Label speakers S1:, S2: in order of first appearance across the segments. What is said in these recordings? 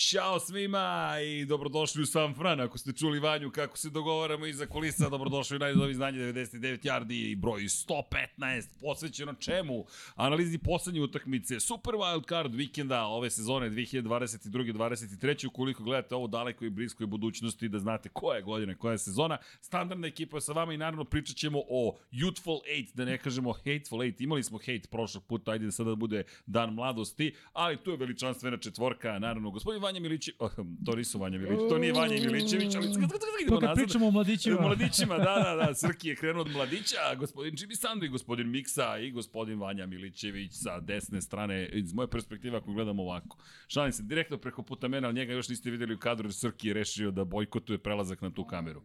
S1: Ćao svima i dobrodošli u San Fran. Ako ste čuli Vanju kako se dogovaramo iza kulisa, dobrodošli u najdovi znanje 99 yardi i broj 115, posvećeno čemu? Analizi poslednje utakmice Super Wild Card vikenda ove sezone 2022. 23. Ukoliko gledate ovo daleko i bliskoj budućnosti da znate koja je godina, koja je sezona, standardna ekipa je sa vama i naravno pričat ćemo o Youthful 8, da ne kažemo Hateful 8. Imali smo hate prošlog puta, ajde da sada bude dan mladosti, ali tu je veličanstvena četvorka, naravno, gospodin Vanja Milićević, oh, to nisu Vanja Milićević, to nije Vanja Milićević, ali idemo
S2: Pa kad pričamo o mladićima,
S1: O mladićima, da, da, da, Srki je krenuo od mladića, a gospodin Jimmy Sandu i gospodin Miksa i gospodin Vanja Milićević sa desne strane, iz moje perspektive ako gledam ovako. Šalim se, direktno preko puta mene, ali njega još niste videli u kadru, jer Srki je rešio da bojkotuje prelazak na tu kameru.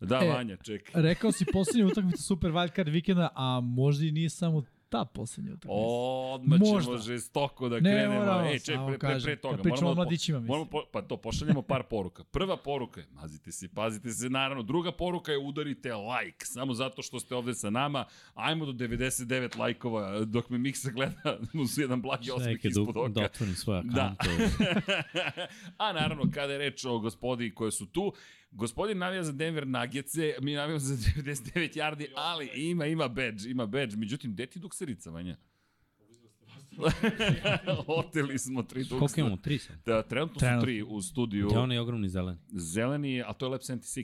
S1: Da,
S2: E.
S1: Vanja, čekaj.
S2: rekao si poslednja utakmica Super Wildcard vikenda, a možda i nije samo ta poslednja utakmica.
S1: Odmah ćemo
S2: Možda.
S1: žestoko da
S2: Ne,
S1: krenemo.
S2: moramo,
S1: e, ček,
S2: samo
S1: pre, pre, pre
S2: kažem,
S1: toga.
S2: kad pričamo
S1: da
S2: o
S1: po-
S2: mladićima, mislim.
S1: Moramo, po, pa to, pošaljemo par poruka. Prva poruka je, mazite se, pazite se, naravno. Druga poruka je udarite like, samo zato što ste ovde sa nama. Ajmo do 99 lajkova, dok me Miksa gleda uz jedan blagi osmih
S3: Čekaj,
S1: ispod
S3: da,
S1: oka.
S3: da otvorim svoje
S1: Da.
S3: akante.
S1: A naravno, kada je reč o gospodi koje su tu, gospodin navija za Denver Nuggetse, mi navijamo za 99 yardi, ali ima, ima badge, ima badge. Međutim, gde ti dukserica, Vanja? Oteli smo tri
S3: Koliko
S1: dukserica.
S3: imamo? Tri sam.
S1: Da, trenutno su
S2: Trenutno.
S1: tri u studiju.
S3: Gde je onaj ogromni zeleni?
S1: Zeleni je, a to je Lab 76.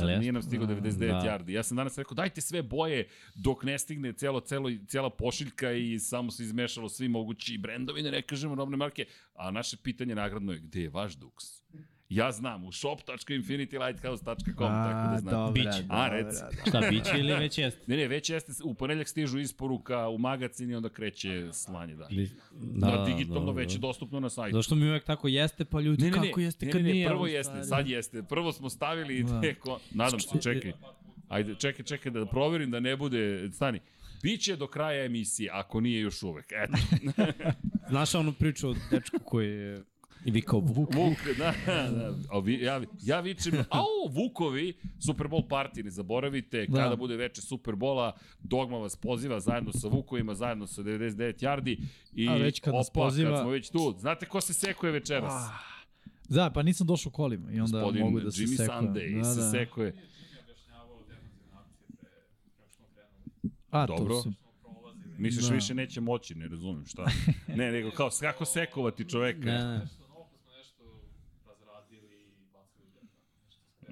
S3: Jel jeste?
S1: Nije nam stigao 99 da.
S3: Da.
S1: yardi. Ja sam danas rekao, dajte sve boje dok ne stigne celo, celo, cela pošiljka i samo se izmešalo svi mogući brendovi, da ne kažemo robne marke. A naše pitanje nagradno je, gde je vaš duks? Ja znam, u shop.infinitylighthouse.com, tako da znam.
S2: dobra,
S3: Bić.
S1: A, reci.
S3: Šta, biće ili već jeste?
S1: Ne, ne, već jeste, u ponedljak stižu isporuka u magazin i onda kreće slanje, da.
S3: Ili,
S1: Da, da, digitalno da, da, već je dostupno na sajtu.
S3: Zašto mi uvek tako jeste, pa ljudi,
S1: Ne, ne, ne,
S3: kako jeste
S1: ne,
S3: kad
S1: ne, ne,
S3: nije?
S1: prvo
S3: ono
S1: jeste,
S3: stvari?
S1: sad jeste. Prvo smo stavili
S2: Da.
S1: teko, nadam se, čekaj. Ajde, čekaj, čekaj da proverim da ne bude, stani. Biće do kraja emisije, ako nije još uvek. Eto,
S3: Znaš onu priču o dečku koji je i vikao Vuk.
S1: Vuk, da, da. A vi, ja, ja vičem, au, Vukovi, Super Bowl party, ne zaboravite,
S2: Da.
S1: kada bude veče Super Bola, Dogma vas poziva zajedno sa Vukovima, zajedno sa 99 Jardi i
S2: A već kad nas
S1: opa, kad
S2: poziva-
S1: smo već tu, znate ko se sekuje večeras?
S2: Da, Ah. pa nisam došao kolima i onda
S1: Gospodin
S2: mogu da se
S1: Jimmy
S2: sekujem.
S1: Sunday
S2: da,
S1: se
S2: da.
S1: sekuje.
S2: A,
S1: Dobro.
S2: to su.
S1: Misliš da.
S2: Da.
S1: više neće moći, ne razumem šta. Ne, nego kao s- kako sekovati čoveka.
S3: Ne,
S2: Da.
S1: Ne.
S3: ne.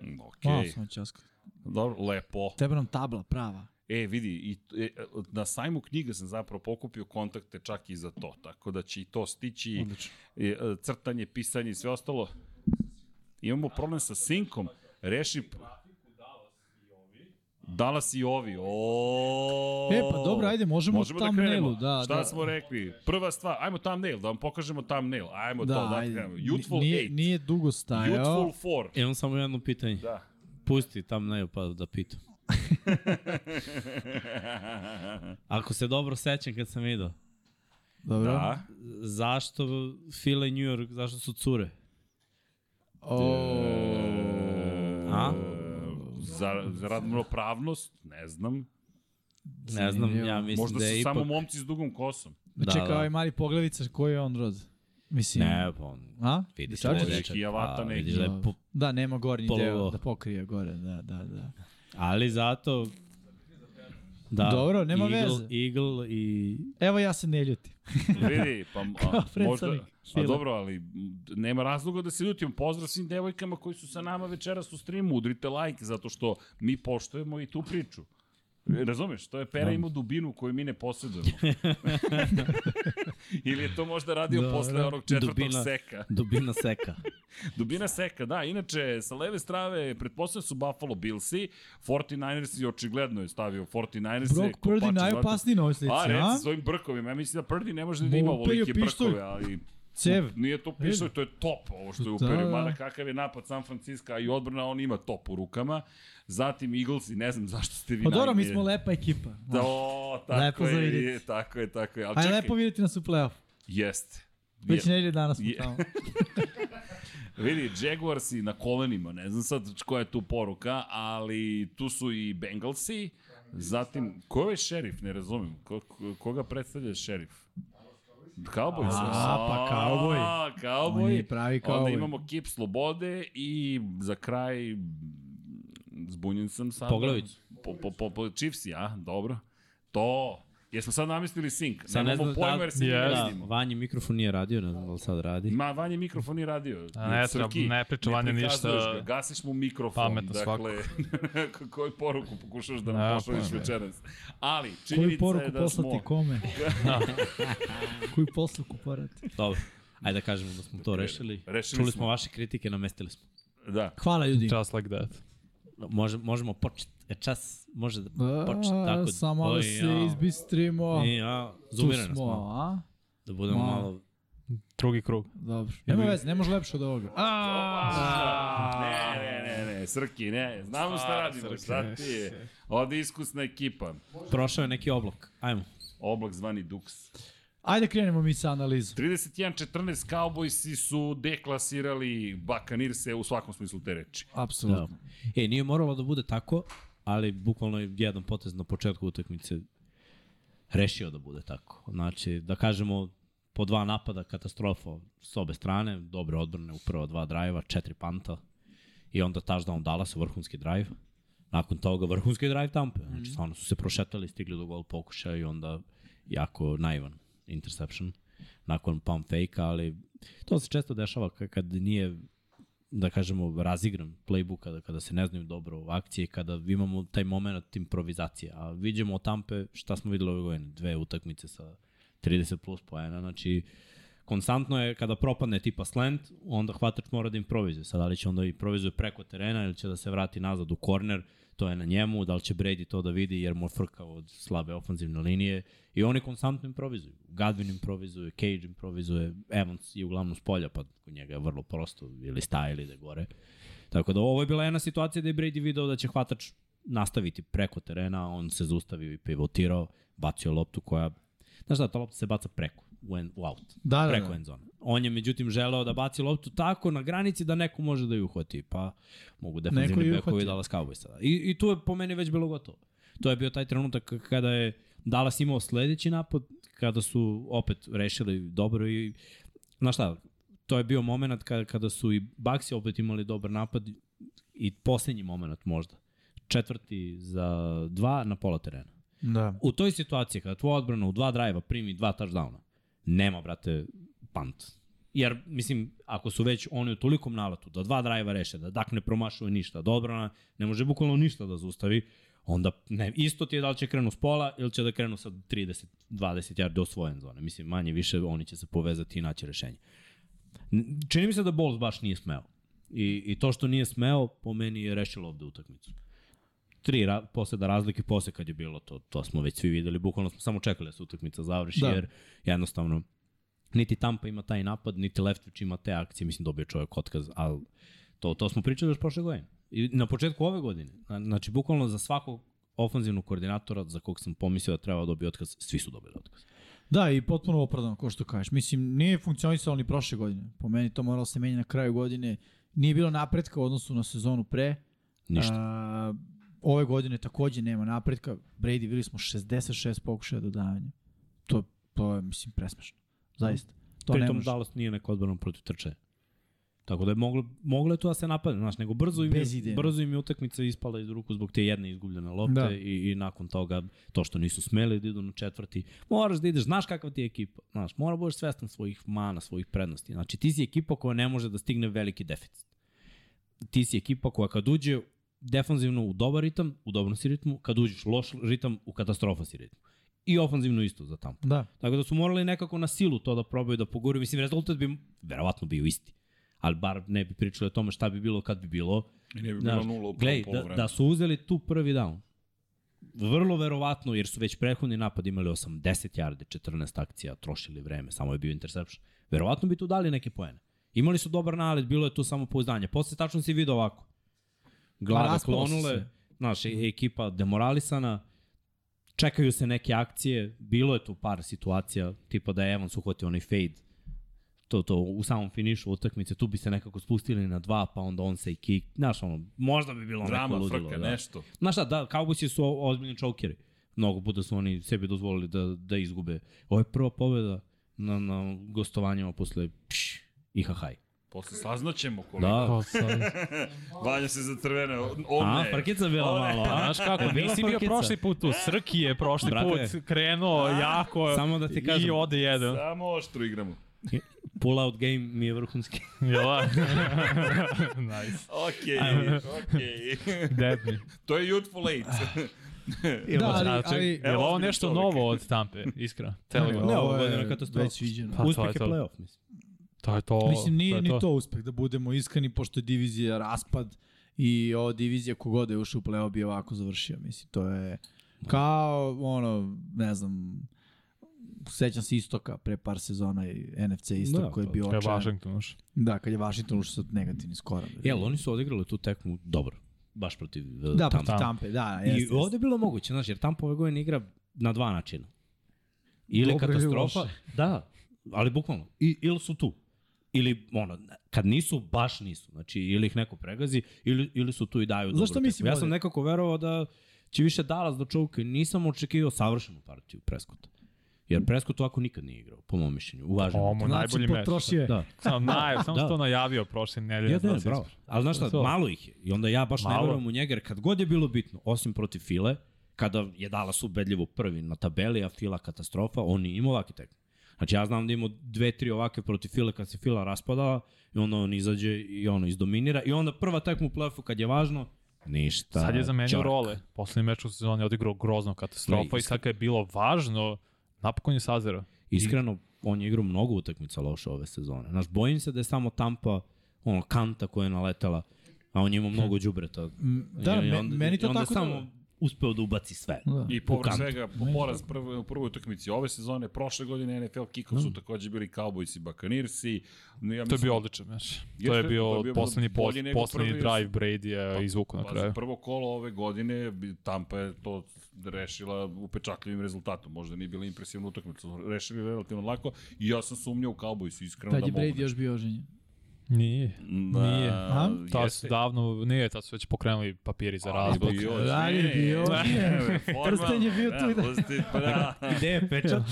S1: Mm, Okej,
S2: Malo
S1: okay.
S2: sam časko.
S1: dobro, lepo.
S2: Treba nam tabla prava.
S1: E, vidi, i, e, na sajmu knjiga sam zapravo pokupio kontakte čak i za to, tako da će i to stići,
S2: Odlično.
S1: e, e, crtanje, pisanje i sve ostalo. Imamo problem sa sinkom, reši... Dallas i ovi. O.
S2: E, pa dobro, ajde, možemo
S1: možemo da
S2: thumbnailu,
S1: krenemo.
S2: da,
S1: Šta
S2: da.
S1: smo rekli? Prva stvar, ajmo thumbnail, da vam pokažemo thumbnail. Ajmo
S2: Da,
S1: to, da
S2: ajde.
S1: krenemo. Youthful
S2: nije,
S1: 8.
S2: nije dugo stajao.
S1: Youthful 4.
S3: Imam E, samo jedno pitanje.
S1: Da.
S3: Pusti tam naju pa da pitam. Ako se dobro sećam kad sam vidio,
S2: Dobro.
S1: Da.
S3: zašto Fila i New York, zašto su cure?
S2: O,
S3: A?
S1: E, Za, za ravnopravnost, ne znam.
S3: Ne znam,
S2: Zanimljivo.
S3: ja mislim
S1: Možda
S3: da
S1: su
S3: je ipak...
S1: samo momci s dugom kosom.
S2: da, čekaj, da. ovaj mali poglavica, koji je on rod? Mislim,
S3: Ne, pa on...
S2: a?
S3: Vidi se da
S2: Dečačić?
S3: je
S1: Dečačić?
S3: dečak,
S1: Kijavata
S3: a,
S1: neki.
S3: vidiš da je po,
S2: Da, nema gornji
S3: Polovo.
S2: deo da pokrije gore, da, da, da.
S3: Ali zato... Da,
S2: Dobro, nema
S3: Eagle,
S2: veze.
S3: Eagle i...
S2: Evo ja se ne ljutim.
S1: Vidi, pa a, možda...
S2: predstavnik
S1: A
S3: da.
S2: Fila.
S1: dobro, ali m, nema razloga da se ljutimo. Pozdrav svim devojkama koji su sa nama večeras u streamu. Udrite like, zato što mi poštujemo i tu priču. Razumeš, to je
S3: Da.
S1: pera ima dubinu koju mi ne posjedujemo. Ili je to možda radio
S2: Dobro.
S1: posle onog četvrtog
S3: Dubina.
S1: seka.
S3: Dubina seka.
S1: Dubina seka, da. Inače, sa leve strave, pretpostavljam da su Buffalo Billsi, 49ersi očigledno je stavio 49ersi.
S2: Brock Purdy najopasniji na ovoj slici,
S1: A, reci
S2: a?
S1: svojim brkovima. Ja mislim da Purdy ne može da ima
S2: Mu uperio
S1: ovolike
S2: pištolj.
S1: brkove, ali...
S2: Cev.
S1: Nije to pištolj, to je top ovo što je
S2: Da,
S1: uperio.
S2: da.
S1: Mada kakav je napad San Francisco i odbrana, on ima top u rukama. Zatim Eagles i ne znam zašto ste vi
S2: Pa dobro, mi
S1: najmije-
S2: smo lepa ekipa.
S1: Da, o, tako
S2: Lepo za
S1: je,
S2: vidjeti.
S1: je, tako je, tako je. Ali
S2: Ajde,
S1: čekaj,
S2: lepo vidjeti nas u play-off.
S1: jeste.
S2: Već
S1: Je-
S2: nedelje danas smo
S1: Je.
S2: tamo.
S1: Vidi, Jaguarsi na kolenima, ne znam sad koja je tu poruka, ali tu su i Bengalsi, zatim, ko je ovaj šerif, ne razumem, ko, ko- koga predstavlja šerif? Cowboys.
S2: A, pa Cowboy.
S1: A,
S2: On
S1: Cowboy.
S2: je pravi kao...
S1: Onda imamo Kip Slobode i za kraj mm, zbunjen sam sada.
S3: Poglavić.
S1: Po, po, po, po Chiefsi, a? Dobro. To. Jesmo sad namislili sink.
S3: Sad ne
S1: Nemamo
S3: znam
S1: pojma
S3: da-
S1: jer se ne
S4: Jeste.
S1: vidimo.
S3: Vanji mikrofon nije radio, ne znam da li sad radi.
S1: Ma, Vanja mikrofon i radio.
S4: A ne,
S1: Crki.
S4: treba- ne priča Vanja ništa.
S1: prikazuješ Ga, gasiš mu mikrofon.
S4: Pametno svako. pa
S1: dakle, koju poruku pokušaš da nam
S4: Ne,
S1: pošalješ
S4: pojma.
S1: večeras? Ali,
S2: Koju
S1: činjenica je
S2: poruku
S1: da smo...
S2: poslati kome? Koju posluku porati?
S3: Dobro. Ajde da kažemo da smo to rešili.
S1: Rešili
S3: Čuli
S1: smo.
S3: smo vaše kritike, namestili smo.
S1: Da.
S2: Hvala ljudi.
S4: Just like that.
S3: Može, možemo početi. E, čas može da
S2: A,
S3: početi tako.
S2: Samo da
S3: Oj,
S2: se
S3: ja.
S2: izbistrimo.
S3: I, ja,
S2: Tu
S3: zoomirani
S2: smo,
S3: smo.
S2: a?
S3: Da budemo
S2: Ma.
S3: malo...
S4: Drugi krug.
S2: Dobro. Nema veze, ne može lepše od ovoga. A,
S1: Ne, ne, ne, ne, Srki, ne. Znamo šta radimo, šta ti je. Ovde je iskusna ekipa.
S3: Prošao je neki oblak. Ajmo.
S1: Oblak zvani Dux.
S2: Ajde krenemo mi sa analizom.
S1: 31-14 Cowboysi su deklasirali Bakanirse u svakom smislu te reči.
S3: Da.
S2: Apsolutno.
S3: E, nije moralo da bude tako, ali bukvalno je jedan potez na početku utakmice rešio da bude tako. Znači, da kažemo, po dva napada katastrofa s obe strane, dobre odbrane, upravo dva drajva, četiri panta i onda touchdown Dallas, vrhunski drive. Nakon toga vrhunski drive Tampe. Znači, stvarno su se prošetali, stigli do gol pokušaja i onda jako naivan interception nakon pump fake, ali to se često dešava ka- kad nije da kažemo, razigran playbook kada, da kada se ne znaju dobro akcije, kada imamo taj moment improvizacije. A vidimo od Tampe šta smo videli ove godine, dve utakmice sa 30 plus poena, znači konstantno je kada propadne tipa slant, onda hvatač mora da improvizuje. Sad, da li će onda improvizuje preko terena ili će da se vrati nazad u korner, to je na njemu, da li će Brady to da vidi jer mu je frka od slabe ofanzivne linije i oni konstantno improvizuju. Gadvin improvizuje, Cage improvizuje, Evans je uglavnom s polja, pa kod njega je vrlo prosto, ili staje ili ide gore. Tako da ovo je bila jedna situacija da je Brady video da će hvatač nastaviti preko terena, on se zaustavio i pivotirao, bacio loptu koja, znaš da, ta lopta se baca preko, u, en, u out
S2: Da, da,
S3: preko
S2: da.
S3: end zone. On je međutim želeo da baci loptu tako na granici da neko može da ju uhvati, pa mogu
S2: Neko
S3: defanzivni
S2: je
S3: bekovi
S2: uhvatio.
S3: Dallas Cowboysa. I, I tu je po meni već bilo gotovo. To je bio taj trenutak kada je Dallas imao sledeći napad, kada su opet rešili dobro i znaš šta, to je bio moment kada, kada su i Baxi opet imali dobar napad i poslednji moment možda. Četvrti za dva na pola terena.
S2: Da.
S3: U toj situaciji kada tvoja odbrana u dva drajva primi dva touchdowna, nema, brate, punt. Jer, mislim, ako su već oni u tolikom nalatu da dva drajva reše, da Dak ne promašuje ništa, da odbrana ne može bukvalno ništa da zaustavi, onda ne, isto ti je da li će krenu s pola ili će da krenu sa 30, 20 yard do svoje end zone. Mislim, manje više oni će se povezati i naći rešenje. N- Čini mi se da Bowles baš nije smeo. I, I to što nije smeo, po meni je rešilo ovde utakmicu tri ra poseda razlike posle kad je bilo to, to smo već svi videli, bukvalno smo samo čekali da se utakmica završi,
S2: Da.
S3: da. jer jednostavno niti Tampa ima taj napad, niti Leftwich ima te akcije, mislim dobio je čovjek otkaz, ali to, to smo pričali još prošle godine. I na početku ove godine, Na- znači bukvalno za svakog ofanzivnog koordinatora za kog sam pomislio da treba da dobije otkaz, svi su dobili otkaz.
S2: Da, i potpuno opravdano, ko što kažeš. Mislim, nije funkcionisalo ni prošle godine. Po meni to moralo da se menja na kraju godine. Nije bilo napretka u odnosu na sezonu pre.
S3: Ništa.
S2: A, ove godine takođe nema napretka. Brady, videli smo 66 pokušaja dodavanja. To, to je, mislim, presmešno. Zaista. To ne
S3: Pritom
S2: može.
S3: Dallas nije neka odbrana protiv trče. Tako da je moglo, moglo je to da se napadne, znaš, nego brzo im,
S2: Bez ideje.
S3: je, brzo im je utakmica ispala iz ruku zbog te jedne izgubljene lopte
S2: Da.
S3: da. i, i nakon toga to što nisu smeli da idu na četvrti. Moraš da ideš, znaš kakva ti je ekipa, znaš, mora da budeš svestan svojih mana, svojih prednosti. Znači, ti si ekipa koja ne može da stigne veliki deficit. Ti si ekipa koja kad uđe defanzivno u dobar ritam, u dobrom si ritmu, kad uđeš loš ritam, u katastrofa si ritmu. I ofanzivno isto za tamo.
S2: Da.
S3: Tako da su morali nekako na silu to da probaju da poguraju. Mislim, rezultat bi verovatno bio isti. Ali bar ne bi pričali o tome šta bi bilo kad bi bilo.
S1: I ne bi
S3: Znaš,
S1: bilo nula u prvom
S3: Glej, da,
S1: polovremenu.
S3: da su uzeli tu prvi down. Vrlo verovatno, jer su već prethodni napad imali 80 jarde, 14 akcija, trošili vreme, samo je bio interception. Verovatno bi tu dali neke poene. Imali su dobar nalet, bilo je tu samo pouzdanje. Posle tačno si vidio ovako.
S2: Pa
S3: Glave
S2: raspalo se
S3: klonule,
S2: sve.
S3: znaš, e- ekipa demoralisana, čekaju se neke akcije, bilo je tu par situacija, tipa da je Evans uhvatio onaj fade, to, to u samom finišu utakmice, tu bi se nekako spustili na dva, pa onda on se i kick, znaš, ono, možda bi bilo
S1: Drama,
S3: neko ludilo.
S1: frka,
S3: da.
S1: nešto.
S3: Znaš šta, da, Cowboysi su o- ozbiljni čokeri. Mnogo puta su oni sebi dozvolili da, da izgube. Ovo je prva pobjeda na, na gostovanjima posle pš, i hahaj.
S1: Posle saznaćemo koliko. Da.
S3: Da.
S4: O, sad.
S1: Vanja se za crvene. O,
S3: A,
S1: ne.
S3: parkica bila
S1: One.
S3: malo.
S4: Pa, Znaš kako,
S3: E, bila
S4: nisi bio
S3: frkica.
S4: prošli put tu, Srki je prošli
S3: Brate.
S4: put krenuo jako
S3: Samo da ti kažem.
S4: i ode jedan.
S1: Samo oštro igramo.
S3: Pull out game mi je vrhunski.
S4: Jela? nice.
S1: Okej, okej.
S4: Dead me.
S1: to je youthful
S4: Ah,
S1: eight.
S2: Da, ali,
S4: Znači,
S2: ali
S4: je
S1: Evo,
S4: ovo
S1: ozbiljan
S4: nešto
S1: čovjek.
S4: novo od Tampe, iskra? da? Telegram.
S3: Ne,
S2: ovo
S3: ovo
S2: je
S3: godina katastrofa.
S2: već viđeno.
S4: Pa, to
S3: Uspeh
S4: je
S3: je
S4: to.
S3: playoff, mislim.
S4: To je to.
S2: Mislim, nije
S4: je
S2: ni to uspeh, da budemo iskreni, pošto je divizija raspad i ova divizija kogoda je ušao u play-off bi ovako završio. Mislim, to je kao, ono, ne znam, sećam se Istoka pre par sezona i NFC Istok
S3: Da,
S2: koji je
S3: pa,
S2: bio
S4: Kad je
S2: očajan.
S4: Washington uš.
S2: Da, kad je Washington ušao sa negativnim skorom.
S3: Jel, oni su odigrali tu tekmu dobro. Baš protiv uh,
S2: Da,
S3: Tampa.
S2: protiv Tampe, da,
S3: I
S2: jeste. jeste.
S3: ovde je bilo moguće, znaš, jer Tampa ove godine igra na dva načina. Ili
S2: Dobro ili
S3: katastrofa,
S2: loše.
S3: da, ali bukvalno, i, ili su tu. Ili, ono, kad nisu, baš nisu. Znači, ili ih neko pregazi, ili, ili su tu i daju
S2: Zašto
S3: dobru
S2: mislim
S3: tekmu. Ja sam
S2: bolje?
S3: nekako verovao da će više Dallas da čovke. Nisam očekivao savršenu partiju Preskota. Jer Preskot ovako nikad nije igrao, po mom mišljenju. Uvaženo.
S4: Ovo mu najbolji meč.
S2: Znači, potrošio je.
S3: Da.
S4: Sam, naj, sam
S3: Da.
S4: da. to najavio prošle nedelje.
S3: Ja, da,
S4: znači,
S3: bravo. Ali znaš šta,
S4: To.
S3: malo ih je. I onda ja baš malo. ne
S4: Malo.
S3: verujem u njega, jer kad god je bilo bitno, osim protiv File, kada je dala subedljivo prvi na tabeli, a Fila katastrofa, on nije imao ovakve tekme. Znači ja znam da je imao dve, tri ovake protiv File kad se Fila raspadala i onda on izađe i ono izdominira i onda prva tekma u play-offu kad je važno, ništa.
S4: Sad
S2: Da,
S4: je za mene
S3: ćorak.
S4: role. Poslednji meč u sezoni je odigrao grozno katastrofa
S3: Ne,
S4: i sad kad je bilo važno, napokon je sazero.
S3: Iskreno, on je igrao mnogo utakmica loše ove sezone. Znaš, bojim se da je samo Tampa, ono, kanta koja je naletela, a on je
S4: Hm.
S3: imao mnogo đubreta.
S2: da,
S3: I
S2: me-
S3: onda-
S2: meni to
S3: i onda
S2: tako
S3: samo
S2: deluje.
S3: uspeo da ubaci sve.
S2: Da.
S1: I povrh
S3: U kantu.
S1: svega, po- poraz prve, u prvoj utakmici ove sezone, prošle godine NFL kick-off su takođe bili Cowboys i Buccaneersi. No, ja
S4: Mm. To je
S1: mislim-
S4: bio odličan meč. To je
S1: Jeste, to je
S4: bio
S1: bio
S4: poslednji
S1: bolji
S4: post,
S1: nego
S4: poslednji
S1: prvi.
S4: drive Brady je izvuku na
S1: Pa,
S4: kraju.
S1: Prvo kolo ove godine, bi- Tampa je to rešila upečatljivim rezultatom. Možda nije bila impresivna utakmica, su rešili relativno lako i ja sam sumnjao u Cowboys, iskreno
S2: Tad
S1: da
S2: je
S1: mogu.
S2: Brady
S1: nešto.
S2: još bio oženjen.
S4: Nije.
S1: Da,
S4: Nije.
S2: A?
S4: Ta
S1: jeste.
S4: su davno, nije, tad su već pokrenuli papiri za
S1: Ali
S4: razbog.
S1: bio
S2: Ali
S1: je,
S2: bio
S1: ne,
S2: je.
S1: ne, formalno,
S2: Prsten je bio
S1: da,
S2: tu, da.
S1: prsten, pa da.
S3: Gde je pečat?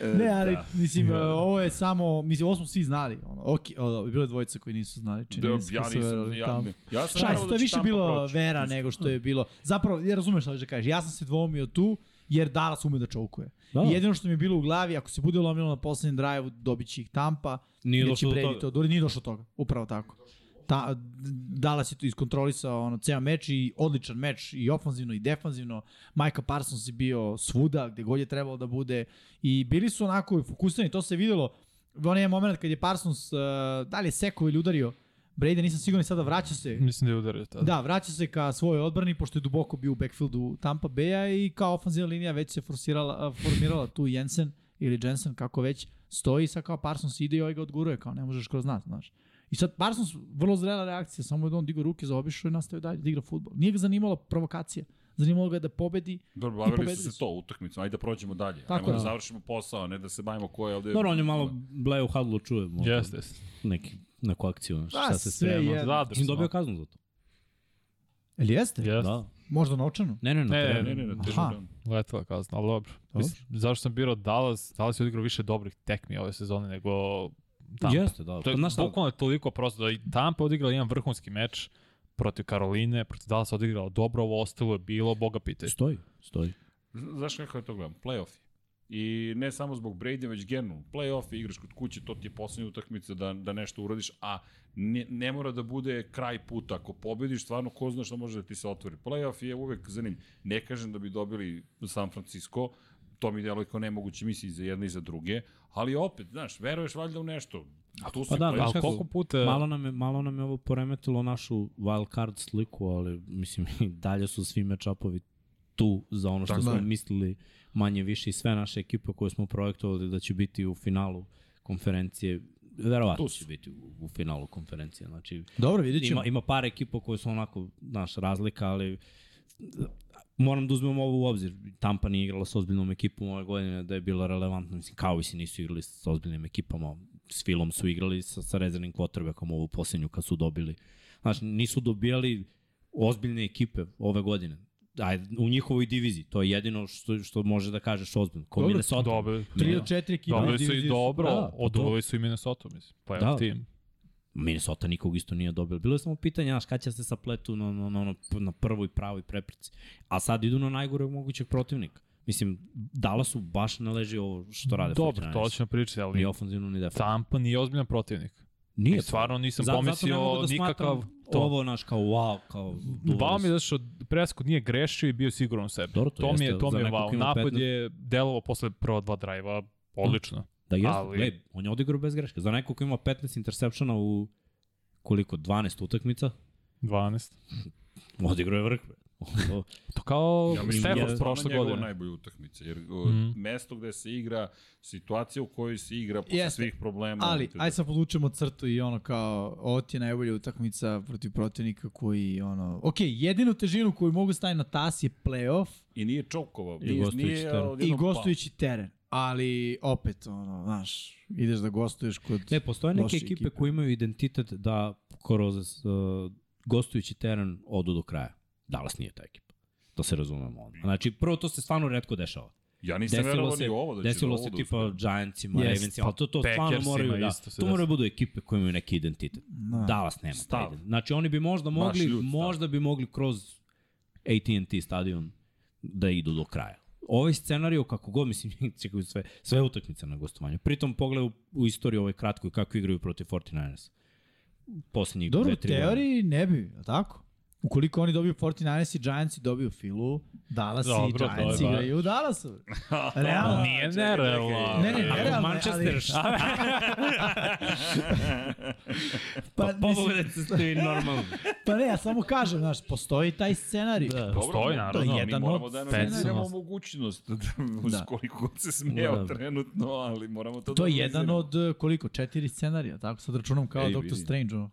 S1: E,
S2: Ne, ali,
S1: da.
S2: mislim,
S3: Da.
S2: ovo je samo, mislim, ovo smo svi znali. Ono, ok, o, da, bilo je dvojica koji nisu znali. Čini,
S1: Da,
S2: mi se,
S1: ja
S2: koji su
S1: nisam,
S2: verovali
S1: ja,
S2: tamo.
S1: ne. ja sam
S2: Šta je,
S1: verovao
S2: to
S1: da
S2: je
S1: će
S2: više
S1: Tampa
S2: bilo
S1: proći.
S2: vera nego što je bilo. Zapravo, ja razumem šta hoćeš da kažeš. Ja sam se dvoumio tu, jer Dallas ume da čovkuje.
S3: Da.
S2: Da. I jedino što mi je bilo u glavi, ako se bude lomilo na poslednjem drive-u, dobit će ih Tampa,
S3: Nije
S2: jer će
S3: došlo do
S2: Brady
S3: toga.
S2: to dori, nije došlo do toga, upravo tako. Ta, Dallas je to iskontrolisao ono, ceo meč i odličan meč i ofanzivno i defanzivno. Micah Parsons je bio svuda gde god je trebalo da bude i bili su onako fokusirani, to se videlo. Onaj moment kad je Parsons, uh, da li je sekao ili udario, Brady nisam siguran i sada vraća se
S4: Mislim da je udario tada.
S2: Da, vraća se ka svojoj odbrani, pošto je duboko bio u backfieldu Tampa Bay-a i kao ofenzivna linija već se forsirala, a, formirala tu Jensen ili Jensen, kako već, stoji i sad kao Parsons ide i ovaj ga odguruje, kao ne možeš kroz nas, znaš. I sad Parsons, vrlo zrela reakcija, samo je da on digao ruke, zaobišao i nastavio dalje da igra futbol. Nije ga zanimala provokacija, zanimalo ga je da pobedi.
S1: Dobro,
S2: I
S1: bavili
S2: pobedili
S1: su se
S2: su.
S1: to utakmicom, ajde da prođemo dalje.
S2: Tako
S1: Ajmo da
S2: je.
S1: završimo posao, ne da se bavimo ko je ovde.
S3: Dobro, on je malo bleje u hadlu čuje. možda
S4: Jeste, jeste.
S3: Neki, neku akciju, znaš,
S2: Pa,
S3: šta se
S2: sve
S3: sprema.
S2: jedno.
S4: Zadršno.
S3: Mislim, dobio kaznu za to.
S2: Ili jeste?
S4: Jeste.
S3: Da.
S2: Možda novčano?
S3: Ne, ne, ne.
S4: Ne,
S3: ne,
S1: Ne, ne, ne, težo
S2: Aha.
S1: da-
S4: Letela kazna, ali dobro.
S2: Dobro.
S4: Mislim, zašto sam birao Dallas? Dallas je odigrao više dobrih tekmi ove sezone nego Tampa.
S3: Jeste, da.
S4: To je
S3: Znaš šta,
S4: bukvalno toliko prosto da i Tampa je odigrala jedan vrhunski meč protiv Karoline, protiv Dallasa odigrala dobro, ovo ostalo je bilo, boga pitaj.
S3: stoji, stoji.
S1: Z- Znaš kako je to gledam? Playoff. I ne samo zbog Brady, već generalno. Playoff, igraš kod kuće, to ti je poslednja utakmica da, da nešto uradiš, a ne, ne mora da bude kraj puta. Ako pobediš, stvarno ko zna što može da ti se otvori. Playoff je uvek zanim. Ne kažem da bi dobili San Francisco, to mi djeluje kao nemoguće misli i za jedne i za druge, ali opet, znaš, veruješ valjda u nešto. A tu su
S3: Pa da,
S1: playoff.
S3: znaš
S4: Ali
S3: kako,
S4: koliko puta...
S3: Malo nam, je, malo nam je ovo poremetilo našu wild card sliku, ali mislim i dalje su svi matchupovi tu za ono što
S2: Tako
S3: smo
S2: je.
S3: mislili manje više i sve naše ekipe koje smo projektovali da će biti u finalu konferencije, verovatno
S1: Tu su.
S3: će biti u, u finalu konferencije. Znači,
S2: Dobro, vidit
S3: ima, ima par ekipa koje su onako, znaš, razlika, ali e, moram da uzmem ovo u obzir. Tampa nije igrala sa ozbiljnom ekipom ove godine da je bila relevantna. Mislim, kao i si nisu igrali sa ozbiljnim ekipama. S Filom su igrali sa, sa rezervnim quarterbackom ovu posljednju kad su dobili. Znaš, nisu dobijali ozbiljne ekipe ove godine. ajde, u njihovoj diviziji. To je jedino što, što može da kažeš ozbiljno. Ko
S2: Dobro,
S3: Minnesota.
S4: Dobro,
S2: 3 od 4 ekipa. u
S4: Dobili su i
S2: diviziji
S4: dobro,
S3: Da,
S4: da,
S3: pa
S4: oduvali su i Minnesota, mislim. Playoff
S3: Da.
S4: da. team.
S3: Minnesota nikog isto nije dobila. Bilo je samo pitanje, znaš, kada će se sapletu na, na, na, na- na prvoj pravoj prepreci. A sad idu na najgoreg mogućeg protivnika. Mislim, Dallasu baš ne leži ovo što rade.
S4: Dobro,
S3: 49ers.
S4: to ćemo pričati, ali
S3: Ni ofenzivno, ni defensivno.
S4: Tampa nije ozbiljan protivnik.
S3: Nije.
S4: I stvarno nisam
S3: Za-
S4: Zat,
S3: zato ne
S4: pomislio
S3: mogu da
S4: nikakav
S3: smatram
S4: to.
S3: Ovo, naš, kao wow, kao...
S4: Vao
S3: duvali
S4: mi
S3: su.
S4: je zato što Prescott nije grešio i bio siguran u sebi.
S3: Dobro, to
S4: to, mi je,
S3: jeste,
S4: to
S3: za
S4: mi je
S3: nekog
S4: vao.
S3: ko ima
S4: Napad
S3: 15.
S4: je delovao posle prva dva drajva odlično.
S3: Da jeste, ali...
S4: Ali-
S3: gled, on je odigrao bez greške. Za nekog ko ima 15 intersepšana u koliko, 12 utakmica,
S4: 12.
S3: odigrao je vrh. bre. Ono,
S4: To kao ja,
S3: mislim, da
S4: Stafford
S3: ja-
S4: prošle
S1: njegova
S4: godine.
S1: najbolja utakmica, jer mm.
S4: Mhm.
S1: mesto gde se igra, situacija u kojoj se igra posle
S2: Jeste.
S1: svih problema.
S2: Ali,
S1: Znači,
S2: aj sad podvučemo crtu i ono kao, ovo ti je najbolja utakmica protiv protivnika koji, ono, ok, jedinu težinu koju mogu staviti na tas je playoff
S1: I nije čokova.
S3: I
S1: nije,
S3: Gostović da.
S1: nije,
S3: teren.
S1: odjednom pao.
S2: i gostujući teren. Ali, opet, ono, znaš, ideš da gostuješ kod...
S3: Ne, postoje neke
S2: Loše
S3: ekipe,
S2: ekipe.
S3: koje imaju identitet da kroz uh, gostujući teren odu do kraja. Dallas nije ta ekipa. Da se razumemo onda. Znači, prvo to se stvarno redko dešava.
S1: pa- Ja nisam verovao ni u Pa ovo da će
S3: desilo
S1: ovo
S3: se
S1: da
S3: tipa
S1: uspije.
S3: Giantsima,
S2: Jest,
S3: Ravensima, ali to, to stvarno
S4: Packersima
S3: moraju, da,
S4: isto se
S3: to moraju
S4: desilo.
S3: budu ekipe koje imaju neki identitet.
S2: Da.
S3: Dallas nema.
S1: Stav.
S3: Stav. Znači oni bi možda mogli,
S1: ljud stav.
S3: možda bi mogli kroz AT&T stadion da idu do kraja. Ovaj scenariju, kako god, mislim, čekaju sve, sve utakmice na gostovanju. Pritom pogledaj u, u istoriju ovoj kratkoj kako igraju protiv 49ers. Poslednjih
S2: Dobro, u
S3: dve, tri godine.
S2: teoriji ne bi, a tako? Ukoliko oni dobiju 49ers i Giants i dobiju Filu, Dallas i
S4: Dobro, to je
S2: Giants
S4: baš.
S2: igraju u Dallasu. Realno.
S4: Nije
S1: Čekaj, čekaj.
S4: nerealno.
S2: Ne, ne,
S3: Ako
S2: nerealno,
S3: Manchester,
S2: ali-
S3: šta?
S2: Pa, mislim,
S3: Pobogajte se vi normalno.
S2: pa ne, ja samo kažem, znaš, postoji taj scenarij. Da.
S4: Postoji, naravno.
S1: Da, mi
S2: jedan
S1: moramo
S2: od
S1: da
S2: scenarija.
S1: analiziramo mogućnost, da, uz
S2: Da.
S1: koliko god se smeo
S3: Da.
S1: trenutno, ali moramo to,
S2: To je
S1: da
S2: jedan
S1: analiziramo.
S2: od e, koliko? Četiri scenarija, tako sad računam kao
S1: Ej,
S2: Ej, Doctor
S1: vidi.
S2: Strange. Ono.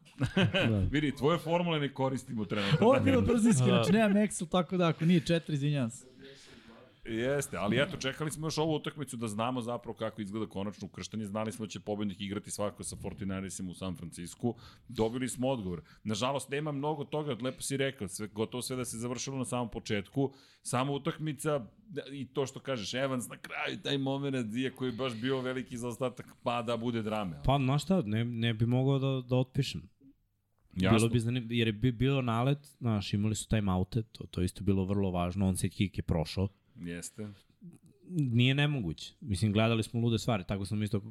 S1: Vidi, tvoje formule ne koristimo trenutno.
S2: Ovo je bilo brzinski, znači nemam Excel, tako da ako nije četiri, izvinjam se.
S1: Jeste,
S3: Mm.
S1: ali eto, čekali smo još ovu utakmicu da znamo zapravo kako izgleda konačno ukrštanje. Znali smo da će pobednik igrati svakako sa 49ersima u San Francisku. Dobili smo odgovor. Nažalost, nema mnogo toga, lepo si rekao, sve, gotovo sve da se završilo na samom početku. Samo utakmica da, i to što kažeš, Evans na kraju, taj moment, iako je baš bio veliki zaostatak, pa da bude drame.
S3: Pa, znaš šta, ne, ne bi mogao da, da otpišem. Jasno. Bilo bi zanim, jer je bi bilo nalet, znaš, imali su time oute, to, to je isto bilo vrlo važno, on se kick je prošao.
S1: Jeste.
S3: Nije nemoguće. Mislim, gledali smo lude stvari, tako sam isto k-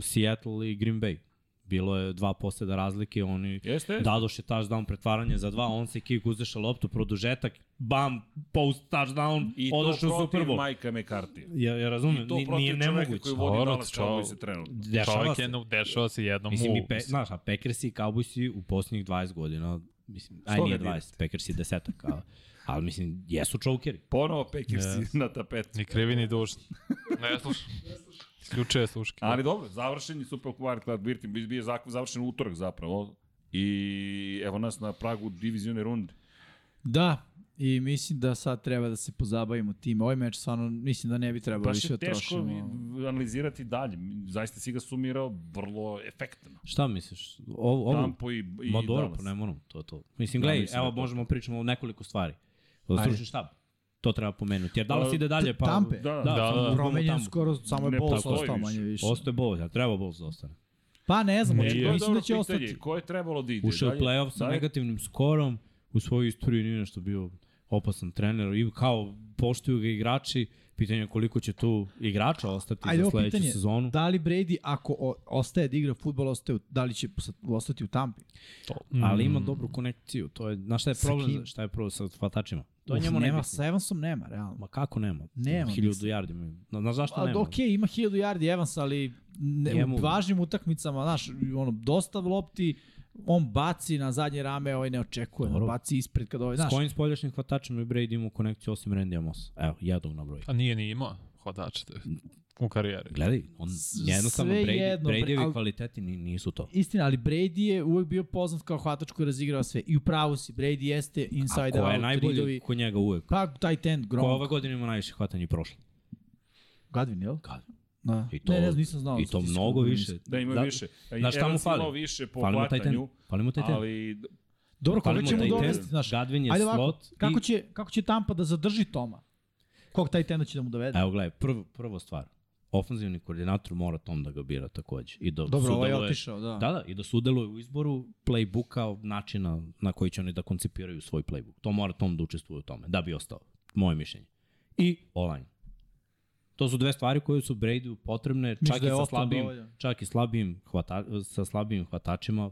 S3: Seattle i Green Bay. Bilo je dva poseda razlike, oni...
S1: Jeste?
S3: Dadoš je touchdown pretvaranje za dva, on se kick uzeša loptu, produžetak, bam, post touchdown,
S1: I to
S3: odošao u Super
S1: protiv
S3: Bowl.
S1: Majka McCarthy.
S3: Ja, ja razumem,
S1: I to
S3: ni-
S1: protiv
S3: nije
S1: čoveka
S3: nemoguće.
S1: koji vodi
S4: Dobro,
S1: Dallas
S4: čao.
S1: Cowboys trenutno.
S3: Dešava
S4: Čovjek
S3: se.
S4: jednom dešava se jednom
S3: Mislim,
S4: u...
S3: i pe, znaš, a Packers i Cowboys i u posljednjih 20 godina, mislim, aj
S1: Što
S3: nije
S1: ne
S3: 20, Packers i desetak, ali, ali mislim, jesu čokeri.
S1: Ponovo Packersi yes. na tapetu.
S4: Ni krivi, ni dužni. Ne slušam. Isključuje je sluške.
S1: Ali dobro, završen je Super Wild Card Birtim, bio je zak- završen utorak zapravo. I evo nas na pragu divizione runde.
S2: Da, i mislim da sad treba da se pozabavimo tim. Ovaj meč stvarno mislim da ne bi trebalo
S1: Baš
S2: više
S1: Pa je
S2: da
S1: teško
S2: trošimo.
S1: analizirati dalje. Zaista si ga sumirao vrlo efektno.
S3: Šta misliš? Ovo, ovo,
S1: Tampo i, i
S3: Ma dobro,
S1: Dallas.
S3: pa ne moram, to je to. Pa
S1: Ja
S3: Mislim, gledaj,
S1: mislim da
S3: evo
S1: je to
S3: možemo pričamo o nekoliko stvari. O stručni štab, to treba pomenuti. Jer Dallas
S1: Pa,
S3: ide dalje, pa...
S2: Tampe.
S1: Da,
S3: Da,
S1: da.
S3: samo
S4: da.
S3: gubimo
S2: Promenjen
S3: Tampu.
S2: skoro, samo
S1: Ne
S2: je bols
S1: postoji
S2: ostao
S1: više.
S2: manje više.
S3: Ostaje Bowles, a treba Bowles da ostane.
S2: Pa ne znam,
S4: Nije.
S1: E, To je
S2: mislim
S1: dobro
S2: da će
S1: pitanje.
S2: ostati.
S1: Ko je trebalo da ide?
S3: Ušao je u
S1: dalje?
S3: play-off sa
S1: Dalje?
S3: negativnim skorom, u svojoj istoriji nije nešto bio opasan trener i kao poštuju ga igrači, pitanje je koliko će tu igrača ostati
S2: Ajde,
S3: za
S2: ovo
S3: sledeću
S2: pitanje.
S3: sezonu.
S2: Da li Brady, ako o, ostaje da igra futbol, ostaje, u- da li će pos- ostati u Tampi?
S4: To.
S3: Ali ima dobru konekciju, to je, znaš šta je
S2: Sa
S3: problem,
S2: kim?
S3: šta je problem sa hvatačima? To je
S2: Uf,
S3: njemu
S2: nema,
S3: nebitno.
S2: sa Evansom nema, realno.
S3: Ma kako nema?
S2: Nema,
S3: Hiljadu
S2: mislim.
S3: jardi imaju. Na- Znaš zašto
S2: Pa,
S3: nema?
S2: ok, ima 1000 yardi Evans, ali ne,
S3: Njemu-
S2: u važnim utakmicama, znaš, ono, dosta lopti, on baci na zadnje rame, ovaj ne očekuje,
S3: Dobro.
S2: Dobro. baci ispred kad ovaj,
S3: S
S2: znaš,
S3: kojim spoljašnjim hvatačima je Brady imao konekciju osim Randy Mossa? Evo, jednog na broj.
S4: A nije ni imao hodače te u karijeri.
S3: Gledaj, on jednostavno
S2: sve
S3: Brady,
S2: jedno, bre,
S3: Bradyevi
S2: al-
S3: kvaliteti ni, nisu to.
S2: Istina, ali Brady je uvek bio poznat kao hvatač koji razigrava sve. I u pravu si, Brady jeste
S3: A
S2: inside
S3: ko je
S2: out,
S3: najbolji
S2: ridovi.
S3: kod njega uvek?
S2: Pa, taj tent,
S3: Ko je ovaj? ove
S2: Gronk.
S3: godine ima najviše hvatanja i prošle?
S2: Gadvin, jel?
S3: Kad?
S2: Da.
S3: I to,
S2: ne, ne, znam, nisam znao.
S3: I to
S2: statistiku, Da,
S3: mnogo
S2: nisam.
S3: više.
S1: Da ima više.
S3: znaš šta mu
S1: Evans imao
S3: fali?
S1: više po
S3: Fali mu taj ten.
S1: hvatanju,
S3: Fali mu taj ten.
S1: ali
S2: Dobro, koga
S3: Palimo
S2: ćemo
S3: taj
S2: dovesti,
S3: test,
S2: znaš?
S3: Gadvin je
S2: Ajde
S3: slot.
S2: ovako, kako
S3: i...
S2: će, kako će Tampa da zadrži Toma? Kog taj tenda će da mu dovede?
S3: Evo gledaj, prvo, prvo stvar. Ofanzivni koordinator mora Tom da ga bira takođe. I da
S2: Dobro, ovaj je
S3: sudeluje-
S2: otišao, da.
S3: Da, da, i da sudeluje u izboru playbooka, načina na koji će oni da koncipiraju svoj playbook. To mora Tom da učestvuje u tome, da bi ostao. Moje mišljenje. I online. To su dve stvari koje su Brady potrebne,
S2: Mislim
S3: čak
S2: da
S3: i,
S2: je
S3: sa
S2: Oton
S3: slabim,
S2: dovoljan.
S3: čak i slabim hvata, sa slabim hvatačima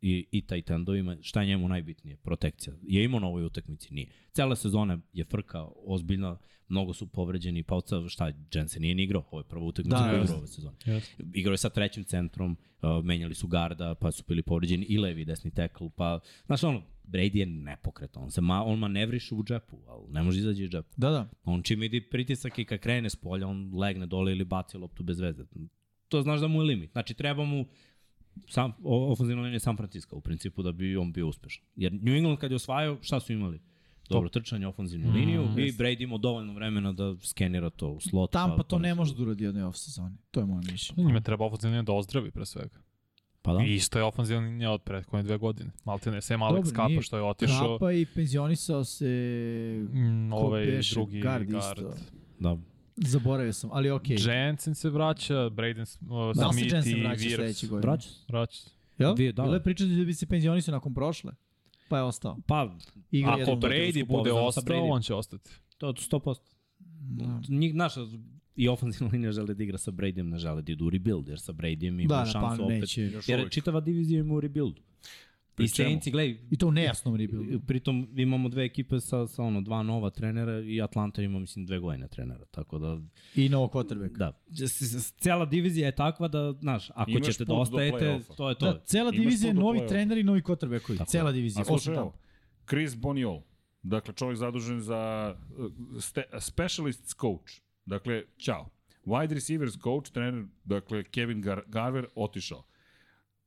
S3: i, i tajtendovima. Šta je njemu najbitnije? Protekcija. Je imao na ovoj utakmici? Nije. Cela sezona je frka ozbiljna, mnogo su povređeni, pa od sad šta, Jensen nije ni igrao, ovo je prva utakmica
S2: Da,
S3: da, koju je
S2: jasno.
S3: igrao ove sezone. Igrao je sa trećim centrom, uh, menjali su garda, pa su bili povređeni i levi i desni tekl, pa, znaš ono, Brady je nepokret, on, se ma, on manevriše u džepu, ali ne može izaći iz džepa.
S2: Da, da.
S3: Pa On čim vidi pritisak i kad krene s polja, on legne dole ili baci loptu bez veze. To znaš da mu je limit. Znači, treba mu sam, o- ofenzivna linija San Francisco u principu da bi on bio uspešan. Jer New England kad je osvajao, šta su imali? Dobro trčanje, ofenzivnu liniju mm, i Brady imao dovoljno vremena da skenira to u slot.
S2: Tampa to ne
S3: nešto.
S2: može da uradi u jednoj off-sezoni. To je moje mišljenje.
S4: Njima treba ofenzivna linija da ozdravi pre svega.
S3: Pa da.
S4: I isto je ofenzivna linija od prethodne dve godine. Malte ne, sem Alex
S2: Dobro,
S4: Dobro, Kapa
S2: nije-
S4: što je otišao.
S2: Trapa i penzionisao se...
S4: Mm,
S2: Ko
S4: ovaj
S2: beše,
S4: drugi
S2: guard
S4: guard.
S2: isto.
S3: da.
S2: Zaboravio sam, ali okej. Okay.
S4: Jensen se vraća, Braden uh,
S2: Da li se
S4: Smith
S2: Jensen
S4: i
S2: vraća
S4: Virs.
S2: sledeće godine?
S3: Braća se.
S4: Vraća se.
S2: Jel?
S3: Dvije, da.
S2: Bila je priča da bi se penzionisao nakon prošle, pa je ostao.
S3: Pa,
S2: Igra
S4: Ako
S2: jednom protiv
S4: Brady
S3: usko
S4: bude
S3: povezano sa
S4: ostao,
S3: Bradyjem.
S4: on će ostati.
S3: to je 100%.
S2: Da.
S3: Njih, naša i ofenzivna linija žele da igra sa Bradyjem, ne žele da idu u rebuild, jer sa Bradyjem ima
S2: Da,
S3: da,
S2: da,
S3: šansu
S2: pa
S3: opet.
S2: neće.
S1: Još
S3: Jer
S1: uvijek.
S3: čitava divizija ima u rebuildu.
S1: Pri
S3: I
S1: čemu?
S3: Saints, gledaj,
S2: I to u nejasnom rebuildu.
S3: pritom imamo dve ekipe sa, sa ono, dva nova trenera i Atlanta ima, mislim, dve godine trenera, tako da,
S2: I novo quarterback.
S3: da. S- s- s- Cela divizija je takva da, znaš, ako
S1: Imaš
S3: ćete da
S1: put do
S3: ostajete,
S1: play-offa.
S3: to je to.
S2: Da, cela
S1: Imaš
S2: divizija je
S1: tu do
S2: novi
S1: play-offa.
S2: trener i novi quarterbackovi.
S3: Tako
S2: Cela
S3: je.
S2: divizija.
S1: A slušaj,
S2: Osim
S1: evo,
S2: tamo.
S1: Chris Boniol, dakle čovjek zadužen za uh, ste, specialists coach, dakle, čao. Wide receivers coach, trener, dakle, Kevin Gar Garver, otišao.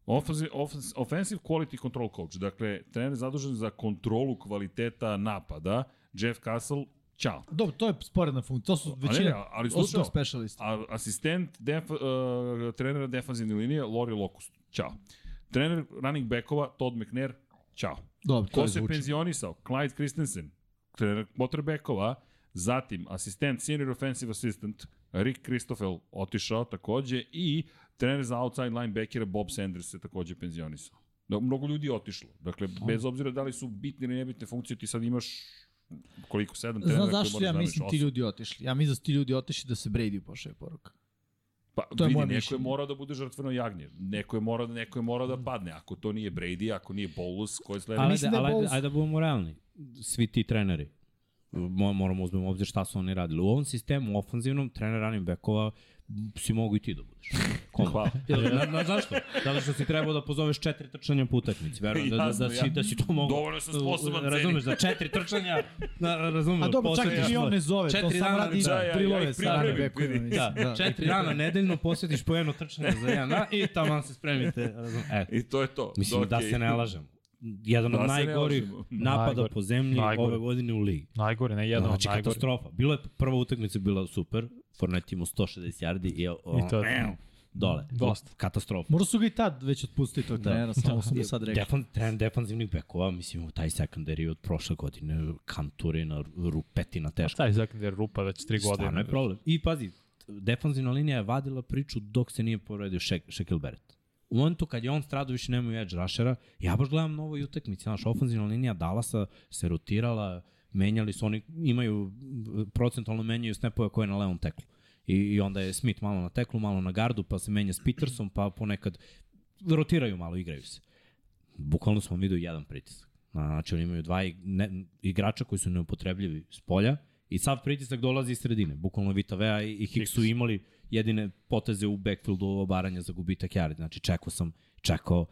S1: Offensive, offens- offensive quality control coach, dakle, trener zadužen za kontrolu kvaliteta napada, Jeff Castle, čao.
S2: Dobro, to je sporedna funkcija. To su
S1: ne,
S2: većina.
S1: ali
S2: Osim
S1: slušao.
S2: specialist.
S1: A, asistent def, uh, trenera defanzivne linije, Lori Locust, čao. Trener running backova, Todd McNair, čao.
S2: Dobro, to
S1: Ko
S2: je
S1: se
S2: zvuči.
S1: penzionisao? Clyde Christensen, trener quarterbackova, zatim asistent, senior offensive assistant, Rick Christoffel otišao takođe i trener za outside linebackera Bob Sanders se takođe penzionisao. Da, mnogo ljudi je otišlo. Dakle, bez obzira da li su bitne ili nebitne funkcije, ti sad imaš koliko, sedam trenera
S2: Znaš
S1: koje
S2: zašto
S1: moraš
S2: ja
S1: da
S2: mislim
S1: nameniš?
S2: ti
S1: Osam.
S2: ljudi otišli? Ja mislim da su ti ljudi otišli da se Brady pošalje poruka.
S1: Pa,
S2: To je
S1: vidi,
S2: moje
S1: neko
S2: mišljenje.
S1: je morao da bude žrtveno jagnje. Neko je morao, neko je morao da padne. Ako to nije Brady, ako nije Bolus, ko je sledeći?
S3: Ali,
S2: mislim da
S3: da
S2: je
S3: ali, ajde,
S2: Bowles-
S3: ajde da budemo realni. Svi ti treneri, mo- moramo da uzmemo u obzir šta su oni radili. U ovom sistemu ofenzivnom, trener running backova, m, si mogu i ti da budeš. Komo?
S1: Hvala.
S3: Na, na, zašto? Zato što si trebao da pozoveš četiri trčanja po utakmici. Verujem da, da, da,
S1: Jasno,
S3: si,
S1: ja.
S3: da si to mogu.
S1: Dovoljno sam sposoban, ceni.
S3: Razumeš, da četiri trčanja, na, razumeš.
S2: A dobro, čak
S3: posvetiš
S2: i on
S3: svoj-
S2: ne zove, to
S3: Četiri
S2: sam
S3: dana
S2: radi
S1: da, ja- ja
S2: prilove
S1: ih
S2: sa rane
S1: pripremim,
S2: bekovima.
S1: vidi.
S2: mislim,
S3: Da, četiri dana nedeljno posvetiš po jedno trčanje za jedan dan i tamo se spremite. Razumeš. E,
S1: I to je to.
S3: Mislim, okay. da
S1: Okej.
S3: se ne lažemo. Jedan
S1: Da
S3: od
S1: se ne
S3: najgorih
S1: lažemo.
S3: napada
S4: Najgori.
S3: po zemlji
S4: Najgori.
S3: ove godine u ligi.
S4: Najgore, ne jedan
S3: Znači,
S4: od najgore.
S3: katastrofa. Bilo je, prva utakmica je bila super, Fornet imao 160 yardi i, o,
S4: I to je to.
S3: evo, dole.
S4: Dosta.
S3: Katastrofa.
S2: Morao su ga i tad već otpustiti tog trenera, samo sam mu sad rekao.
S3: Defan, tren defanzivnih bekova, mislim, taj secondary od prošle godine, kanturina, rupetina, teška.
S4: Taj sekundar rupa već tri godine.
S3: Stvarno je problem. I pazi, defanzivna linija je vadila priču dok se nije povredio Shek Shekel Barrett. U momentu kad je on stradao više nemaju edge rushera, ja baš gledam na ovoj utakmici, znaš, ofenzivna linija Dallasa se rotirala, menjali su, oni imaju, m, procentualno menjaju snapove koje je na levom teklu. I, I onda je Smith malo na teklu, malo na gardu, pa se menja s Petersom, pa ponekad rotiraju malo, igraju se. Bukvalno smo videli jedan pritisak. Znači, oni imaju dva ig- ne, igrača koji su neupotrebljivi s polja i sav pritisak dolazi iz sredine. Bukvalno Vitavea i, i Hicks su imali jedine poteze u backfieldu obaranja za gubitak jari. Znači, čekao sam, čekao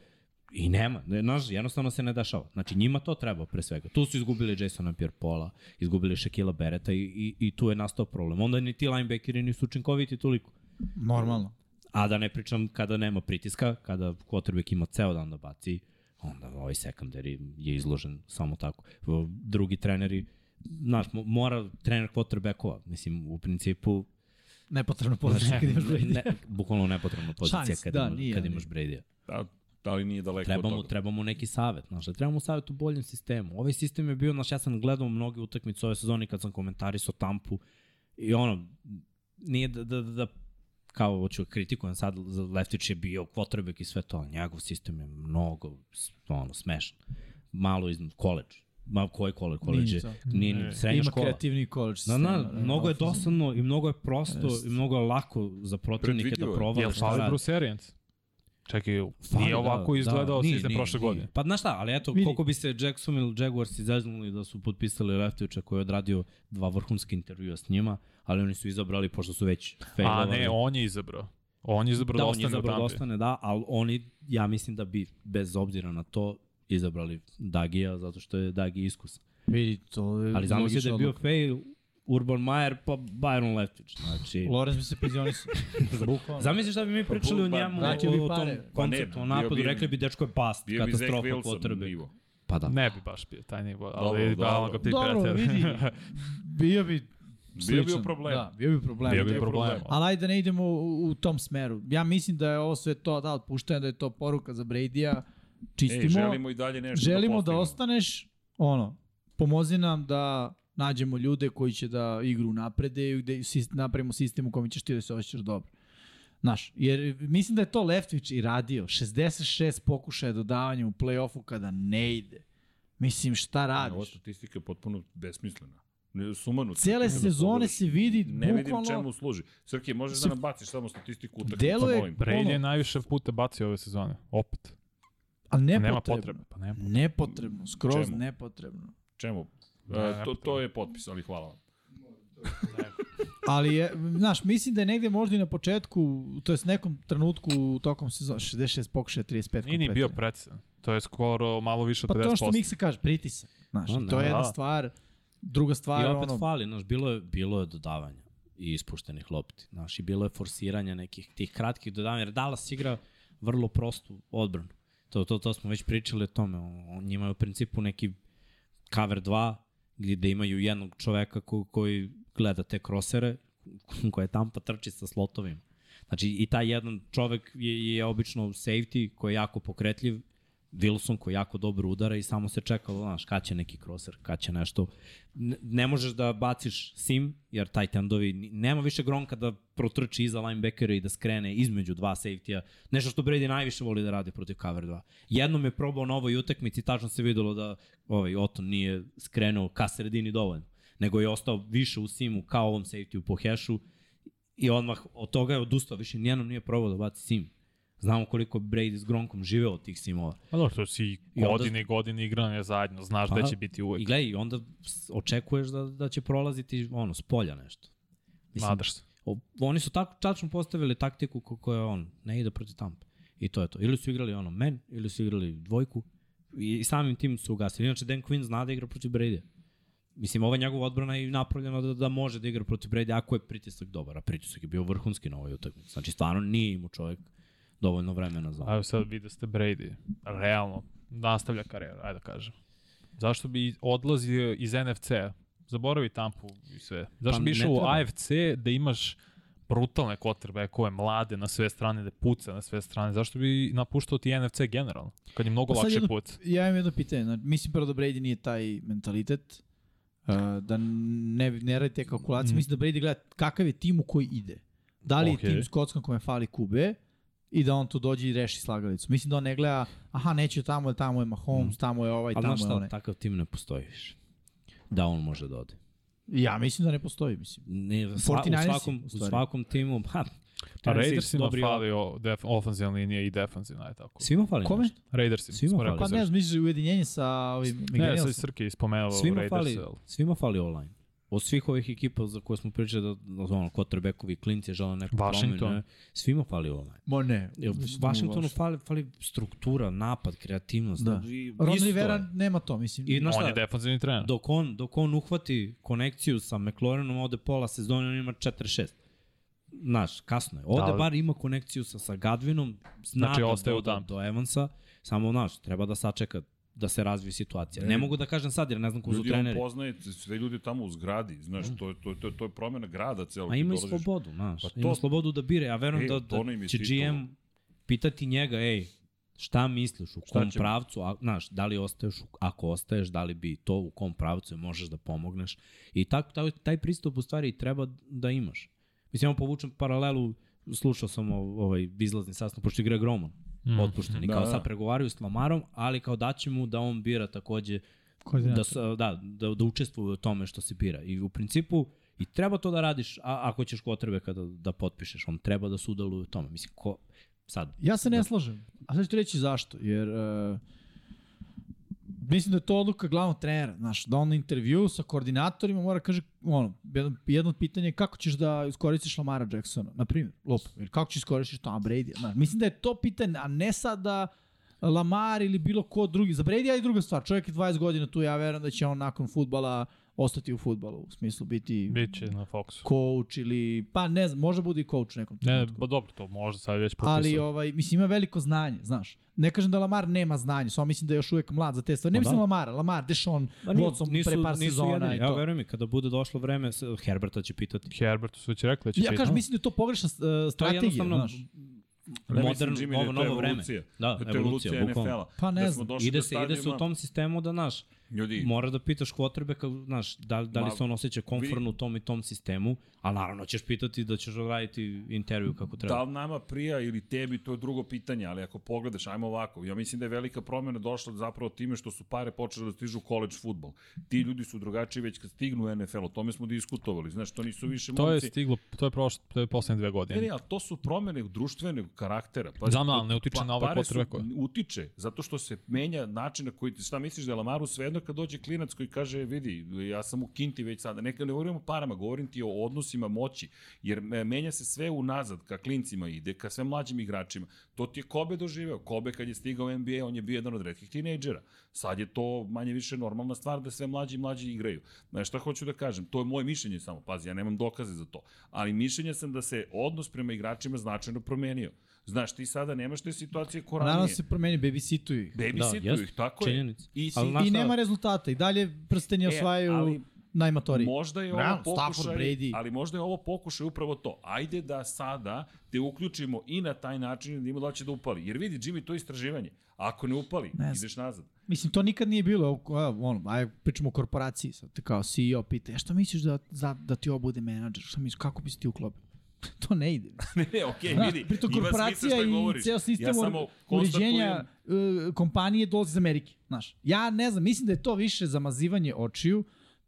S3: i nema. Ne, Znaš, jednostavno se ne dešava. Znači, njima to treba pre svega. Tu su izgubili Jasona Pierre-Paula, izgubili Shaquilla Bereta i, i, i tu je nastao problem. Onda ni ti linebackeri nisu učinkoviti toliko.
S2: Normalno.
S3: A da ne pričam kada nema pritiska, kada quarterback ima ceo dan da baci, onda ovaj secondary je izložen samo tako. V- Drugi treneri, znaš, mo- mora trener quarterbackova, mislim, u principu,
S2: Nepotrebno podršće kad imaš Brady.
S3: ne, bukvalno nepotrebna pozicija
S2: Šans,
S3: kad,
S2: da,
S3: ima,
S2: nije,
S3: kad
S2: ali-
S3: imaš Brady.
S1: Da, ali nije daleko
S3: Treba
S1: od
S3: mu,
S1: toga.
S3: treba mu neki savet, znaš, da treba mu savet u boljem sistemu. Ovaj sistem je bio, znaš, ja sam gledao mnoge utakmice ove sezone kad sam komentarisao Tampu i ono, nije da, da, da, da kao hoću da kritikujem sad, za Leftić je bio kvotrbek i sve to, ali njegov sistem je mnogo, s- ono, smešan. Malo iznad, koleđ. Ma, koji koleđ? Koleđ je,
S2: Nije to.
S3: nije,
S4: Ne.
S3: ni srednja
S2: Ima
S3: škola.
S2: kreativni college.
S3: Da, da,
S2: sistema,
S3: mnogo je
S2: ofenzivni.
S3: dosadno i mnogo je prosto
S2: Jest.
S3: i mnogo je lako za protivnike da
S1: Predvidivo je.
S3: provale.
S4: Jel
S3: šta
S4: fali
S3: rade.
S4: Bruce Arians? Čekaj,
S3: Fali,
S4: nije ovako
S3: da, da,
S4: izgledao
S3: nije,
S4: sistem
S3: nije,
S4: prošle
S3: nije.
S4: godine.
S3: Pa znaš šta, ali eto,
S2: Vidi.
S3: koliko bi se Jacksonville Jaguars izaznuli da su potpisali Leftovića koji je odradio dva vrhunska intervjua s njima, ali oni su izabrali, pošto su već
S4: A
S3: failovali.
S4: ne, on je izabrao. On je izabrao da,
S3: da, on je
S4: ostane u
S3: izabrao da
S4: Tampi.
S3: ostane, da, ali oni, ja mislim da bi, bez obzira na to, izabrali Dagija, zato što je Dagi iskusan.
S2: Vidi, to je
S3: Ali zamisli da
S2: logična
S3: je bio
S2: odluka.
S3: fail Urban Meyer pa Byron Leftović. Znači,
S2: Lorenz bi se penzionisao. Bukvalno.
S3: Zamisli šta bi mi pričali o njemu,
S2: Pa,
S3: o,
S2: vratio bi
S3: o tom
S2: pare.
S1: Pa ne,
S3: konceptu, o
S1: bio
S3: napadu,
S1: bi-
S3: rekli bi dečko je past,
S1: Bio bi Zach
S3: katastrofa
S1: Wilson
S3: potrebe.
S1: nivo.
S3: Pa da.
S4: Ne bi baš bio taj nivo,
S1: Dobro,
S4: ali
S1: dobro.
S4: da, on ga pipera
S2: Dobro,
S4: tebe.
S2: vidi. Bio bi
S1: Bio
S2: sličan.
S1: bio problem.
S2: Da, bio bi problem.
S4: Bio bi
S1: Bio
S4: problem.
S1: problem.
S2: Ali ajde da ne idemo u, u tom smeru. Ja mislim da je ovo sve to, da, otpuštanje, da je to poruka za Brady-a. Čistimo.
S1: Ej, E, želimo i dalje nešto da,
S2: želimo da,
S1: postignemo.
S2: ostaneš, ono, pomozi nam da nađemo ljude koji će da igru naprede i gde sis- napravimo sistem u kome ćeš ti da se osjećaš dobro. Znaš, jer mislim da je to Leftwich i radio. 66 pokušaja dodavanja u play-offu kada ne ide. Mislim, šta
S1: Ova
S2: radiš?
S1: statistika je potpuno besmislena. Ne, sumanuta.
S2: Cele
S1: Kada
S2: sezone
S1: pogledaš,
S2: se vidi
S1: Ne vidim
S2: bukvalno...
S1: čemu služi. Srki, možeš da
S2: Mislim,
S1: nam baciš samo statistiku utakmicu,
S2: Deluje
S1: molim.
S4: Brady je
S2: ono,
S4: najviše puta bacio ove sezone. Opet.
S2: ali
S4: Pa
S2: nepotrebno.
S4: nema potrebe. Pa nema.
S2: Nepotrebno, skroz
S1: Čemu?
S2: nepotrebno.
S1: Čemu?
S4: Da,
S1: E, to, to je potpis, ali hvala vam.
S2: Ali, je, znaš, mislim da je negde možda i na početku, to jest nekom trenutku tokom sezona, 66 pokušaja, 35
S4: Nije ni bio precizan. To je skoro malo više
S2: Pa
S4: od 50%.
S2: to je ono što Miksa kaže, pritisak. Znaš,
S3: Pa,
S2: i to je
S3: da.
S2: jedna stvar, druga
S3: I
S2: stvar,
S3: opet
S2: ono,
S3: fali, znaš, bilo je, bilo je dodavanja i ispuštenih lopti, znaš, i bilo je forsiranja nekih tih kratkih dodavanja, jer Dallas igra vrlo prostu odbranu. To, to, to smo već pričali o tome, o- o- njima je u principu neki cover 2, gdje da imaju jednog čoveka ko, koji gleda te krosere, koje tam pa trči sa slotovima. Znači, i taj jedan čovek je, je obično safety koji je jako pokretljiv, Wilson koji jako dobro udara i samo se čekalo, znaš, kad će neki crosser, kad će nešto. Ne, ne možeš da baciš sim, jer taj tendovi, ni- nema više gronka da protrči iza linebackera i da skrene između dva safety-a. Nešto što Brady najviše voli da radi protiv cover 2. Jednom je probao na ovoj utakmici, tačno se videlo da ovaj Oton nije skrenuo ka sredini dovoljno, nego je ostao više u simu kao ovom safety-u po hešu i odmah od toga je odustao, više nijednom nije probao da baci sim. Znamo koliko Brady s Gronkom žive od tih simova.
S4: Pa dobro, to si
S3: I onda-
S4: godine i godine igrane zajedno, znaš da
S3: Aha.
S4: će biti
S3: I
S4: uvek.
S3: gledaj, i onda s- očekuješ da, da će prolaziti ono, s polja nešto. Mislim,
S4: Nadaš se.
S3: o, oni su tako tačno postavili taktiku kako je on, ne ide protiv tampe. I to je to. Ili su igrali ono men, ili su igrali dvojku. I, i samim tim su ugasili. Inače, Dan Quinn zna da igra protiv Brady. Mislim, ova njegova odbrana je napravljena da, da može da igra protiv Brady ako je pritisak dobar. A pritisak je bio vrhunski na ovoj utakmici. Znači, stvarno nije imao čovjek dovoljno vremena za
S4: Ajde sad vidi da ste Brady. Realno, nastavlja karijeru, ajde da kažem. Zašto bi odlazio iz NFC-a? Zaboravi tampu i sve. Zašto
S3: Pa ne
S4: bi išao u
S3: treba.
S4: AFC da imaš brutalne kotrbe koje mlade na sve strane, da puca na sve strane. Zašto bi napuštao ti NFC generalno? Kad je mnogo
S2: Pa sad
S4: lakše
S2: jedno-
S4: put.
S2: ja imam jedno pitanje, znači, mislim prvo da Brady nije taj mentalitet, uh, da ne, ne radi te kalkulacije,
S4: Mm.
S2: mislim da Brady gleda kakav je tim u koji ide. Da li
S4: Okej.
S2: je tim s kockom kome fali kube, i da on tu dođe i reši slagalicu. Mislim da on ne gleda, aha, neću tamo, tamo je Mahomes, tamo je ovaj,
S3: Ali
S2: tamo
S3: znaš
S2: je onaj.
S3: šta, takav tim ne postoji više. Da on može da ode.
S2: Ja mislim da ne postoji, mislim.
S3: Ne, sva, u,
S2: 49ersi,
S3: svakom,
S2: u
S3: u
S2: stvari.
S3: svakom timu, ha,
S4: A
S3: Tennessee
S4: Pa Raidersima
S3: dobri-
S4: fali o, def, ofenzivna linija i defenzivna, je tako.
S3: Svima fali
S2: Kome?
S3: nešto.
S4: Raidersima,
S3: Svima
S4: smo
S3: fali.
S4: rekli.
S2: Pa
S4: zašto.
S2: ne znam, misliš ujedinjenje sa ovim
S4: Ne, sad je
S2: Miganelsom?
S4: Srki ispomenuo
S3: Svima
S4: Raiders,
S3: fali,
S4: ali...
S3: svima fali online. Od svih ovih ekipa za koje smo pričali da, da ono, Kotrbekovi klinci žele neku
S4: Washington.
S3: promenu, svima fali online.
S2: Ma ne.
S3: Jel,
S2: mislim da
S3: Washingtonu
S2: baš.
S3: fali, fali struktura, napad, kreativnost.
S2: Da.
S3: I-
S2: Ron
S3: isto je.
S2: Rivera nema to, mislim.
S3: I, znaš
S4: On
S3: šta,
S4: je defensivni trener.
S3: dok on, dok on uhvati konekciju sa McLarenom, ode pola sezone, on ima 4-6. Znaš, kasno je. Ovde
S4: Da.
S3: da, bar ima konekciju sa, sa Gadvinom, zna
S4: Znači,
S3: da
S4: ostaje u
S3: doda
S4: Tampi.
S3: do Evansa, samo, znaš, treba da sačeka da se razvije situacija. Ne
S1: Ne.
S3: mogu da kažem sad, jer ne znam ko su
S1: E. Ljudi, on
S3: treneri.
S1: poznaje sve ljude tamo u zgradi, znaš, to je, to je, to je, to je promjena grada celog.
S3: A
S1: ti
S3: ima i
S1: dolaziš-
S3: slobodu, znaš.
S1: Pa
S3: Ima
S1: to-
S3: slobodu da bire. Ja verujem
S1: Ej,
S3: da,
S1: to nam
S3: da
S1: je
S3: će
S1: titula.
S3: GM pitati njega, ej, Šta misliš, u
S1: Šta
S3: kom
S1: ćemo?
S3: pravcu, a, znaš, da li ostaješ, u- ako ostaješ, da li bi to, u kom pravcu možeš da pomogneš. I tak, taj, taj pristup u stvari i treba da imaš. Mislim, ja povučem paralelu, slušao sam ov- ovaj izlazni sastanak, pošto je Greg Roman, mm.
S1: Da,
S3: otpušteni, da, kao
S1: da.
S3: sad pregovaraju s Lamarom, ali kao daće mu da on bira takođe da,
S2: Koordinator.
S3: s- da, da, da učestvuje u tome što se bira. I u principu i treba to da radiš a, ako ćeš kotrebe kada da potpišeš. On treba da sudeluje u tome. Mislim, ko, sad,
S2: Ja se ne slažem. A sad ću ti reći zašto, jer uh, mislim da je to odluka glavnog trenera, znaš, da on na intervju sa koordinatorima mora kaže, ono, jedno, jedno pitanje je kako ćeš da iskoristiš Lamara Jacksona, na primjer, lupa, ili kako ćeš iskoristiš Tom Brady, znaš, mislim da je to pitanje, a ne sad da Lamar ili bilo ko drugi, za Brady je druga stvar, čovjek je 20 godina tu, ja verujem da će on nakon futbala ostati u futbalu, u smislu biti
S4: Biće na Foxu.
S2: coach ili, pa ne znam, može bude i coach u nekom
S4: Ne,
S2: trenutku.
S4: pa dobro, to možda sad već popisao.
S2: Ali ovaj mislim ima veliko znanje, znaš. Ne kažem da Lamar nema znanje, samo mislim da je još uvek mlad za te stvari. Ne
S3: Pa
S2: mislim
S3: da.
S2: Lamara, Lamar, Deshaun,
S3: Pa
S2: Watson Pa pre par sezona i
S3: Ja
S2: to.
S3: verujem mi, kada bude došlo vreme, s- Herberta će pitati.
S4: Herbertu su već rekli da će
S2: Ja
S4: biti.
S2: kažem, mislim da je to pogrešna uh,
S3: To je
S2: strategija,
S3: jednostavno
S2: znaš.
S1: mislim,
S3: modern,
S1: Jimmy, da je
S3: ovo
S1: to
S3: novo vreme.
S1: evolucija.
S3: Da,
S1: Da, to je
S3: evolucija,
S1: evolucija
S3: bukvalno.
S1: NFL-a.
S2: Pa ne
S1: da smo
S2: znam,
S1: došli
S3: Ide
S1: do
S3: se, ide se u
S1: stadijuma-
S3: tom sistemu da, znaš,
S1: Ljudi,
S3: mora da pitaš kvotrbe, znaš, da, da li
S1: Ma,
S3: se on osjeća konforno
S1: vidi-
S3: u tom i tom sistemu, ali naravno ćeš pitati da ćeš odraditi intervju kako treba.
S1: Da li nama prija ili tebi, to je drugo pitanje, ali ako pogledaš, ajmo ovako, ja mislim da je velika promjena došla zapravo time što su pare počele da stižu u college futbol. Ti ljudi su drugačiji već kad stignu u NFL, o tome smo diskutovali, znaš, to nisu više
S4: To je
S1: momci.
S4: stiglo, to je prošlo, to je poslednje dve
S1: Ne, ne,
S4: godine.
S1: ali to su promene društvenog karaktera. Pa,
S4: Znam, Da, ali ne utiče na ove
S1: pare su-
S4: quarterbacke koje-
S1: Utiče, zato što se menja način na koji, ti- šta misliš da je Lamaru svejedno kad dođe klinac koji kaže, vidi, ja sam u Kinti već sada. Neka ne govorimo o parama, govorim ti o odnosima moći, jer e, menja se sve unazad, ka klincima ide, ka sve mlađim igračima. To ti je Kobe doživeo. Kobe kad je stigao u NBA, on je bio jedan od redkih tinejdžera. Sad je to manje više normalna stvar da sve mlađi i mlađi igraju. Znaš šta hoću da kažem? To je moje mišljenje samo, pazi, ja nemam dokaze za to. Ali mišljenja sam da se odnos prema igračima značajno promenio. Znaš, ti sada nemaš te situacije ko ranije.
S2: Naravno da se promeni babysituju ih.
S1: Babysituju
S3: Da, jest,
S1: ih, tako
S3: činjenica.
S1: je. I, si,
S3: Ali znaš
S2: I
S3: šta? E,
S2: nema rezultata. I dalje prsteni osvajaju
S1: ali-
S2: najmatoriji.
S1: Možda je ovo
S2: Brown,
S1: pokušaj,
S2: Stafford, Brady.
S1: ali možda je ovo pokušaj upravo to. Ajde da sada te uključimo i na taj način da ima da će da upali. Jer vidi, Jimmy, to je istraživanje. Ako ne upali,
S2: Ne znam.
S1: ideš nazad.
S2: Mislim, to nikad nije bilo. Evo, a, Ono, aj, pričamo o korporaciji. Sad te kao CEO pita, "E, šta misliš da, za, da ti ovo bude menadžer? Šta misliš, kako bi se ti uklopio? to ne ide.
S1: ne, ne, okej,
S2: Da,
S1: E vidi.
S2: pri to
S1: ima smisla šta
S2: korporacija i
S1: govoriš.
S2: ceo sistem
S1: ja
S2: ja
S1: samo
S2: uređenja
S1: konstatujem-
S2: e, kompanije dolazi iz Amerike, znaš. Ja ne znam, mislim da je to više zamazivanje očiju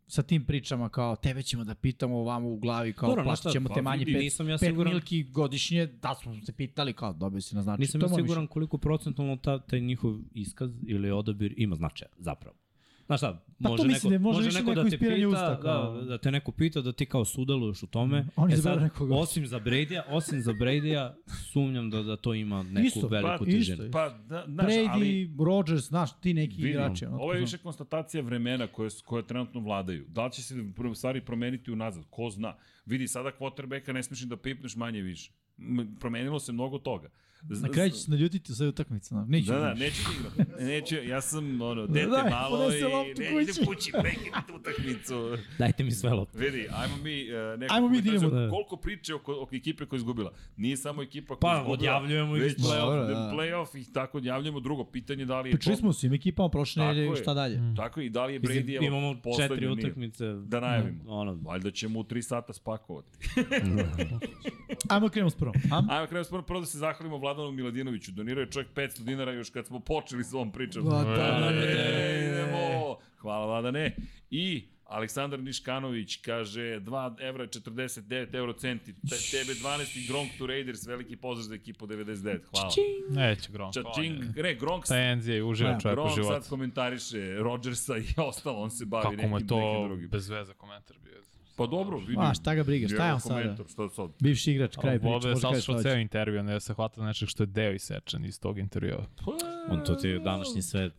S2: sa tim pričama kao tebe ćemo da pitamo ovamo u glavi kao
S3: Dobro,
S2: Dobro,
S3: znaš
S2: platit
S3: šta,
S2: ćemo
S1: da
S3: pa
S2: te manje
S3: vidi,
S2: pet,
S3: nisam ja
S2: pet
S3: siguran-
S2: milki godišnje, da smo se pitali kao dobio si na znači.
S3: Nisam ja
S2: moje mišljenje.
S3: siguran koliko procentalno ta, taj njihov iskaz ili odabir ima značaja, zapravo. Znaš šta,
S2: Pa to
S3: može neko,
S2: mislim da je možda više
S3: može neko da
S2: neko
S3: te
S2: ispiranje
S3: pita,
S2: usta, kao- Da,
S3: da, da te neko pita, da ti kao sudeluješ u tome.
S2: Oni
S3: e
S2: izaberu
S3: sad,
S2: nekoga.
S3: osim za Bradya, osim za Bradya, sumnjam da, da to ima neku
S2: Isto,
S3: isto, veliku
S1: pa,
S3: težinu.
S2: isto je.
S1: Pa, da, znaš,
S2: Brady,
S1: ali...
S2: Rodgers, znaš, ti neki
S1: Vidim,
S2: igrači. ono,
S1: Ovo je
S2: to
S1: više konstatacija vremena koje, koje trenutno vladaju. Da li će se pr- stvari promeniti unazad? Ko zna? Vidi, sada quarterbacka ne smiješ ni da pipneš manje više. M, promenilo se mnogo toga. Z-
S2: znam. Na kraju će se naljutiti u sve utakmice, znaš. Neću.
S1: Da, da, neću da igram. Neću, ja sam ono, dete
S2: Da,
S1: da, malo
S2: ponese
S1: i
S2: loptu
S1: ne
S2: kući.
S1: idem kući, prekidam tu utakmicu.
S3: Dajte mi sve lopte.
S1: Vidi, ajmo mi, uh, neko
S2: Ajmo mi da idemo,
S3: da.
S1: koliko priče oko, oko ekipe koja je izgubila. Nije samo ekipa koja
S3: Pa,
S1: je izgubila.
S3: odjavljujemo ih
S1: već
S3: iz
S2: play-offa,
S1: play-off,
S2: da.
S1: da. play-off i tako odjavljujemo drugo pitanje da li je
S2: Pričali smo o svim ekipama prošle
S1: Tako
S2: nedelje,
S1: je.
S2: šta dalje.
S3: Mm.
S4: Mhm.
S1: Tako je, i da li je
S3: Mislim,
S1: Brady
S3: imamo
S1: poslednji
S3: četiri
S1: nije.
S3: utakmice.
S1: Da najavimo.
S4: Mhm.
S3: Ono,
S1: Valjda ćemo u 3 sata spakovati.
S2: Ajmo da krenemo s prvom. Am?
S1: Ajmo krenu smo prvo da se zahvalimo Vladanu Miladinoviću. Donirao je čovjek 500 dinara još kad smo počeli s ovom pričom.
S2: Vladane!
S1: E, idemo. Hvala Vladane. I Aleksandar Niškanović kaže 2 evra i 49 euro centi, te, tebe 12 i Gronk to Raiders, veliki pozdrav za ekipu 99, hvala.
S4: Neće Gronk. on je-
S1: Čačing, ne, Gronk,
S4: Tenzije i uživa čovjek u
S1: Gronk
S4: životu.
S1: sad komentariše Rodgersa i ostalo, on se bavi
S4: Kako
S1: nekim,
S4: mu je
S1: nekim
S4: to
S1: drugim.
S4: bez veze komentar bio.
S1: Pa dobro, vidim.
S2: A, šta ga briga, šta je on sada?
S1: komentar, Šta sad?
S2: Bivši igrač, kraj
S4: Kraj
S2: priče,
S4: Bobe je
S2: može kada šta
S4: saslušao ceo
S2: hoće.
S4: intervju, ne se hvata nečeg što je deo isečen iz tog intervjua.
S3: on to ti je da. današnji svet.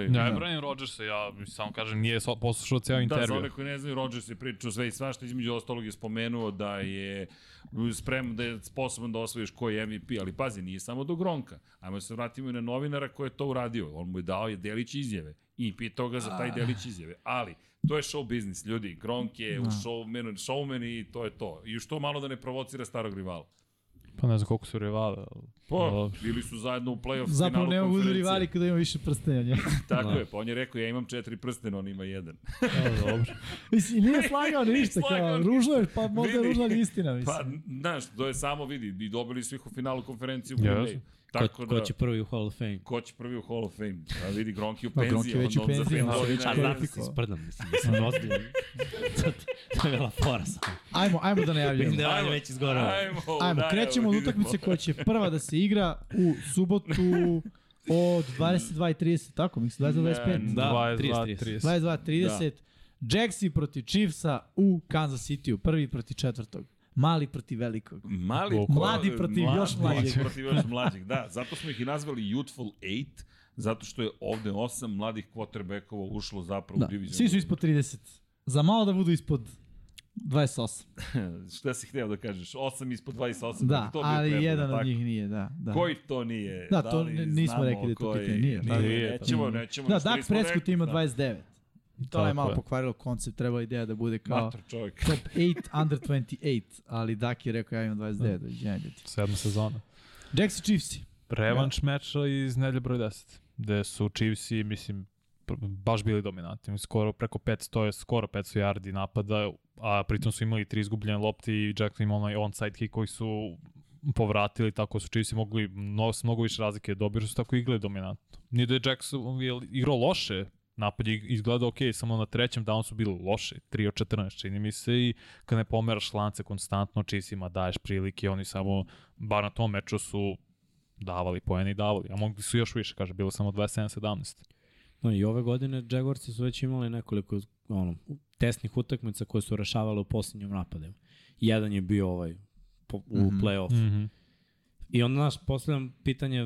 S1: Ej,
S4: Ne, ja. branim Rodgersa, ja samo kažem, nije so- poslušao ceo
S1: Da,
S4: intervju.
S1: za one koji ne znaju, Rodgers je pričao sve i svašta, između ostalog je spomenuo da je spreman, da je sposoban da osvojiš koji je MVP, ali pazi, nije samo do Gronka. Ajmo da se vratimo i na novinara koji je to uradio. On mu je dao je delić izjave i pitao ga za taj
S2: Ah.
S1: delić izjave. Ali, to je show biznis, ljudi. da Gronk je u showman, showman i to je to. I što malo da ne provocira starog rivala.
S4: Pa ne znam koliko su rivala. ali-
S1: Pa,
S4: Dobro.
S1: bili su zajedno u play-off
S2: Zapravo
S1: finalu
S2: ne mogu da
S1: konferencije.
S2: rivali kada ima više prstenja njega.
S1: Tako
S3: Da.
S1: je, pa on je rekao ja imam četiri prstena, on ima jedan.
S4: Ali dobro.
S2: Mislim, nije slagao
S1: Nije
S2: ništa,
S1: slagao
S2: kao,
S1: ništa.
S2: ružno je, pa možda je
S1: Vidi.
S2: ružna ali istina,
S1: Pa,
S2: mislim.
S1: znaš, to je samo vidi, i dobili su ih u finalu konferencije u
S4: Ja,
S1: Green Bay.
S4: jasno.
S1: Tako
S3: ko,
S1: da,
S3: ko će prvi u Hall of Fame?
S1: ko će prvi u Hall of Fame? A vidi, Gronki u
S2: Pa,
S1: penziji.
S2: Gronk je već u
S1: onda on za
S2: penziji,
S1: pet
S2: znaš,
S1: godina-
S2: već je
S1: A,
S3: A
S1: znate
S3: znam
S2: kvalifikovao.
S3: da se isprdam, mislim, da sam ozbiljan. to je bila fora samo.
S1: Pa,
S2: Ajmo, ajmo da najavljamo.
S3: Mislim da je Vanja već izgorao.
S1: Ajmo,
S2: Ajmo,
S1: da, evo,
S2: krećemo od
S1: vidimo.
S2: utakmice koja će prva da se igra u subotu od 22.30, tako mislim, 22.25.
S3: Da,
S4: 22,
S3: 30.
S4: 30.
S2: 22.30. Jacksi protiv Chiefsa u Kansas City-u, prvi protiv četvrtog. Mali protiv velikog.
S1: Mali,
S4: Boko.
S2: Mladi protiv još mlađih.
S1: protiv još mlađih, da. Zato smo ih i nazvali Youthful 8, zato što je ovde osam mladih quarterbackova ušlo zapravo
S2: Da.
S1: u divizion.
S2: Svi su ispod 30. Za malo da budu ispod 28.
S1: Šta si hteo da kažeš? Osam ispod 28.
S2: Da,
S1: bi to bio
S2: ali
S1: predlog,
S2: jedan
S1: tako?
S2: od njih nije, da. da.
S1: Koji to nije?
S2: Da, to
S1: li
S2: n- nismo
S1: znamo
S2: rekli da je to
S1: koji-
S2: pitanje, nije, da,
S4: da, da.
S1: nećemo, nećemo.
S2: Da,
S1: ništa
S2: Dak
S1: nismo
S2: Prescott
S1: rekli,
S2: ima
S1: da.
S2: 29. I to
S4: Tako
S2: je malo
S4: je.
S2: pokvarilo koncept, trebala je ideja da bude kao
S1: Mator čovjek.
S2: top 8 under 28, ali Dak je rekao ja imam 29, doviđenja ljudi.
S4: Sedma sezona.
S2: Jacksi Da. Chiefsi.
S4: Revanč meča iz nedelje broj 10, gde su Chiefsi, mislim, pr- baš bili dominantni. Skoro preko 500, je skoro 500 yardi napada, a pritom su imali tri izgubljene lopte i Jackson imao onaj onside kick koji su povratili, tako su Chiefsi mogli mnogo, s mnogo više razlike dobiti, su tako igrali dominantno. Nije da je Jackson je igrao loše, napad je izgledao ok, samo na trećem downu su bili loše, 3 od 14 čini mi se i kad ne pomeraš lance konstantno, Chiefsima daješ prilike, oni samo, bar na tom meču su davali poene i davali, a mogli su još više, kaže, bilo samo 27-17.
S3: No i ove godine Jaguarsi su već imali nekoliko ono, tesnih utakmica koje su rešavale u posljednjom napadu. Jedan je bio ovaj po, u
S2: Mhm.
S3: play-off.
S4: Mm
S3: I onda naš postavljam pitanje,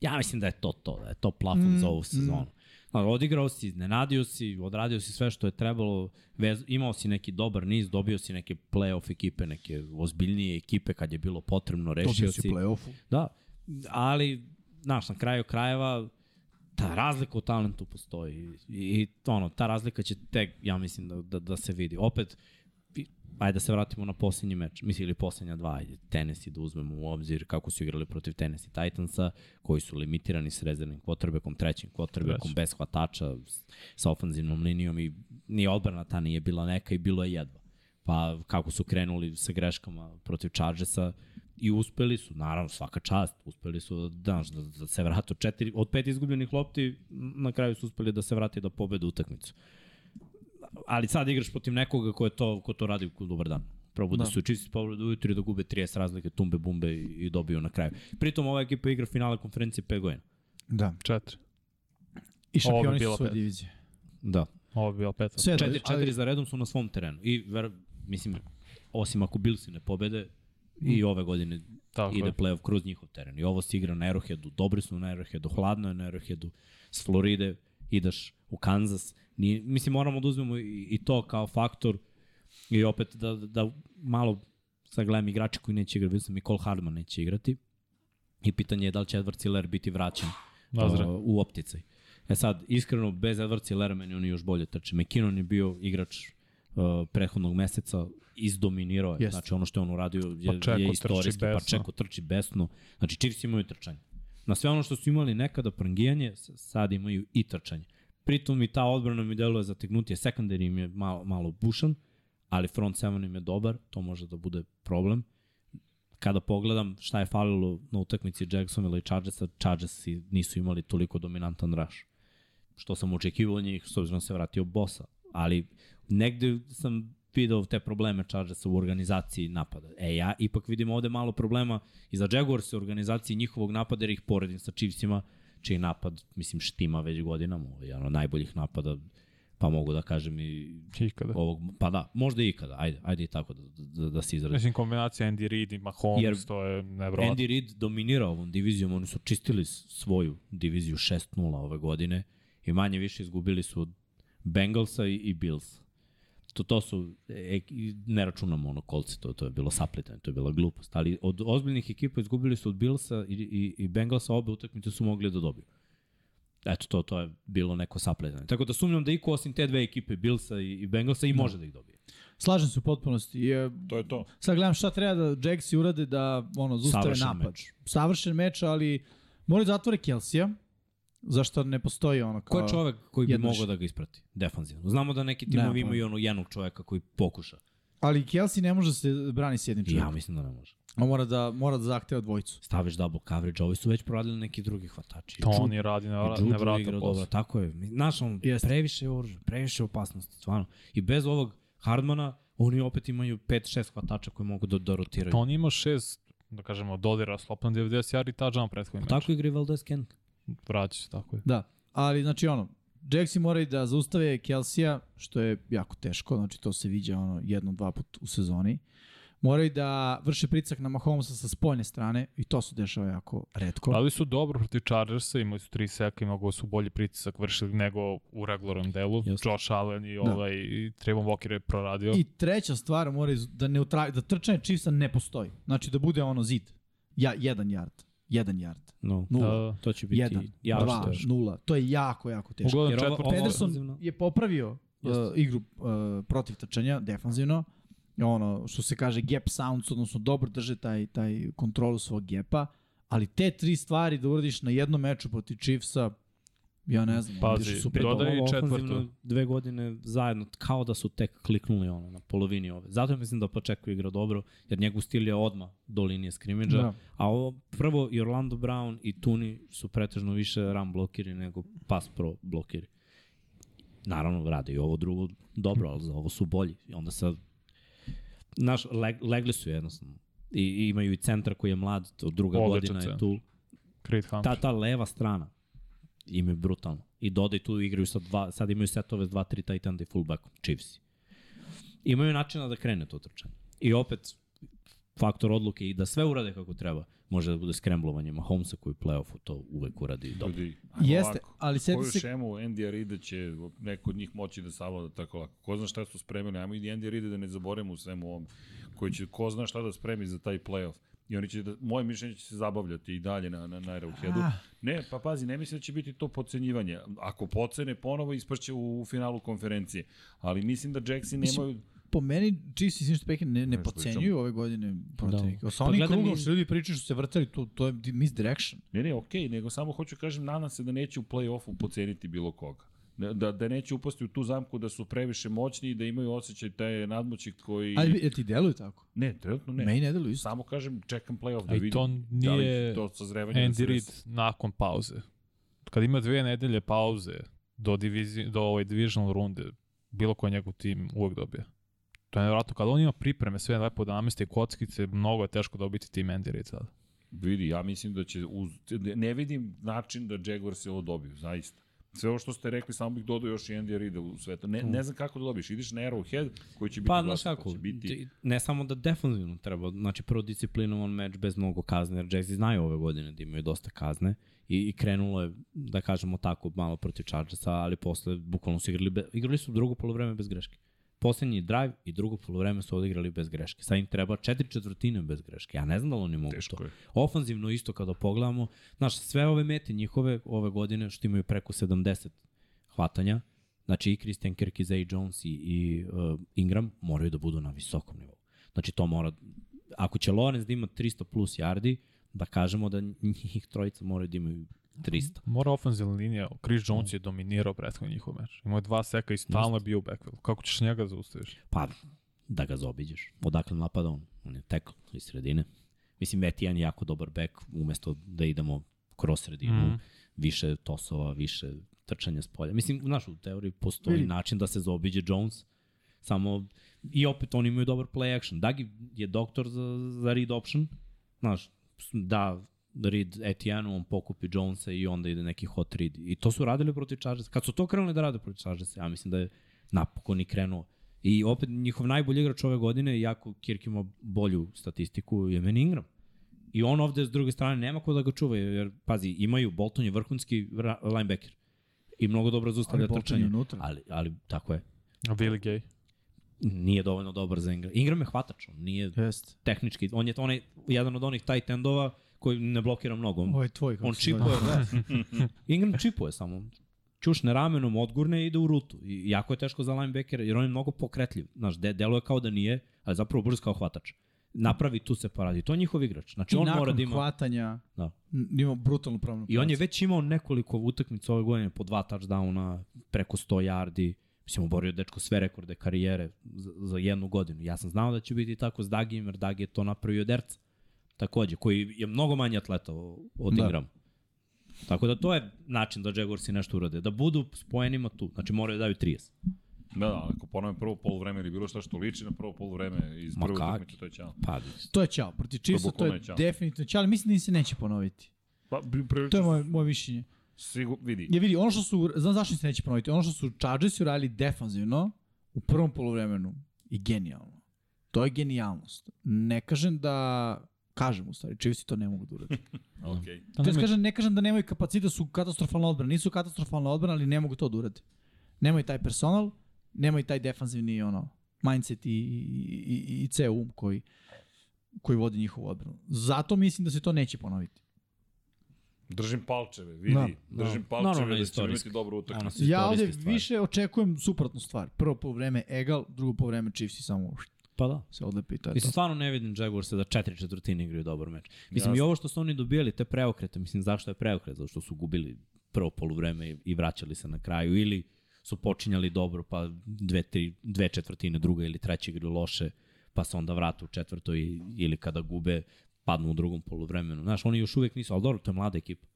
S3: ja mislim da je to to, da je to plafon
S2: Mm,
S3: mm, za ovu
S2: mm.
S3: sezonu. Mm. Odigrao si, iznenadio si, odradio si sve što je trebalo, vez, imao si neki dobar niz, dobio si neke play-off ekipe, neke ozbiljnije ekipe kad je bilo potrebno, rešio si.
S2: play-offu.
S3: Da, ali, znaš, na kraju krajeva, ta razlika u talentu postoji. I, i ono, ta razlika će tek, ja mislim, da, da, da se vidi. Opet, i- ajde da se vratimo na posljednji meč, mislim ili posljednja dva, ajde, Tennessee da uzmemo u obzir kako su igrali protiv Tennessee Titansa, koji su limitirani s rezervnim quarterbackom, trećim quarterbackom,
S4: Treći.
S3: bez hvatača, s- sa ofanzivnom linijom i ni odbrana ta nije bila neka i bilo je jedva. Pa kako su krenuli sa greškama protiv Chargersa i uspeli su, naravno svaka čast, uspeli su da, znaš, da, da se vrate od, četiri, od pet izgubljenih lopti, na kraju su uspeli da se vrate i da pobede utakmicu ali sad igraš protiv nekoga ko je to ko to radi ko dobar dan. Probude da. su čisti povredu ujutru i da gube 30 razlike, tumbe, bumbe i, i dobiju na kraju. Pritom ova ekipa igra finale konferencije 5 godina.
S2: Da.
S4: Četiri.
S2: I
S4: Ovo bi
S2: šampioni su
S4: bila
S2: svoje
S4: pet.
S2: divizije.
S3: Da.
S4: Ovo bi bilo pet.
S2: Sve
S3: Četiri,
S2: ali-
S3: četiri za redom su na svom terenu. I ver, mislim, osim ako Bilsi ne pobede, i ove godine
S4: Tako
S3: ide
S4: je.
S3: playoff kroz njihov teren. I ovo se igra na Arrowheadu, dobri su na Arrowheadu, hladno je na Arrowheadu, s Floride ideš u Kansas. Ni, mislim, moramo da uzmemo i, i to kao faktor i opet da, da, da malo sad gledam igrače koji neće igrati, vidim sam i Cole Hardman neće igrati i pitanje je da li će Edward Ciller biti vraćan
S4: Nazre.
S3: o, u opticaj. E sad, iskreno, bez Edward Cillera meni oni još bolje trče. McKinnon je bio igrač uh, prethodnog meseca, izdominirao je.
S2: Jeste.
S3: Znači ono što je on uradio je,
S4: Pacheco
S3: je
S4: trči
S3: istorijski,
S4: besno.
S3: pa čeko trči besno. Znači Chiefs imaju trčanje. Na sve ono što su imali nekada prangijanje, s- sad imaju i trčanje. Pritom i ta odbrana mi deluje zategnutije, secondary im je malo, malo bušan, ali front seven im je dobar, to može da bude problem. Kada pogledam šta je falilo na utakmici Jacksonville i Chargersa, Chargersi nisu imali toliko dominantan rush što sam očekivao od njih, s obzirom da se vratio bosa. Ali negde sam video te probleme Chargersa u organizaciji napada. E, ja ipak vidim ovde malo problema i za Jaguars u organizaciji njihovog napada, jer ih poredim sa Chiefsima, čiji napad, mislim, štima već godinama. Ovo je jedan od najboljih napada, pa mogu da kažem i
S4: Ikada.
S3: ovog, pa da, možda i ikada, ajde, ajde i tako da, da, da se izrazim.
S4: Mislim, kombinacija Andy Reid i Mahomes,
S3: Jer-
S4: to je nevrovatno.
S3: Andy Reid dominira ovom divizijom, oni su čistili s- svoju diviziju 6-0 ove godine i manje više izgubili su od Bengalsa i, i Bills. To, to su, e, i ne računamo ono kolci, to, to je bilo saplitanje, to je bila glupost, ali od ozbiljnih ekipa izgubili su od Billsa i, i, i Bengalsa, obe utakmice su mogli da dobiju. Eto, to, to je bilo neko sapletanje. Tako da sumnjam da iko osim te dve ekipe, Billsa i, i Bengalsa, i može da ih dobije.
S2: Slažem se u potpunosti. Je,
S1: To je to.
S2: sad gledam šta treba da Jacksi urade da ono, zustave
S3: Savršen
S2: napad.
S3: meč.
S2: Savršen meč, ali moraju da zatvore Kelsija, zašto ne postoji ono
S3: Ko
S2: kao...
S3: je čovek koji bi
S2: Jedno
S3: mogao
S2: še-
S3: da ga isprati? Defanzivno. Znamo da neki
S2: Nemam
S3: timovi
S2: pojma.
S3: imaju ono jednog čoveka koji pokuša.
S2: Ali Kelsey ne može da se brani s jednim
S3: Ja
S2: čovjekom.
S3: mislim da ne može.
S2: On mora da, mora da zahteva dvojicu.
S3: Staviš double coverage, ovi su već proradili neki drugi hvatači.
S4: To
S3: Ju-
S4: oni radi
S3: i
S4: na,
S3: Judu
S4: na vrata
S3: igra
S4: posao.
S3: dobro, tako je. Mi- Znaš, on
S2: Jeste.
S3: previše je oružja, previše opasnosti, stvarno. I bez ovog Hardmana, oni opet imaju 5-6 hvatača koji mogu da, da rotiraju.
S4: Pa on je imao šest, da kažemo, dodira slopno 90 yardi i touchdown prethodni meč.
S3: Pa Tako igra i Valdez Kent.
S4: Vraća se, tako je.
S2: Da, ali znači ono, Jaxi moraju da zaustave Kelsija, što je jako teško, znači to se viđa ono jednom, dva put u sezoni. Moraju da vrše pricak na Mahomesa sa spoljne strane i to se dešava jako redko.
S4: Ali su dobro protiv Chargersa, imali su tri seka i mnogo su bolji pritisak vršili nego u regularnom delu.
S3: Jeste. Da.
S4: Josh Allen i ovaj i Trevon Walker je proradio.
S2: I treća stvar, moraju da, neutra, da trčanje Chiefsa ne postoji. Znači da bude ono zid. Ja, jedan yard. Jedan yard.
S3: No,
S2: Nula.
S4: Da,
S3: to će biti
S2: jedan,
S3: jako
S2: dva,
S3: teško.
S2: nula. To je jako, jako teško.
S4: uglavnom
S3: Jer ovo-
S4: četvrti.
S3: ovo-
S2: Pederson
S3: defanzivno.
S2: je popravio uh,
S3: Jeste.
S2: igru uh, protiv trčanja, defanzivno. Ono, što se kaže gap sounds, odnosno dobro drže taj, taj kontrolu svog gapa, ali te tri stvari da uradiš na jednom meču protiv Chiefsa, ja ne znam,
S4: Pazi,
S2: odiš u Super
S4: Dodaj
S2: Bowl.
S3: Ovo
S4: i četvrtu.
S3: ofanzivno Dve godine zajedno, kao da su tek kliknuli ono, na polovini ove. Zato mislim da Pačeko igra dobro, jer njegov stil je odma do linije skrimidža.
S2: Da.
S3: Da. A ovo, prvo, i Orlando Brown i Tuni su pretežno više run blokiri nego pass pro blokiri. Naravno, rade i ovo drugo dobro, ali za ovo su bolji. I onda sad, naš, leg, legli su jednostavno. I, i imaju i centra koji je mlad, to druga
S4: Odličan
S3: godina je
S4: centar.
S3: tu
S4: Creed Humphrey.
S3: ta, ta leva strana im je brutalno. I dodaj tu igraju sa dva, sad imaju setove s dva, tri tight enda i fullbackom, Chiefs. Imaju načina da krene to trčanje. I opet, faktor odluke i da sve urade kako treba, može da bude skremblovanje Mahomesa koji u playoffu to uvek uradi dobro.
S1: Ljudi,
S2: Jeste, ali sjeti
S1: Koju
S2: se-
S1: šemu Andy Arida će neko od njih moći da savlada tako lako. Ko zna šta su spremili, ajmo i Andy Arida da ne zaboravimo u svemu ovom, koji će, ko zna šta da spremi za taj playoff. I oni će, da, moje mišljenje će se zabavljati i dalje na, na, na Arrowheadu.
S2: Ah.
S1: Ne, pa pazi, ne mislim da će biti to pocenjivanje. Ako pocene, ponovo isprće u, u finalu konferencije. Ali mislim da Jackson nemaju...
S2: Po meni Chiefs i Sinister Pekin ne, ne
S1: Znaš, pričamo.
S2: pocenjuju ove godine protivnika. Da. Sa
S3: Pa
S2: onim
S3: gledam
S2: krugom
S3: i-
S2: što ljudi pričaju što se vrtali, to, to je misdirection.
S1: Ne, ne, okej, nego samo hoću kažem, nadam se da neće u play-offu poceniti bilo koga. Ne- Da, da neće upasti u tu zamku da su previše moćni i da imaju osjećaj taj nadmoći koji...
S2: Ali je ti deluju tako?
S1: Ne, trenutno ne.
S2: Ne. Meni ne deluju isto.
S1: Samo kažem, čekam playoff da
S4: A i
S1: vidim.
S4: E, to
S1: da li
S4: nije
S1: to sazrevanje da se
S4: Andy Reid
S1: desi.
S4: nakon pauze. Kad ima dve nedelje pauze do, divizi, do ovaj divisional runde, bilo koji njegov tim uvek dobije. To je nevjerojatno. Kada on ima pripreme, sve lepo da namesti kockice, mnogo je teško dobiti tim Andy Reid sada.
S1: Vidi, ja mislim da će, uz, ne vidim način da Jaguars je ovo dobiju, zaista. Sve ovo što ste rekli, samo bih dodao još i Andy Reid u svetu. Ne, ne znam kako da dobiješ. Ideš na Arrowhead koji će biti
S3: Pa, znaš
S1: glasan,
S3: kako,
S1: će biti...
S3: ti- ne samo da defanzivno treba, znači prvo disciplinovan meč bez mnogo kazne, jer Jacksi znaju ove godine da imaju dosta kazne i, i krenulo je, da kažemo tako, malo protiv Chargersa, ali posle bukvalno su igrali, be, igrali su drugo polovreme bez greške. Poslednji drive i drugo polovreme su odigrali bez greške. Sad im treba četiri četvrtine bez greške. Ja ne znam da li oni mogu
S1: Teško
S3: to.
S1: je.
S3: Ofanzivno isto kada pogledamo, znaš, sve ove mete njihove ove godine što imaju preko 70 hvatanja, znači i Christian Kirk i Zay Jones i, i uh, Ingram moraju da budu na visokom nivou. Znači to mora, ako će Lorenz da ima 300 plus yardi, da kažemo da njih trojica moraju da imaju 300.
S4: Mora ofenzivna linija, Chris Jones je dominirao prethodni njihov meč. Imao je dva seka i stalno je bio u backfieldu. Kako ćeš njega zaustaviš?
S3: Pa, da ga zaobiđeš. Odakle napada on? On je tekl iz sredine. Mislim, Etijan je jako dobar bek, umesto da idemo kroz sredinu,
S4: Mhm.
S3: mm. više tosova, više trčanja s polja. Mislim, znaš, u teoriji postoji
S2: Vidi.
S3: način da se zaobiđe Jones, samo, i opet oni imaju dobar play action. Dagi je doktor za, za read option, znaš, da read Etijanu, on pokupi Jonesa i onda ide neki hot read. I to su radili protiv Chargersa. Kad su to krenuli da rade protiv Chargersa, ja mislim da je napokon i krenuo. I opet njihov najbolji igrač ove godine, jako Kirk ima bolju statistiku, je meni Ingram. I on ovde s druge strane nema ko da ga čuva, jer pazi, imaju, Bolton je vrhunski ra- linebacker. I mnogo dobro zaustavlja
S2: Ali Bolton je
S3: trčanje.
S2: unutra.
S3: Ali, ali tako je.
S4: Billy Gay.
S3: Nije dovoljno dobar za Ingram. Ingram je hvatač, on nije
S2: Jeste.
S3: tehnički, on je onaj, jedan od onih tight endova koji ne blokira mnogo.
S2: Ovo
S3: On,
S2: je tvoj. kako
S3: on
S2: se zove.
S3: čipuje, da. Ingram čipuje samo. čušne ramenom, odgurne i ide u rutu. I jako je teško za linebackera, jer on je mnogo pokretljiv. Znaš, de, deluje kao da nije, ali zapravo brz kao hvatač. Napravi tu se paradi. To je njihov igrač. Znači,
S2: I
S3: on
S2: nakon
S3: mora da ima...
S2: hvatanja
S3: Da.
S2: n- ima brutalnu pravnu
S3: I on je
S2: prolazu.
S3: već imao nekoliko utakmica ove godine, po dva touchdowna, preko 100 yardi. Mislim, oborio je dečko sve rekorde karijere za, za jednu godinu. Ja sam znao da će biti tako s Dagijem, jer Dagi je to napravio derca. Takođe, koji je mnogo manje atleta o- od
S2: Da.
S3: da. Ingrama. Tako da to je način da Jaguarsi nešto urade. Da budu spojenima tu. Znači moraju da daju 30.
S1: Da, da, ako ponovim prvo polovreme ili bilo šta što liči na prvo polovreme iz
S3: Ma
S1: prve
S3: kak?
S1: utakmice, to je ćao.
S3: Pa,
S2: To je čao. Protiv Chiefsa to
S1: bukvalno
S2: je
S1: je ćao.
S2: definitivno čao, ali mislim da im se neće ponoviti.
S1: Pa, pri- prilično,
S2: To je moje, moje mišljenje.
S1: Sigur, vidi.
S2: Ja vidi, ono što su, znam zašto im se neće ponoviti, ono što su Chargersi uradili defanzivno u prvom polovremenu i genijalno. To je genijalnost. Ne kažem da, kažem u stvari, Chiefsi to ne mogu da urade.
S1: Okej. Okay.
S2: To jest,
S4: mi-
S2: kažem, ne kažem da nemaju kapacita, su katastrofalna odbrana. Nisu katastrofalna odbrana, ali ne mogu to da urade. Nemaju taj personal, nemaju taj defanzivni ono, mindset i, i, i, i ceo um koji, koji vodi njihovu odbranu. Zato mislim da se to neće ponoviti.
S1: Držim palčeve, vidi.
S2: Da,
S3: da.
S1: Držim palčeve
S3: Normalna
S1: da ćemo
S3: istorijska.
S1: imati dobru utakmicu.
S3: Ono su
S2: Ja
S3: istorijske
S2: ovde
S3: stvari.
S2: više očekujem suprotnu stvar. Prvo po vreme Egal, drugo po vreme Chiefs i samo
S3: Pa da.
S2: se odlepi i to je to.
S3: Mislim, stvarno ne vidim Jaguarsa da četiri četvrtine igraju dobar meč. Mislim,
S1: Jasno.
S3: i ovo što su oni dobijali, te preokrete, mislim, zašto je preokret? Zato što su gubili prvo poluvreme i, i vraćali se na kraju ili su počinjali dobro, pa dve, tri, dve četvrtine, druga ili treća igraju loše, pa se onda vrate u četvrtoj i- ili kada gube, padnu u drugom poluvremenu. Znaš, oni još uvek nisu, ali dobro, to je mlada ekipa.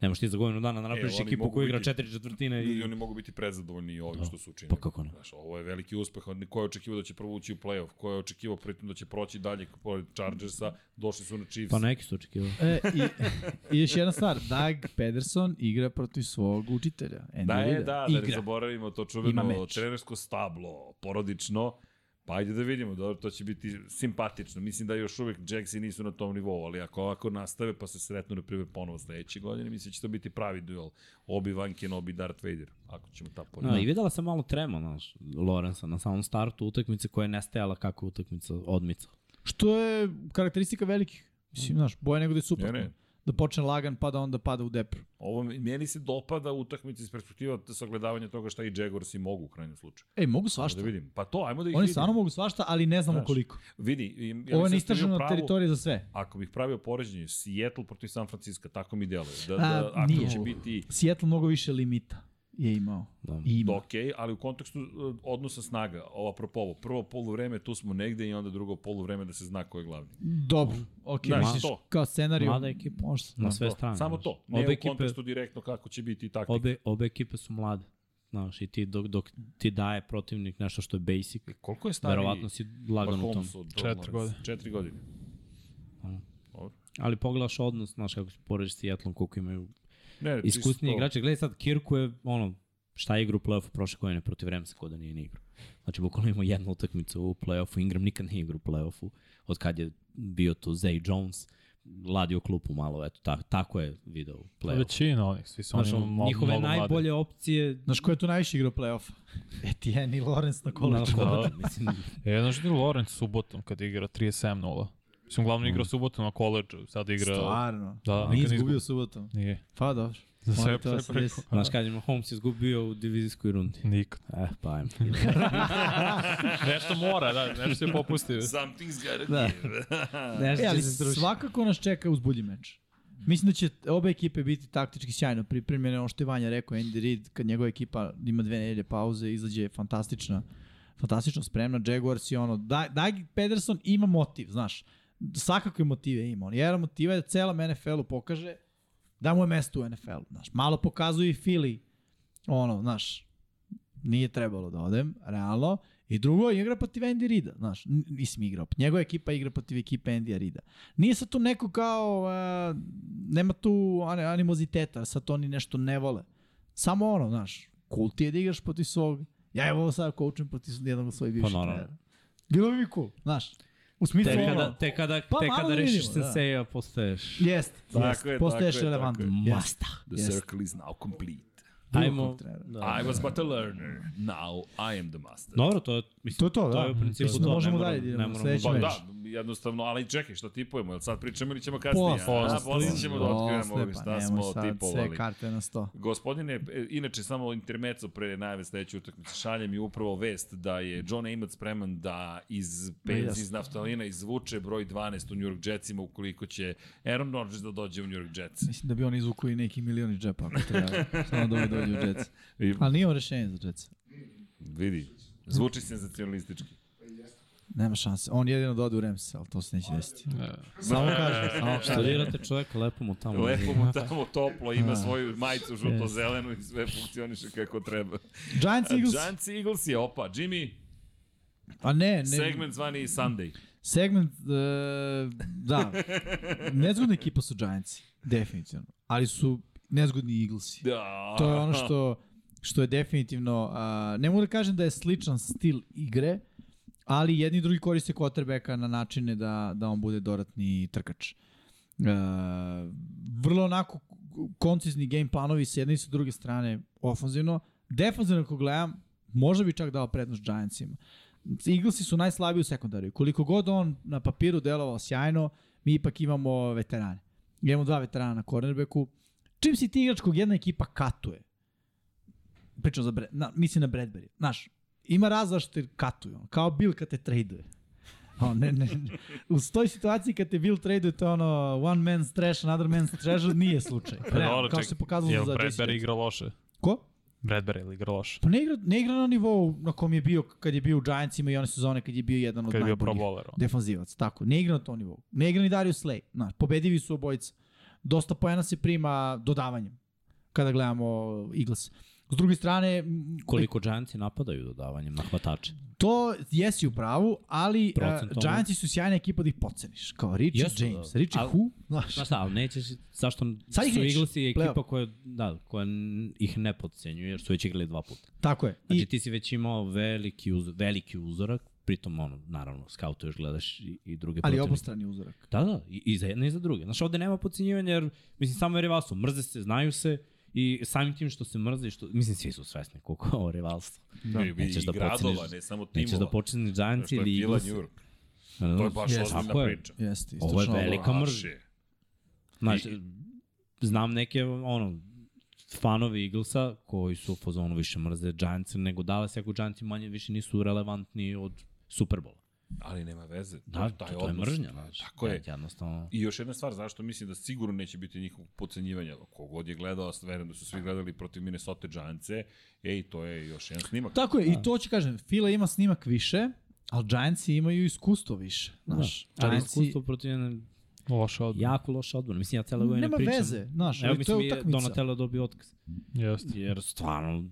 S3: Nemaš ti za godinu dana da napraviš
S1: E, oni
S3: ekipu
S1: mogu
S3: koja igra
S1: biti-
S3: četiri četvrtine
S1: Ljudi,
S3: i...
S1: oni mogu biti prezadovoljni i ovim što su učinili.
S3: Pa kako ne?
S1: Znaš, ovo je veliki uspeh, od- ko je očekivao da će prvo ući u play-off, ko je očekivao pritom da će proći dalje pored Chargersa, došli su na Chiefs.
S3: Pa neki su očekivali.
S2: E, i, I još jedna stvar, Doug Pederson igra protiv svog učitelja. Andy
S1: Da je,
S2: Reida.
S1: da, da ne
S2: igra.
S1: zaboravimo to
S2: Ima
S1: čuveno
S2: meč.
S1: trenersko stablo, porodično. Pa ajde da vidimo, dobro, to će biti simpatično. Mislim da još uvek Jacksi nisu na tom nivou, ali ako ovako nastave pa se sretnu, na primjer, ponovo sledeće godine, mislim da će to biti pravi duel. Obi-Wan Kenobi, Darth Vader, ako ćemo ta
S3: Da,
S1: porediti.
S3: i videla sam malo trema, znaš, Lorenza na samom startu utakmice koja je nestajala kako je utakmica odmica.
S2: Što je karakteristika velikih. Mislim, znaš, boje nego da je
S1: Ne,
S2: super.
S1: ne.
S2: Da počne lagan, pa da onda pada u depru.
S1: Ovo, mi- meni se dopada utakmica iz perspektiva sagledavanja toga šta i Jaguarsi mogu u krajnjem slučaju.
S2: Ej, mogu
S1: Ajmo
S2: svašta.
S1: Da vidim. Pa to, ajmo da ih
S2: Oni
S1: vidimo.
S2: stvarno mogu svašta, ali ne znamo
S1: Znaš,
S2: koliko.
S1: Vidi, i- ja mislim
S2: Ovo
S1: da
S2: je
S1: ste vi u
S2: neistražena
S1: pravu.
S2: teritorija za sve.
S1: Ako bih pravio poređenje, Seattle protiv San Francisco, tako mi deluje. Da,
S2: A,
S3: Pa,
S1: da, ako
S2: nije.
S1: će biti
S2: Seattle mnogo više limita je imao.
S3: Da.
S2: I ima.
S1: ok, ali u kontekstu e, odnosa snaga, ovo apropo ovo, prvo poluvreme tu smo negde i onda drugo poluvreme da se zna ko je glavni.
S2: Dobro, ok,
S1: Znaš,
S2: misliš
S1: Da, to. Da.
S2: kao scenariju.
S3: Mlada ekipa,
S2: Može se.
S3: na sve
S1: To,
S3: strane.
S1: Samo
S3: znaš.
S1: to, ne
S3: obe
S1: u
S3: ekipe, e-
S1: kontekstu direktno kako će biti i taktika.
S3: obe, obe ekipe su mlade. Znaš, i ti dok, dok ti daje protivnik nešto što je basic,
S1: Koliko je stariji
S3: verovatno si lagan u tom.
S1: Mahomes od Trevor
S4: Četiri
S1: Lawrence?
S4: godine.
S1: Četiri godine.
S3: Ali pogledaš odnos, znaš, kako se porediš s Seattlom, koliko imaju
S1: Ne, ne,
S3: iskusni
S1: čisto-
S3: igrače. Gledaj sad, Kirku je, ono, šta je igra u play-offu prošle godine protiv Remsa, ko da nije ni igrao. Znači, bukvalno imamo jednu utakmicu u play-offu, Ingram nikad nije igrao u play-offu, od kad je bio tu Zay Jones, ladio klupu malo, eto, tako, tako je video u
S4: Pa
S3: play-offu.
S4: većina onih, svi su
S3: Znaš,
S4: oni
S3: on,
S4: malo,
S3: njihove
S4: mnogo mladi.
S3: najbolje opcije
S2: Znaš ko je tu najviše igrao play-offa? Etienne i Lawrence na kolaču.
S3: na koleđu, mislim,
S4: E, znaš ti Lorenz subotom kad igra 37-0? Mislim, uglavnom igra subotom na koleđu, sad igra...
S2: Stvarno.
S4: Da,
S2: Nije
S4: nikad nije
S2: izgubio
S4: izgubio.
S2: subotom.
S4: Nije.
S2: Pa dobro.
S4: Za sve
S2: Molim te,
S4: pre-
S2: 80.
S4: preko.
S3: znaš kad je Mahomes izgubio u divizijskoj rundi.
S4: Nikad.
S3: Eh, pa ajmo.
S4: Nešto mora, da, nešto je popustio.
S1: Something's gotta
S2: Da.
S1: give.
S3: Nešto
S2: E, ali
S3: će se srušiti.
S2: svakako nas čeka uzbudljiv meč. Mislim da će obe ekipe biti taktički sjajno pripremljene, ono što je Vanja rekao, Andy Reid, kad njegova ekipa ima dve nedelje pauze, izađe fantastična, fantastično spremna, Jaguars i ono, da, Doug Pederson ima motiv, znaš, svakakve motive ima, on jedan motiva je da celom NFL-u pokaže da mu je mesto u NFL-u, znaš, malo pokazuje i Philly, ono, znaš, nije trebalo da odem, realno, I drugo, igra protiv Andy Rida, znaš, n- nisam igrao. Njegova ekipa igra protiv ekipe Andy Rida. Nije sad tu neko kao, uh, nema tu ani- animoziteta, sad oni nešto ne vole. Samo ono, znaš, cool ti je da igraš protiv svog, ja evo sad da coachim protiv jednog od svojih bivših pa,
S3: naravno.
S2: trenera. Bilo bi mi cool, znaš. U smislu
S3: Te
S2: ono,
S3: kada, da te kada,
S2: Pa
S3: te
S2: malo
S3: kada
S2: da
S3: rešiš
S2: vidimo, da.
S3: Senseja, postaješ
S2: jest,
S1: Tako
S2: jest,
S1: je, tako
S2: postaješ
S1: je, tako
S2: relevantan.
S1: je.
S2: Jest.
S3: masta.
S1: The
S2: Jeste.
S1: circle is now complete.
S2: Bilo
S3: Ajmo.
S2: kog trenera.
S3: Da.
S1: I was but a learner. Now I am the master.
S3: Dobro, to je, mislim,
S2: To je to, da.
S3: To je u principu
S2: Mislim da
S3: to.
S2: možemo
S3: ne moram-
S2: dalje da idemo
S3: ne
S2: na
S3: moramo
S2: sledeći
S1: Pa
S3: baš-
S2: meč.
S1: da, jednostavno, ali čekaj, šta tipujemo? Jel sad pričamo ili ćemo kasnije?
S2: Posle,
S1: A,
S4: posle.
S1: posle ćemo da otkrivamo
S2: Posle,
S1: ovi
S2: pa
S1: šta
S2: nemoj
S1: smo
S2: sad, Sve
S1: tipovali.
S2: karte na sto.
S1: Gospodine, e, inače samo intermeco pre najave sledeće utakmice, šalje mi upravo vest da je John Amos spreman da iz benz
S2: Pa jasno.
S1: iz naftalina izvuče broj 12 u New York Jetsima ukoliko će Aaron Rodgers da dođe u New York Jets.
S2: Mislim da bi oni izvukli neki milion iz džepa, ako treba. Samo da ovi dođu u Jets.
S1: I,
S2: Ali nije ovo rešenje za Jets.
S1: vidi, zvuči senzacionalistički.
S2: Nema šanse. On jedino da ode u Rams, ali to se neće desiti. Samo kažem, samo kažem.
S3: Studirate čoveka, lepo mu tamo.
S1: Lepo mu tamo toplo, ima
S2: Da.
S1: svoju majicu žuto-zelenu i sve funkcioniše kako treba.
S2: Giants Eagles.
S1: Giants i Eagles je, opa, Jimmy,
S2: A ne, ne.
S1: segment zvani Sunday.
S2: Segment, e, da. Nezgodna ekipa su Giantsi, definitivno. Ali su nezgodni Eaglesi.
S1: Da.
S2: To je ono što, što je definitivno, a, ne mogu da kažem da je sličan stil igre, ali jedni i drugi koriste quarterbacka na načine da, da on bude dodatni trkač. E, vrlo onako koncizni game planovi sa jedne i sa druge strane ofanzivno. Defanzivno ako gledam, možda bi čak dao prednost Giantsima. Eaglesi su najslabiji u sekundariju. Koliko god on na papiru delovao sjajno, mi ipak imamo veterane. Imamo dva veterana na cornerbacku. Čim si ti igrač kog jedna ekipa katuje, pričam za Bre, na, mislim na Bradbury, znaš, ima razlog što te katuju, ono, kao Bill kad te traduje. O, ne, ne, ne. U toj situaciji kad te Bill traduje, to je ono one man's trash, another man's treasure, nije slučaj. Realno, kao što se pokazalo
S4: jel
S2: za Jesse
S4: Bradbury
S2: Jackson.
S4: igra loše?
S2: Ko?
S4: Bradbury ili igra loše?
S2: Pa ne igra, ne igra na nivou na kom je bio kad je bio u Giantsima i one sezone kad je bio jedan od
S4: Kad je bio pro
S2: najboljih
S4: bowler. on.
S2: defanzivac. Tako, ne igra na tom nivou. Ne igra ni Darius Slay. Na, pobedivi su obojica. Dosta poena se prima dodavanjem kada gledamo uh, Eagles. S druge strane, m,
S3: Koliko Giantsi napadaju dodavanjem na hvatače.
S2: to jesi u pravu, ali uh,
S3: Procentualno.
S2: Giantsi su sjajna ekipa da ih podceniš. Kao Richie
S3: Jesu,
S2: James,
S3: da.
S2: Richie
S3: Ali-
S2: Who, znaš.
S3: Znaš šta, ali nećeš, zašto
S2: Sad ih
S3: su
S2: nećeš.
S3: Eaglesi ekipa
S2: Playoff.
S3: koja, da, koja n- ih ne podcenjuje, jer su već igrali dva puta.
S2: Tako je.
S3: Znači
S2: I,
S3: ti si već imao veliki, uz, veliki uzorak, pritom ono, naravno, skautuješ, gledaš i, i druge
S2: ali
S3: protivnike.
S2: obostrani uzorak.
S3: Da, da, i, i za jedne i za druge. Znaš, ovde nema podcenjivanja jer, mislim, samo je rivalstvo. Mrze se, znaju se i samim tim što se mrze, i što, mislim, svi su svesni koliko je ovo rivalstvo.
S1: da,
S3: nećeš da
S1: gradova,
S3: podceniš-
S1: ne samo timova.
S3: Nećeš da počinje Giants
S1: Što je
S3: ili
S1: bila
S3: Eagles.
S1: New York.
S3: Da,
S1: To je baš
S2: Jeste.
S1: ozbiljna
S3: Tako je.
S1: priča.
S2: Jeste,
S3: Ovo je
S2: istočno
S3: veliko. Velika
S1: Baš
S3: mržnja.
S1: je.
S3: Znaš,
S1: I-
S3: znam neke, ono, fanovi Eaglesa koji su u fazonu više mrze Giants nego Dallas, ako Giantsi manje više nisu relevantni od Superbola.
S1: Ali nema veze.
S3: Da, to,
S1: taj
S3: to je
S1: odnos.
S3: mržnja, znaš.
S1: Tako je.
S3: Jednostavno.
S1: I još jedna stvar, zašto mislim da sigurno neće biti nikog pocenjivanja. Da, Kogod je gledao, a verujem da su svi gledali protiv Minnesota Giantse, ej, to je još jedan snimak.
S2: Tako je,
S3: Da.
S2: i to ću kažem, Fila ima snimak više, ali Giantsi imaju iskustvo više. Znaš,
S3: Da, ali
S2: Giantsi-
S3: iskustvo da, protiv jedne
S4: Loše odbor.
S3: jako loša odbrana. Mislim, ja cele godine
S2: Nema
S3: pričam.
S2: veze, znaš,
S3: Evo,
S2: ali to
S3: mislim,
S2: je
S3: je
S2: utakmica.
S3: Donatello dobio otkaz.
S4: Jeste.
S3: Jer stvarno,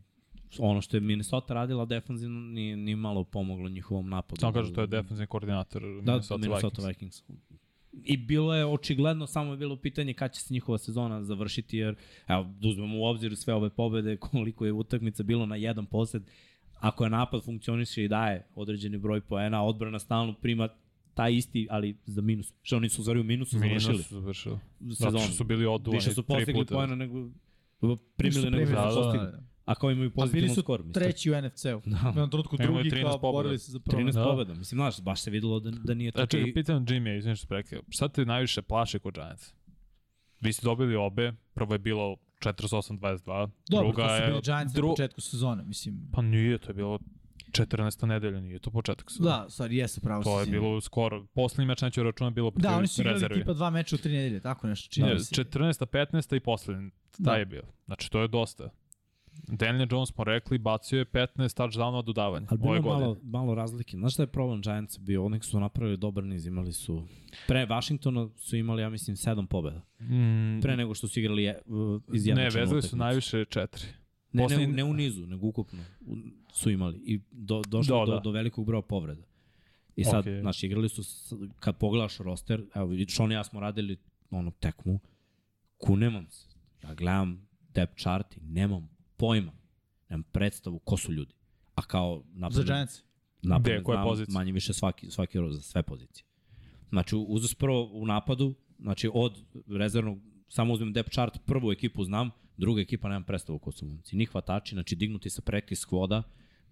S3: ono što je Minnesota radila defanzivno nije, nije malo pomoglo njihovom napadu.
S4: Samo kažu to je defensivni koordinator
S3: da,
S4: Minnesota,
S3: Minnesota, Minnesota
S4: Vikings.
S3: Vikings. I bilo je očigledno, samo je bilo pitanje kada će se njihova sezona završiti, jer evo, da uzmemo u obzir sve ove pobede, koliko je utakmica bilo na jedan posed, ako je napad funkcioniše i daje određeni broj poena, odbrana stalno prima taj isti, ali za minus. Što oni su u stvari u minusu
S4: Minus
S3: završili
S4: su završili. Zato
S3: sezonu.
S4: što su bili oduvani
S3: Više su
S4: tri
S3: postigli
S4: puta.
S3: poena nego
S2: Nisu
S3: primili nego
S2: primili,
S3: što
S4: da,
S3: su
S4: da,
S3: postigli.
S2: da.
S3: A kao imaju
S2: A bili
S3: pozitivan
S2: su
S3: skor, mislim.
S2: treći u NFC-u. Da. Na jednom trenutku
S4: Imaju
S2: drugi
S4: 13
S2: kao
S4: pobjeda.
S2: borili se za prvo.
S3: 13
S4: Da.
S3: da. pobjeda. Mislim, znaš, baš se videlo da, da nije
S4: E,
S3: tako.
S4: čekaj,
S3: i-
S4: pitam Jimmy, izvini što prekio. Šta te najviše plaše kod Giants? Vi ste dobili obe, prvo je bilo 48-22,
S2: Dobro,
S4: druga
S2: to su
S4: je...
S2: bili Giants na
S4: dru-
S2: početku sezone, mislim.
S4: Pa nije, to je bilo 14. nedelja, nije to početak. sezone.
S2: Da, stvari, jesu pravo
S4: To je
S2: sezone.
S4: bilo skoro. Poslednji meč neću računati, bilo protiv
S2: Da, oni su igrali
S4: rezervi. Da,
S2: tipa dva meča u tri nedelje, tako nešto čini
S4: Ne,
S2: mi se.
S4: 14. 15. i poslednji.
S2: Da.
S4: Taj je bio. Znači, to je dosta. Daniel Jones smo rekli, bacio je 15 touchdownova dodavanja
S3: Ali
S4: ove
S3: bilo
S4: godine.
S3: malo, malo razlike. Znaš šta je problem Giants bio? Oni su napravili dobar niz, imali su... Pre Washingtona su imali, ja mislim, sedam pobjeda.
S4: Mm,
S3: Pre nego što su igrali je, uh,
S4: ne,
S3: izjednačenu
S4: vezali su
S3: utakmicu.
S4: najviše četiri.
S3: Ne, ne,
S4: poslednji-
S3: u- ne u nizu, nego ukupno u- su imali. I do, došlo
S4: Do,
S3: do,
S4: da.
S3: do, velikog broja povreda. I sad,
S4: Okej.
S3: okay. znaš, igrali su, s- kad pogledaš roster, evo, vidi, Sean i ja smo radili ono tekmu, kunemam se. Ja gledam depth chart i nemam pojma, nemam predstavu ko su ljudi. A kao
S2: Za
S3: napravljeno
S2: Giants.
S3: Napad,
S4: Gde je, koje
S3: znam
S4: pozicije?
S3: Manje više svaki, svaki rol za sve pozicije. Znači, uzas prvo u napadu, znači od rezervnog, samo uzmem depth chart, prvu ekipu znam, druga ekipa nemam predstavu ko su momci. Ni hvatači, znači dignuti sa practice squada,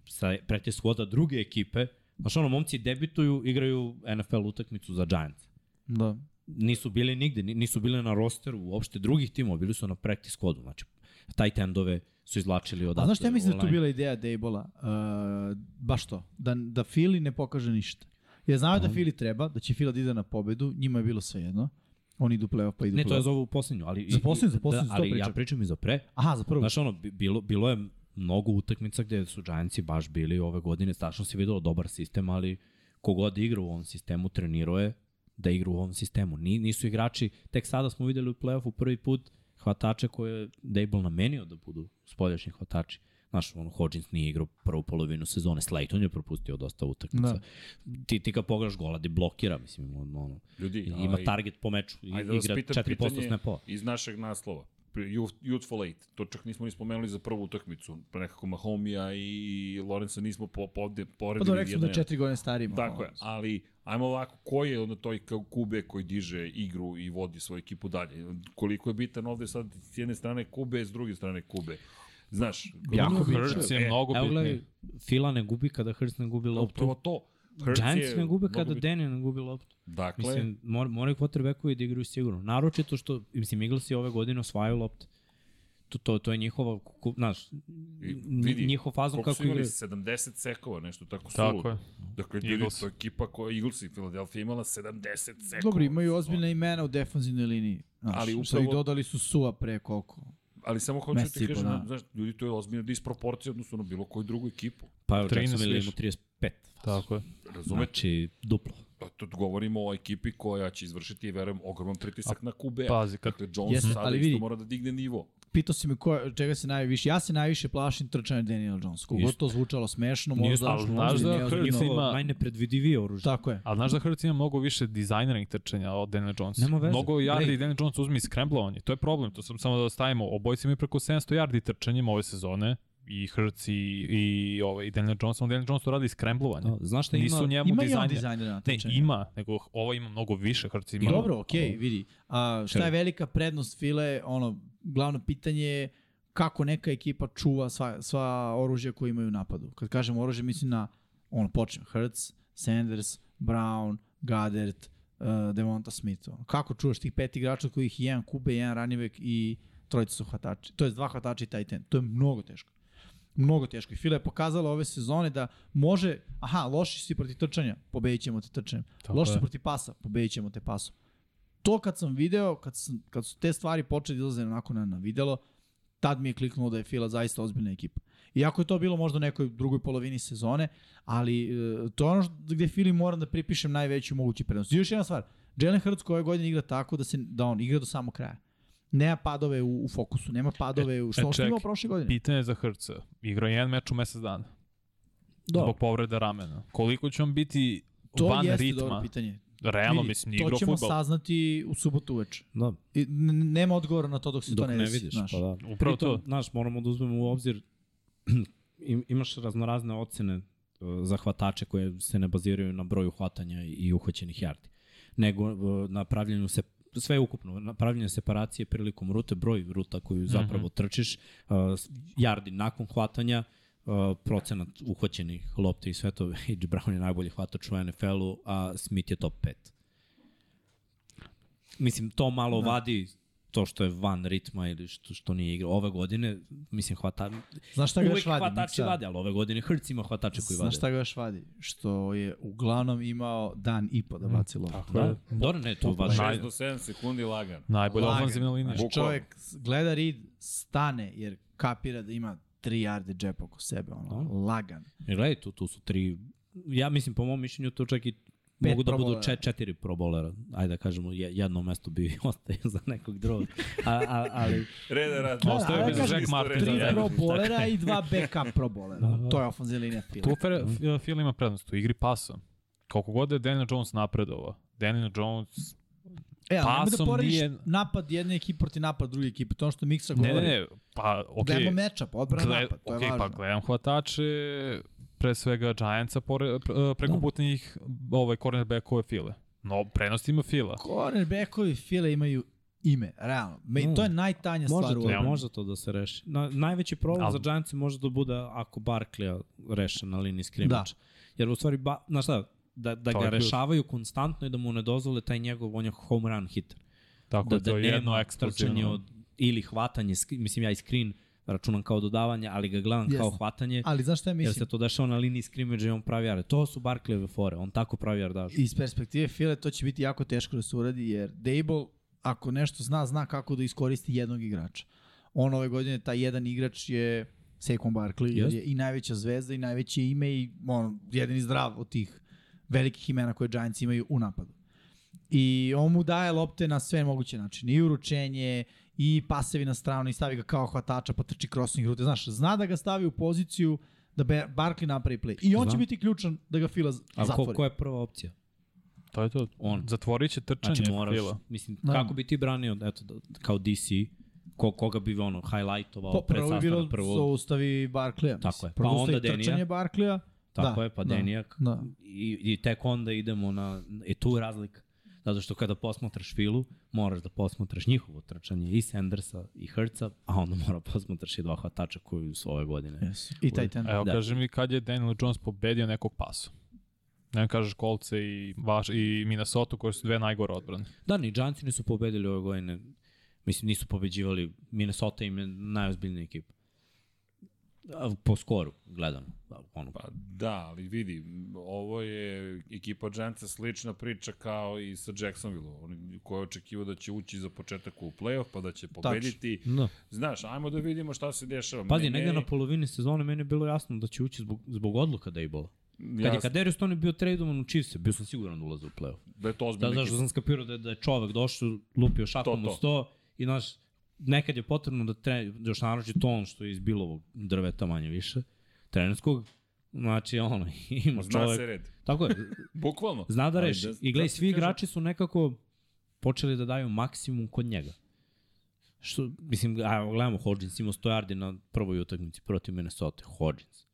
S3: sa practice squada druge ekipe, Znaš, ono, momci debituju, igraju NFL utakmicu za Giants.
S2: Da.
S3: Nisu bili nigde, ni- nisu bili na rosteru uopšte drugih timova, bili su na practice kodu, znači, tight endove su izlačili odatle.
S2: A znaš šta ja mislim da je tu
S3: online.
S2: bila ideja Dejbola? Uh, baš to. Da, da Fili ne pokaže ništa. Jer znaju da Fili treba, da će Fila da ide na pobedu, njima je bilo sve jedno. Oni idu u play-off pa idu
S3: Ne,
S2: u
S3: to je
S2: play-off.
S3: za ovu poslednju, ali... i-
S2: Za poslednju, za poslednju,
S3: da,
S2: za to
S3: ali ja
S2: pričam.
S3: pričam i za pre.
S2: Aha, za prvo.
S3: Znaš, ono, bi- bilo, bilo je mnogo utakmica gde su Giantsi baš bili ove godine, tačno se videlo dobar sistem, ali kogod igra u ovom sistemu, trenirao je da igra u ovom sistemu. Ni, nisu igrači, tek sada smo videli u play-offu prvi put hvatače koje je Dable namenio da budu spoljašnji hvatači. Znaš, ono, Hodgins nije igrao prvu polovinu sezone, Slayton je propustio dosta utakmica.
S2: Da.
S3: Ti, ti kad pogledaš gola, di blokira, mislim, on, ono,
S1: Ljudi,
S3: ima
S1: ali-
S3: target po meču, i,
S1: Ajde da vas
S3: igra
S1: pitam
S3: 4%
S1: pitanje
S3: snapova.
S1: iz našeg naslova. Youth- Youthful Eight, to čak nismo ni spomenuli za prvu utakmicu, pa nekako Mahomija i Lorenza nismo po, po, ovde
S2: Pa
S1: poredili.
S2: dobro, rekli smo da je
S1: jedan-
S2: četiri godine starimo.
S1: Tako je, ali ajmo ovako, ko je onda toj kao Kube koji diže igru i vodi svoju ekipu dalje? Koliko je bitan ovde sad s jedne strane Kube, s druge strane Kube? Znaš,
S2: Jako bitno.
S4: Hurts je mnogo
S3: Evo
S4: bitniji.
S3: gledaj, Fila ne gubi kada Hurts ne gubi loptu.
S1: upravo to. Hurts
S3: da Giants
S1: je
S3: ne gube
S1: mnogo
S3: kada
S1: bitan.
S3: Denny ne gubi loptu.
S1: Dakle,
S3: Mislim, mor, moraju quarterbackovi da igraju sigurno. Naročito što, mislim, Eaglesi ove godine osvajaju lopte. To, to, to je njihova, ku- ku- znaš,
S1: I
S3: nji- njihov fazon
S1: koliko
S3: kako
S1: su imali
S3: igraju.
S1: 70 sekova, nešto tako su.
S4: Tako je.
S1: Dakle, ljudi,
S4: Eagles.
S1: to je ekipa koja Eagles i Philadelphia imala 70 sekova.
S2: Dobro, imaju
S1: Ono.
S2: ozbiljne imena u defanzivnoj liniji. Znaš,
S1: Ali
S2: ali
S1: upravo-
S2: upravo... Sad ih dodali su Sua pre koliko.
S1: Ali samo hoću da
S2: Mesec
S1: ti
S3: pa
S2: i po
S1: kažem, da.
S2: dana.
S1: znaš, ljudi, to je ozbiljna disproporcija odnosno na bilo koju drugu ekipu.
S3: Pa evo,
S4: 13
S3: Jacksonville ima
S4: više.
S3: 35.
S4: Tako je.
S1: Razumete?
S3: Znači, duplo.
S1: Pa tu govorimo o ekipi koja će izvršiti, verujem, ogroman pritisak na Kube.
S4: Pazi, kad
S1: Dakle, Jones
S2: Jeste,
S1: sada
S2: ali
S1: isto
S2: vidi.
S1: mora da digne nivo.
S2: Pitao si me ko, čega se najviše, ja se najviše plašim trčanja Daniel Jones. Kogod
S3: Isto.
S2: to zvučalo smešno,
S3: Nije
S2: možda...
S4: ali znaš
S2: možda
S4: da
S2: nije ozbiljno.
S4: Hurts
S3: Njihovo
S4: ima-
S3: najnepredvidivije oružje.
S2: Tako je.
S4: A znaš da Hurts ima mnogo više dizajnernih trčanja od Daniel Jonesa?
S3: Nema veze.
S4: Mnogo
S3: Blake.
S4: yardi i Daniel Jones uzme i skremblovanje. To je problem, to sam samo da stavimo. Obojci imaju preko 700 yardi trčanjem ove sezone i Hurts i, i, ove, i Daniel Jones. Samo Daniel Jones to radi skremblovanje.
S3: Da, Znaš šta ima?
S4: Nisu njemu
S2: Ima i on
S4: dizajneri.
S2: dizajnera na
S4: Ne,
S2: trčanju.
S4: ima, nego ovo ima mnogo više Hurts
S2: I
S4: ima.
S2: dobro, okej, okay, vidi. A, šta je velika prednost File, ono, glavno pitanje je kako neka ekipa čuva sva, sva oružja koje imaju u napadu. Kad kažem oružje, mislim na, ono, počnem, Hertz, Sanders, Brown, Gadert, uh, Devonta Smith. Ono. Kako čuvaš tih pet igrača od kojih je jedan kube, jedan ranivek i trojica su hvatači. To je dva hvatača i taj ten. To je mnogo teško. Mnogo teško. I Fila je pokazala ove sezone da može, aha, loši si protiv trčanja, pobedit ćemo te trčanjem.
S4: Tako
S2: Loši
S4: je.
S2: si protiv pasa, pobedit ćemo te pasom to kad sam video, kad, sam, kad su te stvari počeli da izlaze onako na, na videlo, tad mi je kliknulo da je Fila zaista ozbiljna ekipa. Iako je to bilo možda u nekoj drugoj polovini sezone, ali e, to je ono što, gde Fili moram da pripišem najveću moguću prednost. I još jedna stvar, Jalen Hurts koje godine igra tako da, se, da on igra do samog kraja. Nema padove u, u fokusu, nema padove u što, što je
S4: E, ček,
S2: imao prošle godine.
S4: Pitanje za Hurtsa. Igrao je jedan meč u mesec dana.
S3: Da,
S2: Dobro.
S4: Zbog povreda ramena. Koliko će on biti
S2: To
S4: van
S2: jeste
S4: ritma?
S2: dobro pitanje.
S4: Realno,
S2: Vidi,
S4: mislim,
S2: to
S4: igrao
S2: ćemo
S4: futbol.
S2: saznati u subotu uveče.
S3: Da,
S2: I, n- n- nema odgovora na to dok se
S3: dok
S2: to ne,
S3: ne
S2: desi,
S3: vidiš.
S2: znaš.
S3: Pa da.
S4: Upravo to.
S3: Pritom, Znaš, moramo da uzmemo u obzir, im- imaš raznorazne ocene e, za hvatače koje se ne baziraju na broju hvatanja i- i uhoćenih jardi, nego e, na pravljenju se sve ukupno, na pravljenje separacije prilikom rute, broj ruta
S4: Mhm.
S3: koju zapravo trčiš, e, s- jardi nakon hvatanja, e, procenat uhvaćenih lopte i sve to, H. Brown je najbolji hvatač u NFL-u, a Smith je top 5. Mislim, to malo da. vadi to što je van ritma ili što, što nije igra. Ove godine, mislim, hvata...
S2: Znaš šta ga
S3: Uvijek
S2: još vadi?
S3: hvatači
S2: Miksa?
S3: vade, ali ove godine Hrc ima hvatače koji vade.
S2: Znaš šta ga još vadi? Što je uglavnom imao dan i
S4: Mhm.
S2: po da baci loptu.
S3: Da, dobro, ne, to važi.
S4: Naj-
S1: 6 do 7 sekundi lagan.
S4: Najbolja
S2: Lagan.
S4: ofanzivna linija.
S2: Znaš,
S1: Bukvalno.
S2: čovjek gleda rid, stane, jer kapira da ima 3 jarde džep oko sebe, ono,
S3: Da.
S2: lagan.
S3: I Gledaj, tu, tu su tri... Ja mislim, po mom mišljenju, to čak i mogu da
S2: Pro
S3: budu
S2: Bowlera.
S3: čet, četiri pro bowlera. Ajde da kažemo, je- jedno mesto bi ostaje za nekog drugog. A, a, ali Pa
S1: Reda rad.
S4: Da, Ostaje
S2: ali bez kažem,
S4: Jack Martin,
S2: Tri
S4: da.
S2: pro bolera i dva backup pro bolera. To je ofenzija linija Fila.
S4: Tu Fer-
S3: Mhm.
S4: F- Phil ima prednost u igri pasom. Koliko god da je Daniel Jones napredovao, Daniel Jones...
S2: E, ali nemoj da
S4: pasom
S2: porediš
S4: nije-
S2: napad jedne ekipe protiv napad druge ekipe. To je ono što Miksa govori.
S4: Ne, ne, ne, pa okej.
S2: Da Gledamo matchup, odbrana
S4: Gled-
S2: napad, to je
S4: okej,
S2: važno.
S4: pa gledam hvatače, pre svega Giantsa, pore, pre- preko puta njih ovaj, cornerbackove File. No, prednost ima Fila.
S2: Cornerbackovi Fila imaju ime, realno. Me,
S3: Mm.
S2: To je najtanja
S3: može
S2: stvar u
S3: to,
S4: odbrani.
S3: može to da se reši. Na, najveći problem
S4: Al-
S3: za Giants može da bude ako Barkley reše na liniji skrimača. Da. Jer u stvari, ba, znaš šta, da, da
S4: To je
S3: ga
S4: ključ.
S3: rešavaju konstantno i da mu ne dozvole taj njegov, on je home run hitter.
S4: Tako
S3: Da,
S4: da, to
S3: da
S4: je jedno
S3: nema trčanje
S4: eksplozivno.
S3: od, ili hvatanje, sk- mislim ja i screen računam kao dodavanje, ali ga gledam yes. kao
S2: Jeste.
S3: hvatanje.
S2: Ali znaš šta ja
S3: Jer se
S2: mislim?
S3: to dešava na liniji skrimidža i on pravi jarde. To su Barkleve fore, on tako pravi jardažu.
S2: Iz perspektive File to će biti jako teško da se uradi, jer Dable, ako nešto zna, zna kako da iskoristi jednog igrača. On ove godine, taj jedan igrač je Saquon Barkley, jer
S3: Jest.
S2: je i najveća zvezda i najveće ime i on, jedini zdrav od tih velikih imena koje Giants imaju u napadu. I on mu daje lopte na sve moguće načine. I uručenje, i pasevi na stranu, i stavi ga kao hvatača, pa trči crossing rute. Znaš, zna da ga stavi u poziciju da Ber- Barkley napravi play. I on
S3: Znam.
S2: će biti ključan da ga Fila z-
S3: Ali
S2: zatvori.
S3: ko, ko je prva opcija?
S4: To je to.
S3: On.
S4: Zatvorit će trčanje
S3: Znači moraš,
S4: Fila.
S3: mislim,
S2: Da.
S3: kako bi ti branio, eto, da, kao DC, ko, koga bi ono, highlightovao
S2: Pa
S3: pred
S2: prvo bi bilo
S3: sastanak
S2: prvo...
S3: prvog.
S2: zaustavi Barkleja.
S3: Tako
S2: mislim.
S3: je. Pa
S2: Prvo
S3: onda
S2: zaustavi
S3: Denija.
S2: Trčanje Barkleja.
S3: Tako
S2: da,
S3: je, pa
S2: da,
S3: Denijak.
S2: da.
S3: I, I tek onda idemo na, e tu je razlika. Zato što kada posmatraš filu, moraš da posmatraš njihovo trčanje i Sandersa i Hrca, a onda mora posmatraš i dva hvatača koji su ove godine.
S2: I taj ten.
S3: Da.
S4: Evo, da. kaži mi kad je Daniel Jones pobedio nekog pasa. Ne mi kažeš Kolce i, Vaš, i Minnesota koje su dve najgore odbrane.
S3: Da, ni Giantsi nisu pobedili ove godine. Mislim, nisu pobeđivali. Minnesota im je najozbiljnija ekipa. A, Po skoru, gledano. Ono,
S1: Pa da, ali vidi, ovo je ekipa Giantsa slična priča kao i sa Jacksonville-om. Oni koji očekivao da će ući za početak u play-off, pa da će pobediti.
S3: da.
S1: Znaš, ajmo da vidimo šta se dešava.
S3: Pazi, negde na polovini sezone meni je bilo jasno da će ući zbog, zbog odluka da je bola. Kad je
S1: kad
S3: Kadarius Stone bio tradovan u Chiefs, bio sam siguran da ulaze u play-off.
S1: Da je to
S3: Da,
S1: ozbiljno.
S3: znaš, da sam skapirao da je, da je čovek došao, lupio šakom
S1: To,
S3: u
S1: to.
S3: sto i znaš, nekad je potrebno da tre, još naroči ton što je iz bilovog drveta manje više, trenerskog, znači ono, ima
S1: Zna se
S3: čovek.
S1: red.
S3: Tako je,
S1: Bukvalno.
S3: Zna da
S1: Ali
S3: reši.
S1: da-
S3: I gledaj,
S1: da ti
S3: svi
S1: kažem-
S3: igrači su nekako počeli da daju maksimum kod njega. Što, mislim, a, gledamo, Hodgins imao 100 yardi na prvoj utakmici protiv Minnesota, Hodgins.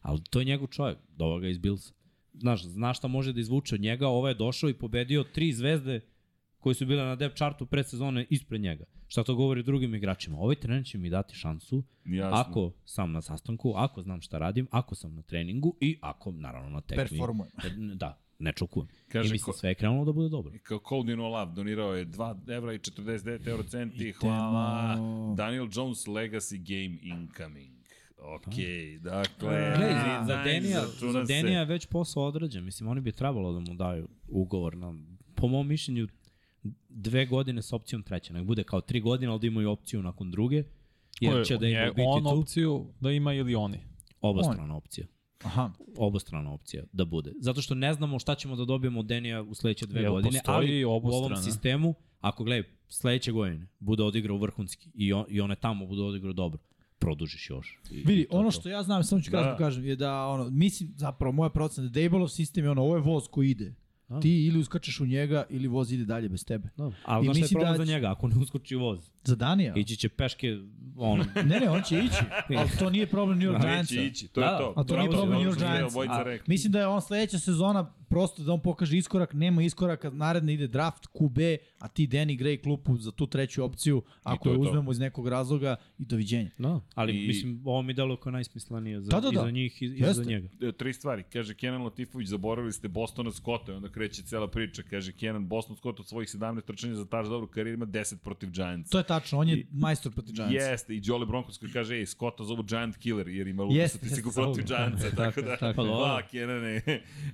S3: Ali to je njegov čovjek, dova ga iz Billsa. Znaš, zna šta može da izvuče od njega, ovaj je došao i pobedio tri zvezde koji su bile na depth chartu pred sezone ispred njega. Šta to govori drugim igračima? Ovaj trener će mi dati šansu
S1: Jasno.
S3: Jasno. ako sam na sastanku, ako znam šta radim, ako sam na treningu i ako, naravno, na tekmi.
S2: Performujem.
S3: Da, ne čukujem.
S1: Kaže
S3: I mislim,
S1: ko-
S3: sve je krenulo da bude dobro.
S1: Kao Cody No Love donirao je 2 evra i 49 euro centi. Hvala. Daniel Jones Legacy Game Incoming. Ok, dakle...
S3: Gledaj,
S1: nice,
S3: E, za Denija,
S1: računa
S3: za
S1: se.
S3: Denija je već posao odrađen. Mislim, oni bi trebalo da mu daju ugovor na, po mom mišljenju, dve godine sa opcijom treće. Nek bude kao tri godine, ali da imaju opciju nakon druge. Jer će da im
S4: je
S3: biti
S4: on
S3: tu
S4: opciju da ima ili oni.
S3: obostrana opcija.
S2: Aha.
S3: Obostrana opcija da bude. Zato što ne znamo šta ćemo da dobijemo od Denija u sledeće dve
S4: Jel
S3: godine,
S4: postoji
S3: ali u ovom
S4: obostrana?
S3: sistemu, ako gledaj, sledeće godine bude odigrao vrhunski i, on, i one tamo bude odigrao dobro, produžiš još. I-
S2: Vidi,
S3: i to je
S2: ono
S3: to.
S2: što ja znam, samo ću
S1: Da.
S2: kratko kažem, je da, ono, mislim, zapravo, moja procena, da Dayballov sistem je ono, ovo je voz koji ide.
S3: Da.
S2: Ti ili uskačeš u njega, ili voz ide dalje bez tebe.
S3: Dobro. Ali
S2: I
S3: znaš šta je
S2: mislim
S3: problem
S2: da
S3: da...
S2: će-
S3: za njega? Ako ne uskoči voz,
S2: Za Danija?
S3: ići će peške, ono,
S2: Ne, ne, on će ići. Ali to nije problem New York
S1: Neće
S2: Giantsa.
S1: ići, to
S3: Da,
S1: je to.
S2: A to
S1: Bravo,
S2: nije
S1: ono
S2: problem New York
S1: što ste
S2: Giantsa.
S1: obojica
S2: A,
S1: rekli.
S2: Mislim da je on sledeća sezona prosto da on pokaže iskorak, nema iskoraka, naredne ide draft, QB, a ti Danny Gray klupu za tu treću opciju, ako
S1: to
S2: je
S1: je to.
S2: uzmemo iz nekog razloga i doviđenja.
S3: No, ali
S1: I-
S3: I... mislim, ovo mi deluje kao najsmislenije za,
S2: Da, da,
S3: i
S2: da.
S3: za njih i, i
S2: Jeste.
S3: za njega.
S1: E, tri stvari. Kaže Kenan Latifović, zaboravili ste Bostona Scotta i onda kreće cela priča. Kaže Kenan, Boston Scott od svojih 17 trčanja za taš dobru karijer ima 10 protiv Giantsa.
S2: To je tačno, on je majstor protiv Giantsa.
S1: Jeste, i Jolly Broncos koji kaže, ej, Scotta zovu Giant Killer, jer ima lupu
S2: Jeste,
S1: statistiku
S2: jeste,
S1: protiv
S2: zovu.
S1: Giantsa, tako da,
S2: tako.
S1: hvala Kenane.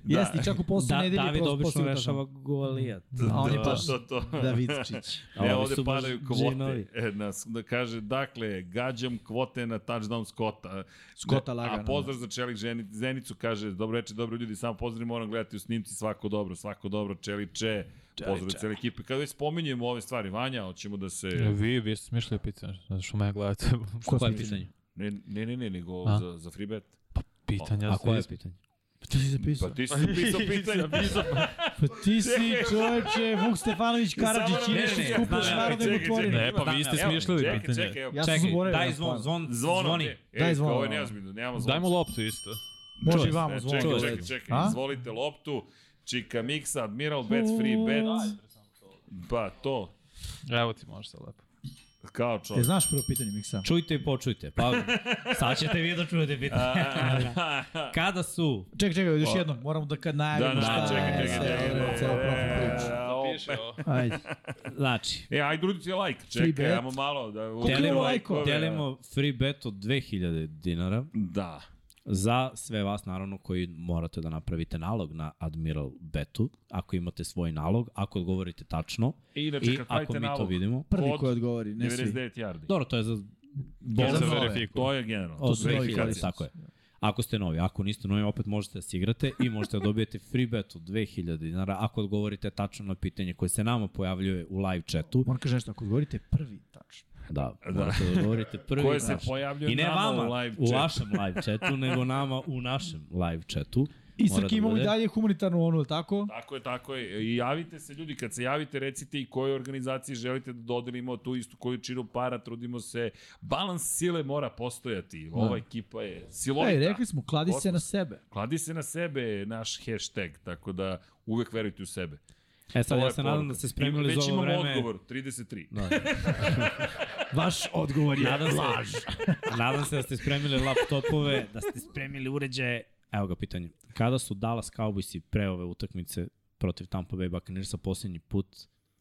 S1: da.
S2: Jeste, i čak u poslu
S3: Da,
S2: nedelje
S3: David
S2: pros-
S3: obično
S2: postigao
S3: rešava golijat.
S2: A on je
S1: Da,
S2: baš
S1: to, to.
S2: Davidčić.
S3: A
S1: Ne,
S3: ovi
S1: ovde
S3: su baš
S1: padaju kvote.
S3: džinovi.
S1: E, na, da kaže, dakle, gađam kvote na touchdown Scotta.
S2: Scotta
S1: Ne,
S2: lagano, da.
S1: A pozdrav za Čelik Ženi- Zenicu, kaže, dobro večer, dobro ljudi, samo pozdrav, moram gledati u snimci, svako dobro, svako dobro, Čeliče. Pozdrav cele ekipe. Kada već spominjemo ove stvari, Vanja, hoćemo da se...
S4: E, Vi, vi ste smišljali pitanje, zato što me gledate.
S2: Ko
S3: Koje
S2: je
S3: je pitanje?
S1: Ne, ne, ne, ne nego
S4: A?
S1: za, za free bet.
S4: Pitanja
S3: A
S4: ste
S3: koje je
S4: iz-
S3: pitanje?
S2: Ti si zapisao.
S1: Pa ti si pisao pitanja.
S2: Pa ti si čoveče Vuk Stefanović Karadžić,
S1: Samo nam
S2: ideš
S1: ne,
S2: i
S1: ne,
S2: skupljaš
S3: ne,
S2: narodne
S1: čekaj, čekaj,
S2: botvorine.
S4: Ne, pa vi ste smišljali
S1: čekaj,
S4: pitanje.
S1: Čekaj, čekaj,
S2: Ja sam zaboravio. da
S3: daj
S1: da
S2: na
S3: zvon,
S2: plan.
S3: zvon,
S1: Zvono,
S3: zvoni.
S1: ne,
S2: Daj
S1: Ej,
S2: zvono.
S1: Ovo je neozbiljno, nemamo zvon.
S4: Dajmo loptu isto.
S2: Može i
S3: Čuje se,
S2: vamo, zvon.
S1: Čekaj,
S3: Čuo
S1: čekaj,
S3: se.
S1: čekaj,
S2: A?
S1: izvolite loptu. Čika Miksa, Admiral Bet, Free Bet. Pa to.
S4: Evo ti može sad lepo.
S1: Kao
S2: Te
S1: čovjek.
S2: E, znaš prvo pitanje, Miksa?
S3: Čujte i počujte. Pa, sad ćete vi da čujete pitanje. Kada su
S2: Čekaj, čekaj, još jednom, moramo da kad najavimo
S1: da,
S2: šta
S1: čekaj,
S2: je
S1: čekaj,
S2: sve
S1: čekaj,
S2: ovo,
S1: čekaj.
S2: cela profil priča.
S4: Piše ovo.
S2: Ajde.
S3: Znači,
S1: E, ajde udruti je like,
S2: Free
S1: čekaj,
S2: bet.
S1: ajmo malo da...
S3: delimo,
S2: lajkove?
S3: delimo free bet od 2000 dinara
S1: Da.
S3: za sve vas, naravno, koji morate da napravite nalog na Admiral Betu, ako imate svoj nalog, ako odgovorite tačno
S1: I inače,
S3: i
S1: kad
S3: ako
S1: pravite
S3: mi to
S1: nalog,
S3: vidimo.
S2: Prvi
S1: Od
S2: koji odgovori, ne svi.
S1: 99 yardi.
S3: Dobro, to je za
S4: Ja
S3: bolest.
S4: sam
S2: nove.
S1: To
S4: verifikuje.
S1: je generalno.
S3: Pa, Od
S2: To su novi
S3: 2000,
S2: korisnici.
S3: tako je. Ako ste novi, ako niste novi, opet možete da se igrate i možete da dobijete free bet od 2000 dinara ako odgovorite tačno na pitanje koje se nama pojavljuje u live chatu.
S2: Moram kažem nešto, ako odgovorite prvi, tačno.
S3: Da, morate da odgovorite prvi.
S1: Koje se
S3: tačno.
S1: pojavljuje
S3: I ne
S1: nama
S3: vama
S1: u live
S3: u
S1: chatu.
S3: vašem live chatu, nego nama u našem live chatu.
S2: I
S3: Mora
S2: Srki
S3: da
S2: imamo i
S3: bude.
S2: dalje humanitarnu onu, je li tako?
S1: Tako je, tako je. I javite se ljudi, kad se javite recite i kojoj organizaciji želite da dodelimo tu istu količinu para, trudimo se. Balans sile mora postojati. Ova
S2: Da.
S1: ekipa je
S2: Ej,
S1: silovita.
S2: rekli smo, kladi se
S1: da. Odmah.
S2: na sebe.
S1: Kladi se na sebe je naš hashtag, tako da uvek verujte u sebe.
S3: E sad,
S1: To
S3: ja
S1: je
S3: se
S1: poruka.
S3: nadam da ste
S1: I
S3: spremili
S1: već
S3: za ovo
S1: imamo
S3: vreme.
S1: odgovor, 33.
S3: Da.
S2: Vaš odgovor
S3: Nadam se, nadam se da ste spremili laptopove, da ste spremili uređaje. Evo ga pitanje. Kada su Dallas Cowboysi pre ove utakmice protiv Tampa Bay Buccaneersa poslednji put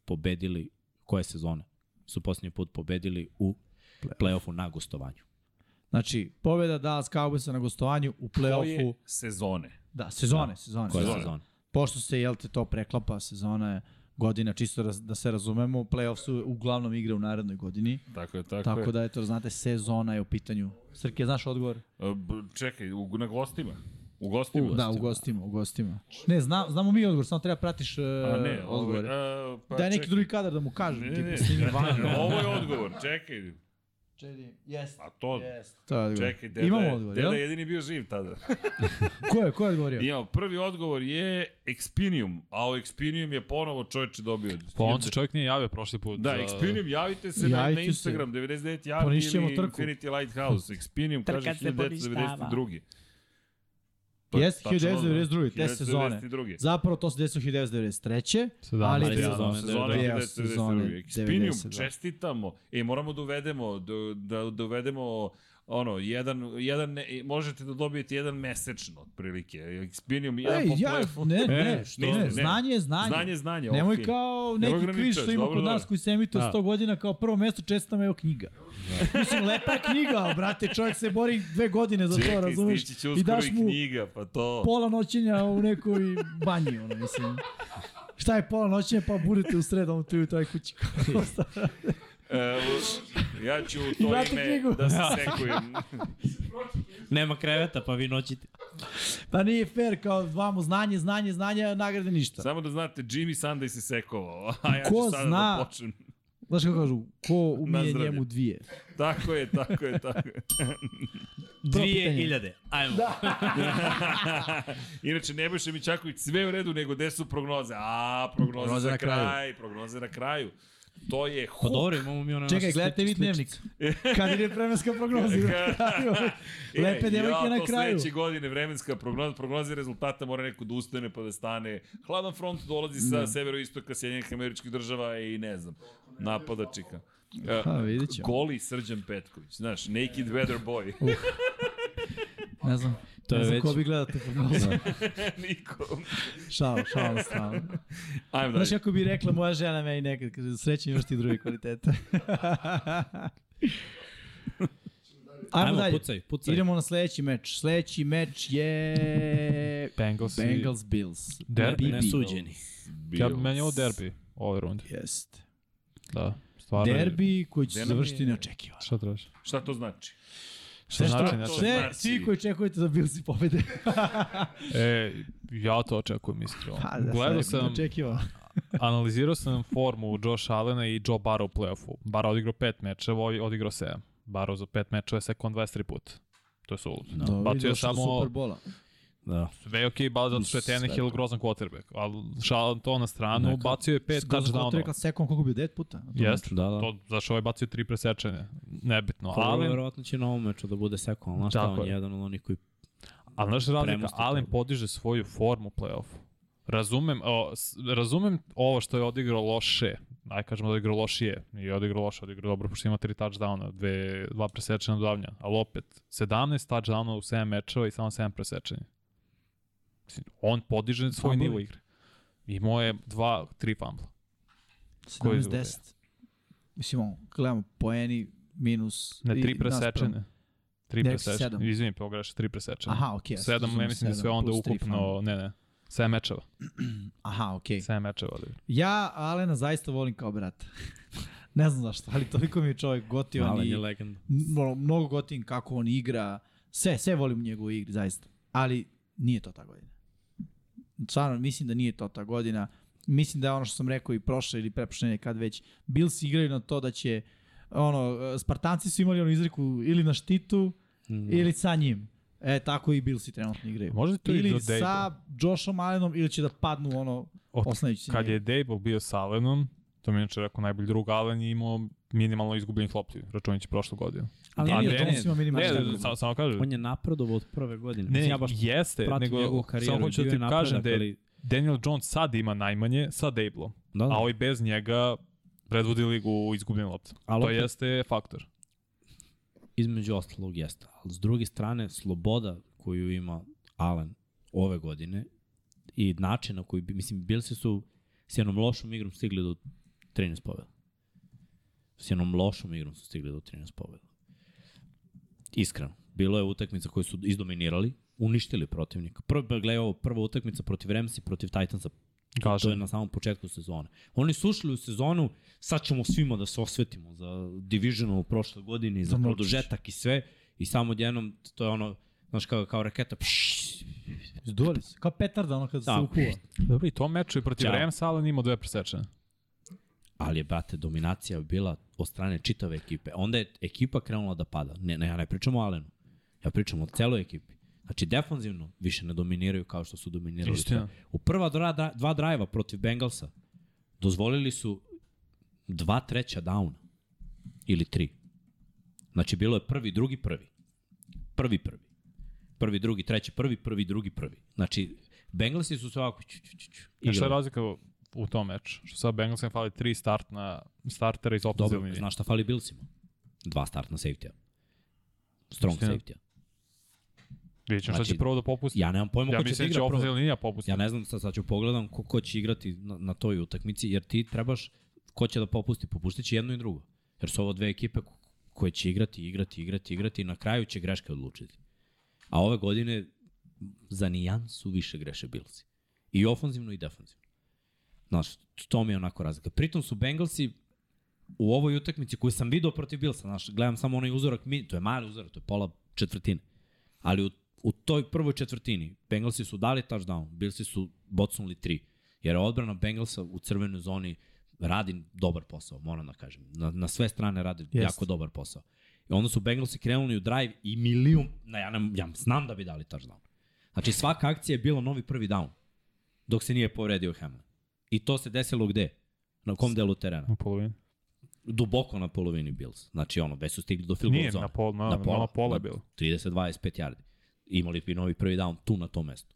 S3: pobedili koje sezone? Su poslednji put pobedili u play-offu na gostovanju.
S2: Znači, pobeda Dallas Cowboysa na gostovanju u play-offu.
S1: Koje sezone?
S2: Da, sezone, sezone.
S3: Koje
S2: sezone.
S3: sezone?
S2: Pošto se, jel te, to preklapa, sezona je godina, čisto raz, da se razumemo, play-off su uglavnom igre u narednoj godini.
S1: Tako je, tako,
S2: Tako,
S1: je.
S2: da, eto, znate, sezona je u pitanju. Srke, znaš odgovor?
S1: E, b- Čekaj, u, na gostima? U gostima?
S2: Da, u gostima, u gostima. Ne, zna, znamo mi odgovor, samo treba pratiš uh,
S1: A ne, odgovor.
S2: odgovor.
S1: E, pa
S2: Da je neki
S1: čekaj.
S2: drugi kadar da mu kažem.
S1: Ne,
S2: tipa,
S1: ne,
S2: snimi
S1: ne,
S2: van.
S1: ne, ovo je odgovor, čekaj.
S2: Jest,
S1: A to,
S2: jest. To je odgovor.
S1: čekaj, deda,
S2: Imamo
S1: je-
S2: odgovor,
S1: deda
S2: jel?
S1: je jedini bio živ tada.
S2: Ko je, ko je odgovorio?
S1: Imamo, prvi odgovor je Expinium, a o Expinium je ponovo čovječe dobio.
S4: Pa on se čovjek nije javio prošli put.
S1: Da,
S4: za-
S1: Expinium, javite se na, na
S2: Javite se.
S1: Instagram, 99 javi
S2: Ponišćemo
S1: ili
S2: trku. Hm.
S1: Infinity Lighthouse. Expinium
S3: Trka
S1: kaže
S3: se poništava.
S1: 1992.
S2: Jeste,
S1: tačno odgovor.
S2: 1992., te sezone.
S1: 1992.
S2: Zapravo to se desilo 1993.
S4: Sedamnaest
S2: Ali-
S4: dana.
S3: sezone.
S1: Sezona
S2: Da,
S1: 1992.
S2: sezone da.
S1: Expinium,
S2: 92.
S1: čestitamo. E, moramo da uvedemo, da, da, da uvedemo ono, jedan, jedan, ne- možete da dobijete jedan mesečno, otprilike. Expinium, jedan
S2: Ej,
S1: po
S2: ja,
S1: play-offu.
S2: ne,
S3: E,
S2: ne,
S3: što?
S2: ne,
S1: Ne.
S2: ne, znanje je znanje.
S1: Znanje, je znanje,
S2: Nemoj
S1: okej.
S2: kao
S1: Nemoj
S2: neki križ
S1: ograničavaš,
S2: što ima
S1: dobro,
S2: kod nas
S1: dobro.
S2: koji se emituje
S3: Da.
S2: 100 godina kao prvo mesto, čestitam evo knjiga. Mislim, lepa je knjiga, ali, brate, čovjek se bori dve godine za da to,
S1: Čekaj,
S2: razumeš?
S1: stići će
S2: I
S1: uskoro
S2: daš
S1: i
S2: mu
S1: knjiga, pa to.
S2: pola noćenja u nekoj banji, ono, mislim. Šta je pola noćenja, pa budete u sredom tu i taj kući.
S1: E, u- ja ću u to
S2: vrati
S1: ime
S2: knjigu.
S1: da se sekujem.
S3: Nema kreveta, pa vi noćite.
S2: pa nije fair, kao vamo znanje, znanje, znanje, a nagrade ništa.
S1: Samo da znate, Jimmy Sunday se sekovao, a ja
S2: Ko
S1: ću sada
S2: zna?
S1: da počnem.
S2: Znaš kako kažu, ko
S1: Na
S2: umije
S1: zdravlje.
S2: njemu dvije.
S1: Tako je, tako je, tako je.
S2: pitanje.
S3: 2000. Ajmo. Da.
S1: Inače, Nebojša Mićaković, sve u redu, nego gde su prognoze? A, prognoze, prognoze na kraju. Prognoze na kraju. To je
S3: Pa
S1: hook.
S3: dobro, imamo mi ono
S2: Čekaj,
S3: naše
S2: gledajte vi
S3: sličice.
S2: dnevnik. Kad je vremenska prognoza? ovaj. Lepe
S1: E,
S2: devojke
S1: ja,
S2: na
S1: to
S2: kraju.
S1: Sledeće godine vremenska prognoza, prognoze rezultata mora neko da ustane pa da stane. Hladan front dolazi sa
S2: Da.
S1: severoistoka Sjedinjenih američkih država i ne znam, napada čika. E,
S2: Ha, vidit ćemo.
S1: Goli Srđan Petković, znaš, naked weather boy.
S2: Ne znam,
S3: To
S2: ne
S3: je
S2: znam
S3: već-
S2: ko bi gledao te prognoze.
S1: Niko.
S2: šao, šao, stvarno.
S1: Ajmo
S2: Znaš
S1: dalje.
S2: kako bi rekla moja žena meni nekad, kaže, srećan imaš ti druge kvalitete. Ajmo,
S3: Ajmo,
S2: dalje.
S3: pucaj, pucaj.
S2: Idemo na sledeći meč. Sledeći meč je...
S4: Bengals. i-
S2: Bengals Bills.
S4: Derbi.
S3: Nesuđeni.
S4: Ja bi menio derbi ove runde.
S2: Jeste.
S4: Da, stvarno. je-
S2: Derbi koji će
S1: Derbi
S2: se završiti
S1: je-
S2: neočekivano.
S4: Šta traži?
S1: Šta to znači?
S4: Šta
S2: Sve
S4: znači?
S2: što,
S4: znači?
S1: sve-
S2: sve, svi koji čekujete da Bills i pobede.
S4: E, ja to očekujem iskreno. Gledao sam,
S2: Očekivao.
S4: analizirao sam formu Josh Allena i Joe Barra u playoffu. Barra odigrao pet mečeva, ovaj odigrao 7. Barra za pet mečeva je sekon 23 puta. To je suludo.
S3: No.
S2: Dobro,
S4: Bacio je
S2: došao do
S4: samo-
S2: Superbola.
S3: Da.
S4: Sve je okej, okay, zato što je
S3: Sve
S4: Tannehill
S3: dobro.
S4: grozan quarterback. Ali šalan to na stranu,
S3: Neka-
S4: bacio je pet
S2: Skoro sam to rekao
S4: touchdownova.
S2: sekund koliko bi 9 puta.
S4: Jeste,
S3: Da,
S4: da,
S3: da.
S4: da. to zašto ovaj bacio tri presečene, nebitno.
S3: Pa Allen...
S4: Allen,
S3: verovatno će na ovom meču da bude sekao, ali znaš šta,
S4: Tako
S3: on je
S4: je.
S3: jedan od onih koji...
S4: ali znaš razlika,
S3: premosti to.
S4: Allen podiže svoju formu u play-offu. Razumem, o, s- razumem ovo što je odigrao loše aj kažemo da je igrao lošije, i odigrao loše, odigrao dobro, pošto ima tri touchdowna, dve, dva presečena dodavnja, ali opet, 17 touchdowna u 7 mečeva i samo 7 presečenja. Mislim, On podiže svoj
S2: Fumblovi.
S4: nivo igre. Imao je dva, tri fumbla. Ko je
S2: 17-10. Mislim, on, gledamo, poeni minus...
S4: Ne,
S2: i
S4: tri
S2: naspram-
S4: presečene. Tri
S2: Ne, rekao si sedam.
S4: presečene. Izvinim, pogreši, tri presečene.
S2: Aha, okej. ja sam
S4: sedam, ne
S2: razumio,
S4: mislim da sve
S2: sedam
S4: onda
S2: plus tri
S4: ukupno,
S2: fumble.
S4: ne, ne, 7 mečeva.
S2: Aha, okej.
S4: 7 mečeva odigrao.
S2: Ja Alena zaista volim kao brata. ne znam zašto, ali toliko mi je čovjek gotivan
S3: Alan
S2: i
S3: je legenda.
S2: mno- mnogo gotivim kako on igra. Sve, sve volim u njegovoj igri, zaista. Ali nije to ta godina. Stvarno, mislim da nije to ta godina. Mislim da je ono što sam rekao i prošle ili prepošljenje kad već. Bills igraju na to da će ono, Spartanci su imali onu izreku ili na štitu,
S3: Mm.
S2: ili sa njim. E, tako i Billsi trenutno igraju.
S4: Možda to i do
S2: ili
S4: Dable.
S2: sa Joshom Allenom, ili će da padnu ono,
S4: Od-
S2: osnajući se
S4: Kad
S2: njega.
S4: je Dable bio sa Allenom, to mi je inače rekao najbolji drug, Allen je imao minimalno izgubljenih lopti, računajući prošlu godinu.
S2: Ali
S4: A
S2: nije
S4: Dennis-
S2: Jones ima minimalno
S4: Ne,
S2: izgubljenih.
S4: samo, samo kažem.
S3: On je napredovao od prve godine.
S4: Ne,
S3: Mislim,
S4: ne,
S3: ja baš
S4: jeste,
S3: pratim
S4: nego
S3: njegovu karijeru.
S4: samo hoću
S3: i bio
S4: da ti
S3: je napredak,
S4: kažem da je
S3: ali-
S4: Daniel Jones sad ima najmanje sa Dablom,
S3: Da, da.
S4: a ovaj bez njega predvodi ligu u izgubljenim loptama.
S3: Ali
S4: To
S3: opet-
S4: jeste faktor.
S3: između ostalog jeste. Ali s druge strane, sloboda koju ima Allen ove godine i način na koji, bi- mislim, Bilsi su s jednom lošom igrom stigli do 13 pobjeda. S jednom lošom igrom su stigli do 13 pobjeda. Iskreno. Bilo je utakmica koju su izdominirali, uništili protivnika. Prvo, pa gledaj ovo, prva utakmica protiv Remsi, protiv Titansa, To je
S4: Kažem.
S3: na samom početku sezone. Oni su ušli u sezonu, sad ćemo svima da se osvetimo za Division u prošloj godini, za
S2: Zamrčiš.
S3: produžetak i sve. I samo odjednom, to je ono, znaš, kao, kao raketa. Pšš,
S2: Zduvali se. Kao petarda ono kad se
S3: Da.
S2: ukuva.
S4: Dobro, i to meču je protiv
S3: Ćao.
S4: Rams, Allen imao dve presečene.
S3: ali je, brate, dominacija bila od strane čitave ekipe. Onda je ekipa krenula da pada. Ne, ne, ja ne pričam o Alenu. Ja pričam o celoj ekipi. Znači, defanzivno više ne dominiraju kao što su dominirali.
S4: Istina.
S3: U prva dva, dva drajva protiv Bengalsa dozvolili su dva treća downa. Ili tri. Znači, bilo je prvi, drugi, prvi. Prvi, prvi. Prvi, drugi, treći, prvi, prvi, drugi, prvi. Znači, Bengalsi su se ovako... Ču, ču, ču, ču,
S4: Znaš E, šta je
S3: igrali.
S4: razlika u- u tom meču? Što sad Bengalsima fali tri startna, startera iz opozivne
S3: Dobro,
S4: linije.
S3: znaš šta fali Billsima? Dva startna safety-a. Strong
S4: Istina.
S3: safety-a.
S4: Vidjet ćemo šta
S3: Znači,
S4: će prvo da popusti.
S3: Ja nemam pojma
S4: Ja
S3: ko će da
S4: mislim da će
S3: igra
S4: opozivna
S3: prvo.
S4: linija popustiti.
S3: Ja ne znam, sad, sad ću pogledam ko, ko će igrati na, na toj utakmici, jer ti trebaš ko će da popusti, popustit će jedno i drugo. Jer su ovo dve ekipe ko- koje će igrati, igrati, igrati, igrati i na kraju će greške odlučiti. A ove godine za nijansu više greše Billsi. I ofanzivno i defanzivno. Znaš, to mi je onako razlika. Pritom su Bengalsi u ovoj utakmici koju sam video protiv Billsa, znaš, gledam samo onaj uzorak, mi, to je mali uzorak, to je pola četvrtine. Ali u, u toj prvoj četvrtini Bengalsi su dali touchdown, Billsi su bocnuli tri. Jer odbrana Bengalsa u crvenoj zoni radi dobar posao, moram da kažem. Na, na sve strane radi Jest. jako dobar posao. I onda su Bengalsi krenuli u drive i milijun, na, ja, ne, ja znam da bi dali touchdown. Znači svaka akcija je bila novi prvi down, dok se nije povredio Hamlin. I to se desilo gde? Na kom delu terena?
S4: U polovini.
S3: duboko na polovini Bills. Znači ono, već su stigli do field goal
S4: Nije
S3: zone.
S4: na pol, na, na pola, na pola je bilo.
S3: 30-25 yardi. Imali bi novi prvi down tu na tom mestu.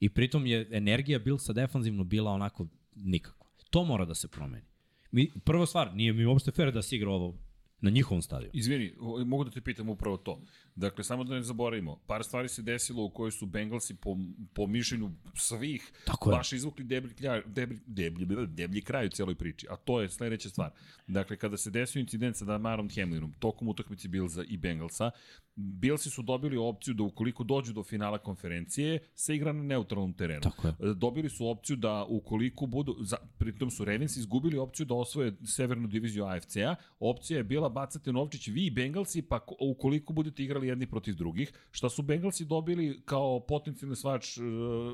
S3: I pritom je energija Billsa defanzivno bila onako nikako. To mora da se promeni. Mi, prva stvar, nije mi uopšte fair da se igra ovo na njihovom stadionu.
S1: Izvini, o- mogu da te pitam upravo to. Dakle, samo da ne zaboravimo, par stvari se desilo u kojoj su Bengalsi po, po mišljenju svih
S3: Tako je.
S1: baš izvukli deblji, klja, deblji, deblji, deblji, deblji kraj u cijeloj priči. A to je sledeća stvar. Dakle, kada se desio incident sa Damarom Hamlinom tokom utakmice Bilza i Bengalsa, Bilsi su dobili opciju da ukoliko dođu do finala konferencije, se igra na neutralnom terenu.
S3: Tako je.
S1: E, dobili su opciju da ukoliko budu, za, pritom su Ravens izgubili opciju da osvoje severnu diviziju AFC-a, opcija je bila bacate Novčić vi i Bengalsi, pa ko- ukoliko budete igrali jedni protiv drugih, šta su Bengalsi dobili kao potencijalni svač e,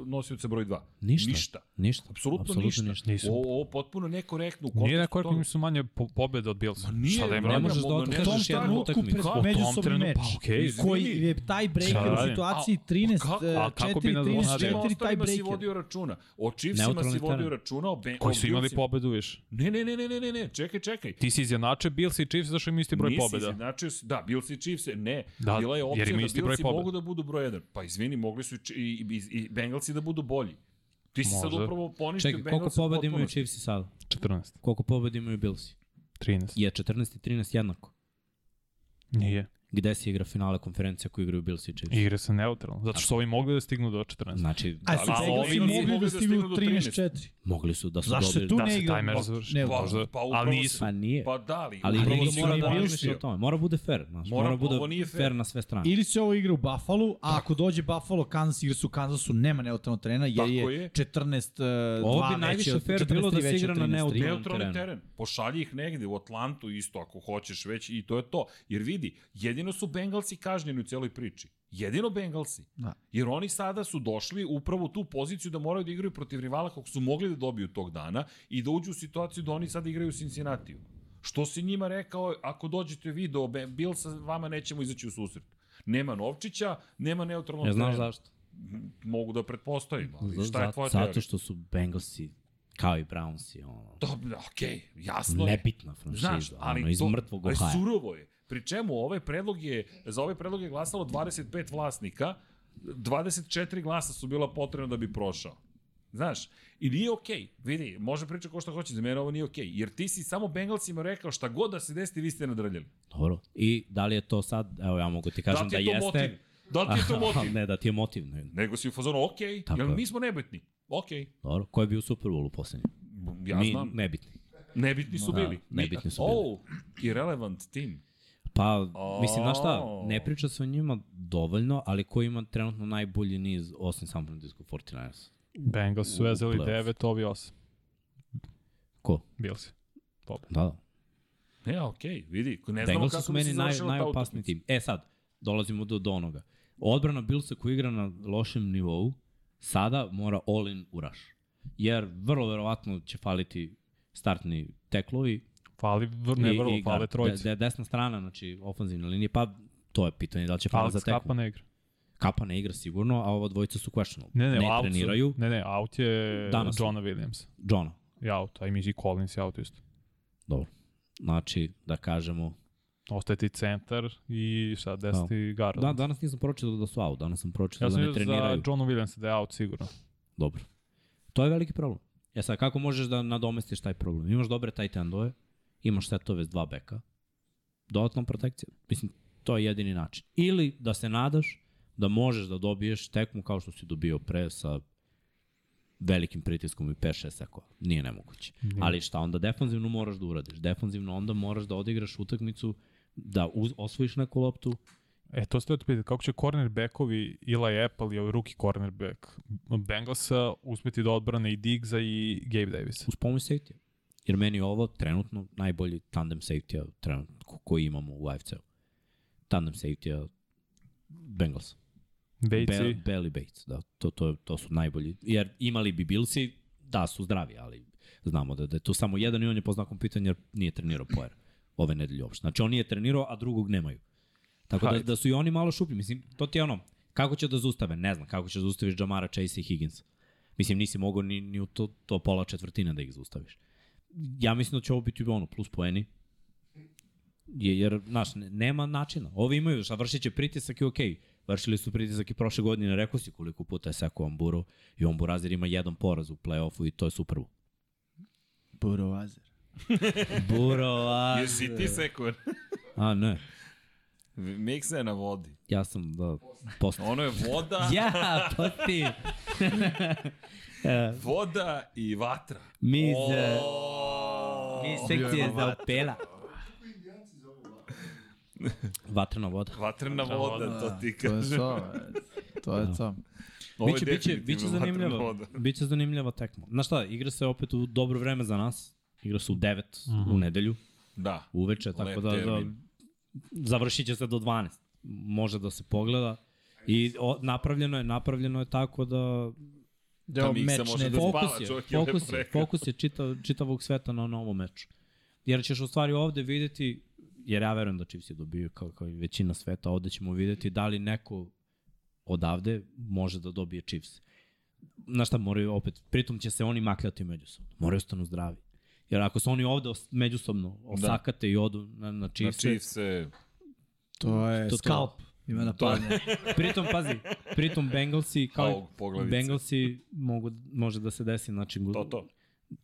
S1: nosioca broj 2?
S3: Ništa.
S1: Ništa.
S3: Ništa.
S1: Apsolutno, ništa. ništa.
S4: Nisu.
S1: Ovo, ovo potpuno nekorektno. u
S4: Nije
S1: kontekstu
S4: neko rekao
S1: toga.
S4: im su manje po, pobjeda od Bilsa.
S1: Ma nije,
S4: Šta da im
S1: bre,
S3: Ne
S4: radim?
S1: mo-
S3: možeš da
S1: ne
S2: tom
S3: otkažeš
S1: znam
S3: jednu
S1: šta-
S2: trenutku
S3: utakmicu.
S2: pred
S4: Pa, u tom
S2: međusobni
S4: trenu-
S2: meč,
S4: pa, okej,
S2: koji
S1: izvini.
S2: je taj
S4: Šta
S2: breaker u
S4: radim?
S2: situaciji
S1: A-
S2: 13,
S1: kako-
S2: e,
S4: a kako bi
S2: 4,
S4: na-
S1: O
S2: 13,
S4: Znaš,
S1: svima
S2: 4 taj
S1: ostalima si
S2: breaker.
S1: vodio računa. O Chiefsima si
S3: Neutralni
S1: vodio
S3: teren.
S1: računa. O ben,
S4: Koji
S1: o
S4: su imali
S1: Billsima.
S4: pobedu više.
S1: Ne, ne, ne, ne, ne, ne, ne, čekaj, čekaj.
S4: Ti si izjednačio Bills i Chiefs zašto imaju isti broj
S1: Nisi
S4: pobjeda.
S1: izjednačio si- da, Bills i Chiefs, ne.
S4: Da,
S1: Bila je
S4: jer
S1: opcija da
S4: imaju isti broj
S1: Bills
S4: pobeda.
S1: mogu da budu broj 1. Pa izvini, mogli su i, Ch- i, i, i Bengalsi da budu bolji. Ti si sad
S4: Može.
S1: upravo poništio
S3: Čekaj, koliko
S1: Bengalsa
S3: pobeda imaju
S1: potpuno.
S3: Chiefs i sada?
S4: 14,
S3: Koliko pobeda imaju Billsi?
S4: 13.
S3: Je 14 i 13 jednako.
S4: Nije.
S3: Gde se igra finale konferencija koju igraju Bills i Chiefs?
S4: Igra se neutralno, zato što ovi mogli da stignu do 14.
S3: Znači,
S2: A
S1: Da,
S2: su
S1: ali
S2: Bengalsi
S1: ovi nisu
S2: mogli da stignu do 13-4.
S3: mogli su da su
S2: Zašto
S3: dobili...
S2: tu
S4: da
S2: ne
S4: se
S2: igra
S4: tajmer
S2: blok?
S4: završi,
S2: Ne,
S4: možda,
S1: pa upravo
S4: ali nisu.
S3: Pa nije.
S1: Pa da li?
S3: ali
S1: upravo
S3: igra
S1: si
S3: mora
S1: ga
S3: da razmišlja o
S1: poništio.
S3: tome. Mora bude fair. Znaš,
S1: Mora-
S3: mora, mora
S1: ovo nije
S3: bude
S1: fair.
S3: fair na sve strane.
S2: Ili se ovo igra u Buffalo, a ako dođe Buffalo, Kansas, igra su u Kansasu, nema neutralnog terena, jer
S1: Tako
S2: je,
S1: je.
S2: 14
S3: Ovo bi
S2: dva
S3: najviše
S2: veće od-
S3: fair
S2: 14
S3: bilo da se
S2: veće
S3: igra
S2: od
S3: na
S2: 13
S3: neutralnom
S1: Neutralni
S3: terenu.
S1: teren. Pošalji ih negde, u Atlantu isto ako hoćeš već i to je to. Jer vidi, jedino su Bengalsi kažnjeni u cijeloj priči. Jedino Bengalsi.
S2: Da.
S1: Jer oni sada su došli upravo u tu poziciju da moraju da igraju protiv rivala kako su mogli da dobiju tog dana i da uđu u situaciju da oni sada igraju u Cincinnatiju. Što si njima rekao, ako dođete vi do Be- Billsa, vama nećemo izaći u susret. Nema Novčića, nema neutralnog
S3: Ne znaš
S1: trenera.
S3: zašto?
S1: Mogu da pretpostavim, ali šta je
S3: Zato-
S1: tvoja teorija?
S3: Zato što su Bengalsi kao i Brownsi, ono,
S1: Dobro, okej, jasno je.
S3: nebitna franšiza,
S1: Znaš, ali
S3: ono, iz
S1: to,
S3: mrtvog
S1: ali
S3: Ohaja.
S1: surovo je. Pri čemu ovaj predlog je, za ovaj predlog je glasalo 25 vlasnika, 24 glasa su bila potrebna da bi prošao. Znaš, i nije okej, vidi, može priča ko šta hoće, za mene ovo nije okej, jer ti si samo Bengalsima rekao šta god da se desi, vi ste nadrljali.
S3: Dobro. I da li je to sad, evo ja mogu ti kažem
S1: da ti
S3: da,
S1: je to motiv?
S3: jeste.
S1: Da li ti je to motiv?
S3: ne, da ti je motiv. Ne.
S1: Nego si u fazonu, okej,
S3: Tako
S1: jer
S3: je.
S1: mi smo nebitni. Okej,
S3: Dobro, ko je bio u Super Bowlu poslednji?
S1: ja
S3: Mi,
S1: znam,
S3: nebitni.
S1: nebitni su
S3: Da,
S1: bili. Mi-
S3: nebitni su bili.
S1: Oh, irrelevant team.
S3: Pa, mislim, znaš šta,
S1: O.
S3: ne priča se o njima dovoljno, ali ko ima trenutno najbolji niz osim San Francisco 49ers?
S4: Bengals su
S3: U- u
S4: vezali
S3: playoff.
S4: 9, ovi 8.
S3: Ko?
S4: Bills.
S3: Da, da.
S1: Ne, okej, vidi, ne znamo
S3: Bengalsi
S1: kako
S3: su
S1: bi se
S3: meni naj,
S1: završila ta
S3: najopasniji
S1: utakmica.
S3: tim. E sad, dolazimo do, do onoga. Odbrana Bilsa koja igra na lošem nivou, sada mora all in u rush. Jer vrlo verovatno će faliti startni teklovi.
S4: Fali, vr- ne
S3: i-
S4: vrlo,
S3: i da,
S4: fale
S3: guard.
S4: trojice.
S3: De, de, desna strana, znači ofanzivna linija, pa to je pitanje da li će fali za
S4: Alex
S3: teklu.
S4: Kapa ne igra.
S3: Kapa ne igra sigurno, a ova dvojica su questionable.
S4: Ne, ne,
S3: ne
S4: out su-
S3: treniraju.
S4: Ne, ne, out je
S3: Danas.
S4: Johna Williams.
S3: Johna.
S4: Je out, a i Mickey Collins je out isto.
S3: Znači, da kažemo...
S4: Ostaje ti centar i šta, deseti guard.
S3: Da, danas nisam pročitao da su out, danas sam pročitao
S4: Ja sam
S3: da ne
S4: vidio za
S3: treniraju.
S4: Johna Williamsa da je out sigurno.
S3: Dobro. To je veliki problem. E sad, kako možeš da nadomestiš taj problem? Imaš dobre tight endove, imaš setove s dva beka, dodatnom protekcijom. Mislim, to je jedini način. Ili da se nadaš da možeš da dobiješ tekmu kao što si dobio pre sa velikim pritiskom i 5-6 sekova. Nije nemoguće. Ali šta onda defanzivno moraš da uradiš? Defanzivno onda moraš da odigraš utakmicu, da uz, osvojiš neku loptu.
S4: E, to ste otpitati, kako će cornerbackovi Eli Apple i ovaj rookie cornerback Bengalsa uspeti da odbrane i Diggsa i Gabe Davisa?
S3: uz pomoć safety Jer meni je ovo trenutno najbolji tandem safety-a trenutno ko- koji imamo u AFC-u. Tandem safety-a Bengals.
S4: Bates
S3: Be
S4: i...
S3: Belly Bates, da. To, to, to su najbolji. Jer imali bi Bilsi, da su zdravi, ali znamo da, da je tu samo jedan i on je po znakom pitanja jer nije trenirao Poer ove nedelje uopšte. Znači on nije trenirao, a drugog nemaju. Tako da,
S4: Hajde.
S3: da su i oni malo šuplji. Mislim, to ti je ono, kako će da zaustave? Ne znam, kako će da zaustaviš Jamara, Chase i Higgins. Mislim, nisi mogao ni, ni u to, to pola četvrtine da ih zaustaviš. Ja mislim da će ovo biti ono, plus poeni. Je, jer, znaš, ne- nema načina. Ovi imaju, šta vršit će pritisak i okej. Vršili su pritisak i prošle godine, rekao si koliko puta je sekao Amburu i Amburazir ima jedan poraz u play-offu i to je super.
S2: Burovazer.
S3: Buroaz.
S1: Jesi ti sekuen?
S3: A ne,
S1: Miksa je na vodi.
S3: ja sam da postao.
S1: Ono je voda,
S3: Ja, to ti. E,
S1: voda i vatra.
S3: mi se,
S1: O,
S3: mi e, sekcije zaopela. Vatrena voda.
S1: Vatrena voda, to ti
S2: To je
S1: kažem.
S2: to. Pa e, To
S3: Da.
S2: je to.
S1: Ovo je
S3: Biće, biće, biće
S1: definitivno vatrena
S3: zanimljiva,
S1: voda.
S3: biće zanimljiva tekma. Znaš šta, igra se opet u dobro vreme za nas. Igra se u 9 u nedelju,
S1: Da.
S3: uveče, tako
S1: Lep
S3: da, da
S1: termin.
S3: završit će se do 12. Može da se pogleda. I o, napravljeno je, napravljeno je tako da
S2: Deo
S1: mi se
S2: meč
S1: može
S2: nedelje.
S1: da-
S3: fokus
S1: spava,
S3: je,
S1: čovjek je
S3: fokus
S1: lepo
S3: je,
S1: rekao.
S3: fokus je čitav, čitavog sveta na, na ovom meču. Jer ćeš u stvari ovde videti, jer ja verujem da Chiefs je dobio kao, kao i većina sveta, ovde ćemo videti da li neko odavde može da dobije Chiefs. Na šta moraju opet, pritom će se oni makljati međusobno, moraju stanu zdravi. Jer ako se oni ovde os, međusobno osakate da. i odu na, na
S1: Na
S3: Chiefs,
S1: Chiefs se...
S2: To je
S3: To- to-
S2: skalp. Ima napadne.
S3: Pritom, pazi, pritom Bengalsi, kao
S1: Kao
S3: i
S1: poglavice.
S3: Bengalsi mogu, može da se desi, znači,
S1: To, to.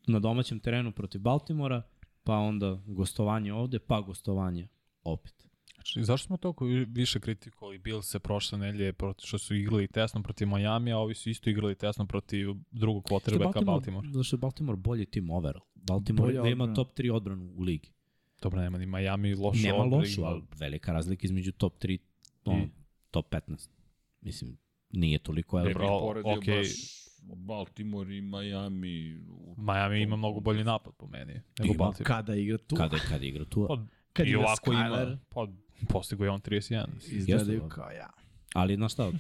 S3: na domaćem terenu protiv Baltimora, pa onda gostovanje ovde, pa gostovanje opet.
S4: Znači, zašto smo toliko vi- više kritikovali Bill se prošle nedelje protiv što su igrali tesno protiv Miami, a ovi su isto igrali tesno protiv drugog
S3: Što je
S4: quarterbacka Baltimore.
S3: Znači, Zato što je Baltimore bolji tim overall. Baltimore
S2: Bolja
S3: da ima
S2: odbrana.
S3: top 3 odbranu u ligi.
S4: Dobro, nema ni Miami lošu.
S3: Nema
S4: odbranu,
S3: lošu, ali velika razlika između top 3 ono,
S4: da. I-
S3: top 15. Mislim, nije toliko
S1: Ne bih
S3: overall.
S4: Dobro,
S1: poredio
S4: okej.
S1: baš Baltimore i Miami. u-
S4: Miami ima mnogo bolji napad po meni nego
S3: Ima.
S4: Baltimore.
S2: Kada igra tu?
S3: Kada, kada igra tu.
S4: Pa,
S2: Kad
S4: I
S2: igra
S4: ovako
S2: Skyler.
S4: ima, pa postigo je on 31.
S2: Izgledaju
S3: Jeste, da.
S2: kao ja.
S3: Ali, znaš šta,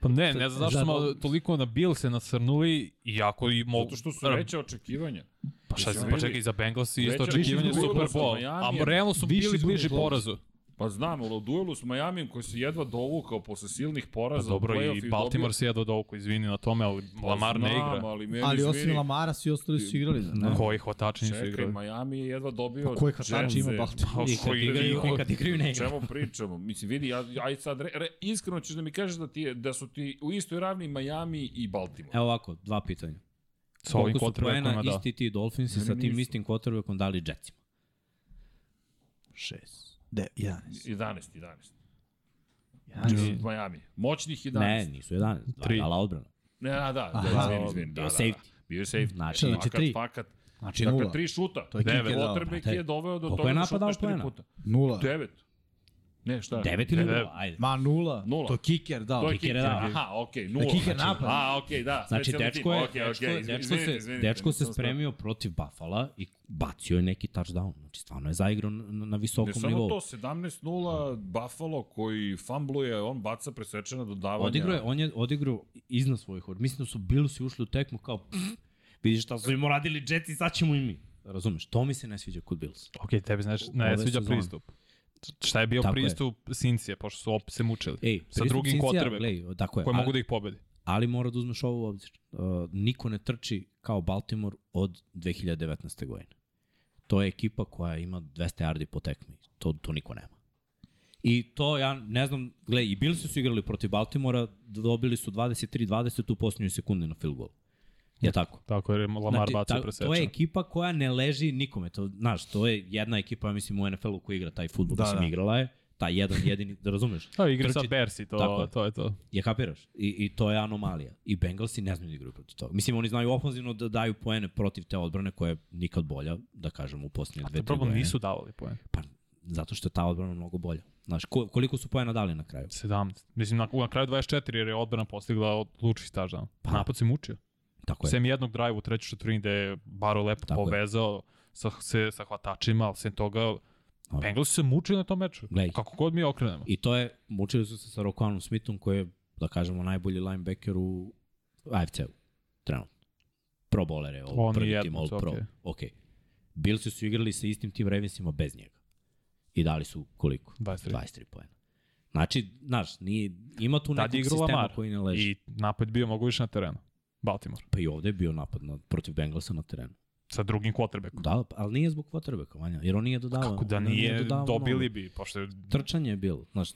S4: Pa ne, ne znam zašto smo
S2: Zato-
S4: toliko na Bill se nasrnuli, iako i mogu...
S1: Zato što su veće očekivanja.
S4: Pa šta
S1: Jesu
S4: se, pa
S1: bili-
S4: čekaj, za Bengals i isto
S1: Veća-
S4: očekivanje
S1: više
S4: Super
S1: su
S4: Bowl.
S1: Miami,
S4: A realno su
S2: više
S4: bili
S2: su
S4: bliži
S2: bili
S4: porazu.
S1: Pa znam, ali u duelu s Majamijem koji se jedva dovukao posle silnih
S4: Pa
S1: poraza. u
S4: dobro,
S1: play-off
S4: i Baltimore
S1: dobio-
S4: se jedva dovukao, izvini na tome, ali
S1: Pa
S4: Lamar ne
S1: znam,
S4: igra.
S1: Ali, meni
S2: Ali
S1: izvini,
S2: osim Lamara, svi ostali su igrali. Da, ne?
S4: Koji hvatačni su
S1: Čekaj,
S4: igrali.
S1: Miami je jedva dobio...
S2: Pa koji
S1: Jetse.
S2: hvatači ima Baltimore?
S4: Pa,
S3: i kad
S4: koji-
S3: igraju, i kad igraju ne
S1: O
S3: igra.
S1: čemu pričamo? Mislim, vidi, ja, aj sad, re, re, iskreno ćeš da mi kažeš da, ti je, da su ti u istoj ravni Miami i Baltimore.
S3: Evo ovako, dva pitanja.
S4: Sa ovim
S3: Koliko su poena
S4: quarterbackom, da.
S3: isti ti Dolphins i sa
S1: Meni
S3: tim
S1: nisu.
S3: istim quarterbackom dali Jetsima?
S2: 6, 9, 11.
S1: 11, 11.
S2: 11.
S4: Mm.
S1: Miami. Moćnih 11.
S3: Ne, nisu 11, dva
S4: Tri.
S3: je dala odbrana.
S1: Ne, da, da, da,
S2: Aha.
S1: izvini, izvini. Da, da,
S3: Bio
S1: da.
S3: safety.
S1: Bio je safety.
S3: Znači,
S1: Fakat,
S2: znači tri.
S1: Fakat.
S2: Znači
S1: Dakle,
S2: 0.
S1: tri šuta.
S2: To je kick
S1: Devet.
S2: je dao,
S1: Quarterback
S3: brate.
S1: je doveo do
S3: Koliko
S1: toga
S3: je
S1: da
S3: napadao
S1: šutneš tri
S3: poena?
S1: puta.
S2: 0.
S1: Devet. Ne, šta?
S3: 9 ili
S4: Ne, ne.
S3: 0, ajde.
S2: Ma 0.
S1: Nula.
S2: To je kiker da. dao.
S1: To je
S3: Kicker
S1: kiker,
S3: je Da, dao.
S1: aha, okej, nula.
S2: kicker
S1: Znači,
S2: napada.
S1: A, okej, da.
S3: Znači,
S1: specijalni
S3: dečko je,
S1: tim. Okej,
S3: dečko,
S1: okej,
S3: dečko,
S1: izvinite,
S3: se,
S1: izvinite,
S3: dečko se
S1: nisam spremio.
S3: spremio protiv Buffalo i bacio je neki touchdown. Znači, stvarno je zaigrao na, na
S1: Ne
S3: visokom
S1: samo
S3: nivou.
S1: to, 17-0 Buffalo koji fambluje, on baca presečena dodavanja.
S3: Odigrao je, on je odigrao iznad svojih od. Mislim da su bili su ušli u tekmu kao, pff, vidiš šta su im uradili Jetsi, sad ćemo i mi. Razumeš, to mi se ne sviđa kod Bills.
S4: Ok, tebi znaš,
S3: Ove
S4: ne sviđa
S3: sezone.
S4: pristup. Šta je bio
S3: Tako je.
S4: pristup Sincije, pošto su opet se mučili.
S3: Ej,
S4: Sa
S3: pristup
S4: drugim
S3: Cincija,
S4: quarterbackom
S3: gledaj, Tako je,
S4: Koje
S3: ali,
S4: mogu da ih pobedi.
S3: ali mora da uzmeš ovo u obzir. Uh, niko ne trči kao Baltimore od 2019. godine. To je ekipa koja ima 200 yardi po tekmi. To, to niko nema. I to ja ne znam, gle, i Bills su igrali protiv Baltimora, dobili su 23-20 u posljednjoj sekundi na field goal. Je tako? Znači,
S4: Tako jer je Lamar bacio
S3: ta-
S4: presečan.
S3: To je ekipa koja ne leži nikome. To, znaš, to je jedna ekipa, ja mislim, u NFL-u koja igra taj futbol. Da,
S2: Da,
S3: mislim,
S2: da.
S3: igrala je. Ta jedan jedini, da razumeš?
S4: Da, igra
S3: Trči-
S4: sad Bersi,
S3: Tako
S4: to,
S3: je.
S4: to je to.
S3: Je kapiraš? I, I to je anomalija. I Bengalsi ne znaju da igraju protiv toga. Mislim, oni znaju ofenzivno da daju poene protiv te odbrane koja je nikad bolja, da kažem, u posljednje dve,
S4: To
S3: tri
S4: problem
S3: godine.
S4: nisu davali poen.
S3: Pa, zato što je ta odbrana mnogo bolja. Znaš, ko, koliko su poena dali na kraju?
S4: 17. Mislim, na, na kraju 24 jer je odbrana postigla odlučnih staža.
S3: Pa.
S4: Pa. Napad se mučio.
S3: Tako je.
S4: Sem jednog drive u trećoj četvrtini gde je Baro lepo
S3: Tako je.
S4: povezao sa, se, sa hvatačima, ali sem toga
S3: Dobro.
S4: Bengals su se mučili na tom meču.
S3: Glej.
S4: Kako god mi okrenemo.
S3: I to je, mučili su se sa Rokuanom Smithom koji je, da kažemo, najbolji linebacker u AFC-u, trenutno. Pro bowler je, all,
S4: On
S3: prvi
S4: je
S3: tim all
S4: jednac,
S3: pro.
S4: okej.
S3: Ok. Bilsi su igrali sa istim tim Ravensima bez njega. I dali su koliko?
S4: 23.
S3: 23 poena. Znači, znaš, nije, ima tu
S4: Tad je
S3: nekog
S4: igrao
S3: sistema
S4: Lamar.
S3: koji ne leži. I...
S4: I napad bio mogu više na terenu. Baltimore.
S3: Pa i ovde je bio napad na, protiv Bengalsa na terenu.
S4: Sa drugim quarterbackom.
S3: Da, pa- ali nije zbog quarterbacka, Vanja, jer on nije dodavao.
S4: Kako da
S3: on
S4: nije,
S3: dodavao
S4: dobili bi, pošto je
S3: trčanje je bilo, znaš,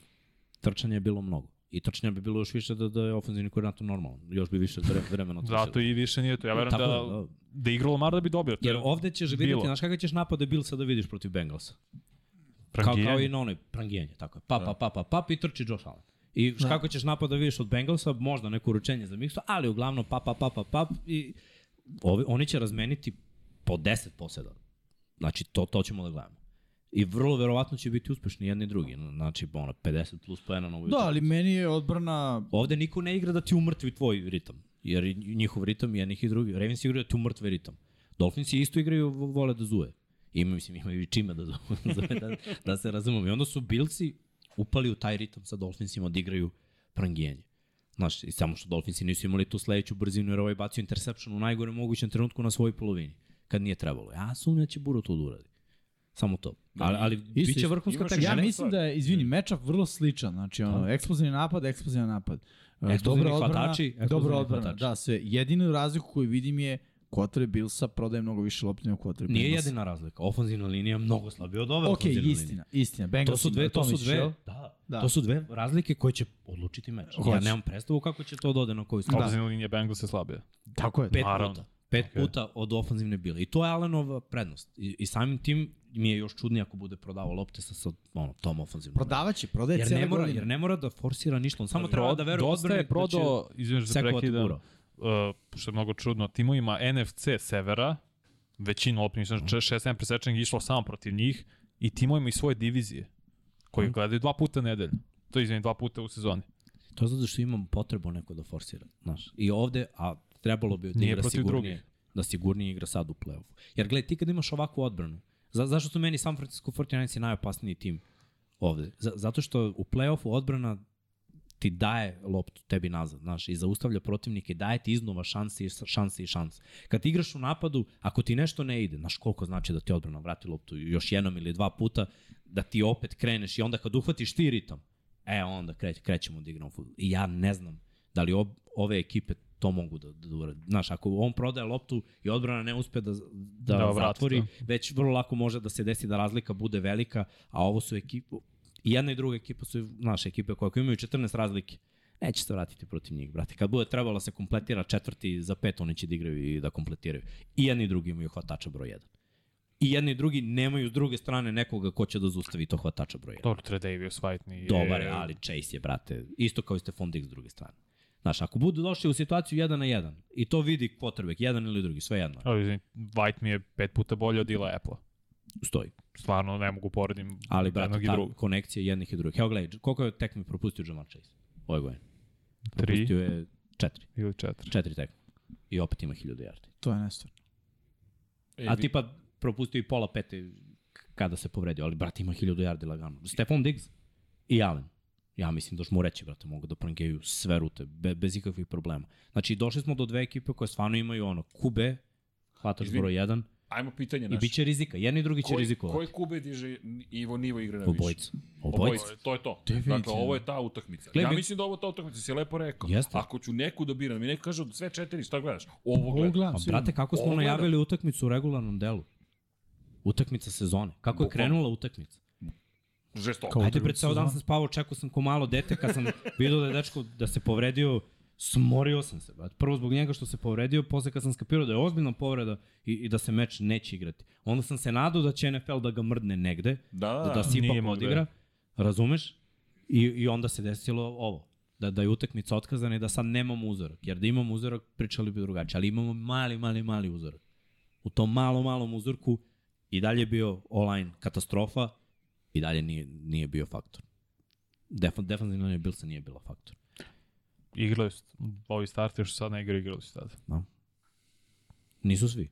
S3: trčanje je bilo mnogo. I trčanja bi bilo još više da, da je ofenzivni koordinator normalan. Još bi više vre- vremena trčao.
S4: Zato i više nije to. Ja verujem
S3: Tako
S4: da,
S3: je, da.
S4: da, da je igrao Lamar da bi dobio. To
S3: Jer
S4: je
S3: ovde ćeš vidjeti,
S4: bilo.
S3: znaš kakav ćeš napade Bilsa da vidiš protiv Bengalsa. Kao,
S4: prangijanje.
S3: kao i na onoj prangijanje, tako je. Pa, pa, pa, pa, pa, pa i trči Josh Allen. I da. kako ćeš napad da vidiš od Bengalsa, možda neko uručenje za miksu, ali uglavnom pa, pa, pa, pa, pa i ovi, oni će razmeniti po 10 poseda. Znači, to, to ćemo da gledamo. I vrlo verovatno će biti uspešni jedni i drugi. Znači, ono, 50 plus poena na ovoj
S2: Da,
S3: utakmici.
S2: ali meni je odbrana...
S3: Ovde niko ne igra da ti umrtvi tvoj ritam, jer i njihov ritam je jednih i drugih. Ravens igraju da ti umrtve ritam. Dolphins isto igraju, vo- vole da zuje. Ima, mislim, imaju i čime da, zove, da, da se razumemo. I onda su Bilci upali u taj ritam sa Dolphinsima da igraju prangijenje. Znaš, i samo što Dolphinsi nisu imali tu sledeću brzinu, jer ovaj bacio interception u najgore mogućem trenutku na svojoj polovini, kad nije trebalo. Ja sumnjam da će Buro to da uradi. Samo to. Ali, ali bit će
S2: Da. isto.
S3: vrhunska
S1: Imaš-
S3: tekma.
S2: Ja
S1: žena
S2: mislim
S1: stvar.
S2: da je, izvini, matchup vrlo sličan. Znači, ono, eksplozivni napad, eksplozivni napad. E,
S3: Da. Eksplozivni
S2: dobra odbrana,
S3: hvatači, eksplozivni
S2: dobra odbrana.
S3: hvatači.
S2: Da, sve. Jedinu razliku koju vidim je Kotre Bilsa prodaje mnogo više lopti nego Kotre Bilsa.
S3: Nije jedina razlika. Ofanzivna linija je mnogo slabija od ove
S2: Ok,
S3: ofanzivne linije.
S2: istina, istina. Bengals
S3: To su dve, to su dve. Da.
S2: Da.
S3: To su dve razlike koje će odlučiti meč. Ja
S4: Hoće.
S3: nemam predstavu kako će to dode na koju stranu.
S4: Obzirna linija Bengals je slabija.
S2: Da, Tako je.
S3: Pet
S4: Naravno.
S3: puta. Pet
S4: Okej.
S3: puta od ofanzivne bile. I to je Allenova prednost. I, i samim tim mi je još čudnije ako bude prodavao lopte sa, sa ono, tom ofanzivnom.
S2: Prodavaće, prodaje
S3: jer
S2: cijele
S3: ne, mora,
S2: godine.
S3: jer ne mora da forsira ništa. On samo treba da veruje u
S4: Dosta
S3: odbrani
S4: je prodao, izvinjam
S3: da će
S4: što se
S3: sekovati
S4: prekidam,
S3: buro.
S4: uh, što je mnogo čudno, timovima NFC severa, većinu lopnih, znači 6-7 presečenih je išlo samo protiv njih i timovima iz svoje divizije, koji
S3: Mhm.
S4: gledaju dva puta nedeljno. To je, izvinim, dva puta u sezoni.
S3: To je zato što imam potrebu neko da forsira. Znaš. I ovde, a trebalo bi da
S4: Nije
S3: igra
S4: protiv
S3: sigurnije.
S4: drugih.
S3: Da sigurnije igra sad u play-offu. Jer gledaj, ti kad imaš ovakvu odbranu, za, zašto su meni San Francisco 49ers je najopasniji tim ovde? Za, zato što u play-offu odbrana ti daje loptu tebi nazad, znaš, i zaustavlja protivnike, daje ti iznova šanse i šanse i šanse. Kad ti igraš u napadu, ako ti nešto ne ide, znaš koliko znači da ti odbrana vrati loptu još jednom ili dva puta, da ti opet kreneš i onda kad uhvatiš ti ritam, e, onda kreć, krećemo da igramo fudbal. I ja ne znam da li ob, ove ekipe to mogu da, da urade. Znaš, ako on prodaje loptu i odbrana ne uspe da, da,
S4: Da
S3: da
S4: vrati,
S3: zatvori,
S4: da.
S3: već vrlo lako može da se desi da razlika bude velika, a ovo su ekipu, i jedna i druga ekipa su naše ekipe koje ako imaju 14 razlike. Neće se vratiti protiv njih, brate. Kad bude trebalo da se kompletira četvrti za pet, oni će da igraju i da kompletiraju. I jedni i drugi imaju hvatača broj 1. I jedni i drugi nemaju s druge strane nekoga ko će da zustavi to hvatača broj 1.
S4: Dobro, Tre Davis, White nije...
S3: Dobar je, ali Chase je, brate, isto kao i Stefan Dix s druge strane. Znaš, ako budu došli u situaciju 1 na 1 i to vidi quarterback, jedan ili drugi, sve jedno,
S4: Ali, izvini, White mi je pet puta bolje od Ila Apple-a.
S3: stoji.
S4: Stvarno, ne mogu poredim
S3: Ali,
S4: jednog
S3: brate,
S4: i
S3: ta
S4: drugog.
S3: konekcija jednih i drugih. Evo, gledaj, koliko je tekmi propustio Jamal Chase? Ove godine.
S4: Tri
S3: Propustio je četiri.
S4: ili četiri.
S3: Četiri tekme. I opet ima 1000 yardi.
S2: To je nestvarno.
S1: E,
S3: A ti pa propustio i pola pete k- kada se povredio, ali brate ima 1000 yardi lagano. Stefan Diggs i Allen. Ja mislim da ću mu reći, brate, mogu da prangeju sve rute, be, bez ikakvih problema. Znači, došli smo do dve ekipe koje stvarno imaju ono, kube, hvataš
S1: Izvini,
S3: broj jedan,
S1: Ajmo pitanje
S3: i
S1: naše.
S3: bit će rizika. Jedni i drugi će
S1: koji,
S3: rizikovati.
S1: Koji kube diže Ivo nivo igre na više?
S3: Obojica. Obojica.
S1: Obojica. To je to. Dakle,
S2: Definitivno.
S1: ovo je ta utakmica.
S3: Gle,
S1: ja
S3: mi-
S1: mislim da ovo je ta utakmica, si lepo rekao.
S3: Jeste.
S1: Ako ću neku da biram, mi neko kaže od sve četiri, šta gledaš? Ovo
S2: Ovo
S1: gledam.
S2: gledam.
S3: Pa,
S2: sigurno.
S3: brate, kako smo
S1: Ovo gledam.
S3: najavili utakmicu u regularnom delu? Utakmica sezone. Kako je
S1: Bukvalno.
S3: krenula utakmica?
S1: Žestoko.
S2: Kao-
S3: Ajde, pred
S2: utakmicu
S3: ceo dan
S2: sezone.
S3: sam spavao, čekao sam ko malo dete, kad sam vidio da je dečko da se povredio, smorio sam se, brat. Prvo zbog njega što se povredio, posle kad sam skapirao da je ozbiljna povreda i, i da se meč neće igrati. Onda sam se nadao da će NFL da ga mrdne negde,
S1: Da,
S3: da, da se
S4: Pa nije
S3: ipak
S4: mogao.
S3: odigra, razumeš? I, I onda se desilo ovo, da, da je utakmica otkazana i da sad nemamo uzorak, jer da imamo uzorak pričali bi drugačije, ali imamo mali, mali, mali uzorak. U tom malom, malom uzorku i dalje je bio online katastrofa i dalje nije, nije bio faktor. Def, defensivna je Bilsa nije bila faktor.
S4: Igrali su, ovi starteri što sad ne igra, igrali su tada.
S3: Nisu svi.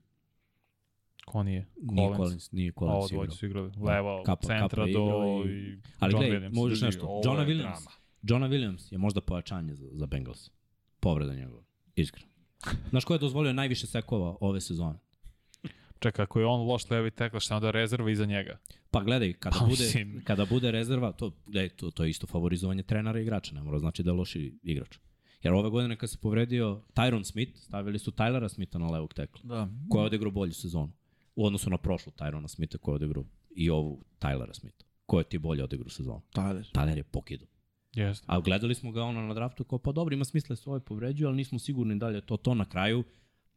S4: Ko nije?
S3: Nije Collins, nije
S4: Ovo
S3: Collins
S4: dvojice
S3: igrao.
S4: su igrali. Leva,
S3: Kapa-
S4: centra
S3: Kapa je
S4: do...
S3: igrao i-
S4: I...
S3: Ali
S4: John
S3: gledaj,
S4: Williams.
S3: možeš
S1: Ljudi,
S3: nešto.
S1: ovo
S3: Johna
S1: je
S3: Williams.
S1: drama.
S3: Johna Williams je možda pojačanje za, za Bengals. Povreda njegova. Iskreno. Znaš ko je dozvolio najviše sekova ove sezone?
S4: Čekaj, ako je on loš levi tekla, šta je onda rezerva iza njega?
S3: Pa gledaj, kada,
S4: Pa,
S3: bude,
S4: mislim.
S3: kada bude rezerva, to, gledaj, to, to je isto favorizovanje trenera i igrača, ne mora znači da je loši igrač. Jer ove godine kad se povredio Tyron Smith, stavili su Tylera Smitha na levog tekla.
S2: Da.
S3: koja je odigrao bolju sezonu u odnosu na prošlu Tyrona Smitha koja je odigrao i ovu Tylera Smitha koja ti je bolje odigrao sezonu.
S2: Tyler.
S3: Tyler je pokidu.
S4: Jeste.
S3: A gledali smo ga ono na draftu kao pa dobro ima smisla da se ovaj povređuje, ali nismo sigurni da li je to to na kraju.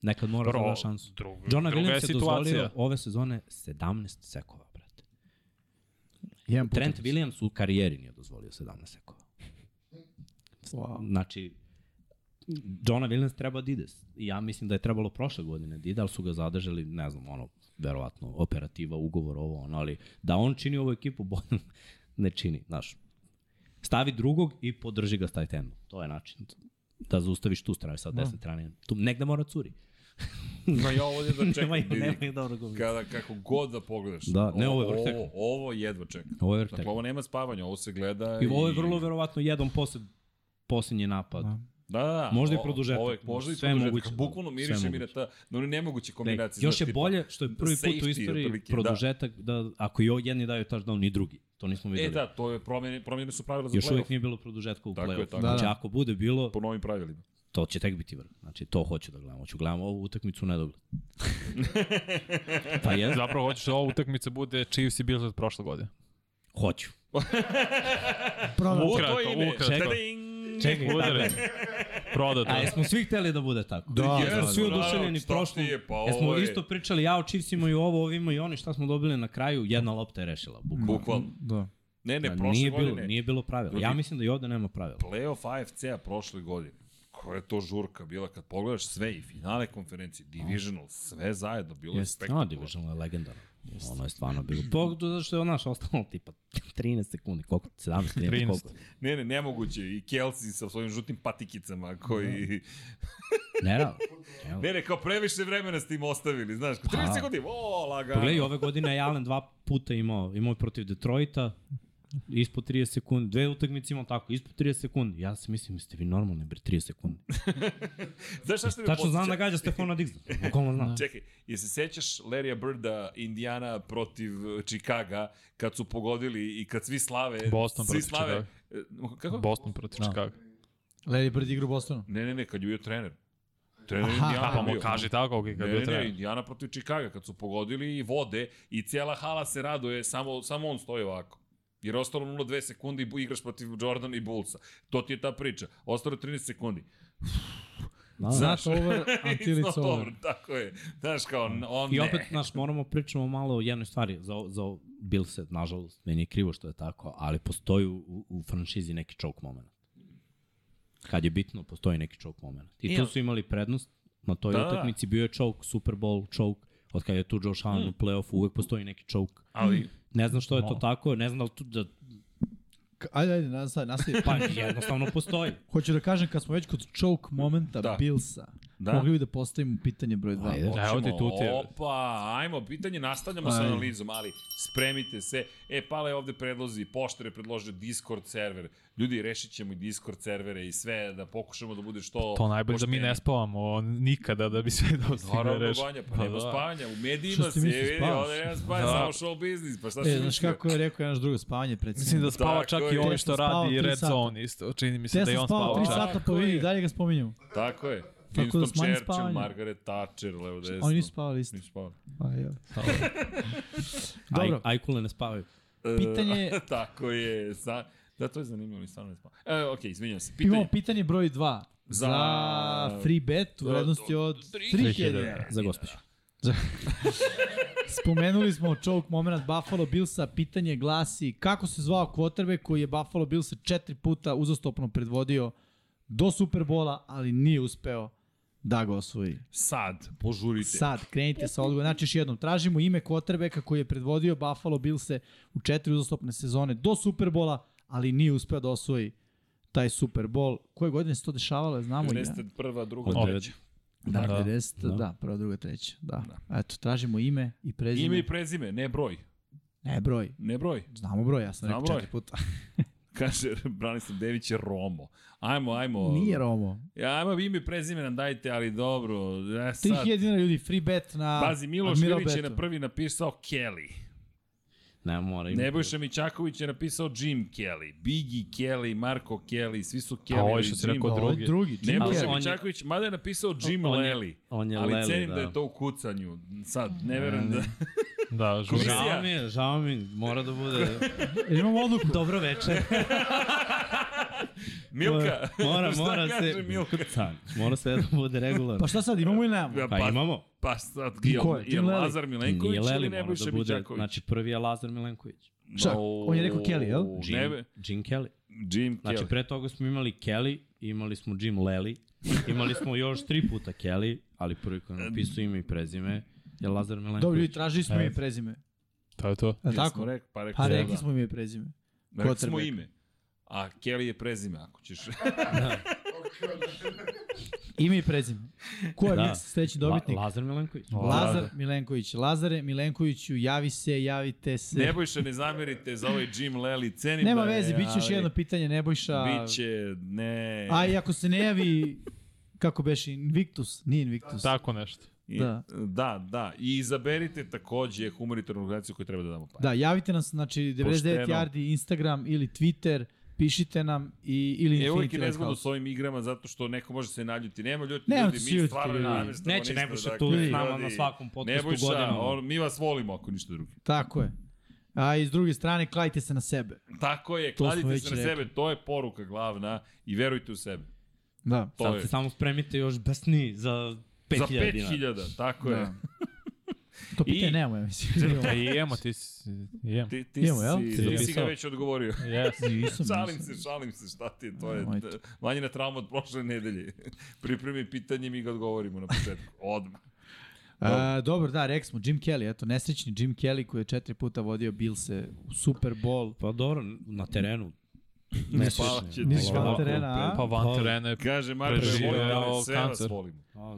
S3: Nekad mora da da šansu.
S4: Druga,
S3: Johna
S4: druga je
S3: Williams je dozvolio
S4: situacija.
S3: ove sezone 17 sekova, brate.
S2: Jedan put.
S3: Trent Williams u karijeri nije dozvolio 17 sekova.
S2: Wow.
S3: Znači, Johna Williams treba da ide. I Ja mislim da je trebalo prošle godine da ide, ali su ga zadržali, ne znam, ono, verovatno, operativa, ugovor, ovo, ono, ali da on čini ovu ekipu boljom, ne čini, znaš. Stavi drugog i podrži ga s tight endom. To je način da zaustaviš tu stranu, sad desne strane. Tu negde mora curi.
S1: Ma ja ovo jedva čekam.
S3: da- Nema ih,
S1: vidi.
S3: nema ih dobro govori.
S1: Kada, kako god da pogledaš.
S3: Da, ne, ovo je vrlo
S1: ovo,
S3: čekam.
S1: ovo jedva čekam.
S3: Ovo je
S1: Dakle,
S3: vrtek.
S1: ovo nema spavanja, ovo se gleda
S3: I ovo je vrlo verovatno jedan posled, posljednji napad.
S2: Da.
S1: Da, da, da.
S3: Možda i
S1: o-
S3: produžetak.
S1: Ovo je, možda i
S3: Sve je
S1: produžetak.
S3: moguće, da.
S1: Bukvalno
S3: Sve
S1: miriše
S3: je
S1: mi na ta na one nemoguće
S3: Ne,
S1: kombinacije.
S3: još
S1: znaš,
S3: je
S1: tipa,
S3: bolje što je prvi put u
S1: safety
S3: istoriji
S1: otprilike, da.
S3: produžetak da. ako jo jedni daju touchdown i drugi. To nismo videli.
S1: E da, to je promjene, promjene su pravila za
S3: Još uvijek
S1: play-off.
S3: nije bilo produžetka u
S1: Tako je,
S3: play-offu.
S1: tako
S3: Znači,
S2: je.
S3: ako bude bilo,
S1: Po novim pravilima.
S3: to će tek biti vrh. Znači, to hoću da gledam. Hoću gledam ovu utakmicu u nedogled. pa je,
S4: Zapravo hoćeš da ova utakmica bude Chiefs i Bills od prošle godine.
S3: hoću.
S1: U
S2: Program.
S1: to
S4: Ukratko,
S1: ime.
S4: ukratko.
S1: Tading!
S3: Čekaj,
S4: Udare.
S3: dakle,
S4: Prodato.
S3: a jesmo svi hteli da bude tako?
S2: Da,
S3: jesmo
S1: da,
S3: svi
S1: da,
S3: oduševljeni
S1: šta ti
S3: prošlo.
S1: je, pa ovo
S3: jesmo
S1: je-
S3: isto pričali, ja o Chiefs imaju ovo, ovo imaju oni, šta smo dobili na kraju, jedna lopta je rešila. Bukvalno.
S1: Bukvalno.
S2: Da.
S1: Ne, ne,
S3: Da,
S1: prošle
S3: nije
S1: godine.
S3: Bilo, nije bilo pravila. Ja
S1: Ljudi-
S3: mislim da i ovde nema pravila.
S1: Playoff AFC-a prošle godine. Koja je to žurka bila kad pogledaš sve i finale konferencije, divisional, sve zajedno bilo je
S3: Jeste, no,
S1: spektakularno.
S3: Division je legendarno. Ono je stvarno bilo. Pogotovo zato što je naš ostalo tipa 13 sekundi, koliko? 17, 13,
S4: 13.
S3: koliko?
S1: Ne, ne, nemoguće. I Kelsey sa svojim žutim patikicama koji...
S3: Nerealno.
S1: Ne, ne, kao previše vremena ste im ostavili, znaš. kao 30
S3: Da. Pa.
S1: sekundi, o, lagano.
S3: Pogledaj, ove godine je Allen dva puta imao, imao je protiv Detroita, ispod 30 sekundi, dve utakmice imao tako, ispod 30 sekundi. Ja se mislim, jeste vi normalni, bre, 30 sekundi.
S1: Znaš šta ste mi
S3: Tačno znam da
S1: podsjeća?
S3: gađa Stefana Diggs. Bukvalno znam.
S1: Čekaj, je se sećaš Larrya Birda, Indiana protiv eh, Chicaga, kad su pogodili i kad svi slave...
S4: Boston
S1: svi
S4: protiv
S1: slave, eh, Kako?
S4: Boston protiv
S2: Da.
S4: Chicago.
S2: Larry Bird igra u Bostonu.
S1: Ne, ne, ne, kad je bio trener. Trener
S2: Aha.
S1: Indiana
S4: A pa mu
S1: bio.
S4: kaži tako, ok,
S1: Ne,
S4: kad
S1: ne,
S4: je
S1: ne,
S4: trener.
S1: Indiana protiv Čikaga, kad su pogodili i vode i cijela hala se raduje, samo, samo on stoji ovako. Jer je ostalo 0,2 sekundi i bu- igraš protiv Jordana i Bullsa. To ti je ta priča. Ostalo je 13 sekundi.
S3: Da, da.
S2: Znaš, over, until
S1: It's not
S2: it's over.
S1: over, tako je. Znaš kao, n- on
S3: I
S1: ne.
S3: opet, znaš, moramo pričamo malo o jednoj stvari. Za, za Bilse, nažalost, meni je krivo što je tako, ali postoji u, u franšizi neki choke moment. Kad je bitno, postoji neki choke moment. I tu su imali prednost na toj
S1: Da, da,
S3: da,
S1: da.
S3: utakmici. Bio je choke, Super Bowl choke, od kada je tu Josh
S1: Hmm.
S3: Allen u play-offu, uvek postoji neki choke.
S1: Ali,
S3: Ne znam što je to tako, ne znam da li tu da...
S2: K- Ajde, ajde, nastavi, nastavi.
S3: Pa jednostavno postoji.
S2: Hoću da kažem, kad smo već kod choke momenta
S1: Da.
S2: da. Billsa,
S1: Da.
S2: da. mogli bi da postavimo pitanje broj 2.
S3: Ajde.
S4: Evo ti
S1: hoćemo-
S4: tu ti je, bre.
S1: Opa, ajmo, pitanje, nastavljamo sa
S2: Ajde.
S1: analizom, ali spremite se. E, pale je ovde predlozi, poštar je predložio Discord server. Ljudi, rešit ćemo i Discord servere i sve, da pokušamo da bude što...
S4: To najbolje da mi
S1: poštenije.
S4: ne spavamo nikada da bi sve da
S1: Naravno,
S4: stigne
S1: reš...
S4: reši.
S1: banja, pa
S2: da.
S1: nema spavanja. U medijima
S2: Šta
S1: se
S2: si mislio,
S1: vidi,
S2: spavaš?
S1: ovde nema spavanja,
S4: Da.
S1: samo show biznis, pa šta si
S2: E,
S1: mislio?
S2: znaš kako je rekao jedan drugo spavanje
S4: Mislim
S2: predsjedno.
S4: da spava
S1: Tako
S4: čak
S1: je.
S4: i ovaj što
S2: Tesla spava
S4: radi i
S2: tri
S4: Red
S2: sata.
S4: Zone isto. Čini mi se da i
S2: Tesla
S4: on
S2: spava 3
S4: spava čak.
S2: sata po vidi, dalje ga spominjamo.
S1: Tako je.
S2: da
S1: Winston
S2: smanji
S1: Churchill,
S2: spavanje.
S1: Margaret Thatcher, levo desno.
S2: Oni nisu spavali isto.
S1: Nisu spavali.
S2: Pa, ja.
S3: Aj,
S2: Dobro.
S3: ajkule ne spavaju.
S2: E, Pitanje-
S1: Tako je. Sa... Da, to je zanimljivo, oni stvarno ne spavali. E, okej, izvinjam se.
S2: Imamo
S1: Pitanje.
S2: pitanje broj 2.
S1: Za-
S2: Za, free bet u
S1: Do-
S2: vrednosti
S1: do-
S2: od
S1: 3000
S2: 3000 dinara.
S3: Za gospođu.
S2: Spomenuli smo choke moment Buffalo Billsa, pitanje glasi kako se zvao quarterback koji je Buffalo Billsa četiri puta uzastopno predvodio do Superbola, ali nije uspeo da ga osvoji.
S1: Sad, požurite.
S2: Sad, krenite sa odgovorom. Znači, još jednom, tražimo ime quarterbacka koji je predvodio Buffalo Billse u četiri uzastopne sezone do Superbola, ali nije uspeo da osvoji taj Superbol. Koje godine se to dešavalo, znamo i ja.
S1: 11. prva, druga,
S3: Opet.
S1: treća.
S2: Da,
S4: Da.
S2: 90, da.
S3: Da.
S2: da, prva, druga, treća. Da. Eto, tražimo ime i prezime.
S1: Ime i prezime, ne broj.
S2: Ne, broj.
S1: Ne broj.
S2: Znamo broj, ja sam
S1: Znamo
S2: rekao
S1: broj.
S2: četiri puta.
S1: Kaže Branislav Dević je Romo. Ajmo, ajmo.
S2: Nije Romo.
S1: Ajmo, ime i prezime nam dajte, ali dobro. E, sad,
S2: 3000 dinara ljudi, free bet na
S1: Pazi, Miloš
S2: Admiral
S1: Milić je
S2: betu.
S1: na prvi napisao Kelly.
S3: Ne mora. ima-
S1: Nebojša Mićaković je napisao Jim Kelly. Biggie Kelly, Marko Kelly, svi su Kelly.
S4: A ovo je što si
S1: Jim.
S4: rekao
S2: Ovo je
S4: drugi.
S2: drugi. Jim
S3: Ali
S1: Nebojša
S2: Kelly.
S3: on je-
S1: Mićaković, mada je napisao Jim
S3: on je-
S1: Leli.
S3: on je
S1: ali
S3: Leli,
S1: cenim da.
S3: da.
S1: je to u kucanju. Sad, ne verujem da...
S4: Da, žuri.
S1: Žao
S3: Žao mi je, žao mi, je, mora da bude.
S2: Jel imamo odluku?
S3: Dobro večer.
S1: Milka!
S3: Mora,
S1: Šta
S3: mora
S1: kaže
S3: se...
S1: Milka?
S3: Kucan, mora sve da bude regularno.
S2: Pa šta sad, imamo ili nemamo?
S3: Pa imamo.
S1: Pa sad,
S2: I
S1: je,
S2: ko je?
S1: je,
S2: Tim Leli?
S1: Lazar Milenković
S3: Nije Leli,
S1: ili
S3: mora
S1: Nebojša
S3: da bude.
S1: Mićaković?
S3: Znači, prvi je Lazar Milenković.
S2: Šta? On je rekao Kelly, jel?
S1: Jim,
S3: Jim,
S1: ne,
S3: Jim Kelly.
S1: Jim Kelly.
S3: Znači, pre toga smo imali Kelly, imali smo Jim Lely, imali smo još tri puta Kelly, ali prvi koji je napisao ime i prezime je Lazar Milenković.
S2: Dobro, ljudi, tražili smo ime i
S4: Eto.
S2: prezime.
S4: To je to.
S2: Je li
S1: Jesmo
S2: tako?
S1: Rekli, pa rekli,
S2: Pa rekli
S1: da.
S2: smo ime i prezime.
S1: Rekli smo
S2: quarterback.
S1: ime. A Kelly je prezime, ako ćeš...
S2: Ime i prezime. Ko je
S3: Da.
S2: da. sledeći dobitnik?
S3: La, Lazar Milenković.
S2: Lazar Milenković. Lazare Milenkoviću, javi se, javite se.
S1: Nebojša, ne zamerite za ovaj Jim Lely, cenim
S2: Nema
S1: da je,
S2: veze, bit će još
S1: ali
S2: jedno pitanje, Nebojša.
S1: Biće, ne...
S2: A i ako se ne javi, kako beše, Invictus? Nije Invictus.
S4: Tako nešto.
S1: I-
S2: da.
S1: Da, da. I izaberite takođe humanitarnu organizaciju koju treba da damo pare.
S2: Da, javite nam se, znači, 99
S1: Pošteno.
S2: Yardi, Instagram ili Twitter, pišite nam i, ili
S1: E, uvijek
S2: Infinity
S1: je nezgodno
S2: Lighthouse.
S1: s ovim igrama zato što neko može se naljuti. Nema ljudi,
S2: Ne,
S1: ljudi
S2: hoće se
S1: mi
S2: ljutiti,
S1: stvarno
S2: ljudi.
S1: namestamo
S3: Neće
S1: ništa,
S3: Nebojša
S1: dakle,
S3: tu s nama
S1: ljudi,
S3: na svakom podcastu
S1: Nebojša,
S3: godinama.
S1: on, mi vas volimo ako ništa drugo.
S2: Tako je. A iz druge strane, klajte se na sebe.
S1: Tako je,
S2: To smo
S1: kladite
S2: već
S1: se na
S2: rekli.
S1: sebe, to je poruka glavna i verujte u sebe.
S2: Da.
S1: To
S3: Sad
S1: je.
S3: se samo spremite još besni za 5000
S1: Za
S3: dinara.
S1: 5000, tako je.
S2: Da. To pitanje
S1: I-
S2: nemamo, ja mislim.
S4: Da i emo, ti si... i Emo.
S1: Ti, ti,
S2: Imamo, jel?
S1: si,
S3: Si
S1: ti si ga
S3: zapisao?
S1: već odgovorio.
S4: Yes.
S2: Nisam,
S1: šalim
S2: nisam.
S1: se, šalim se, šta ti je, to je
S2: Nemojte.
S1: manjina trauma od prošle nedelje. Pripremi pitanje, mi ga odgovorimo na početku, odmah.
S2: A, dobro, da, rekli smo, Jim Kelly, eto, nesrećni Jim Kelly koji je četiri puta vodio Bilse u Super Bowl.
S3: Pa dobro, na
S1: Mm.
S3: terenu.
S1: Ne
S3: slično.
S1: spavaće ti.
S2: Nisi
S3: Ovo-
S2: van terena, a?
S4: Pa van terena je
S1: Kaže, Marko, je
S4: Preživeo
S1: volim, ali sve vas
S4: kancer.
S1: volim.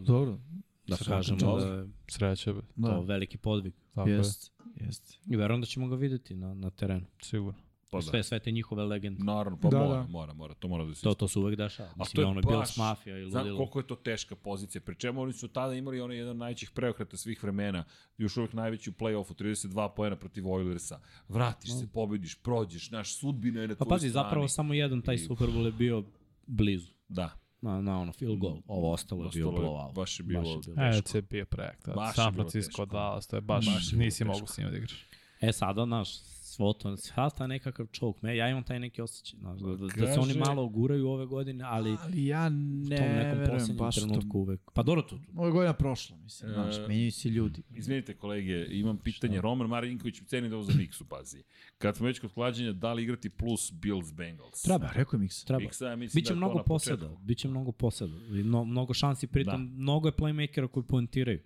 S2: Dobro,
S3: Da
S4: Sad
S3: kažemo
S4: čao.
S3: da je
S4: sreće, be.
S2: da,
S3: to veliki podvig.
S4: Tako je,
S2: jest, jest.
S3: I verujem da ćemo ga videti na, na terenu.
S4: sigurno.
S1: Pa da.
S3: Sve, sve te njihove legende.
S1: Naravno, pa
S2: Da,
S1: da, mora,
S2: da.
S1: mora, mora, to mora da se
S3: To, to se uvek dešava. Mislim,
S1: to je
S3: ono
S1: baš-
S3: Bills Mafia i
S1: Znam
S3: ludilo.
S1: koliko je to teška pozicija, pri čemu oni su tada imali onaj jedan od najvećih preokrata svih vremena, još uvek najveći u play-offu, 32 poena protiv Oilersa. Vratiš
S2: Mm.
S1: se, pobediš, prođeš, naš sudbina je na
S3: Pa
S1: tvojoj
S3: pazi,
S1: strani.
S3: zapravo samo jedan taj
S1: I-
S3: Super Bowl je bio blizu.
S1: Da,
S3: Na, na ono, field goal. Ovo ostalo je bio
S1: Ostalo je-
S3: blowout.
S1: baš je bilo-
S4: E,
S3: teško.
S4: to je bio projekt. da.
S1: Baš je
S4: San
S1: bilo
S4: Francisco,
S1: teško.
S4: Dallas, to je baš,
S1: Baš je bilo
S4: nisi
S1: teško.
S4: mogu s njima da igraš.
S3: E sada, znaš, svo to, sada ta nekakav čovk, me, ja imam taj neki osjećaj, znaš, da, da, da
S1: Kaže-
S3: se oni malo oguraju ove godine, ali
S2: Ali ja
S3: u tom
S2: ne
S3: nekom
S2: verujem
S3: poslednjem
S2: baš to.
S3: trenutku uvek. Pa dobro, to,
S2: Ovo je godina prošla, mislim,
S1: E,
S2: znaš, menjaju se ljudi.
S1: Izvinite kolege, imam pitanje. Roman Marinković ceni da ovo za Miksu pazi. Kad smo već kod klađenja, da li igrati plus Bills Bengals?
S2: Treba, rekao je Miksa.
S3: treba.
S1: Miksa, ja mislim
S3: Biće
S1: da je to na
S3: mnogo
S1: početku.
S3: posada, biće mnogo posada, i no, mnogo šansi, pritom da. mnogo je playmakera koji poentiraju.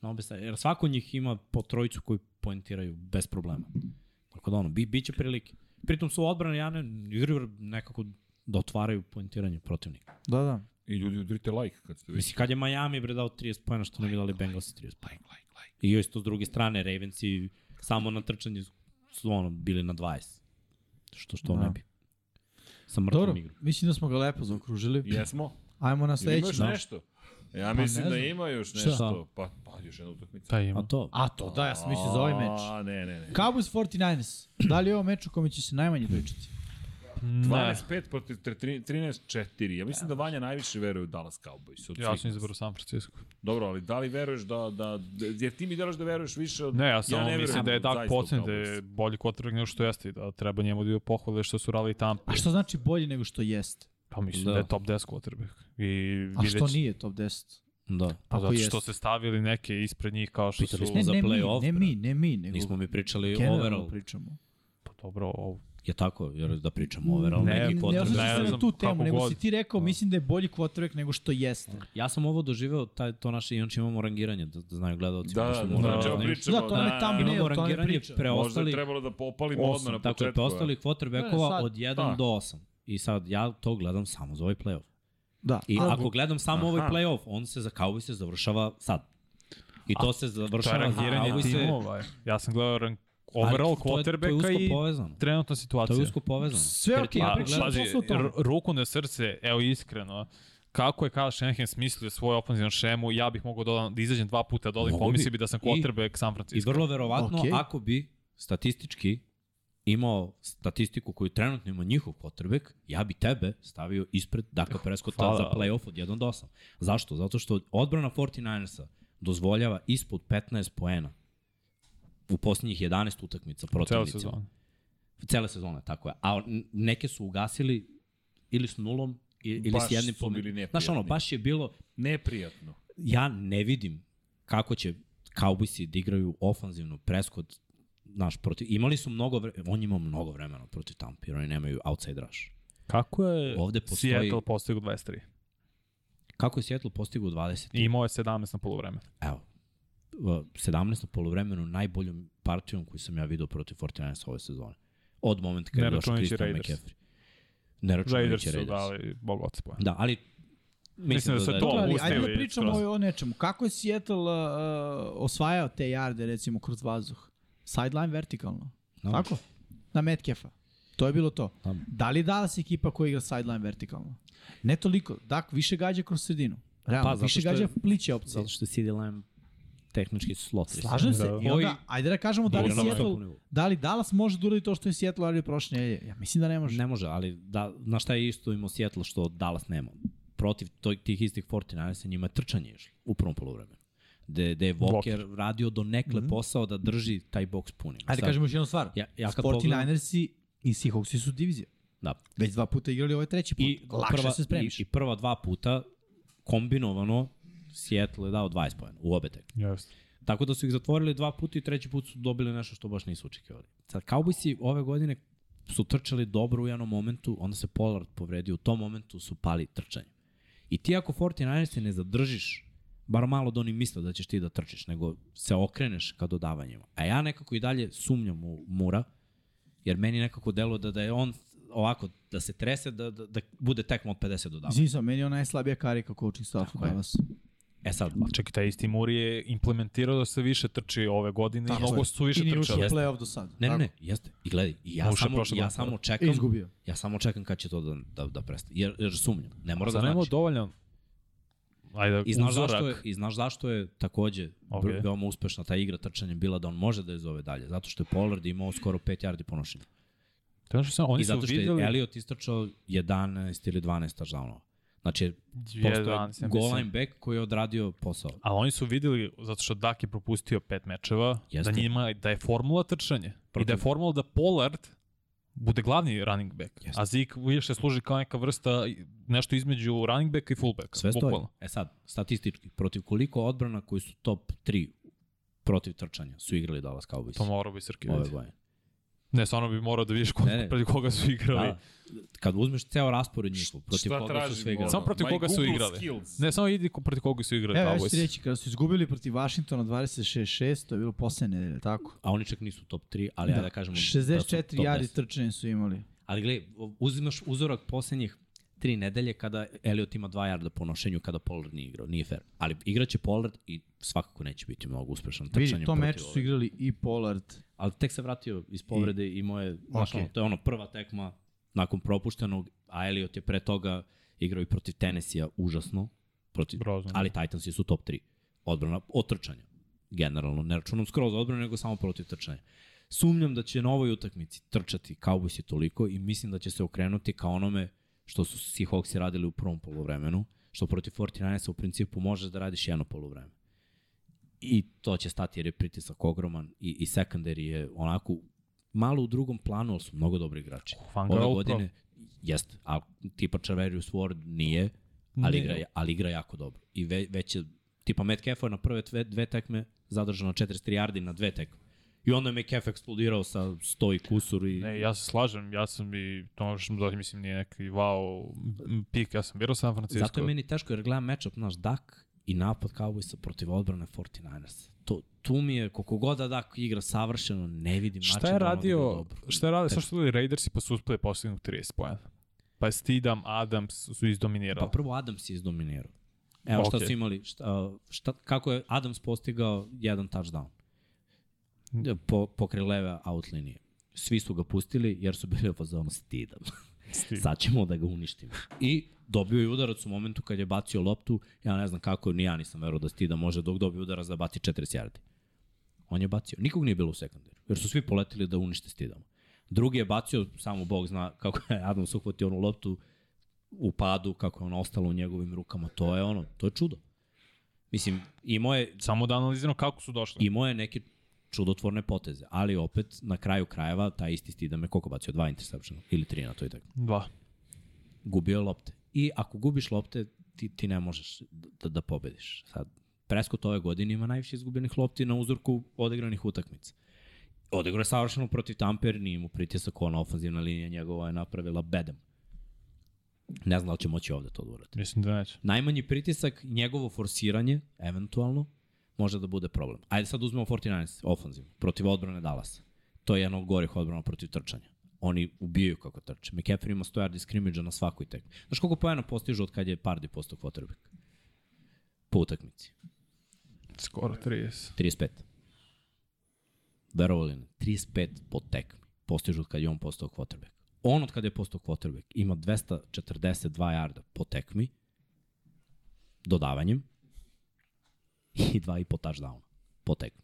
S3: Na obe strane, jer svako od njih ima po trojicu koji poentiraju bez problema. Tako da ono, bi, biće prilike. Pritom su odbrane, ja ne, igraju nekako da otvaraju poentiranje protivnika.
S2: Da, da.
S1: I ljudi udrite like kad ste već.
S3: Mislim, kad je Miami bre dao 30 pojena, što nam je dali Bengalsi 30 pojena. I još to s druge strane, Ravensi samo na trčanju su ono, bili na 20. Što što
S2: Da.
S3: ne bi. Sa mrtvom
S2: Dobro,
S3: igrom.
S2: mislim da smo ga lepo zaokružili.
S1: Jesmo?
S2: Ajmo na
S1: Ili ima
S2: sledeći. da. Pa
S1: još nešto? Ja mislim
S2: ne
S1: da
S2: znam.
S1: ima još
S2: Šta?
S1: nešto. Pa, pa još jedna utakmica.
S4: Pa ima.
S3: A to,
S2: A to, da, ja sam mislio za ovaj meč.
S1: A, ne, ne, ne.
S2: Cowboys 49ers. Da li je ovo meč o kome će se najmanje pričati?
S4: Ne,
S1: 12-5 protiv 13-4. Ja mislim da Vanja najviše veruje u Dallas Cowboys. Od
S4: ja
S1: svih
S4: sam izabrao San Francisco.
S1: Dobro, ali da li veruješ da, da, da jer ti mi delaš da veruješ više od...
S4: Ne, ja samo
S1: ne verujem
S4: mislim da je
S1: u
S4: Dak
S1: zaista u
S4: Pocen da
S1: Cowboys.
S4: je bolji kotrvek nego što jeste i da treba njemu da ide pohvale što su radili tam.
S2: A što znači bolji nego što jeste?
S4: Pa mislim
S3: Da.
S4: da, je top 10 kotrvek. I
S2: A što
S4: vidjet-
S2: nije top 10?
S3: da.
S4: Pa zato što
S2: jeste?
S4: se stavili neke ispred njih kao što
S3: Pitali
S4: su...
S3: smo
S2: Ne,
S3: za
S2: ne mi,
S3: play-off,
S2: ne
S3: bre.
S2: mi, ne mi, nego
S3: Nismo mi pričali
S2: generalno
S3: overall.
S2: pričamo.
S4: Pa dobro, ovo.
S3: Je tako, jer da pričamo overall.
S4: Ne,
S3: neki
S2: ne
S3: quarterback.
S2: osjećam
S4: ne
S2: se na
S4: znam
S2: tu
S4: kako
S2: temu, nego
S4: god.
S2: si ti rekao, mislim da je bolji quarterback nego što jeste.
S3: Ja sam ovo doživeo, taj, to naše, inače imamo rangiranje, da, da znaju gledalci.
S1: Da,
S3: pošto
S1: da,
S3: smo
S1: da, da,
S3: morali
S4: znači,
S3: znaju.
S1: da,
S4: ovo
S1: pričamo,
S2: Da, to
S1: da,
S2: ne
S1: da,
S2: tamo
S1: da.
S2: ne-
S3: Imamo
S2: to
S3: rangiranje
S2: pričam.
S1: Možda je
S3: preostalih
S1: trebalo da popalimo odmah na
S3: 8, tako je,
S1: početku. ali-
S3: preostalih
S2: Ne,
S3: quarterbackova
S2: sad-
S3: od 1
S1: da.
S3: do 8. I sad ja to gledam samo za ovaj play-off.
S2: Da.
S3: I
S2: A-
S3: ako gledam samo
S1: Aha.
S3: ovaj play-off, on se za Cowboys se završava sad. I to se
S4: To je
S3: završava za
S4: rangiranje
S3: Cowboys se...
S4: timova. Ja sam gledao rank, overall
S3: to je
S4: quarterbacka
S3: usko
S4: i
S3: povezano.
S4: trenutna
S3: To
S4: situacija.
S3: je usko povezano.
S2: Sve
S3: Jer
S2: okej,
S3: ti
S2: ja
S4: Pa,
S3: ako
S2: pričam
S3: gledaš-
S4: pazi,
S2: posle o tome.
S4: r- ruku na srce, evo iskreno, kako je Kyle Shanahan smislio svoju ofenzivnu šemu, ja bih mogao dodam, da izađem dva puta dole i
S3: Mogu bi.
S4: pomisli bi da sam
S3: I-
S4: quarterback San
S3: I
S4: Francisco.
S3: vrlo verovatno,
S2: Okej.
S3: okay. ako bi statistički imao statistiku koju trenutno ima njihov quarterback, ja bi tebe stavio ispred Daka Prescotta
S4: hvala.
S3: za playoff od 1 do 8. Zašto? Zato što odbrana 49ersa dozvoljava ispod 15 poena u posljednjih 11 utakmica
S4: Cela
S3: protivnicima.
S4: sezona.
S3: Cele sezone, tako je. A n- neke su ugasili ili s nulom i- ili
S1: Baš
S3: s jednim
S1: su
S3: pomenom.
S1: bili
S3: Znaš ono,
S1: neprijatni.
S3: baš je bilo,
S1: Neprijatno.
S3: ja ne vidim kako će Cowboysi da igraju ofanzivno Prescott naš protiv imali su mnogo vre, on je imao mnogo vremena protiv Tampa jer oni nemaju outside rush.
S4: Kako je
S3: Ovde postoji-
S4: Seattle postigao 23?
S3: Kako je Seattle postigao 20?
S4: I imao je 17 na polovreme.
S3: Evo. v- 17 na polovremenu najboljom partijom koju sam ja video protiv 49 ove sezone. Od momenta kada
S4: Ne
S3: je došao
S4: računajući
S3: Christian
S4: Raiders.
S3: McCaffrey. Ne
S4: Raiders
S3: računajući
S4: su
S3: Raiders.
S4: dali bog oca pojena.
S3: Da, ali mislim,
S4: da
S3: da,
S4: se
S3: da je
S4: to-
S3: to...
S2: ali ajde da
S4: Pustili
S2: pričamo
S4: skroz.
S2: o, o nečemu. Kako je Seattle uh, uh, osvajao te jarde, recimo, kroz vazduh? Sideline vertikalno.
S3: No.
S2: Tako? Na Metcalfa. To je bilo to.
S3: Tamo.
S2: Da li je Dallas ekipa koja igra sideline vertikalno? Ne toliko. Dak više gađa kroz sredinu. Realno,
S3: Pa,
S2: pa,
S3: zato
S2: više
S3: što je-
S2: gađa pliće opcije.
S3: Zato što je CD Lamb tehnički slot.
S2: Slažem se.
S4: Da.
S2: I onda, ajde da kažemo da li,
S3: Igra na
S2: Seattle,
S3: visokom nivou.
S2: da li Dallas može da uradi to što je Seattle uradio prošle nedelje? Ja mislim da ne može.
S3: Ne može, ali da, na šta je isto imao Seattle što Dallas nema? Protiv toj, tih istih 49 njima je trčanje išlo u prvom polovremenu. gde, gde je
S4: Blokiran.
S3: Walker radio do nekle posao da drži taj boks punim.
S2: Mhm. Ajde
S3: Sad,
S2: kažemo još jednu stvar.
S3: Ja- ja kad
S2: 49ersi i Seahawksi su divizija.
S3: Da.
S2: Već dva puta igrali ovaj treći put.
S3: I
S2: Lakše
S3: prva,
S2: se
S3: i,
S2: spremiš.
S3: I prva dva puta kombinovano Seattle je dao 20 pojena u obe tekme.
S4: Jeste.
S3: Tako da su ih zatvorili dva puta i treći put su dobili nešto što baš nisu očekivali. Sad, Cowboysi ove godine su trčali dobro u jednom momentu, onda se Pollard povredio, u tom momentu su pali trčanje. I ti ako 49ersi ne zadržiš, bar malo da oni misle da ćeš ti da trčiš, nego se okreneš ka dodavanjima. A ja nekako i dalje sumnjam u Mura, jer meni nekako delo da, da je on ovako, da se trese, da, da, da bude tekma od 50 dodavanja.
S2: Izvim sam, meni je on najslabija karika coaching staff u
S3: je.
S2: Dallas.
S3: E sad,
S4: Čekaj, taj isti Muri je implementirao da se više trči ove godine i
S2: Tako
S4: mnogo
S2: je.
S4: su više
S2: I nije ušao u
S4: trčali.
S3: Jeste.
S2: playoff do sada.
S3: Ne, ne, ne, jeste. I gledaj, i ja,
S4: Ušao je
S3: samo,
S4: prošle
S3: ja
S4: godine. E,
S3: samo
S2: I
S3: čekam,
S2: izgubio.
S3: ja samo čekam kad će to da, da, da prestane. Jer, jer sumnjam. Ne mora da
S4: Zar nema
S3: znači.
S4: dovoljan Ajde,
S3: I znaš,
S4: uzorak.
S3: zašto je, I znaš zašto je takođe
S4: Ok.
S3: okay. veoma uspešna ta igra trčanja bila da on može da je zove dalje. Zato što je Pollard imao skoro 5 yardi po nošenju.
S4: To je ono što sam,
S3: I
S4: oni su
S3: zato što
S4: vidjeli...
S3: je Elliot istrčao 11 ili 12 touchdownova. Znači, postoje
S4: 11, ja
S3: goal
S4: mislim.
S3: lineback koji je odradio posao.
S4: Ali oni su videli, zato što Dak je propustio pet mečeva,
S3: Jeste.
S4: da njima da je formula trčanje. I da
S3: Protiv-
S4: je formula da Pollard bude glavni running back.
S3: Jeste.
S4: A Zeke više služi kao neka vrsta nešto između running backa i fullbacka.
S3: Sve stoji.
S4: bukvalno.
S3: E sad, statistički, protiv koliko odbrana koji su top 3 protiv trčanja su igrali Dallas
S4: To
S3: Cowboys
S4: morao bi Srki
S3: ove
S4: vidjeti.
S3: godine.
S4: Ne, stvarno bi morao da vidiš ko,
S3: Ne, ne.
S4: pred koga su igrali.
S3: Da, kad uzmeš ceo raspored njihov, protiv
S1: Šta
S3: koga su
S1: tražimo
S3: sve igrali.
S1: ono?
S4: Samo protiv
S1: My
S4: koga su
S1: Google
S4: igrali.
S1: Skills.
S4: Ne, samo vidi ko- protiv koga su igrali
S2: Evo, ja ću ti
S4: Cowboys.
S2: reći, kada su izgubili protiv Vašingtona 26-6, to je bilo poslednje nedelje, tako?
S3: A oni čak nisu top 3, ali da. ja da kažemo... da su
S2: 64
S3: top
S2: yardi
S3: 10.
S2: trčanje su imali.
S3: Ali gledaj, uzimaš uzorak posljednjih tri nedelje kada Elliot ima 2 jarda po nošenju kada Pollard nije igrao, nije fair. Ali igraće Pollard i svakako neće biti mnogo uspešan trčanjem
S2: Vidi, to
S3: protiv
S2: meč su
S3: ove.
S2: igrali i Pollard.
S3: Ali tek se vratio iz povrede i, moje, znaš
S2: Okej.
S3: ono, to je ono prva tekma nakon propuštenog, a Elliot je pre toga igrao i protiv Tennessee-a užasno, protiv,
S4: Grozno.
S3: ali Titansi su top 3 odbrana od trčanja. Generalno, ne računam skroz odbranu, nego samo protiv trčanja. Sumnjam da će na ovoj utakmici trčati Cowboys je toliko i mislim da će se okrenuti ka onome što su Seahawksi radili u prvom polovremenu, što protiv 49-a u principu možeš da radiš jedno polovreme. I to će stati jer je pritisak ogroman i, i secondary je onako malo u drugom planu, ali su mnogo dobri igrači.
S4: Van
S3: Ove
S4: Gaal
S3: godine, jeste, a tipa Charverius Ward nije, ali
S4: Nije.
S3: igra, ali igra jako dobro. I ve, već je, tipa Metcalf je na prve dve, dve tekme zadržano 400 yardi na dve tekme. I onda je Metcalf eksplodirao sa 100 i kusur i...
S4: Ne, ja se slažem, ja sam i to što da mislim nije neki wow m, pik, ja sam birao San Francisco.
S3: Zato je meni teško jer gledam matchup, znaš, Dak i napad Cowboysa protiv odbrane 49ers. To, tu mi je, koliko god da Dak igra savršeno, ne vidim način
S4: Šta je
S3: da on odigra
S4: radio,
S3: dobro.
S4: šta je radio, sa što li Raidersi pa su uspeli postignu 30 poena. Pa Stidam, Adams su
S3: Pa
S4: izdominirali.
S3: prvo Adams je izdominirao. Evo okay. šta
S4: Okej.
S3: su imali, šta, šta, kako je Adams postigao jedan touchdown po, pokraj leve out linije. Svi su ga pustili jer su bili u fazonu stidam.
S4: Stidham.
S3: Sad ćemo da ga uništimo. I dobio je udarac u momentu kad je bacio loptu. Ja ne znam kako, ni ja nisam verovao da stida može dok dobije udarac da baci 40 yardi. On je bacio. Nikog nije bilo u sekundaru. Jer su svi poletili da unište stidama. Drugi je bacio, samo Bog zna kako je Adams uhvatio onu loptu u padu, kako je ona ostala u njegovim rukama. To je ono, to je čudo. Mislim, imao je
S4: Samo da analiziramo kako su došli.
S3: imao je neke čudotvorne poteze, ali opet na kraju krajeva taj isti Stidam je koliko bacio, dva interseptiona ili tri na toj tekmi.
S4: Dva.
S3: Gubio je lopte. I ako gubiš lopte, ti, ti ne možeš da, da pobediš. Sad, Prescott ove godine ima najviše izgubljenih lopti na uzorku odigranih utakmica. Odigrao je savršeno protiv Tamper, nije mu pritisak, ona ofenzivna linija njegova je napravila bedem. Ne znam da li će moći ovde to da uradi
S4: Mislim da neće.
S3: najmanji pritisak, njegovo forsiranje, eventualno, može da bude problem. Ajde sad uzmemo 49ers, ofanzivno, protiv odbrane Dallasa. To je jedna od gorih odbrana protiv trčanja. Oni ubijaju kako trče. McCaffrey ima 100 yardi skrimidža na svakoj tekmi. Znaš koliko pojena postižu od kad je Pardi postao quarterback? Po utakmici.
S4: Skoro 30.
S3: 35. Verovali ne, 35 po tekmi postižu od kad je on postao quarterback. On od kad je postao quarterback ima 242 jarda po tekmi dodavanjem i dva i po touchdowna po tekmi.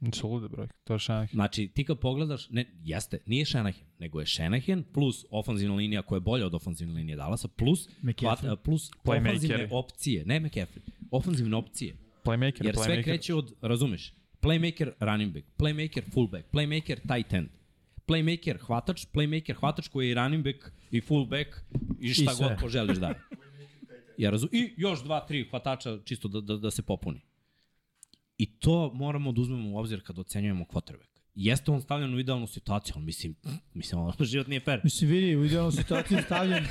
S4: Nisu Znači, lude brojke. To je šanak.
S3: Znači, ti kad pogledaš, ne, jeste, nije Shanahan, nego je Shanahan plus ofanzivna linija koja je bolja od ofanzivne linije Dallasa, plus,
S2: McCaffrey.
S3: plus
S4: Playmakeri.
S3: ofanzivne opcije, ne McCaffrey, ofanzivne opcije
S4: playmaker,
S3: Jer
S4: playmaker.
S3: sve kreće od, razumeš, playmaker running back, playmaker fullback, playmaker tight end, playmaker hvatač, playmaker hvatač koji je i running back i fullback i šta
S2: I sve.
S3: god poželiš da je. Ja razum... I još dva, tri hvatača čisto da, da, da se popuni. I to moramo da uzmemo u obzir kad ocenjujemo quarterback. Jeste on stavljen u idealnu situaciju, ali mislim, mislim, ono, život nije fair.
S2: Mislim, vidi, u idealnom situaciji je stavljen,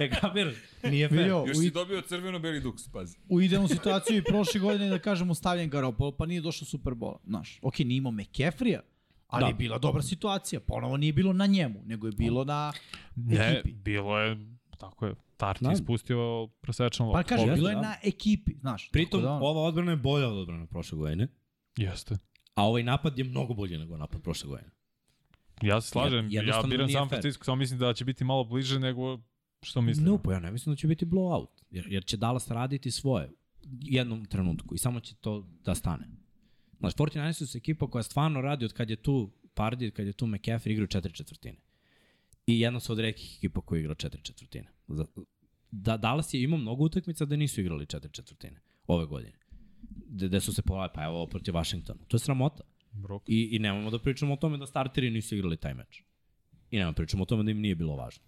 S3: E, kapiraš? Nije fair.
S2: vidio,
S1: Još
S2: u,
S1: si
S2: i-
S1: dobio crveno-beli duks, pazi.
S2: u idealnom situaciju i prošle godine, da kažemo, stavljen Garoppolo, pa nije došao Superbola, znaš. Ok, nije imao McCaffrey-a, ali da.
S3: Da.
S2: je bila dobra situacija. Ponovo nije bilo na njemu, nego je bilo na
S4: Ne,
S2: ekipi.
S4: bilo je, tako je, Tarti
S3: Da.
S4: da. ispustio prosečan loptu.
S2: Pa kažem,
S3: Jeste,
S2: bilo je
S3: da.
S2: na ekipi, znaš.
S3: Pritom,
S2: tako da ono-
S3: ova odbrana je bolja od odbrana prošle godine,
S4: Jeste.
S3: a ovaj napad je mnogo bolji nego napad prošle godine.
S4: Ja se slažem, ja, ja
S3: jednostavno
S4: biram
S3: nije
S4: San
S3: fair.
S4: Francisco, samo mislim da će biti malo bliže nego što mislim.
S3: No, pa ja ne mislim da će biti blowout, jer, jer će Dallas raditi svoje u jednom trenutku i samo će to da stane. Znaš, 49ers su ekipa koja stvarno radi od kad je tu Pardi, kad je tu McCaffrey igrao četiri četvrtine. I jedna su od redkih ekipa koja igra četiri četvrtine. Za- Da, Dallas je imao mnogo utakmica da nisu igrali četiri četvrtine ove godine. Gde, gde su se pojavili, pa evo, ovo protiv Washingtona. To je sramota.
S4: Brok.
S3: I, I nemojmo da pričamo o tome da starteri nisu igrali taj meč. I nemojmo da pričamo o tome da im nije bilo važno.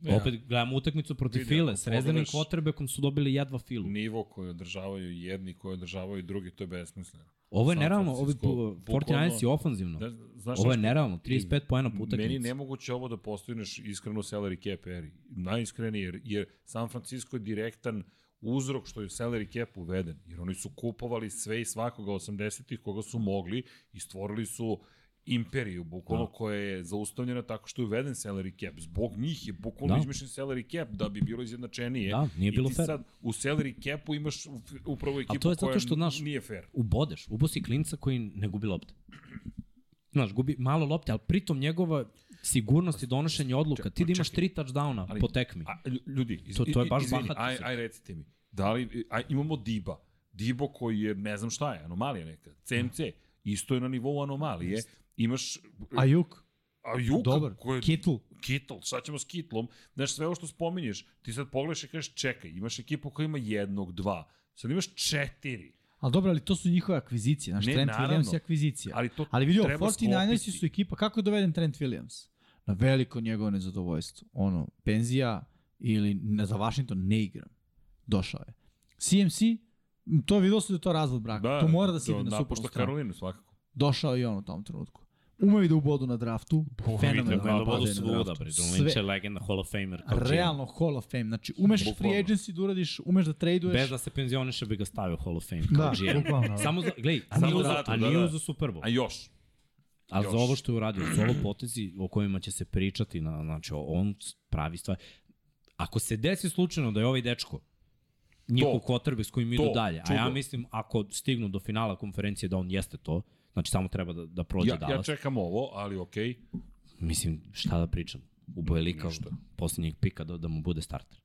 S3: Ja. Opet gledamo utakmicu protiv
S1: Vidi,
S3: File,
S1: ako
S3: s rezervnim
S1: pogledaš-
S3: kvotrbekom su dobili jedva Filu.
S1: Nivo koji održavaju jedni, koji održavaju drugi, to je besmisleno.
S3: Ovo je
S1: San
S3: nerealno, ovi
S1: Francisco, bukvalno-
S3: 49 je ofanzivno.
S1: Da, znaš
S3: Ovo je
S1: nešto?
S3: nerealno, 35 poena po utakmici.
S1: Meni nemoguće ovo da postojiš iskreno salary cap eri. Najiskrenije, jer, jer San Francisco je direktan uzrok što je u salary cap uveden. Jer oni su kupovali sve i svakoga 80-ih koga su mogli i stvorili su imperiju, bukvalno da. koja je zaustavljena tako što je uveden salary cap. Zbog njih je bukvalno
S3: Da.
S1: da. izmišljen salary cap da bi bilo izjednačenije.
S3: Da, nije bilo
S1: I ti
S3: fair.
S1: sad u salary capu imaš u- upravo ekipu
S3: to je zato
S1: koja
S3: što, znaš,
S1: nije fair.
S3: Ubodeš, ubosi klinca koji ne gubi lopte. Znaš, gubi malo lopte, ali pritom njegova sigurnost i donošenje odluka. Ti da imaš tri touchdowna
S1: Ali-
S3: po tekmi.
S1: A, lju- ljudi, iz,
S3: To- to je baš
S1: izvini,
S3: bahato
S1: aj,
S3: sad.
S1: aj recite mi, da li, aj, imamo Diba, Dibo koji je, ne znam šta je, anomalija neka, CMC, isto je na nivou anomalije, imaš
S2: Ajuk,
S1: a Juka,
S2: dobar.
S1: koji je
S2: Kittle,
S1: Kitl, šta ćemo s Kitlom? Znaš, sve ovo što spominješ, ti sad pogledaš i kažeš, čekaj, imaš ekipu koja ima jednog, dva, sad imaš četiri,
S2: Ali dobro, ali to su njihove akvizicije. Znaš,
S1: Ne,
S2: Trent
S1: naravno.
S2: Williams je akvizicija.
S1: ali to
S2: Ali vidio,
S1: treba
S2: 49ersi
S1: sklopiti.
S2: su ekipa, kako je doveden Trent Williams? Na veliko njegovo nezadovoljstvo. Ono, penzija ili na, za Washington ne igram. Došao je. CMC, m, to je videlo se da je to razvod braka. Da, to mora da se ide na suprotnu
S1: napušta
S2: stranu.
S1: Karolinu, svakako.
S2: Došao je on u tom trenutku. Umeo i da ubodu na draftu. Fenomenalno
S3: Nego je
S2: napada
S3: dovodu
S2: je na
S3: svuda,
S2: draftu.
S3: bre.
S2: Sve.
S3: John Lynch je legenda Hall of Famer. kao
S2: Realno Hall of Fame. Znači, umeš
S1: Bukvalno.
S2: free agency da uradiš, umeš da
S3: GM.
S2: traduješ.
S3: Bez da se penzioniše bi ga stavio u Hall of Fame.
S2: Da,
S3: Kao GM.
S2: bukvalno.
S3: Samo za, glej, a
S1: Samo
S3: nije uzao,
S1: zato,
S3: a
S1: da,
S3: nije
S1: da.
S3: uzao Super Bowl.
S1: A još,
S3: A
S1: Još.
S3: za ovo što je uradio, za ovo potezi o kojima će se pričati, na, znači o- on pravi stvari. Ako se desi slučajno da je ovaj dečko njihov
S1: To.
S3: quarterback s kojim idu
S1: To.
S3: dalje, a ja
S1: Čudo.
S3: mislim ako stignu do finala konferencije da on jeste to, znači samo treba da, da prođe
S1: ja, ja
S3: Dallas.
S1: čekam ovo, ali okej,
S3: Mislim, šta da pričam? Ubo je lika
S1: Ništa.
S3: posljednjeg pika da, da mu bude starter.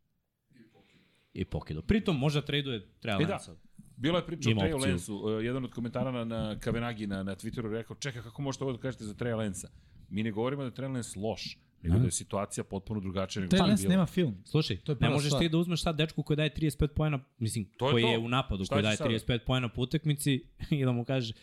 S3: I pokido. Pritom može da traduje Trey
S1: E da,
S3: Lance.
S1: Bila je priča
S3: Ima
S1: o Trey
S3: opciju.
S1: Lensu. Uh, jedan od komentara na, na Kavenagi na, na Twitteru je rekao, čekaj, kako možete ovo da kažete za Trey Lensa? Mi ne govorimo da je Trey Lens loš, nego
S3: Ne.
S1: da je situacija potpuno drugačija nego
S2: Trent
S1: što je
S2: Williams
S1: bila.
S2: nema film.
S3: Slušaj,
S2: To je
S3: ne
S2: prva
S3: možeš
S2: stvar.
S3: ti da uzmeš sad dečku koji daje 35 poena, mislim,
S1: To je
S3: koji
S1: to.
S3: je u napadu,
S1: Šta
S3: koji
S1: će
S3: daje
S1: sada?
S3: 35 poena po utakmici i da mu kaže,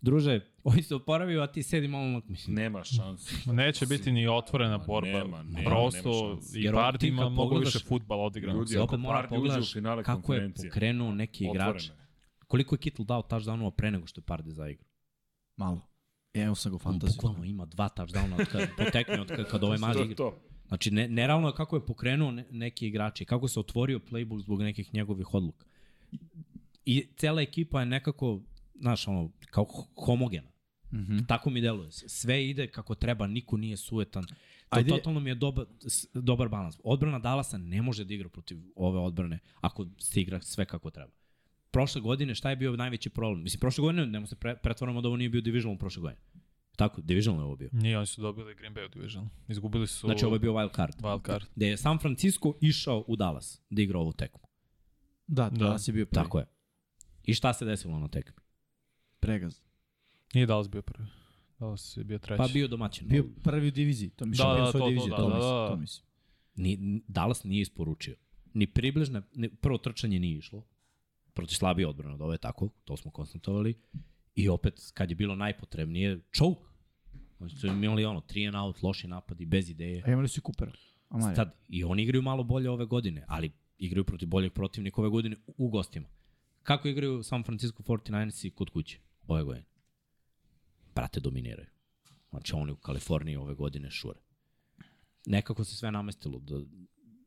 S3: druže, on se oporavio, a ti sedi malo na... Mislim,
S1: Nema šanse.
S4: Neće biti ni otvorena borba.
S1: nema, nema, nema
S4: Prosto
S1: šanse.
S4: i
S3: Jer ovo
S4: Vardy
S3: ti
S4: ima
S3: kad
S4: mnogo
S3: pogledaš-
S4: više futbala odigrano.
S1: Ljudi,
S3: se opet
S1: ako
S3: mora
S1: Vardy uđe u
S3: pogledaš
S1: finale
S3: kako je
S1: konferencije.
S3: pokrenuo neki igrač.
S1: Otvoreno je.
S3: Koliko je Kittle dao touchdownova pre nego što je Parde zaigrao.
S2: Malo. Ja E, evo sam ga u
S3: On
S2: fantaziju.
S3: bukvalno ima dva touchdowna od kad potekne, od kad, kad ovaj maž
S1: To je
S3: igra.
S1: to.
S3: Znači, ne, nerealno je kako je pokrenuo ne, neki igrači, kako se otvorio playbook zbog nekih njegovih odluka. I cela ekipa je nekako, znaš, ono, kao homogena.
S2: Mhm.
S3: Tako mi deluje. Sve ide kako treba, niko nije sujetan. To
S2: Ajde.
S3: Ajde. totalno mi je doba, s- dobar balans. Odbrana Dalasa ne može da igra protiv ove odbrane ako se igra sve kako treba. Prošle godine šta je bio najveći problem? Mislim, prošle godine, nemo se pre, pretvoramo da ovo nije bio divisional prošle godine. Tako, divisional je ovo bio.
S4: Nije, oni su dobili Green Bay Division. Izgubili su
S3: Znači, ovo je bio wild card.
S4: wild card.
S3: Gde je San Francisco išao u Dallas da igra ovu tekmu.
S2: Da,
S4: Da.
S2: danas je bio prvi.
S3: Tako je. I šta se desilo na tekmi?
S2: Pregaz.
S4: Nije Dallas bio prvi. Dallas je bio treći.
S3: Pa bio domaćin.
S2: Bio prvi u diviziji, to mislim, da, da, to,
S4: to,
S2: divizije,
S4: da,
S2: to,
S4: da,
S2: mislim,
S4: da.
S2: to mislim.
S3: Ni, Dallas nije isporučio. Ni približno, ni, prvo trčanje nije išlo. protiv slabije odbrane od ove, tako, to smo konstatovali. I opet, kad je bilo najpotrebnije, choke. Oni su imali ono, three and out, loši napadi, bez ideje.
S2: A imali su i Coopera. A Maja.
S3: Sad, i oni igraju malo bolje ove godine, ali igraju protiv boljeg protivnika ove godine u- u gostima. Kako igraju San Francisco 49ersi kod kuće ove godine? Brate, dominiraju. Znači, oni u Kaliforniji ove godine šure. Nekako se sve namestilo da,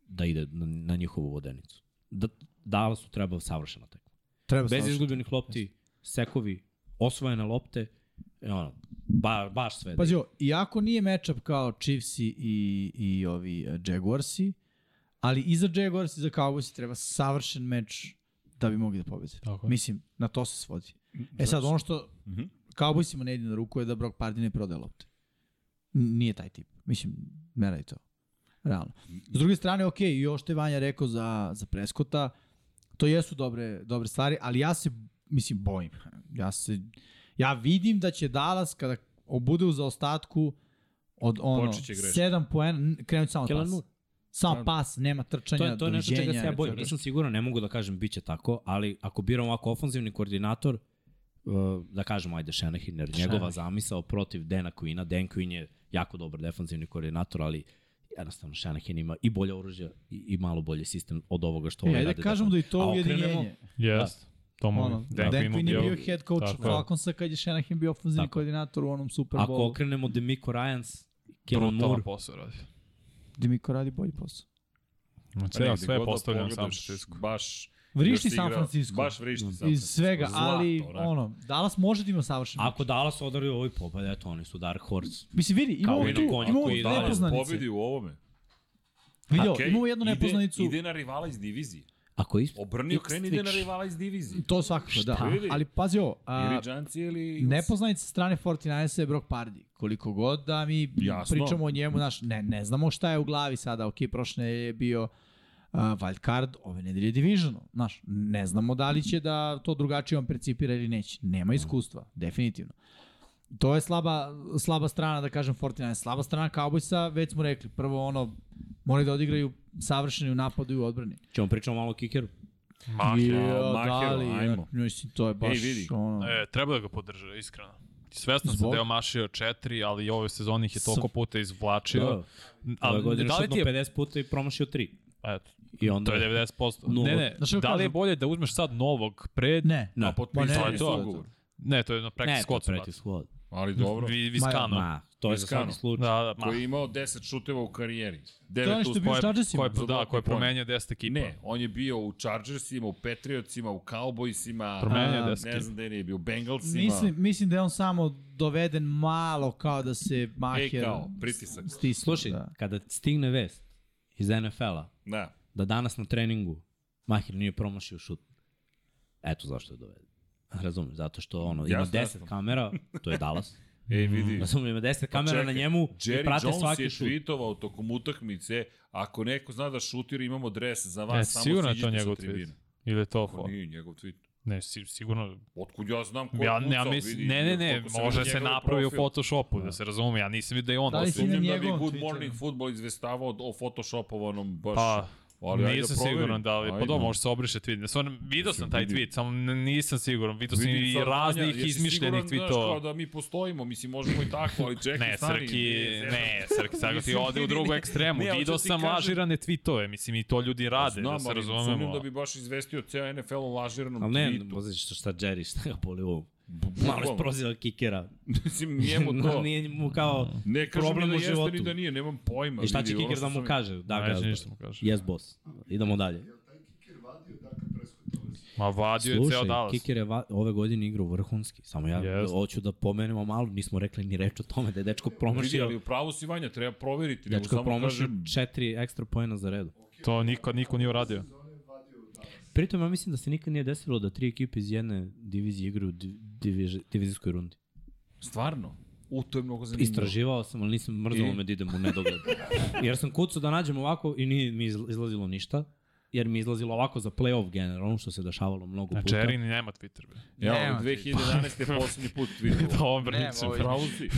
S3: da ide na, na njihovu vodenicu. Da, dala su treba savršena tekma.
S2: Treba
S3: Bez
S2: savršeno.
S3: izgubljenih lopti, sekovi, osvojene lopte, i ono, ba, baš sve. da
S2: Pazi, ovo, iako nije matchup kao Chiefsi i, i ovi eh, Jaguarsi, ali i za Jaguars i za Cowboys treba savršen meč da bi mogli da pobede.
S4: Tako je.
S2: Mislim, na to se svodi. E sad, ono što
S1: Mhm.
S2: Cowboysima ne ide na ruku je da Brock Pardine ne prodaje lopte. N- Nije taj tip. Mislim, ne radi to. Realno. S druge strane, ok, i ovo što je Vanja rekao za, za Preskota, to jesu dobre, dobre stvari, ali ja se, mislim, bojim. Ja se, ja vidim da će Dallas, kada bude u zaostatku, od ono,
S1: Počeće greške.
S2: 7 poena, n- krenuti samo
S3: Kellen
S2: pas.
S3: Moore.
S2: Samo pas, nema trčanja,
S3: to je, to je nešto čega
S2: doviđenja,
S3: se ja bojim.
S2: to je
S3: Nisam siguran, ne mogu da kažem bit će tako, ali ako biram ovako ofenzivni koordinator, uh, da kažem, ajde, Shanahan, jer njegova zamisao protiv Dana Quina, Dan Quinn je jako dobar defensivni koordinator, ali jednostavno Shanahan ima i bolje oružje i, i malo bolje sistem od ovoga što
S2: E,
S3: ovaj
S2: ajde
S3: radi.
S2: kažemo da i to
S3: A okrenemo-
S2: ujedinjenje.
S4: Jest.
S3: da.
S4: To mogu.
S2: Ono, Dan Quinn je bio head coach
S4: Tako je.
S2: Falconsa kad je Shanahan bio ofenzivni
S3: Tako.
S2: koordinator u onom Super
S3: Ako
S2: Bowlu.
S3: okrenemo Demico Ryans, Kellen Moore,
S4: Brutalan posao radi.
S2: Dimiko radi bolji posao.
S4: Ma,
S1: Pa
S4: Ceo
S1: negde
S4: sve je
S1: god da
S4: postavljeno u San
S1: pogledaš,
S4: Francisco.
S1: Baš
S2: Vrišti
S1: još
S2: San
S1: igra-
S2: Francisco.
S1: Da Baš vrišti San Francisco.
S2: Iz svega,
S1: Zlato,
S2: ali
S1: onako.
S2: ono, Dallas može da ima savršen.
S3: ako Dallas odari ovoj pobed, eto, oni su Dark Horse.
S2: Mislim, vidi, imamo
S3: i na
S2: tu,
S3: konju
S2: imamo
S3: koji
S2: dve
S3: Dallas
S2: nepoznanice.
S1: da pobedi u ovome.
S2: Vidio,
S1: Okej,
S2: imamo jednu nepoznanicu.
S1: Ide, ide na rivala iz divizije.
S3: Ako isto,
S1: Obrni okreni ide na
S3: Slično.
S1: rivala iz divizije.
S2: To svakako, da.
S1: Šta?
S2: Ali pazi ovo, a,
S1: Ili Giants ili...
S2: nepoznanica sa strane 49-a je Brock Pardy. Koliko god da mi
S1: Jasno.
S2: pričamo o njemu, znaš, ne, ne znamo šta je u glavi sada. Ok, prošle nedelje je bio uh, wild card, ove nedelje je division. Znaš, ne znamo da li će da to drugačije on percipira ili neće. Nema iskustva, definitivno. To je slaba, slaba strana, da kažem, 49. Slaba strana Cowboysa, već smo rekli, prvo ono, moraju da odigraju savršeni u napadu i u odbrani.
S3: ćemo pričamo malo o kikeru.
S1: Mahero, Mahero, Pa, ajmo.
S2: Mislim, to je baš
S1: Ej, vidi.
S2: ono...
S4: E, treba da ga podrže, iskreno. Svesno sam
S2: Zbog?
S4: da je omašio četiri, ali i ove sezone ih je toliko puta izvlačio.
S3: Da. Ove
S4: Ali
S3: godine
S4: da li ti
S3: šutno
S4: je...
S3: 50 puta i promašio 3.
S4: Eto,
S3: I onda...
S4: to je 90%.
S3: Da. Nula.
S4: Ne, ne,
S2: Znaš kako
S4: da li je
S2: kažu?
S4: bolje da uzmeš sad novog pred...
S2: Ne.
S3: Da.
S1: A potpisali
S4: Pa ne,
S1: su
S4: to je
S1: ugovor.
S4: Ne, to je na practice
S3: Ne, to je
S4: squad. su
S3: preti squad.
S1: to. Ali dobro.
S4: bacili. Vi,
S2: Ma,
S4: Viskano.
S3: Ma, to je za
S1: Viskano.
S3: svaki slučaj.
S4: Da, da, ma.
S1: Koji je imao 10 šuteva u karijeri.
S2: To je
S1: 9
S2: ono što
S1: uspona.
S2: bi u Chargersima.
S4: Ko je, da, ko je promenio 10 ekipa.
S1: Ne, on je bio u Chargersima, u Patriotsima, u Cowboysima,
S4: Promenio
S1: a,
S4: je deske.
S1: ne znam gde nije bio, u Bengalsima.
S2: Mislim, mislim da je on samo doveden malo kao da
S4: E,
S2: se
S1: Ej,
S2: Maher
S1: kao, pritisak.
S2: stisne.
S3: Slušaj,
S2: da.
S3: kada stigne vest iz NFL-a
S1: Da.
S3: da danas na treningu Mahir nije promašio šut, eto zašto je doveden. Razumem, zato što ono, ima
S1: Jasno,
S3: 10
S1: jasno.
S3: kamera, to je Dallas,
S1: Ej, vidi.
S3: razumem, ima 10 kamera na
S1: čekaj,
S3: njemu i
S1: Jerry
S3: prate
S1: Jones je
S3: svaki šut.
S1: tweetovao tokom utakmice, ako neko zna da šutira, imamo dres za vas,
S4: E,
S1: samo
S4: sigurno je
S1: siđite
S4: to
S1: sa
S4: njegov tweet.
S1: tribine.
S4: Ili je to
S1: Pa
S4: for.
S1: nije njegov tweet.
S4: Ne, si, sigurno.
S1: Otkud ja znam ko je
S4: Ja, ne, ja
S1: pucao,
S4: mislim,
S1: vidi,
S4: ne, ne, ne,
S1: koliko sam
S4: može
S1: vidio
S4: se
S1: njegov
S4: napravi u
S1: profil.
S4: Photoshopu, da se razume, ja nisam vidio da je on.
S2: Da li
S4: to
S2: si na
S1: Sumnjam da bi
S2: njegovom
S1: Good
S2: Twitteru.
S1: Morning Football izveštavao o photoshopovanom baš.
S4: Pa,
S1: ali ajde
S4: nisam
S1: da proverim.
S4: siguran da li, pa
S1: Ajde.
S4: dobro, može se obriše tweet. Ne, stvarno, video sam taj
S1: Mislim, vidi.
S4: tweet, samo n- nisam siguran. Video sam
S1: Vidi,
S4: i
S1: sad, Vanja,
S4: raznih
S1: jesi
S4: izmišljenih
S1: siguran, znaš, kao
S4: tweetova.
S1: da mi postojimo, mislim, možemo i tako, ali čekaj,
S4: Ne,
S1: stani,
S4: Srki,
S1: nije,
S4: ne, Srki, sad ti
S1: Mislim,
S4: ode u
S1: vidi,
S4: drugu
S1: ne,
S4: ekstremu.
S1: ne, hoću
S4: Video
S1: ti
S4: sam
S1: kažem- Pa
S4: lažirane tweetove, mislim, i to ljudi rade,
S1: Znam,
S4: da se
S1: ali sumnjam
S4: razumemo.
S1: da bi baš izvestio ceo NFL o lažiranom
S3: Ali ne,
S1: tweetu.
S3: bozi što šta Jerry, šta ga boli ovo. Malo je
S1: Bukvalno.
S3: sproziva kikera.
S1: Mislim, njemu to.
S3: nije mu kao
S1: Ne kažem
S3: problem
S1: ni da
S3: u
S1: jeste,
S3: životu.
S1: ni da nije, nemam pojma.
S3: I šta
S1: vidi,
S3: će
S1: ono
S3: kiker
S1: što
S3: da mu
S1: sam-
S3: kaže? Da
S4: Neće
S3: ga,
S4: ništa mu kaže.
S3: yes boss. Idemo dalje.
S4: Ma vadio je ceo
S3: Slušaj,
S4: Dallas.
S3: Kiker je va, ove godine igrao vrhunski, samo ja yes.
S4: Jest.
S3: hoću da pomenemo malo, nismo rekli ni reč o tome da je dečko
S1: Vidi, ali
S3: promašio,
S1: u pravu si Vanja, treba proveriti. Nego
S3: dečko je
S1: samo
S3: promašio
S1: kažem,
S3: četiri ekstra poena za redu.
S4: To niko, niko nije uradio.
S3: Pritom ja mislim da se nikad nije desilo da tri ekipe iz jedne divizije igraju u div- diviž- divizijskoj rundi.
S1: stvarno, u to je mnogo zanimljivo.
S3: Istraživao sam, ali nisam mrzalo
S1: I?
S3: me da idem u nedogled. Jer sam kucao da nađem ovako i nije mi izla- izlazilo ništa. Jer mi je izlazilo ovako za playoff generalno, što se dešavalo mnogo puta.
S4: Znači, Erin nema Twitter, bre.
S1: Ja,
S2: Nema
S1: od 2011. posljednji put vidio.
S4: Da, on
S2: Nema,
S4: brnicu.
S2: ovo je-
S1: Pravo si.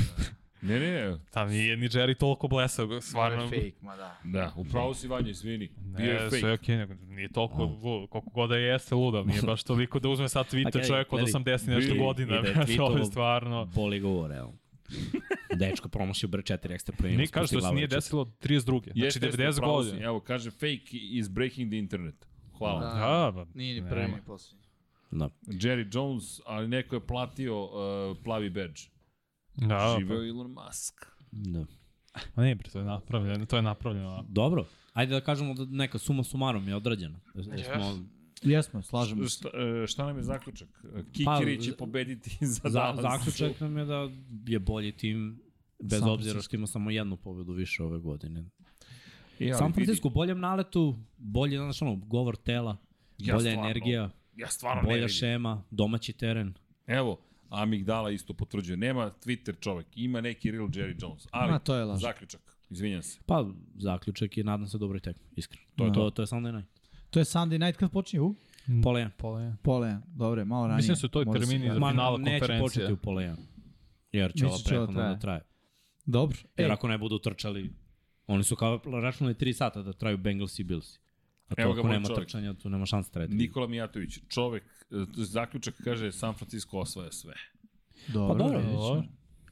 S1: Ne, ne,
S4: Tam nije ni Jerry toliko blesao, stvarno.
S2: ma da.
S1: da, upravo si Vanja, izvini. Bio je
S4: Ne, sve
S1: fake.
S4: je okej, nego nije toliko, lu- koliko god da jeste luda, nije baš toliko da uzme sad
S3: A
S4: Twitter
S3: gledaj,
S4: čovjek od
S3: gledaj,
S4: 80 i nešto
S3: vidi,
S4: godina,
S3: ide
S4: brate, ovo je
S3: tweetovo-
S4: stvarno.
S3: Boli govore, evo. Dečko promašio bre 4 ekstra premium.
S4: Ni kaže da se nije desilo od 32. Znači
S1: Jeste, jeste,
S4: 90
S1: upravo si.
S4: godina.
S1: Evo, kaže fake is breaking the internet. Hvala.
S2: Da.
S4: Da, ba,
S2: Nije ni
S4: ne,
S2: prvi,
S4: nema.
S2: ni posljednji.
S3: Da.
S1: Jerry Jones, ali neko je platio uh, plavi badge.
S4: Da,
S1: Živeo Elon Musk.
S3: da.
S4: pa ne, bre, to je napravljeno, to je napravljeno. a-
S3: Dobro. Ajde da kažemo da neka suma sumarom je odrađena. Jesmo
S2: Jesmo, slažemo se.
S1: Šta, e, šta nam je zaključak? Kikiri će
S3: za-
S1: pobediti za,
S3: Za,
S1: Dallas.
S3: zaključak nam je da je bolji tim bez
S2: San
S3: obzira
S2: Francisco.
S3: što ima samo jednu pobedu više ove godine.
S1: E, ali
S3: San
S1: vidi,
S3: Francisco u boljem naletu, bolje, znaš ono, govor tela,
S1: Ja
S3: bolja
S1: stvarno-
S3: energija,
S1: Ja stvarno ne
S3: bolja
S1: vidim.
S3: šema, domaći teren.
S1: Evo, Amigdala isto potvrđuje. Nema Twitter čovek, ima neki real Jerry Jones. Ali,
S2: Ma, to je laž.
S1: zaključak. Izvinjam se.
S3: Pa, zaključak je, nadam se, dobroj tekmi, iskreno. To je,
S2: Da.
S3: to, to je Sunday night.
S2: To je Sunday night kad počinje u?
S3: Pola jedan.
S4: Pola je.
S2: Pola jedan, dobro, je, malo ranije.
S4: Mislim da su to i
S2: Možda se
S4: termini
S2: kaže.
S4: za-
S3: Ma,
S4: finala
S3: neće
S4: konferencije.
S3: početi u pola jedan. Jer će
S2: Mislim
S3: ova
S2: će ova
S3: prethodna
S2: traje.
S3: da traje.
S2: Dobro.
S3: Jer
S2: E,
S3: ako ne budu trčali, oni su kao računali 3 sata da traju Bengals i Bills. A
S1: Evo
S3: to
S1: ga
S3: ako
S1: moj
S3: nema
S1: čovjek.
S3: trčanja, tu nema šanse trajati.
S1: Nikola Mijatović, čovek, e, zaključak kaže San Francisco osvaja sve.
S2: dobro,
S3: dobro,
S2: vidjet ćemo.
S4: Pa dobro.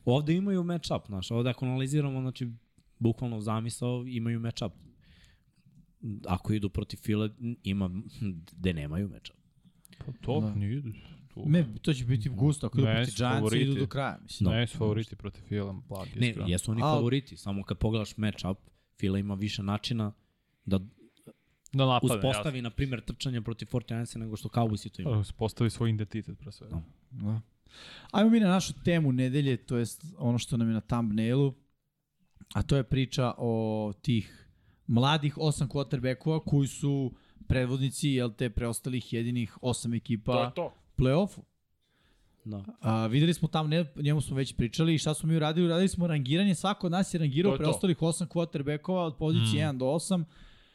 S3: Ovde imaju match-up, znaš, ovde ako analiziramo, znači, bukvalno zamisao, imaju match-up. Ako idu protiv Fila, ima, gde nemaju match-up.
S4: Pa to
S2: Da.
S4: nije. To.
S2: Me, to će biti gusto, ako idu
S4: Ne,
S2: proti
S4: su
S2: Giants i
S4: favoriti.
S2: idu do kraja, mislim.
S3: No.
S4: Ne, su favoriti protiv Fila, blagi,
S3: Ne,
S1: da.
S4: iskreno.
S3: jesu oni
S2: A-
S3: favoriti, samo kad pogledaš match-up, Fila ima više načina da
S4: Da napada,
S3: uspostavi, na primjer, trčanje protiv 49 nego što Cowboys to ima.
S4: jasno. Pa, Uspostavi svoj identitet, pre svega.
S3: Da.
S2: Da. Ajmo mi na našu temu nedelje, to jest ono što nam je na thumbnailu, a to je priča o tih mladih osam quarterbackova koji su predvodnici, jel te, preostalih jedinih osam ekipa
S1: to je to.
S2: play-offu.
S1: Pa-
S3: Da.
S2: A, videli smo tam, ne, njemu smo već pričali i šta smo mi uradili, uradili smo rangiranje, svako od nas je
S1: To
S2: rangirao
S1: je to.
S2: preostalih osam quarterbackova od pozicije mm. 1 do 8.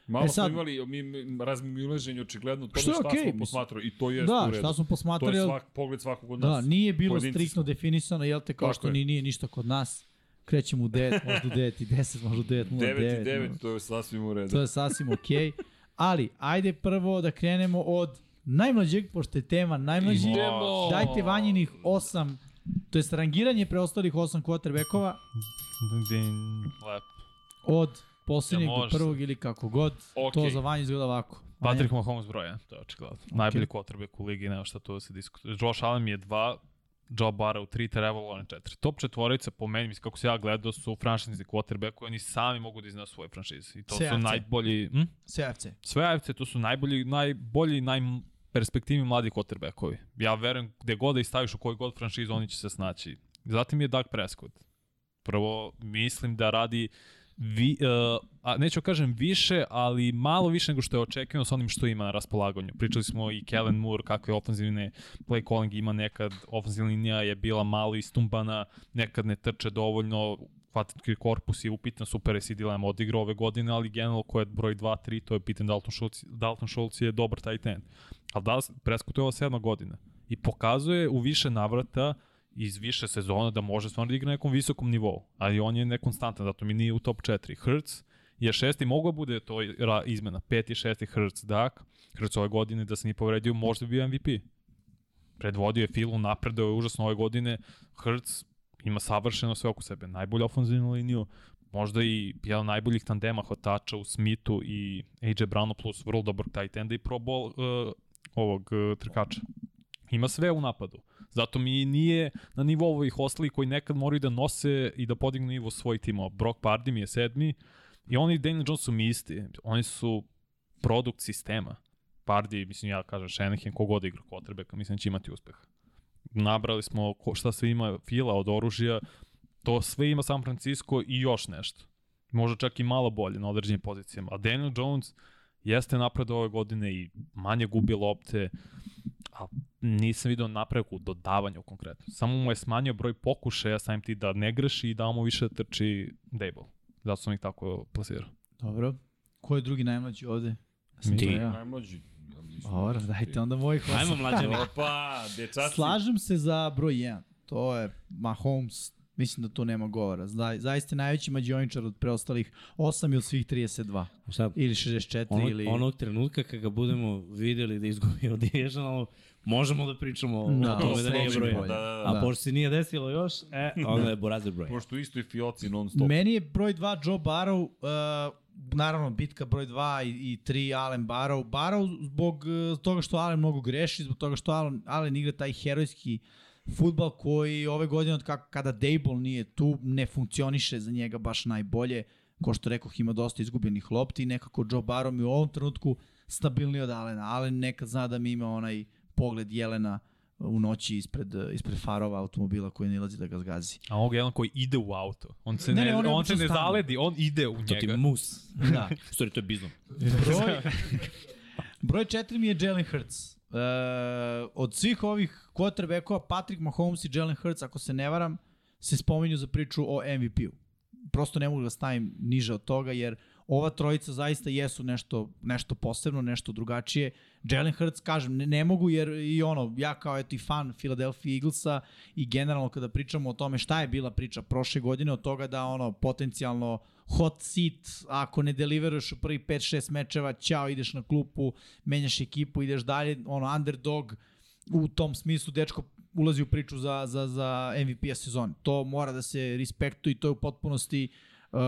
S1: Malo
S2: E
S1: e
S2: sad-
S1: sad, smo imali mi, mi, razmimilaženje očigledno o tome
S2: Što je
S1: šta
S2: okej, mislim.
S1: smo posmatrali i to je
S2: da,
S1: u redu.
S2: šta smo
S1: to
S2: posmatrali,
S1: je
S2: jel-
S1: svak, pogled svakog od
S2: da,
S1: nas.
S2: nije bilo
S1: Pojedinci smo.
S2: striktno definisano, jel te, kao
S1: Tako
S2: što
S1: je.
S2: ni, nije ništa kod nas. Krećemo u 9, možda u 9 i 10, možda u 9, 0, 9.
S1: 9 i 9, to je sasvim u redu.
S2: To je sasvim okej. Okay. Ali, ajde prvo da krenemo od najmlađeg, pošto je tema najmlađi.
S1: Idemo!
S2: Dajte vanjenih 8, to je rangiranje preostalih 8 quarterbackova
S4: Da, Din, lep.
S2: od poslednjeg
S4: Ja,
S2: do
S4: može.
S2: prvog ili kako god. To
S1: Da Okej.
S2: za vanje izgleda ovako. Vanja,
S4: Patrick Mahomes broja, to je očigledno. Najbolji quarterback u ligi, nema šta tu da se diskutuje. Josh Allen je dva, Joe Barra u tri, Trevor Lawrence četiri. Top četvorica po meni, mislim, kako se ja gledao, su franšizni quarterback koji oni sami mogu da iznesu svoje franšize. I to
S2: Sve
S4: su
S2: AFC.
S4: najbolji... Hm?
S2: CFC.
S4: sve AFC to su najbolji, najbolji, najperspektivni mladi quarterbackovi. Ja verujem gde god da ih staviš u koji god franšizu oni će se snaći. Zatim je Doug Prescott. Prvo, mislim da radi vi, uh, a neću kažem više, ali malo više nego što je očekivano sa onim što ima na raspolaganju. Pričali smo i Kellen Moore kakve ofenzivne play calling ima nekad, ofenzivna linija je bila malo istumbana, nekad ne trče dovoljno, hvatatki korpus je upitan, super je CD Lamb odigrao ove godine, ali generalno ko je broj 2-3, to je pitan Dalton Schultz, Dalton Schultz je dobar tight end. Ali Dallas, Prescott je ova sedma godina i pokazuje u više navrata iz više sezona da može stvarno da igra na nekom visokom nivou, ali on je nekonstantan, zato mi nije u top 4. Hertz je šesti, mogao da bude to ra- izmena, peti, šesti Hertz, Dak, Hertz ove godine da se nije povredio, možda bi bio MVP predvodio je Filu, napredao je užasno ove godine, Hertz ima savršeno sve oko sebe, najbolju ofenzivnu liniju, možda i jedan od najboljih tandema hvatača u Smithu i AJ Brownu plus vrlo dobar tight enda i pro ball uh, ovog uh, trkača. Ima sve u napadu. Zato mi i nije na nivou ovih ostalih koji nekad moraju da nose i da podignu nivo svojih timova. Brock Pardy mi je sedmi i oni i Daniel Jones su mi isti. Oni su produkt sistema. Pardi, mislim ja kažem Shanahan, kogod igra quarterbacka, mislim da će imati uspeh. Nabrali smo ko, šta sve ima fila od oružja, to sve ima San Francisco i još nešto. Možda čak i malo bolje na određenim pozicijama. A Daniel Jones jeste napredao ove godine i manje gubi lopte, a nisam video napredak u dodavanju konkretno. Samo mu je smanjio broj pokušaja samim ti da ne greši i dao mu više da trči Dable. Zato sam ih tako plasirao.
S2: Dobro. Ko je drugi najmlađi ovde? Sam
S3: Ti.
S2: to Ja.
S1: Najmlađi. Ja mislim.
S2: Dobro, dajte onda mojih 8.
S3: Ajmo mlađani.
S1: Opa, dečaci.
S2: Slažem se za broj 1. To je Mahomes. Mislim da tu nema govora. Zda, zaista je najveći mađioničar od preostalih 8 i od svih 32.
S3: Sad,
S2: Ili 64
S3: ono,
S2: ili...
S3: onog trenutka kada ga budemo videli da izgubio Divisional, možemo da pričamo
S2: Da,
S3: o tome da
S2: sledeći
S3: nije broja.
S2: bolje.
S1: Da, da, da.
S3: A
S2: Da.
S3: pošto se nije desilo još, e, onda je Borazer broj.
S1: Pošto isto je Fioci non stop.
S2: Meni je broj 2 Joe Barrow, uh, naravno bitka broj 2 i, i 3 Allen Barrow. Barrow zbog uh, toga što Allen mnogo greši, zbog toga što Allen, Allen igra taj herojski futbal koji ove godine od kako, kada Dable nije tu ne funkcioniše za njega baš najbolje. Ko što rekoh ima dosta izgubljenih lopti i nekako Joe Barrow mi u ovom trenutku stabilniji od Alena. Alen nekad zna da mi ima onaj pogled Jelena u noći ispred, uh, ispred farova automobila koji ne ilazi da ga zgazi.
S4: A ovog je jedan koji ide u auto. On se
S2: Ne,
S4: ne,
S2: ne,
S4: ne,
S2: on
S4: on,
S2: je
S4: on se ne
S2: otišao stalno.
S4: zaledi, on ide u
S3: To ti je
S4: njega.
S3: mus.
S2: Da.
S3: Sorry, to je bizon.
S2: Broj, broj četiri mi je Jalen Hurts. E, od svih ovih quarterbackova, Patrick Mahomes i Jalen Hurts, ako se ne varam, se spominju za priču o MVP-u. Prosto ne mogu da stavim niže od toga, jer ova trojica zaista jesu nešto, nešto posebno, nešto drugačije. Jalen Hurts, kažem, ne, ne mogu jer i ono, ja kao eto i fan Philadelphia Eaglesa i generalno kada pričamo o tome šta je bila priča prošle godine od toga da ono potencijalno hot seat, ako ne deliveruješ u prvi 5-6 mečeva, ćao, ideš na klupu, menjaš ekipu, ideš dalje, ono, underdog, u tom smislu dečko ulazi u priču za, za, za MVP-a sezon. To mora da se respektuje i to je u potpunosti, uh,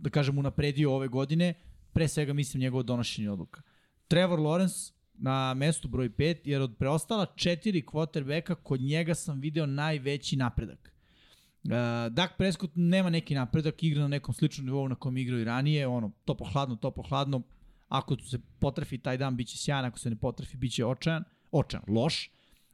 S2: da kažem, unapredio ove godine. Pre svega mislim njegovo donošenje odluka. Trevor Lawrence na mestu broj 5, jer od preostala četiri quarterbacka kod njega sam video najveći napredak. Uh, Dak Prescott nema neki napredak, igra na nekom sličnom nivou na kom je igrao i ranije, ono, toplo hladno, toplo hladno, ako se potrefi taj dan biće sjajan, ako se ne potrefi biće očajan, očajan, loš.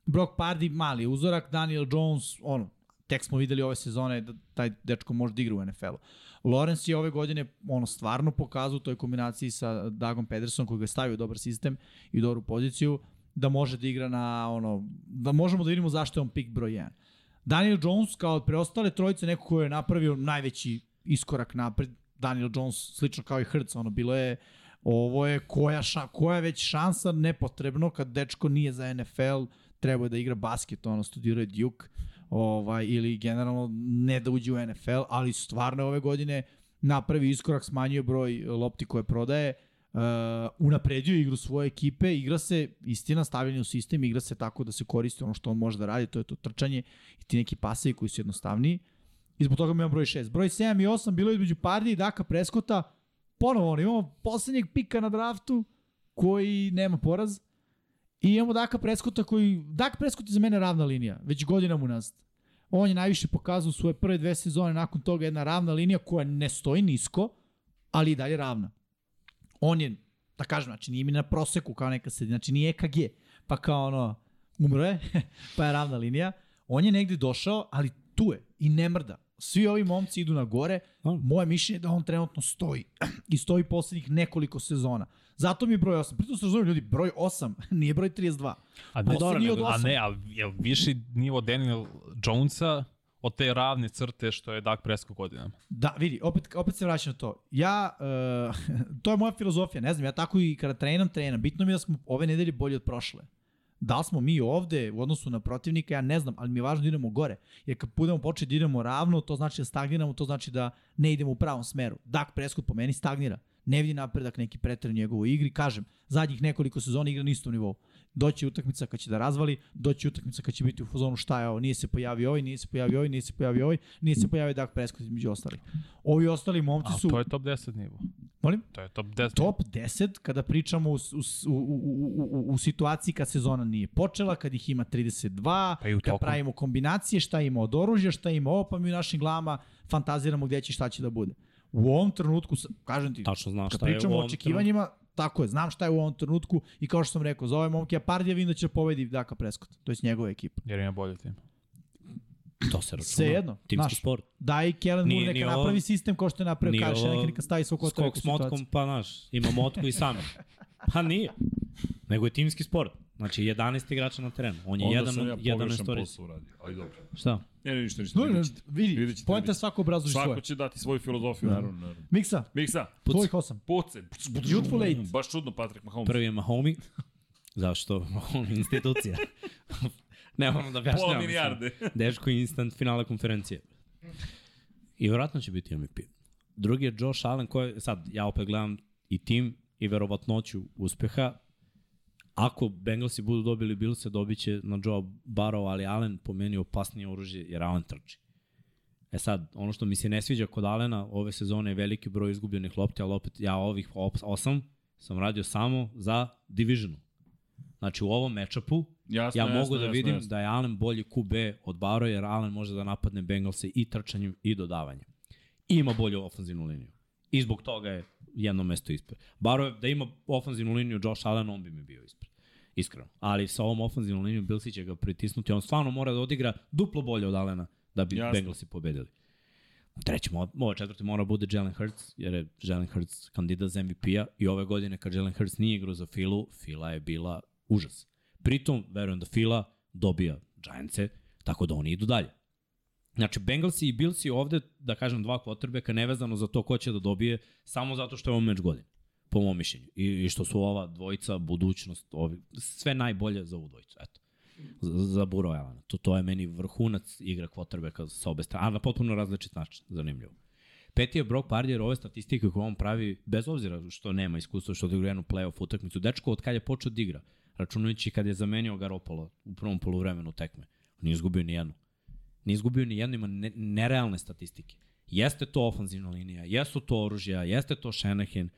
S2: Brock Pardy mali uzorak, Daniel Jones, ono, tek smo videli ove sezone da taj dečko može da igra u NFL-u. Lawrence je ove godine ono stvarno pokazao u toj kombinaciji sa Dagom Pedersonom koji ga je stavio u dobar sistem i u dobru poziciju da može da igra na ono da možemo da vidimo zašto je on pik broj 1. Daniel Jones kao od preostale trojice neko ko je napravio najveći iskorak napred. Daniel Jones slično kao i Hurts, ono bilo je ovo je koja, ša, koja već šansa nepotrebno kad dečko nije za NFL, treba je da igra basket, ono studirao je Duke ovaj, ili generalno ne da uđe u NFL, ali stvarno je ove godine napravi iskorak, smanjio broj lopti koje prodaje, uh, unapredio igru svoje ekipe, igra se, istina, stavljanje u sistem, igra se tako da se koristi ono što on može da radi, to je to trčanje i ti neki pasevi koji su jednostavniji. I zbog toga mi imam broj 6. Broj 7 i 8 bilo je između Pardi i Daka Preskota. Ponovo, ono, imamo poslednjeg pika na draftu koji nema poraz. I imamo Daka Preskota koji... Dak Preskot je za mene ravna linija, već godinama unazad. On je najviše pokazao u svoje prve dve sezone, nakon toga jedna ravna linija koja ne stoji nisko, ali i dalje ravna. On je, da kažem, znači nije mi na proseku kao neka sredina, znači nije EKG, pa kao ono, umro je, pa je ravna linija. On je negde došao, ali tu je i ne mrda. Svi ovi momci idu na gore, moje mišljenje je da on trenutno stoji i stoji poslednjih nekoliko sezona. Zato mi je broj 8. Pritom se razumijem ljudi, broj 8 nije broj 32.
S4: A
S2: Pa
S4: ne,
S2: dobro, nego-
S4: a ne, a je viši nivo Daniel Jonesa od te ravne crte što je Dak Prescott godinama.
S2: Da, vidi, opet, opet se vraćam na to. Ja, uh, to je moja filozofija, ne znam, ja tako i kada trenam, trenam. Bitno mi je da smo ove nedelje bolji od prošle. Da li smo mi ovde u odnosu na protivnika, ja ne znam, ali mi je važno da idemo gore. Jer kad budemo početi da idemo ravno, to znači da stagniramo, to znači da ne idemo u pravom smeru. Dak Prescott po meni stagnira. Ne vidi napredak neki preter u njegovoj igri. Kažem, zadnjih nekoliko sezona igra na istom nivou. Doći utakmica kad će da razvali, doći utakmica kad će biti u fazonu šta je ovo, nije se pojavio ovaj, nije se pojavio ovaj, nije se pojavio ovaj, nije se pojavio Dak Prescott između ostalih. Ovi ostali momci
S4: A
S2: su...
S4: to je top 10 nivo.
S2: Molim?
S4: To je top 10
S2: Pa top 10 kada pričamo u, s- u, s- u, u, u, u situaciji kad sezona nije počela, kad ih ima 32,
S4: Pa i u
S2: kad
S4: toku.
S2: pravimo kombinacije, šta ima od oružja, šta ima ovo, pa mi u našim glavama fantaziramo gde će i šta će da bude. U ovom trenutku, sa- kažem ti,
S3: Tačno znaš
S2: kad
S3: šta je u
S2: pričamo o
S3: ovom trenutku.
S2: očekivanjima, tako je, znam šta je u ovom trenutku i kao što sam rekao, za ove momke, ja Pardija vidim da će pobedi Daka Prescott, to je njegova ekipa.
S4: jer ima bolji tim.
S3: To se računa.
S2: Svejedno,
S3: Timski
S2: znaš.
S3: sport.
S2: Da i Kellen Moore
S3: Nije
S2: neka
S3: ni ovo-
S2: napravi sistem kao što je napravio
S3: nije
S2: Kyle Shanahan,
S3: ovo
S2: neka stavi svog otvore u
S3: Skok s
S2: situaciju.
S3: motkom, pa znaš, ima motku i sam. Pa nije. Nego je timski sport. Znači, 11 igrača na terenu. On je
S1: Onda
S3: jedan,
S1: sam ja
S3: jedan
S1: pogrešan
S3: stories.
S1: posao uradio. Ali dobro.
S3: Šta?
S1: Ne, ne, ništa, ništa.
S2: No, ne,
S1: vidjet ćete. Vidjet
S2: vidi,
S1: ćete,
S2: poenta
S1: vidjet
S2: svako obrazuje
S1: Svako
S2: svoje.
S1: će dati svoju filozofiju, naravno, naravno.
S2: Miksa,
S1: Miksa,
S2: tvojih osam.
S1: puce.
S2: Beautiful eight.
S1: Baš čudno, Patrick Mahomes.
S3: Prvi je Mahomi. Zašto? Mahomi institucija. ne moram da objašnjavam.
S1: Pola
S3: mislim.
S1: milijarde.
S3: Dečko je instant finale konferencije. I verovatno će biti MVP. Drugi je Josh Allen koji, sad ja opet gledam i tim i verovatnoću uspeha. Ako Bengalsi budu dobili Bilse, dobit će na Joe Barrow, ali Allen po meni je opasnije oružje jer Allen trči. E sad, ono što mi se ne sviđa kod Alena ove sezone je veliki broj izgubljenih lopti, ali opet ja ovih op- osam sam radio samo za divisionu. Znači u ovom matchupu
S1: Jasno,
S3: ja
S1: jasno,
S3: mogu da
S2: да
S1: jasno,
S3: vidim
S1: jasno.
S3: da je Allen bolji QB od Baro, jer Allen može da napadne Bengalse i trčanjem i dodavanjem. I ima bolju ofanzivnu liniju. I zbog toga je jedno mesto ispred. Baro je, da ima ofanzivnu liniju Josh Allen, on bi mi bio ispred. Iskreno. Ali sa ovom ofanzivnom linijom Bilsi će ga pritisnuti. On stvarno mora da odigra duplo bolje od Allena da bi
S1: Jasno.
S3: Bengalsi pobedili. Treći, mo- ovo četvrti mora bude Jalen Hurts, jer je Jalen Hurts kandidat za MVP-a i ove godine kad Jalen Hurts nije igrao za Filu, Fila je bila užas. Pritom, verujem da Fila dobija Giantse, tako da oni idu dalje. Znači, Bengalsi i Billsi ovde, da kažem, dva kvotrbeka nevezano za to ko će da dobije, samo zato što je ovo meč godine, po mom mišljenju. I, I što su ova dvojica, budućnost, ovi, sve najbolje za ovu dvojicu, eto. Za, za Buro Elana. To, to je meni vrhunac igra kvotrbeka sa obe strane, a na potpuno različit način, zanimljivo. Peti je Brock Pardy, jer ove statistike koje on pravi, bez obzira što nema iskustva, što odigra jednu playoff utakmicu, dečko od kad je počeo da igra, računajući kad je zamenio Garopolo u prvom poluvremenu tekme, nije izgubio ni jednu. Nije izgubio ni jednu, ima ne, nerealne statistike. Jeste to ofanzivna linija, jesu to oružja, jeste to Shanahan,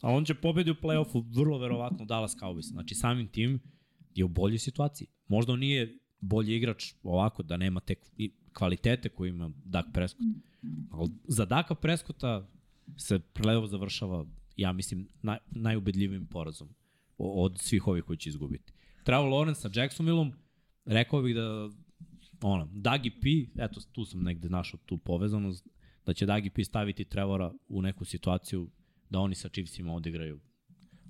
S3: a on će pobedi u playoffu vrlo verovatno Dallas Cowboys. Znači samim tim je u boljoj situaciji. Možda on nije bolji igrač ovako da nema te i kvalitete koje ima Dak Prescott. Ali za Daka Prescotta se playoff završava, ja mislim, naj, najubedljivim porazom o- od svih ovih koji će izgubiti. Trevor Lawrence sa Jacksonvillom, rekao bih da ono, Dagi P, eto tu sam negde našao tu povezanost, da će Dagi P staviti Trevora u neku situaciju da oni sa Chiefsima odigraju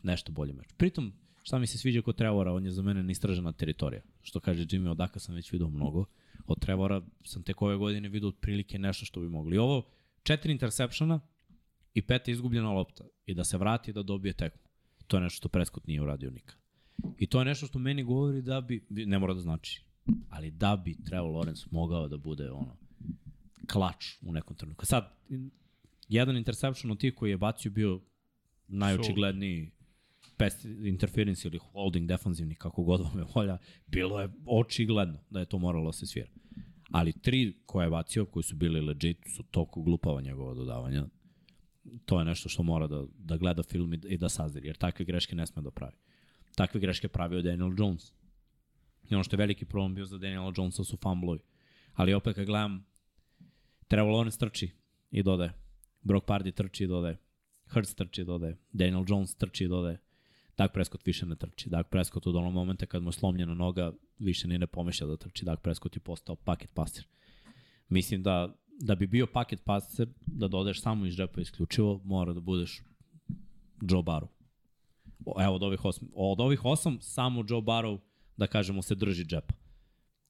S3: nešto bolje meč. Pritom, šta mi se sviđa kod Trevora, on je za mene neistražena teritorija. Što kaže Jimmy, od Daka sam već video mnogo. Od Trevora sam tek ove godine video otprilike nešto što bi mogli. I Ovo, četiri intersepšona i peta izgubljena lopta. I da se vrati i da dobije tekmu. To je nešto što Prescott nije uradio nikad. I to je nešto što meni govori da bi, ne mora da znači, ali da bi Trevor Lawrence mogao da bude ono, klač u nekom trenutku. Sad, jedan interception od tih koji je bacio bio najočigledniji pass interference ili holding defanzivni, kako god vam je volja, bilo je očigledno da je to moralo da se svira. Ali tri koje je bacio, koji su bili legit, su toliko glupava njegova dodavanja. To je nešto što mora da, da gleda film i, i da sazri, jer takve greške ne sme da pravi. Takve greške je pravio Daniel Jones. I ono što je veliki problem bio za Daniela Jonesa su fumblovi. Ali opet kad gledam, Trevor Lawrence trči i dodaje. Brock Pardy trči i dodaje. Hurts trči i dodaje. Daniel Jones trči i dodaje. Dak Prescott više ne trči. Dak Prescott od onog momenta kad mu je slomljena noga više ni ne pomišlja da trči. Dak Prescott je postao paket pasir. Mislim da da bi bio paket pasir, da dodeš samo iz džepa isključivo, mora da budeš Joe Barrow. O, Evo od ovih osam, od ovih osam samo Joe Barrow, da kažemo, se drži džepa.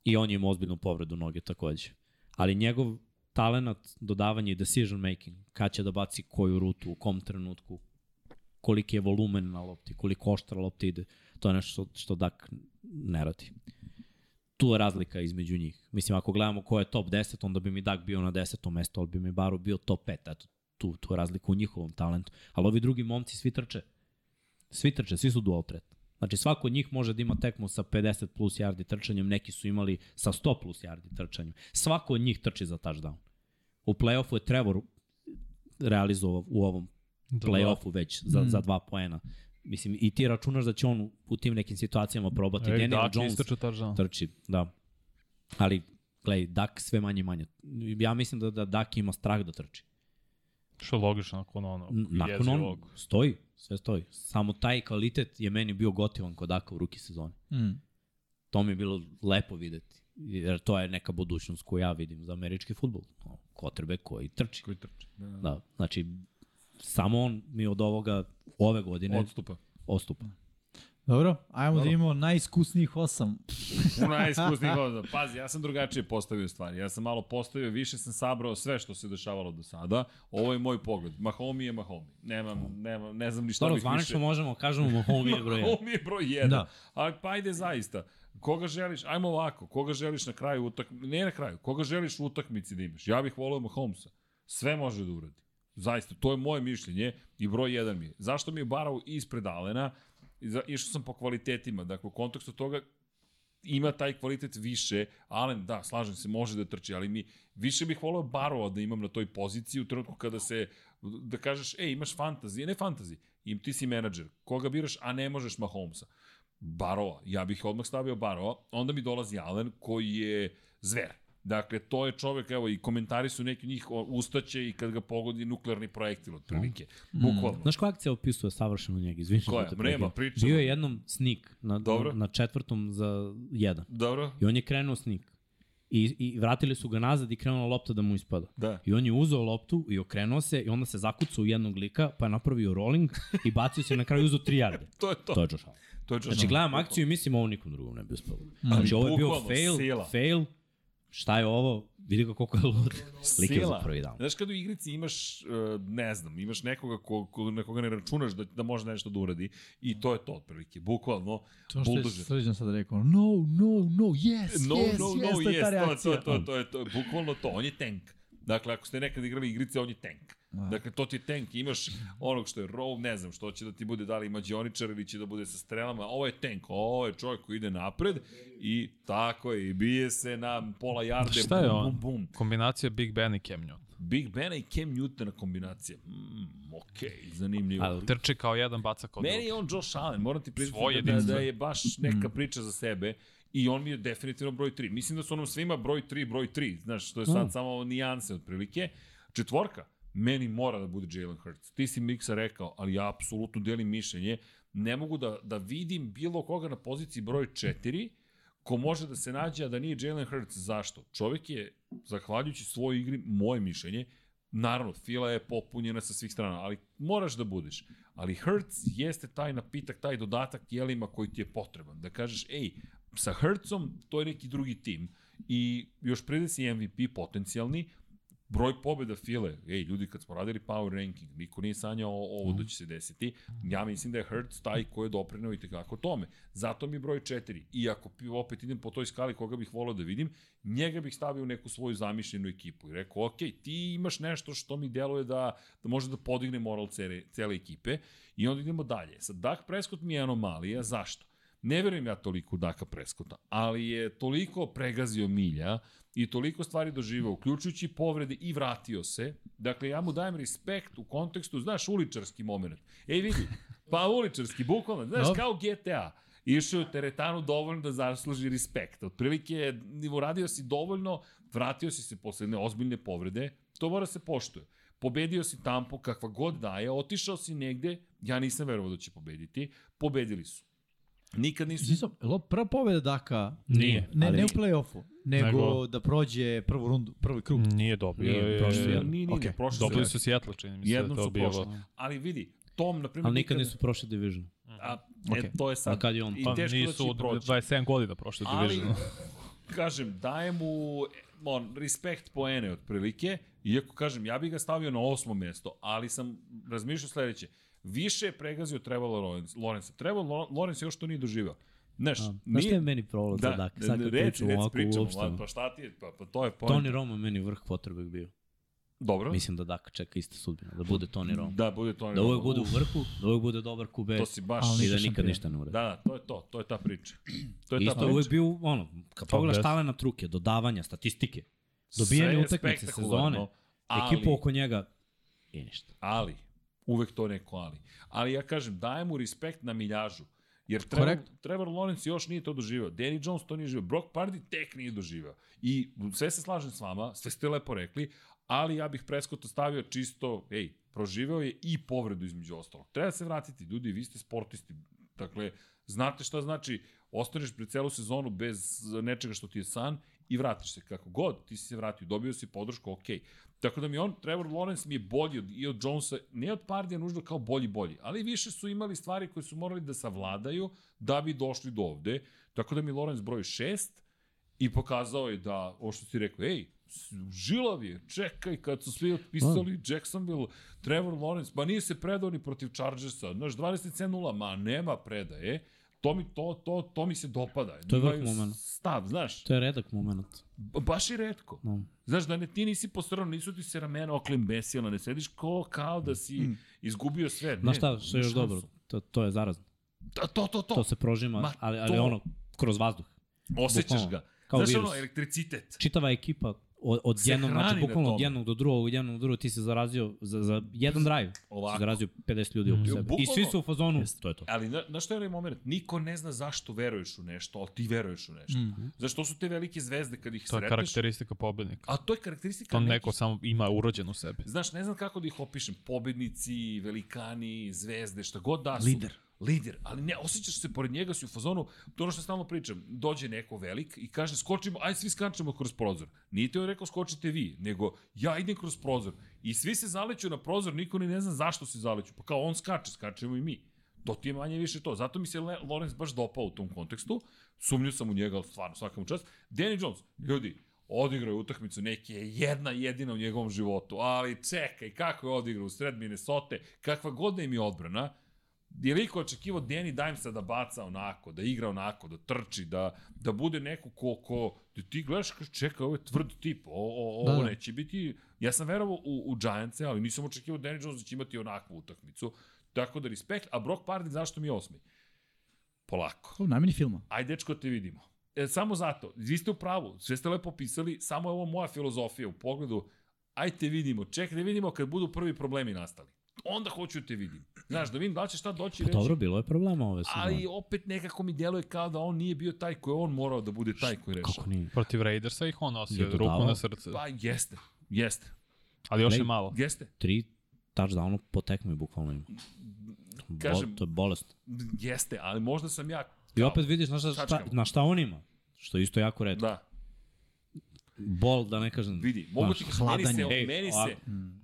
S3: I on je imao ozbiljnu povredu noge takođe. Ali njegov talenat, dodavanje i decision making, kad će da baci koju rutu, u kom trenutku, koliki je volumen na lopti, koliko oštra lopta ide, to je nešto što, što Dak ne radi. Tu je razlika između njih. Mislim, ako gledamo ko je top 10, onda bi mi Dak bio na 10. mesto, ali bi mi Baro bio top 5. Eto, tu, tu je razlika u njihovom talentu. Ali ovi drugi momci svi trče. Svi trče, svi su dual threat. Znači svako od njih može da ima tekmu sa 50 plus yardi trčanjem, neki su imali sa 100 plus yardi trčanjem. Svako od njih trči za touchdown. U playoffu je Trevor realizovao u ovom
S4: Da,
S3: play-offu već za, mm. za dva poena. Mislim, i ti računaš da će on u tim nekim situacijama probati. E,
S4: Ej,
S3: Daniel
S4: Dak je
S3: Jones
S4: istrčao touchdown.
S3: trči, da. Ali, gledaj, Dak sve manje i manje. Ja mislim da, da Dak ima strah da trči.
S4: Što je logično nakon ono,
S3: N- Nakon on
S4: jezivog.
S3: stoji, sve stoji. Samo taj kvalitet je meni bio gotivan kod Daka u ruki sezoni.
S2: Mm.
S3: To mi je bilo lepo videti. Jer to je neka budućnost koju ja vidim za američki futbol. Kotrbe koji trči.
S2: да-
S1: Koji trči. Da.
S3: Da, znači, samo on mi od ovoga ove godine
S1: Odstupa.
S3: odstupa.
S2: Dobro, ajmo Dobro.
S1: Dobro.
S2: da imamo najiskusnijih osam.
S1: U najiskusnijih godina. Pazi, ja sam drugačije postavio stvari. Ja sam malo postavio, više sam sabrao sve što se dešavalo do sada. Ovo je moj pogled. Mahomi je Mahomi. Nemam, nemam, ne znam ni šta
S3: Dobro,
S1: bih više.
S3: zvanično možemo, kažemo Mahomi je broj 1.
S1: Mahomi je broj 1. Da.
S3: Da.
S1: Ali pa ajde zaista. Koga želiš, ajmo ovako, koga želiš na kraju utakmice, ne na kraju, koga želiš u utakmici da imaš? Ja bih voleo Mahomesa. Sve može da uradi. Zaista, to je moje mišljenje i broj 1 mi je. Zašto mi je barao ispred Alena? I za- Išao sam po kvalitetima, dakle u kontekstu toga ima taj kvalitet više. Alen, da, slažem se, može da trči, ali mi više bih voleo Barova da imam na toj poziciji u trenutku kada se, da kažeš, e, imaš fantazije, ne fantazije, im ti si menadžer, koga biraš, a ne možeš Mahomesa. Barova, ja bih odmah stavio Barova, onda mi dolazi Alen koji je zver. Dakle, to je čovek, evo, i komentari su neki od njih o, ustaće i kad ga pogodi nuklearni projektil, otprilike.
S3: Mm.
S1: Bukvalno.
S3: Znaš koja akcija opisuje savršeno njega? Izvinite.
S1: Koja? Mrema, pričamo.
S3: Bio je jednom snik na,
S1: Dobro.
S3: na, na četvrtom za jedan.
S1: Dobro?
S3: I on je krenuo snik. I, I vratili su ga nazad i krenula lopta da mu ispada.
S1: Da.
S3: I on je uzeo loptu i okrenuo se i onda se zakucao u jednog lika, pa je napravio rolling i bacio se na kraju i uzeo tri jarde.
S1: To je to.
S3: To je Josh Allen.
S1: To je čas.
S3: Znači, gledam akciju i mislim ovo nikom drugom ne bi uspelo.
S1: Ali
S3: Znači, ovo je bio
S1: Mm. bukvalno,
S3: fail,
S1: sila.
S3: fail, šta je ovo, vidi ga koliko je lud. Lik je
S1: Sila.
S3: za prvi dan.
S1: Znaš kad u igrici imaš, e, ne znam, imaš nekoga ko, ko, na koga ne računaš da, da može nešto da uradi i to je to otprilike, bukvalno.
S2: To što je
S1: buldožer.
S2: srđan sad rekao, no, no, no, yes,
S1: No,
S2: yes,
S1: no,
S2: yes,
S1: no,
S2: to je ta
S1: yes, to,
S2: reakcija.
S1: to, to, to, je to, bukvalno to, on je tank. Dakle, ako ste nekad igrali igrice, on je tank.
S3: Da.
S1: Dakle, to ti je tank, imaš onog što je roll, ne znam što će da ti bude, da li mađioničar ili će da bude sa strelama, ovo je tank, ovo je čovjek koji ide napred i tako je, i bije se na pola jarde,
S4: Šta je
S1: bum,
S4: on?
S1: bum, bum.
S4: Kombinacija Big Ben i Cam Newton.
S1: Big Bena i Cam Newtona kombinacija. Mm, okej, okay, zanimljivo.
S3: Ali
S4: Trči kao jedan, baca kao
S1: Meni
S4: drugi.
S1: je on Josh Allen, moram ti
S4: da, Svoj
S1: priznati da, da
S4: jedinstven.
S1: je baš neka priča za sebe i on mi je definitivno broj 3. Mislim da su nam svima broj 3, broj 3, znaš, to je sad mm. samo nijanse otprilike. Četvorka, meni mora da bude Jalen Hurts. Ti si Miksa rekao, ali ja apsolutno delim mišljenje. Ne mogu da, da vidim bilo koga na poziciji broj 4 ko može da se nađe, a da nije Jalen Hurts. Zašto? Čovek je, zahvaljujući svojoj igri, moje mišljenje, naravno, fila je popunjena sa svih strana, ali moraš da budeš. Ali Hertz jeste taj napitak, taj dodatak jelima koji ti je potreban. Da kažeš, ej, sa Hertzom to je neki drugi tim i još prede si MVP potencijalni, broj pobjeda file, ej ljudi kad smo radili power ranking, niko nije sanjao o- ovo da će se desiti, ja mislim da je Hertz taj koji je doprineo i tekako tome. Zato mi je broj 4. I ako pi- opet idem po toj skali koga bih volao da vidim, njega bih stavio u neku svoju zamišljenu ekipu i rekao, ok, ti imaš nešto što mi deluje da, da može da podigne moral cele, cele ekipe i onda idemo dalje. Sad, Dak Prescott mi je anomalija, zašto? Ne verujem ja toliko u Daka Preskota, ali je toliko pregazio milja i toliko stvari doživao, uključujući povrede i vratio se. Dakle, ja mu dajem respekt u kontekstu, znaš, uličarski moment. Ej, vidi, pa uličarski, bukvalno, znaš,
S2: Dobro.
S1: kao GTA. Išao je u teretanu dovoljno da zasluži respekt. Otprilike, uradio si dovoljno, vratio si se posle jedne ozbiljne povrede, to mora se poštuje. Pobedio si Tampu, kakva god da je, otišao si negde, ja nisam verovao da će pobediti, pobedili su. Nikad nisu...
S2: Mislim, je li ovo prva pobjeda Daka?
S3: Nije,
S2: Ne,
S3: ali-
S2: ne u play-offu, nego,
S4: Nego- Mm.
S2: da prođe prvu rundu, prvi krug.
S4: Nije dobio.
S3: Nije,
S4: je-
S3: prošli je.
S1: Nije, nije, nije,
S2: Okej,
S1: prošli
S4: Dobili
S1: su.
S4: su Seattle, čini mi se
S1: Jednom
S4: da je to
S1: su
S4: bilo.
S1: prošli. Ali vidi, Tom, na primjer...
S3: Ali nikad nisu prošli division.
S1: A, ne,
S2: Okej.
S1: to je sad...
S3: A kad je on?
S1: I
S4: Pa
S1: teško da će
S4: nisu od
S1: i proći.
S4: 27 godina prošle
S1: Ali,
S4: diviziju.
S1: kažem, daje mu on, respekt poene otprilike, iako kažem, ja bih ga stavio na osmo mesto, ali sam razmišljao sledeće. Više je pregazio Trevor Lawrence. Lawrence. Trevor Lo- Lawrence još to nije doživao. Znaš,
S3: A, Znaš šta je
S1: nije... da,
S3: meni problem za Dak? Sad kad
S1: reci,
S3: pričamo
S1: reci,
S3: ovako
S1: pričamo,
S3: uopšteno.
S1: pa šta ti je, pa, pa to je point.
S3: Tony Romo je meni vrh quarterback bio.
S1: Dobro,
S3: Mislim da Dak čeka ista sudbina, da bude Tony Romo.
S1: da bude Tony
S3: Da
S1: Romo.
S3: uvek bude u
S1: Uf,
S3: vrhu, da uvek bude dobar QB
S1: To si baš...
S2: Ali
S3: i da
S2: Ništa
S3: nikad
S2: šampion.
S3: ništa ne uradi.
S1: Da, da, to je to, to je ta priča. To je ta
S3: Isto je
S1: priča.
S3: uvek bio, ono, kad pogledaš
S4: best.
S3: talena truke, dodavanja, statistike,
S1: Sve
S3: dobijene
S1: je
S3: utakmice
S1: spektakularno,
S3: sezone,
S1: ali-
S3: ekipu oko njega i ništa.
S1: Ali, uvek to neko ali. Ali ja kažem, dajem mu respekt na miljažu. Jer Trevor,
S2: Correct.
S1: Trevor Lawrence još nije to doživao. Danny Jones to nije živao. Brock Purdy tek nije doživao. I sve se slažem s vama, sve ste lepo rekli, ali ja bih Prescott stavio čisto, ej, proživeo je i povredu između ostalog. Treba se vratiti, ljudi, vi ste sportisti. Dakle, znate šta znači, ostaneš pred celu sezonu bez nečega što ti je san i vratiš se. Kako god, ti si se vratio, dobio si podršku, okej. Tako da mi on, Trevor Lawrence mi je bolji od, i od Jonesa, ne od Pardija nužno kao bolji bolji, ali više su imali stvari koje su morali da savladaju da bi došli do ovde. Tako da mi Lawrence broj 6 i pokazao je da, ovo što si rekao, ej, s- žilav je, čekaj, kad su svi otpisali Jacksonville, Trevor Lawrence, ma nije se predao ni protiv Chargersa, znaš, 27-0, ma nema predaje, to mi, to, to, to mi se dopada.
S3: To je vrh
S1: Imaju
S3: momena.
S1: Stav, znaš,
S3: To je redak moment.
S1: ba- baš i redko.
S3: No.
S1: Znaš, da ne, ti nisi posrano, nisu ti se ramena oklimbesila, ne sediš ko, kao da si mm. izgubio sve. Ne,
S3: Znaš šta, što je
S1: nema
S3: još
S1: šansu.
S3: dobro? To, to je zarazno.
S1: Da, to, to, to.
S3: To se prožima,
S1: Ma,
S3: ali, ali
S1: to-
S3: ono, kroz vazduh.
S1: Osjećaš
S3: bukvalno,
S1: ga.
S3: kao
S1: Znaš,
S3: virus.
S1: ono, elektricitet.
S3: Čitava ekipa od, od
S1: Se
S3: jednog,
S1: hrani
S3: znači
S1: na
S3: bukvalno od
S1: tome.
S3: jednog do drugog, od jednog do drugog, ti se zarazio za, za jedan drive.
S1: Ovako. Mm.
S3: Si zarazio 50 ljudi oko sebe. I svi
S1: Bukvalno.
S3: su u fazonu, to je to.
S1: Ali na, na što je onaj moment? Niko ne zna zašto veruješ u nešto, ali ti veruješ u nešto. Mm. Znaš, to su te velike zvezde kad ih
S4: To je
S1: sretneš.
S4: karakteristika pobednika.
S1: A to je karakteristika
S4: To
S1: nekih
S4: neko samo ima urođen u sebi.
S1: Znaš, ne znam kako da ih opišem. Pobednici, velikani, zvezde, šta god da su. Lider. Lider, ali ne, osjećaš se pored njega, si u fazonu, to je ono što stalno pričam, dođe neko velik i kaže skočimo, aj svi skačemo kroz prozor. Nije ti on rekao skočite vi, nego ja idem kroz prozor. I svi se zaleću na prozor, niko ni ne zna zašto se zaleću. Pa kao on skače, skačemo i mi. To ti je manje više to. Zato mi se Le- Lorenz baš dopao u tom kontekstu. Sumnju sam u njega, ali stvarno, svakam čast. Danny Jones, ljudi, odigrao je utakmicu neke jedna jedina u njegovom životu, ali čekaj, kako je odigrao u sred Minnesota, kakva god da im je odbrana, je liko očekivao Danny Dimesa da baca onako, da igra onako, da trči, da, da bude neko ko, ko da ti gledaš, kaš, čekaj, ovo je tvrd tip, o, o,
S2: Da,
S1: ovo
S2: da.
S1: neće biti, ja sam verovao u, u Giantse, ali nisam očekivao Danny Jones da će imati onakvu utakmicu, tako da respekt, a Brock Pardy zašto mi je osmi? Polako.
S2: To je najmeni filma.
S1: Aj, dečko, te vidimo. E, samo zato, vi ste u pravu, sve ste lepo pisali, samo je ovo moja filozofija u pogledu, aj te vidimo, čekaj da vidimo kad budu prvi problemi nastali. Onda hoću da te vidim. Znaš, da vidim da li će šta doći i reći,
S3: Pa Dobro, da. bilo je problema ove sezone.
S1: ali opet nekako mi djeluje kao da on nije bio taj koji je on morao da bude taj koji rešava.
S3: Kako nije?
S4: Protiv Raidersa ih on nosio
S3: Je
S4: ruku
S3: dodavao?
S4: na srce.
S1: Pa jeste, jeste,
S4: Ali još je
S3: Ray-
S4: malo.
S1: jeste,
S3: Tri touchdowna po tekmi bukvalno ima.
S1: Kažem- Da.
S3: Bo, to je bolest.
S1: jeste, ali možda sam ja...
S3: I opet vidiš na šta, šta,
S1: Čačkamo.
S3: na šta on ima. Što je isto jako redko.
S1: Da,
S3: Bol, da ne kažem.
S1: vidi, mogu
S3: znaš,
S1: ti kažem, meni se,
S3: hladanje. Ej,
S1: meni se,
S3: ovako.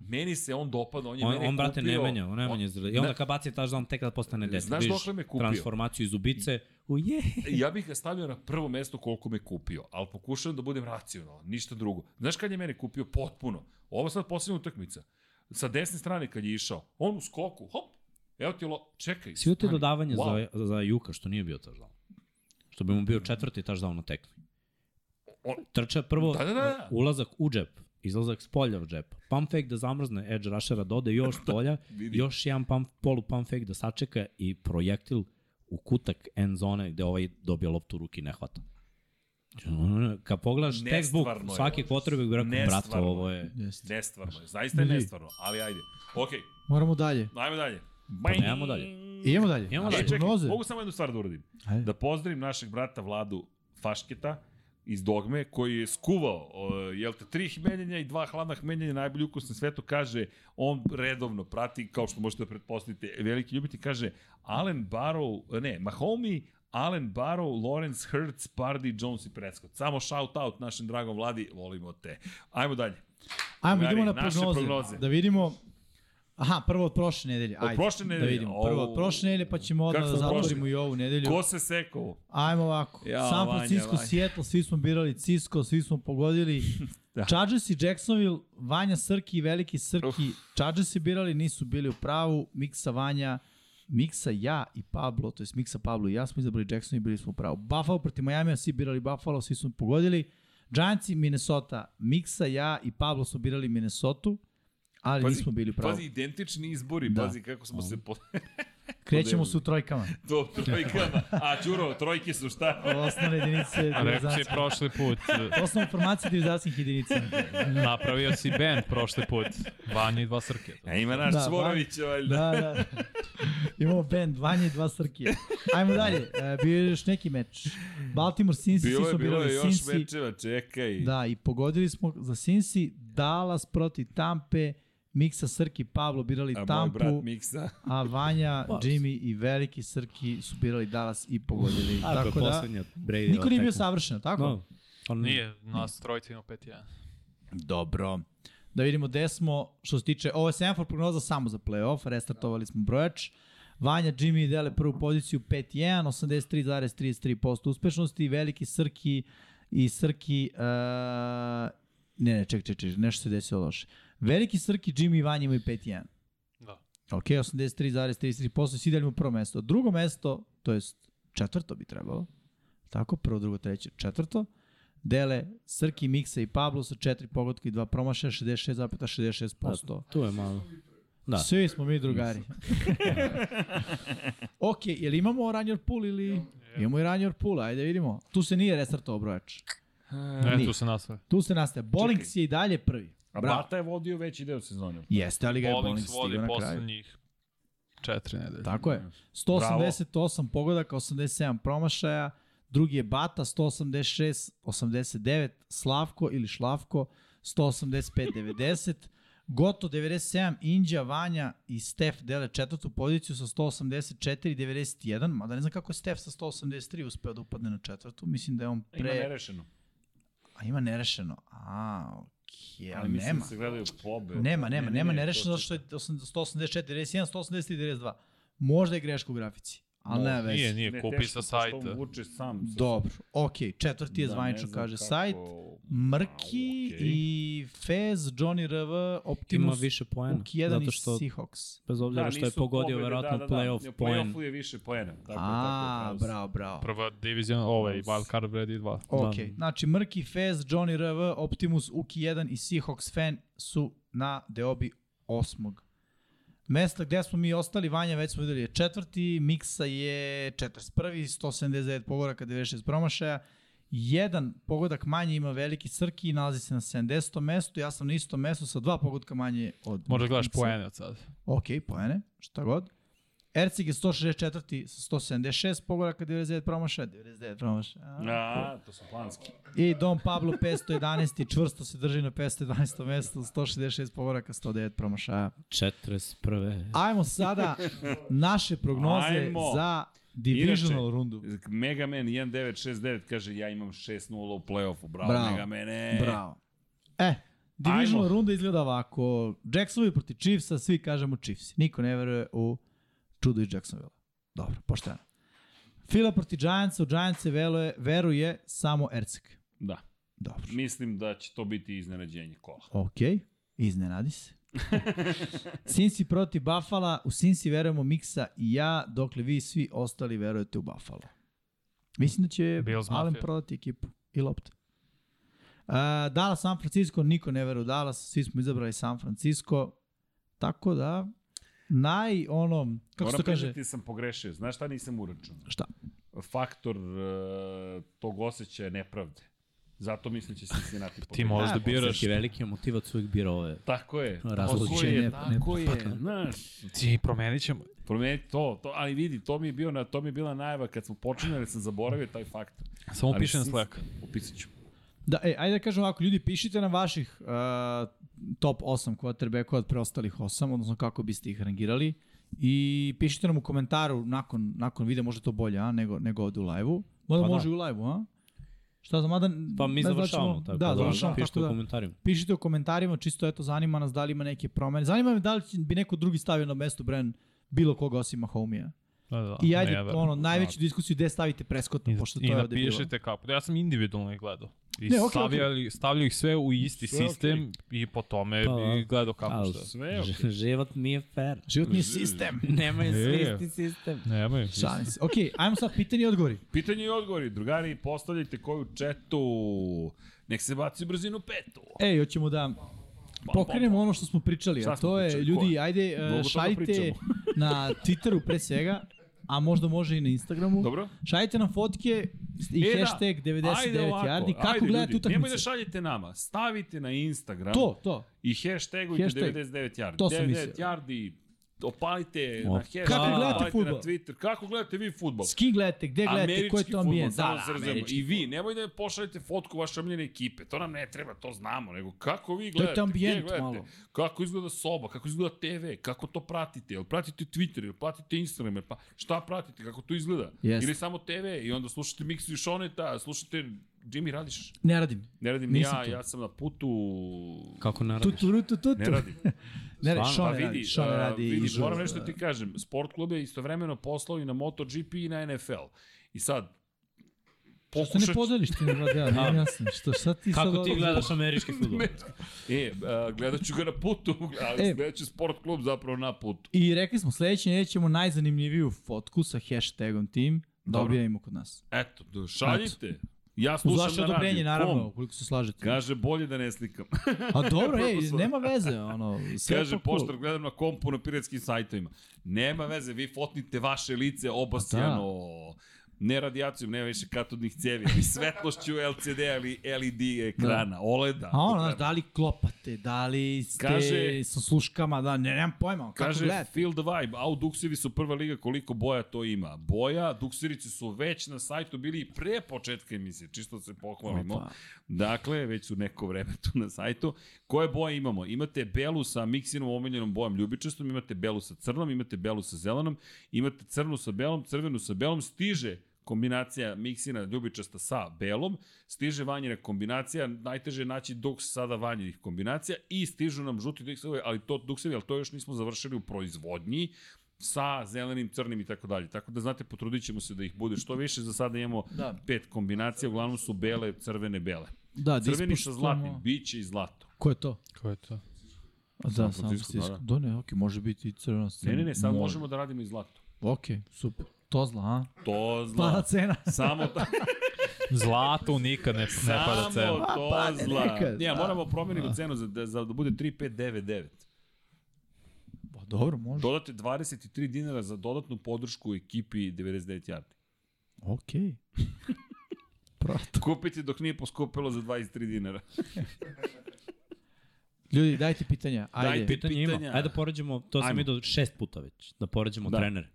S1: meni se on dopada, on je
S3: On,
S1: mene
S3: on brate,
S1: kupio-
S3: ne menja, on ne
S1: on-
S3: menja izgleda. I onda kad baci touchdown, tek da postane dete.
S1: Znaš
S3: Vidiš
S1: dokle me kupio?
S3: Transformaciju iz ubice. U je.
S1: ja bih ga stavio na prvo mesto koliko me kupio, ali pokušavam da budem racionalan, ništa drugo. Znaš kad je mene kupio? Potpuno. Ovo sad posljednja utakmica. Sa desne strane kad je išao, on u skoku, hop, evo ti lo, čekaj.
S3: Svi ti
S1: stani.
S3: dodavanje
S1: Wow.
S3: za, za Juka, što nije bio touchdown. Što bi mu bio četvrti touchdown na tekmi.
S1: On-
S3: Trča prvo
S1: Da, da, da.
S3: ulazak u džep, izlazak s polja u džep. Pump fake da zamrzne edge rushera, dode još s polja,
S1: vidi.
S3: još jedan pump, polu pump fake da sačeka i projektil u kutak end zone gde ovaj dobija loptu u ruki i ne hvata. Kad pogledaš
S1: Nestvarno
S3: textbook,
S1: je ovo.
S3: svaki quarterback bi rekao, brate,
S1: Nestvarno.
S3: ovo je...
S2: Jeste.
S1: Nestvarno je, zaista je
S2: Vidi.
S1: nestvarno, ali ajde. Okej,
S2: Moramo dalje.
S1: ajmo dalje.
S3: Pa nemamo dalje.
S2: Idemo dalje.
S3: Idemo
S1: E,
S3: dalje.
S1: čekaj,
S2: Prognoze.
S1: mogu samo jednu stvar da uradim.
S2: Ajde.
S1: Da pozdravim našeg brata Vladu Fašketa iz Dogme, koji je skuvao, o, jel te, tri hmeljenja i dva hladna hmeljenja, najbolji ukus na svetu, kaže, on redovno prati, kao što možete da pretpostavite, veliki ljubiti, kaže, Allen Barrow, ne, Mahomi, Allen Barrow, Lawrence Hertz, Pardy, Jones i Prescott. Samo shout out našem dragom Vladi, volimo te. Ajmo dalje.
S2: Ajmo,
S1: Drugari,
S2: idemo na
S1: naše
S2: prognoze.
S1: prognoze.
S2: Da vidimo... Aha, prvo od prošle nedelje.
S1: Od
S2: Ajde,
S1: prošle
S2: Da
S1: nedelje,
S2: vidimo. Prvo
S1: au.
S2: od prošle nedelje, pa ćemo odmah
S1: Kako
S2: da
S1: smo prošli?
S2: zatvorimo i ovu nedelju.
S1: Ko se sekao?
S2: Ajmo ovako.
S1: Jao,
S2: Ja, San
S1: Vanja,
S2: Francisco,
S1: Vanja.
S2: Seattle, svi smo birali Cisco, svi smo pogodili.
S1: Da.
S2: da. Chargers i Jacksonville, Vanja Srki i Veliki Srki. Chargers i birali, nisu bili u pravu. Miksa Vanja, Miksa ja i Pablo, to jest Miksa Pablo i ja smo izabrali Jackson i bili smo u pravu. Buffalo protiv Miami, svi birali Buffalo, svi smo pogodili. Giants i Minnesota, Miksa ja i Pablo su birali Minnesota, ali
S1: Pazi,
S2: nismo bili u pravu.
S1: Pazi, identični izbori,
S2: Da.
S1: pazi kako smo se po...
S2: Krećemo se u trojkama.
S1: do trojkama. A, Đuro, trojke su šta?
S2: Osnovne jedinice
S4: Rekao si
S2: civilizacije.
S4: prošli put,
S2: Osnovne informacije civilizacijskih jedinica.
S4: napravio si band prošli put. Vanja i dva srke.
S1: A ima naš da,
S2: Da,
S1: Svorović, valjda.
S2: da, da. Imamo band, Vanja i dva Srkije. Ajmo dalje, e, bio je još neki meč. Baltimore, Cincy, svi
S1: Bilo je,
S2: smo
S1: bilo
S2: birali
S1: je još
S2: Cincy.
S1: mečeva, čekaj.
S2: Da, i pogodili smo za Cincy, Dallas protiv Tampe, Miksa, Srki, Pablo birali
S1: A moj brat
S2: Tampu,
S1: Miksa.
S2: a Vanja,
S3: Pa.
S2: Jimmy i Veliki Srki su birali Dallas i pogodili.
S3: Ako je
S2: Tako da,
S3: poslednja Brady
S2: niko nije bio savršen, tako?
S3: No, Stvarno
S4: Nije, nas trojci ima 5-1.
S2: Dobro. Da vidimo gde smo što se tiče, ovo je semafor prognoza samo za playoff, restartovali smo brojač. Vanja, Jimmy dele prvu poziciju 5-1, 83,33% uspešnosti, veliki Srki i Srki... Uh, ne, ne, ček, ček, ček, nešto se desilo loše. Veliki Srki, Jimmy i Vanja imaju 5-1.
S4: Da.
S2: Ok, 83,33%, svi delimo prvo mesto. Drugo mesto, to jest četvrto bi trebalo, tako, prvo, drugo, treće, četvrto, dele Srki, Miksa i Pablo sa četiri pogotka i dva promašaja, 66,66%.
S3: Tu je malo.
S2: Da.
S3: Da.
S2: Svi smo mi drugari. ok, jel imamo Ranjor Pool ili... Imamo i Ranjor Pool, ajde vidimo. Tu se nije restartovao brojač.
S4: Ne,
S2: Nije.
S4: E, tu se nastavlja.
S2: Tu se nastaje. Bolings je i dalje prvi.
S1: A
S2: Bravo.
S1: Bata je vodio veći deo sezone.
S2: Jeste, ali ga je Bolings
S4: Bolings vodi
S2: stigao na kraju.
S4: poslednjih četiri nedelje.
S2: Tako je. 188 pogodaka, 87 promašaja, drugi je Bata, 186, 89, Slavko ili Šlavko, 185, 90, Goto 97, Inđa, Vanja i Stef dele četvrtu poziciju sa 184, 91, mada ne znam kako je Stef sa 183 uspeo da upadne na četvrtu, mislim da je on
S1: Ima
S2: pre...
S1: nerešeno.
S2: A ima nerešeno. A, okej,
S1: Ali
S2: ali
S1: mislim
S2: nema.
S1: da se gledaju pobe.
S2: Nema, nema, nema nerešeno
S1: to
S2: zato što je 184, 91, 183, 92. Možda je greška u grafici, ali ne veze.
S4: Nije,
S1: Ne,
S4: nije, kupi
S1: teško,
S4: sa
S1: zato što
S4: sajta.
S1: on Vuče sam. sa-
S2: Dobro, ok, četvrti je
S1: Da, ne
S2: zvanično,
S1: znam
S2: kaže
S1: kako-
S2: sajt. Mrki
S1: A, okej.
S2: i Fez, Johnny RV,
S3: Ima
S2: Optimus,
S3: više poena.
S2: Uk1 i
S3: zato što,
S2: Seahawks.
S3: bez obzira što je
S1: Da, nisu
S3: pogodio
S1: pobede,
S3: verovatno
S1: da, da, da.
S3: playoff
S1: U
S3: poen.
S1: Playoffu je više poena. Tako, je,
S2: A,
S1: tako, je, da
S2: bravo, bravo.
S4: Prva divizija, ovaj, wild card vredi 2.
S2: Ok,
S3: Da.
S2: znači Mrki, Fez, Johnny RV, Optimus, Uk1 i Seahawks fan su na deobi osmog mesta gde smo mi ostali, Vanja već smo videli je četvrti, Miksa je 41. 179 pogodaka, 96 promašaja, jedan pogodak manje ima veliki Srki i nalazi se na 70. mestu, ja sam na istom mestu sa dva pogodka manje od
S4: Možda gledaš
S2: Miksa.
S4: poene od sad.
S2: Ok, poene, šta god. Ercik je 164. sa 176 pogodaka, 99 promašaja, 99 promašaja. A.
S1: A, to su planski.
S2: I Don Pablo 511. čvrsto se drži na 512. mestu, 166 povoraka, 109 promašaja.
S3: 41.
S2: Ajmo sada naše prognoze
S1: Ajmo.
S2: za divisional
S1: Inače,
S2: rundu.
S1: Megaman 1969 kaže ja imam 6-0 u play-offu. Bravo,
S2: Bravo.
S1: bravo. Megamane.
S2: Bravo. E, divisional
S1: Ajmo.
S2: runda izgleda ovako. Jacksonville proti Chiefsa, svi kažemo Chiefs. Niko ne veruje u čudo iz Jacksonville. Dobro, pošteno. Fila proti Giantsa, u Giantsa veruje, veruje samo Ercik.
S1: Da.
S2: Dobro.
S1: Mislim da će to biti iznenađenje kola.
S2: Ok, iznenadi se. Cincy protiv Buffalo, u Cincy verujemo Miksa i ja, dokle vi svi ostali verujete u Buffalo. Mislim da će
S4: Bills
S2: Allen
S4: Mafia.
S2: prodati ekipu i lopte. Uh, Dallas, San Francisco, niko ne veruje u Dallas, svi smo izabrali San Francisco, tako da naj ono, kako se to
S1: Moram
S2: kaže,
S1: priznati da sam pogrešio. Znaš šta nisam uračunao?
S2: šta?
S1: faktor uh, tog osjećaja nepravde. Zato mislim će Cincinnati pobediti.
S4: Ti možeš da
S2: A,
S4: biraš.
S3: Srki veliki je motivac uvijek bira ove.
S1: Tako je.
S3: Razlozi.
S1: Tako je,
S2: Ne-
S1: tako je. Znaš,
S4: Ti promenit ćemo.
S1: promeni to, to, ali vidi, to mi je, bio na, to mi je bila najava kad smo počinjali, sam zaboravio taj faktor.
S4: Samo
S1: Ali
S4: piše na
S1: Cincy-
S4: Slack.
S1: Upisat ću.
S2: Da, e, ajde da kažem ovako, ljudi, pišite nam vaših uh, top 8 quarterbacka od preostalih 8, odnosno kako biste ih rangirali. I pišite nam u komentaru nakon, nakon videa, može to bolje, a, nego, nego ovde u live-u. Mada
S3: Pa da.
S2: može i u live-u, a? Šta znam, mada...
S3: Pa mi
S2: ne znači
S3: završavamo
S2: ono-
S3: tako.
S2: Da, završavamo,
S3: Pišite
S2: tako
S3: u
S2: da.
S3: komentarima.
S2: Pišite u komentarima, čisto eto, zanima nas da li ima neke promene. Zanima me da li će- bi neko drugi stavio na mesto Bren bilo koga osim Mahomija.
S4: Da,
S3: Pa,
S4: da,
S2: I ajde,
S4: ne, verujem.
S2: ono, najveću diskusiju gde stavite Prescotta,
S4: I,
S2: pošto to
S4: i
S2: je ovde bilo.
S4: napišite kako. Ja sam individualno ih gledao. I
S2: Ne,
S4: ne,
S2: okej,
S4: okay, stavljali, stavljaju ih sve u isti
S1: Sve
S4: sistem i po tome
S3: Pa, da.
S4: bi gledao kako
S3: Ali
S4: šta.
S1: Sve, ok.
S3: ž- život nije fair.
S2: Život mi je sistem.
S3: Nemaju
S4: E.
S3: svi isti sistem.
S4: Nemaju.
S2: Šalim se. Okej, ajmo sad pitanje i odgovori.
S1: Pitanje i odgovori. Drugari, postavljajte koju četu. Nek se baci u brzinu petu.
S2: E, hoćemo da
S1: Bam, bam,
S2: pokrenemo ono što smo pričali,
S1: Šta
S2: a
S1: smo
S2: to je,
S1: pričali? Ko
S2: ljudi,
S1: je?
S2: ajde,
S1: Mnogo
S2: e,
S1: toga
S2: šaljite
S1: pričamo.
S2: na Twitteru pre svega, a možda može i na Instagramu.
S1: bam. Dobro?
S2: Šaljite nam fotke i
S1: E, da.
S2: hashtag 99 yardi. Kako
S1: ajde,
S2: gledate
S1: ljudi, Nemoj
S2: utakmice?
S1: da šaljete nama. Stavite na Instagram.
S2: To, to.
S1: I hashtagujte
S2: Hashtag.
S1: 99 yardi.
S2: To sam
S1: 99
S2: mislio.
S1: yardi, opalite
S3: Opa.
S1: na hashtag,
S2: Kako gledate
S1: opalite
S2: fudbal?
S1: na Twitter. Kako gledate vi fudbal?
S2: S kim gledate, gde gledate, ko je to
S1: fudbal,
S2: ambijent?
S1: samo
S2: Da,
S1: se
S2: da,
S1: razumemo.
S2: američki.
S1: I vi, nemoj da pošaljete fotku vaše omiljene ekipe, to nam ne treba, to znamo, nego kako vi
S2: To je
S1: gledate,
S2: to
S1: gde
S2: ambijent
S1: gledate,
S2: malo.
S1: kako izgleda soba, kako izgleda TV, kako to pratite, jel pratite Twitter, jel pratite Instagram, jel pa šta pratite, kako to izgleda,
S2: Jeste.
S1: ili samo TV i onda slušate Miksu i Šoneta, slušate Jimmy, radiš?
S2: Ne radim.
S1: Ne radim ni
S2: Nisam
S1: ja,
S2: tu.
S1: ja sam na putu...
S3: Kako ne
S2: Tu,
S3: radiš?
S2: tu, tu, tu, tu.
S1: Ne radim.
S2: Ne, ne,
S3: Stvarno?
S2: Sean
S1: Pa
S2: ne
S1: vidi,
S2: radi. Sean ne
S1: a,
S2: radi.
S1: vidi,
S2: izazov,
S1: moram nešto
S2: da.
S1: ti kažem. Sport klub je istovremeno poslao i na MotoGP i na NFL. I sad,
S2: Što ne
S1: pokušat
S2: podeliš ti na dva dela,
S3: A.
S1: Da.
S2: nije mi jasno. Što, šta ti sad...
S3: Kako ti
S2: ovo-
S3: gledaš američki futbol?
S1: E, a, gledat ću ga na putu, ali
S2: E.
S1: e. gledat ću sport klub zapravo na putu.
S2: I rekli smo, sledeće nedelje ćemo najzanimljiviju fotku sa hashtagom tim da
S1: Dobro.
S2: objavimo kod nas.
S1: Eto, d- šaljite. Ja
S2: Uz
S1: slušam
S2: vaše
S1: na radiju.
S2: odobrenje, naravno,
S1: Pom.
S2: ukoliko se slažete.
S1: Kaže, bolje da ne slikam.
S2: A dobro, ej,
S1: Prosto.
S2: nema veze, ono, sve je
S1: Kaže,
S2: to cool.
S1: poštar, gledam na kompu na piratskim sajtovima. Nema veze, vi fotnite vaše lice obasjano
S2: da.
S1: ne radijacijom, nema više katodnih cevi, ali svetlošću D-a LCD ali LED E ekrana, OLED-a.
S2: Da. A ono, znaš, da li klopate, da li ste
S1: Kaže-
S2: sa sluškama, da, ne, nemam pojma, kako
S1: Kaže
S2: gledate.
S1: Feel the Vibe, a u Duksevi su prva liga koliko boja to ima. Boja, Dukserici su već na sajtu bili i pre početka emisije, čisto da se pohvalimo.
S2: Opa.
S1: Dakle, već su neko vreme tu na sajtu. Koje boje imamo? Imate belu sa miksinom omiljenom bojom ljubičastom, imate belu sa crnom, imate belu sa zelenom, imate crnu sa belom, crvenu sa belom, stiže kombinacija miksina ljubičasta sa belom, stiže vanjina kombinacija, najteže je naći duks sada vanjinih kombinacija i stižu nam žuti duksevi, ali to duksevi, ali to još nismo završili u proizvodnji sa zelenim, crnim i tako dalje. Tako da znate, potrudit ćemo se da ih bude što više. Za sada imamo
S2: Da.
S1: pet kombinacija, uglavnom su bele, crvene, bele.
S2: Da, da
S1: Crveni sa
S2: ispuštamo-
S1: zlatnim, biće i zlato.
S2: Ko je to?
S4: Ko je to?
S2: A, da,
S1: San
S2: San
S1: Francisco,
S2: Francisco. Da, ne, okej, može biti i crveno
S1: Ne, ne, ne, sad možemo da radimo i zlato.
S2: Okej, super. To zla, a?
S1: To zla.
S2: Pada cena.
S1: Samo ta,
S4: Zlato nikad ne, ne pada
S1: samo
S4: cena.
S1: to
S2: Pa, pa,
S1: zla.
S2: nekad,
S1: Ne,
S2: da.
S1: moramo promeniti cenu za, da, za, da bude 3599.
S2: Pa dobro, može.
S1: Dodate 23 dinara za dodatnu podršku ekipi 99 yardi.
S2: Okej. Prato.
S1: Kupite dok nije poskupilo za 23 dinara.
S2: Ljudi, dajte pitanja. Ajde.
S1: Dajte
S3: Pitanje ima.
S1: Pitanja.
S3: Ajde da poređamo, to sam
S1: Ajmo.
S3: vidio šest puta već, da poređamo
S1: Da.
S3: trenere.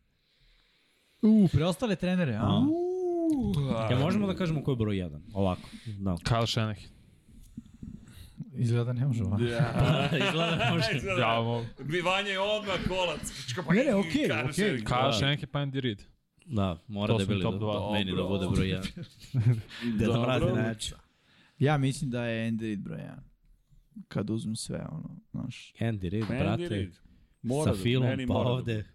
S2: U, preostale trenere, a?
S3: A. Ja možemo da kažemo ko je broj jedan, ovako. Da.
S4: Kyle Shanahan.
S2: Izgleda ne možemo.
S1: Ja.
S2: da
S3: Izgleda može.
S1: Izgleda-
S4: Ja, mogu.
S1: Bivanje je odmah kolac. pa
S2: Ne, ne, okej, okej.
S4: Kyle Shanahan je Pine Reed.
S3: Da, mora
S4: To
S3: da
S4: su mi
S3: bili da,
S4: top dva.
S3: meni da
S1: Dobro.
S3: bude broj jedan.
S2: Da,
S3: Deda
S1: Dobro.
S3: mrazi najjači.
S2: Ja mislim da je Andy Reid broj 1. Kad uzmem sve, ono, znaš.
S3: Andy Reid,
S1: Andy
S3: brate,
S1: Reid.
S3: sa Filom, pa
S1: mora da
S3: ovde.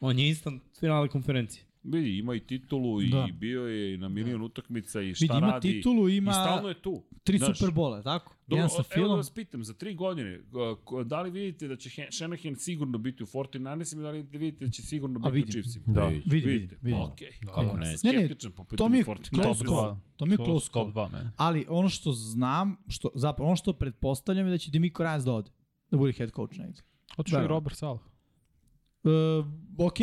S3: On je instant finale konferencije.
S1: Vidi, ima i titulu i
S2: Da.
S1: bio je i na milion utakmica i šta
S2: Vidi, ima
S1: radi.
S2: titulu, ima
S1: I stalno je tu.
S2: tri
S1: Znaš,
S2: Superbola, tako?
S1: Dobro,
S2: Jedan sa
S1: o- evo da
S2: Filom.
S1: vas pitam, za tri godine, a, ko- da li vidite da će Hen- Shanahan sigurno biti u 49 i da li vidite da će sigurno biti
S2: vidim.
S1: u Chiefsima?
S4: Da.
S2: Vidi, vidi, vidi.
S1: Okej.
S3: Kako
S1: Ja
S3: ne?
S1: sam
S2: Da. Ne, ne,
S1: skeptičan po
S2: To mi je
S1: pitanju 49.
S2: close
S4: Top
S2: call.
S4: dva.
S2: To mi je
S4: To
S2: close
S4: su
S2: call.
S4: Top 2, man.
S2: Ali ono što znam, što, zapravo ono što pretpostavljam je da će Demiko Ryan's da ode. Da bude head coach negde.
S4: Otišao
S2: Da.
S4: i Robert Sala.
S2: E, ok,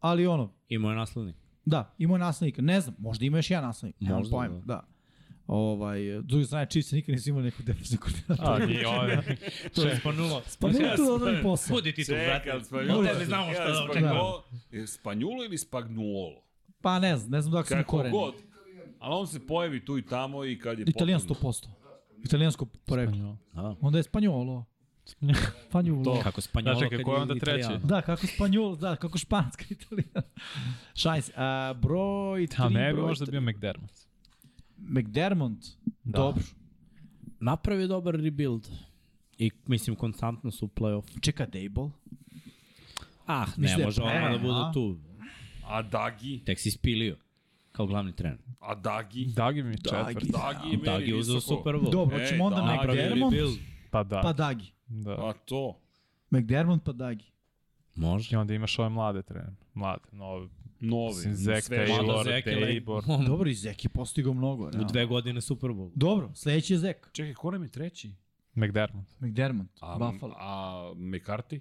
S2: ali ono,
S3: Imao je naslovnik.
S2: da, imao je naslednika. Ne znam, možda ima još jedan naslednik. Nemam
S3: Možda,
S2: pojma,
S3: da.
S2: da. da. Ovaj, e, s druge strane, Chiefs nikad nisu imali nekog defensivnog koordinatora.
S4: A, nije on.
S3: To je spanulo.
S2: Pa ne tu
S1: da-
S2: odredi posao.
S3: Budi ti tu, brate.
S1: Čekaj,
S3: Od
S1: Spanjulo.
S3: tebe znamo šta da očekujemo.
S1: Spanjulo, je Spanjulo ili Spagnuolo?
S2: Pa ne znam, ne znam da su mi
S1: Kako
S2: koreni.
S1: god. Ali on se pojavi tu i tamo i kad je
S2: Italijan
S1: potrebno.
S2: 100%. Italijansko poreklo.
S3: Da.
S2: Onda je Spanjolo. Spanjolo.
S3: Kako spanjolo
S4: Da, čekaj, ko je onda treći?
S2: Da, kako Spanjol, da, kako španska Italija. Šajn se. A, broj 3,
S4: A ne bi
S2: broj
S4: možda
S2: tri.
S4: bio McDermott.
S2: McDermott,
S4: Da.
S2: dobro.
S3: Napravio dobar rebuild. I, mislim, konstantno su u play-off.
S2: Čeka Dable.
S3: Ah, ne,
S2: Mislim da je
S3: može ono
S2: pre,
S3: da bude
S2: a?
S3: tu.
S1: A Dagi?
S3: Tek si ispilio. Kao glavni trener.
S1: A Dagi?
S4: Dagi mi je
S2: Dagi.
S4: četvrti.
S1: Dagi je meni
S3: Dagi je uzeo
S1: visoko.
S3: Super Bowl.
S2: Dobro,
S1: Ej,
S2: hoćemo onda
S1: da,
S3: Napravio
S2: McDermott,
S3: rebuild.
S4: Pa da.
S2: pa Dagi.
S4: da.
S1: Pa to.
S2: McDermott, pa Dagi.
S4: I
S3: Može.
S4: onda imaš ove mlade trenere. Mlade, nove.
S1: Novi.
S4: Mislim, Zek
S1: sve je
S4: Taylor,
S3: Zek je le-
S4: Tabor.
S2: Dobro, i Zek je postigao mnogo.
S3: U
S2: realno.
S3: dve godine Super Bowl.
S2: Dobro, sledeći je Zek.
S1: Čekaj, ko nam je treći?
S4: McDermott.
S2: McDermott,
S1: A,
S2: Buffalo.
S1: a McCarthy?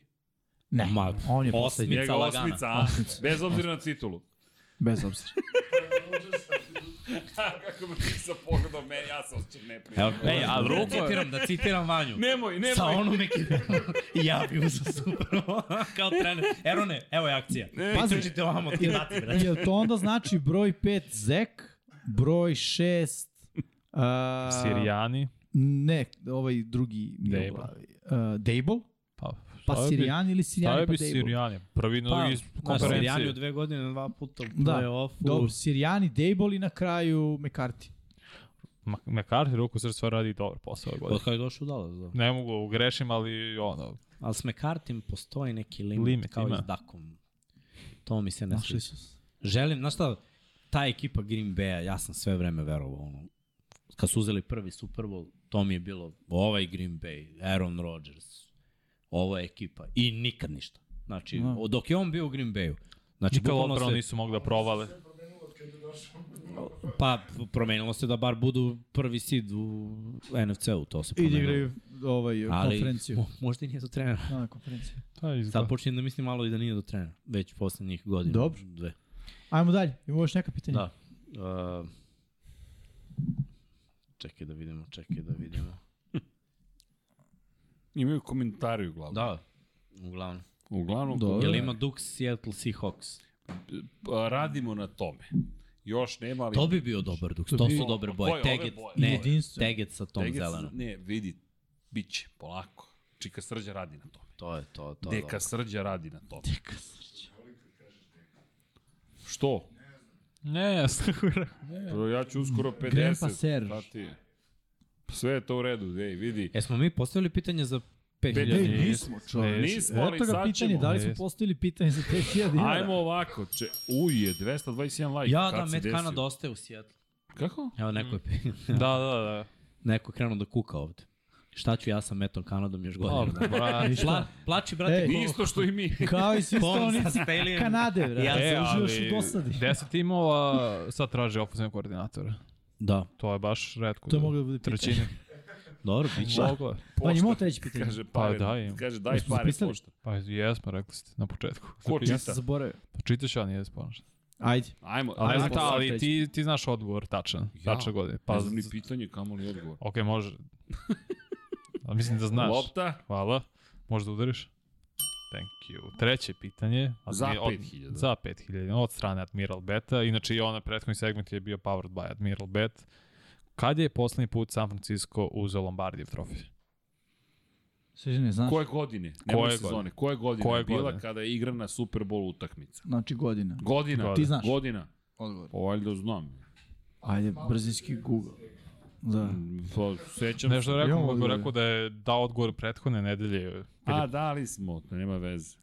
S2: Ne,
S3: Ma,
S2: on je
S3: osmi.
S2: poslednji,
S1: Njega
S3: lagana.
S1: osmica, a? Bez obzira na titulu.
S2: bez obzira.
S1: Kako bi ti sa pogledom, meni, ja se osjećam neprijatno.
S3: Evo, ej, a
S4: drugo
S3: drugo
S4: je-
S3: citiram, da citiram Vanju.
S1: Nemoj, nemoj.
S3: Sa onom ekipom. I ja bi uzao Super Bowl. Kao trener. Erone, evo je akcija.
S2: Pazi.
S3: Pitučite ovamo, ti
S2: Jel,
S3: dati, brate.
S2: E, jel to onda znači broj 5 Zek, broj 6 Uh,
S4: Sirijani.
S2: Ne, ovaj drugi mi je u
S4: Dable.
S2: glavi. Uh, Dable?
S4: Pa,
S2: Pa
S4: stavio bi-
S2: Sirijan ili Sirijan
S4: Stavio
S2: pa
S4: bi
S2: Dable?
S4: Sirijani. Prvi na drugi
S3: na Pa, da, Sirijani u
S4: konferenciji.
S3: dve godine, dva puta u
S2: Da,
S3: play-offu.
S2: Dobro, Sirijani, Dable i na kraju McCarthy.
S4: Ma- McCarthy ruku srstva radi dobar posao ove godine.
S3: Od kada je došao u Dallas, da.
S4: Ne mogu, grešim, ali ono,
S3: Ali s McCartim postoji neki limit,
S4: Limit
S3: limit kao
S4: ima.
S3: i s Dakom. To mi se ne
S2: Našli
S3: sviđa.
S2: su se.
S3: Želim, znaš šta, ta ekipa Green Bay-a, ja sam sve vreme verovao, ono, kad su uzeli prvi Super Bowl, to mi je bilo ovaj Green Bay, Aaron Rodgers, ova ekipa i nikad ništa. Znači,
S2: Da.
S3: no. dok je on bio u Green Bay-u, znači,
S4: nikad
S3: bukvalno
S4: odbrano
S3: se-
S4: nisu mogli da provale.
S3: Pa, promenilo se da bar budu prvi seed u NFC-u, to se
S2: I da
S3: promenilo.
S2: igraju ovaj, konferenciju.
S3: mo- možda i nije do trenera.
S2: Da, na konferenciju.
S4: Da,
S3: Sad
S4: izgleda.
S3: počinjem da mislim malo i da nije do trenera, već poslednjih godina.
S2: Dobro.
S3: Dve.
S2: Ajmo dalje, imamo još neka pitanja?
S3: Da. Uh, čekaj da vidimo, čekaj da vidimo.
S1: Imaju komentari uglavnom.
S3: Da, uglavnom.
S1: Uglavnom,
S2: Dobro.
S3: Jel
S1: komentari.
S3: ima Dux Seattle Seahawks?
S1: Pa, radimo na tome. Još nema, ali...
S3: To bi bio dobar Dux, to su dobre
S1: Koje,
S3: boje.
S1: ove
S3: Teget,
S1: boje?
S3: ne,
S2: Jedinstvo.
S3: Teget sa tom
S1: Tegec-
S3: zelenom.
S1: Ne, vidi, bit će, polako. Čika Srđa radi na tome.
S3: To je to, to je
S1: Deka
S3: dobro.
S1: Srđa radi na tome. Deka Srđa. Što?
S4: Ne, ja sam
S1: Prvo, Ja ću uskoro 50.
S2: Grandpa Serž.
S1: šta ti je? Sve je to u redu, ej, vidi.
S3: Jesmo mi postavili pitanje za 5000?
S1: Ej,
S4: nis-
S1: nismo, čovječe. Nismo, ali
S2: Eto ga
S1: sad
S2: pitanje,
S1: ćemo.
S2: da li smo
S4: Jeste.
S2: postavili pitanje za 5000 dinara?
S1: Ajmo ovako, če, uje, 221 like.
S3: Ja
S1: Kad
S3: da,
S1: se
S3: Met
S1: desio?
S3: Canada ostaje u Seattle.
S1: Kako?
S3: Evo, neko je,
S4: Da, da, da.
S3: neko je krenuo da kuka ovde. Šta ću ja sa Metom Kanadom još
S4: O,
S3: godinu? dana?
S4: brate.
S3: Pla, plači, brate,
S2: Ej.
S3: ko-
S1: Isto što i mi.
S2: Kao i svi
S3: Kom
S2: stavnici
S3: sa Stelijem.
S2: Kanade, brate. Ja
S3: Ja se
S2: se
S4: E,
S2: uživaš
S4: ali
S2: u dosadi.
S4: 10 timova sad traže ofenzivnog koordinatora.
S3: Da,
S4: To je baš redko.
S2: To je moglo da bude pitanje.
S4: trećini.
S3: dobro, bit će.
S4: Moglo je.
S2: Pa imamo
S1: Pošta.
S2: treće pitanje.
S1: Kaže, pare,
S4: daj im.
S1: kaže, daj
S2: Jesmo
S1: pare
S2: zapisali?
S1: pošta.
S4: Pa jesmo, rekli ste na početku.
S1: Ko
S2: Ja
S1: čita?
S2: sam zaboravio.
S4: Pa čitaš ja nije sponaš.
S2: Ajde.
S1: Ajmo,
S4: Ali,
S1: ajmo.
S4: ajmo, ta,
S1: sad.
S4: ali
S2: treći.
S4: ti, ti znaš odgovor tačan.
S1: Ja?
S4: Tačan godine.
S1: Pa, ne
S4: Pa,
S1: znam ni
S4: z-
S1: pitanje, kamo li odgovor.
S4: ok, može. A mislim da znaš.
S1: Lopta,
S4: Hvala. Možeš da udariš? Thank you. Treće pitanje.
S1: Za
S4: Admi-
S1: 5000.
S4: Od, za 5000. Od strane Admiral Beta. Inače i ona prethodni segment je bio powered by Admiral Bet. Kad je poslednji put San Francisco uzeo Lombardijev trofej?
S2: Sveže ne znaš.
S1: koje godine? Koje
S4: Koje
S1: sezone, godine? Koje godine koje
S4: Koje
S1: je bila godine?
S4: godine?
S1: kada je igrana Super Bowl utakmica?
S2: Znači godina.
S1: Godina.
S4: Ti
S2: znaš.
S1: Godina.
S2: Odgovor.
S1: Pa valjda znam.
S2: Ajde, brzinski Google. Da.
S1: Pa, sećam
S4: Nešto je
S2: Imamo
S4: rekao, mogu
S2: odgovore.
S4: rekao da je dao odgovor prethodne nedelje.
S1: A, da, dali smo, to nema veze.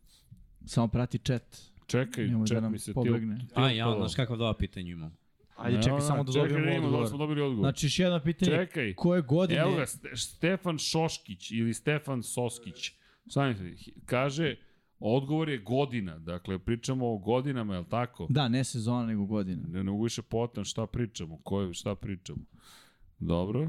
S2: Samo prati chat.
S1: Čekaj,
S2: Nemoj da
S1: čekaj
S2: nam
S1: mi se ti...
S2: pobegne.
S3: A ja, znaš kakva dva pitanja imam.
S2: Ajde, čekaj samo da
S1: Čekaj,
S2: dobijemo
S1: vidimo da smo
S2: odgovor.
S1: dobili odgovor.
S2: Znači, da još jedno pitanje.
S1: čekaj.
S2: Koje godine?
S1: Evo ga, Ste, Stefan Šoškić ili Stefan Soskić. Sam kaže, odgovor je godina. Dakle, pričamo o godinama, je li tako?
S2: Da, ne sezona, nego godina.
S1: Ne, ne mogu više potan šta pričamo, koje, šta pričamo. Dobro.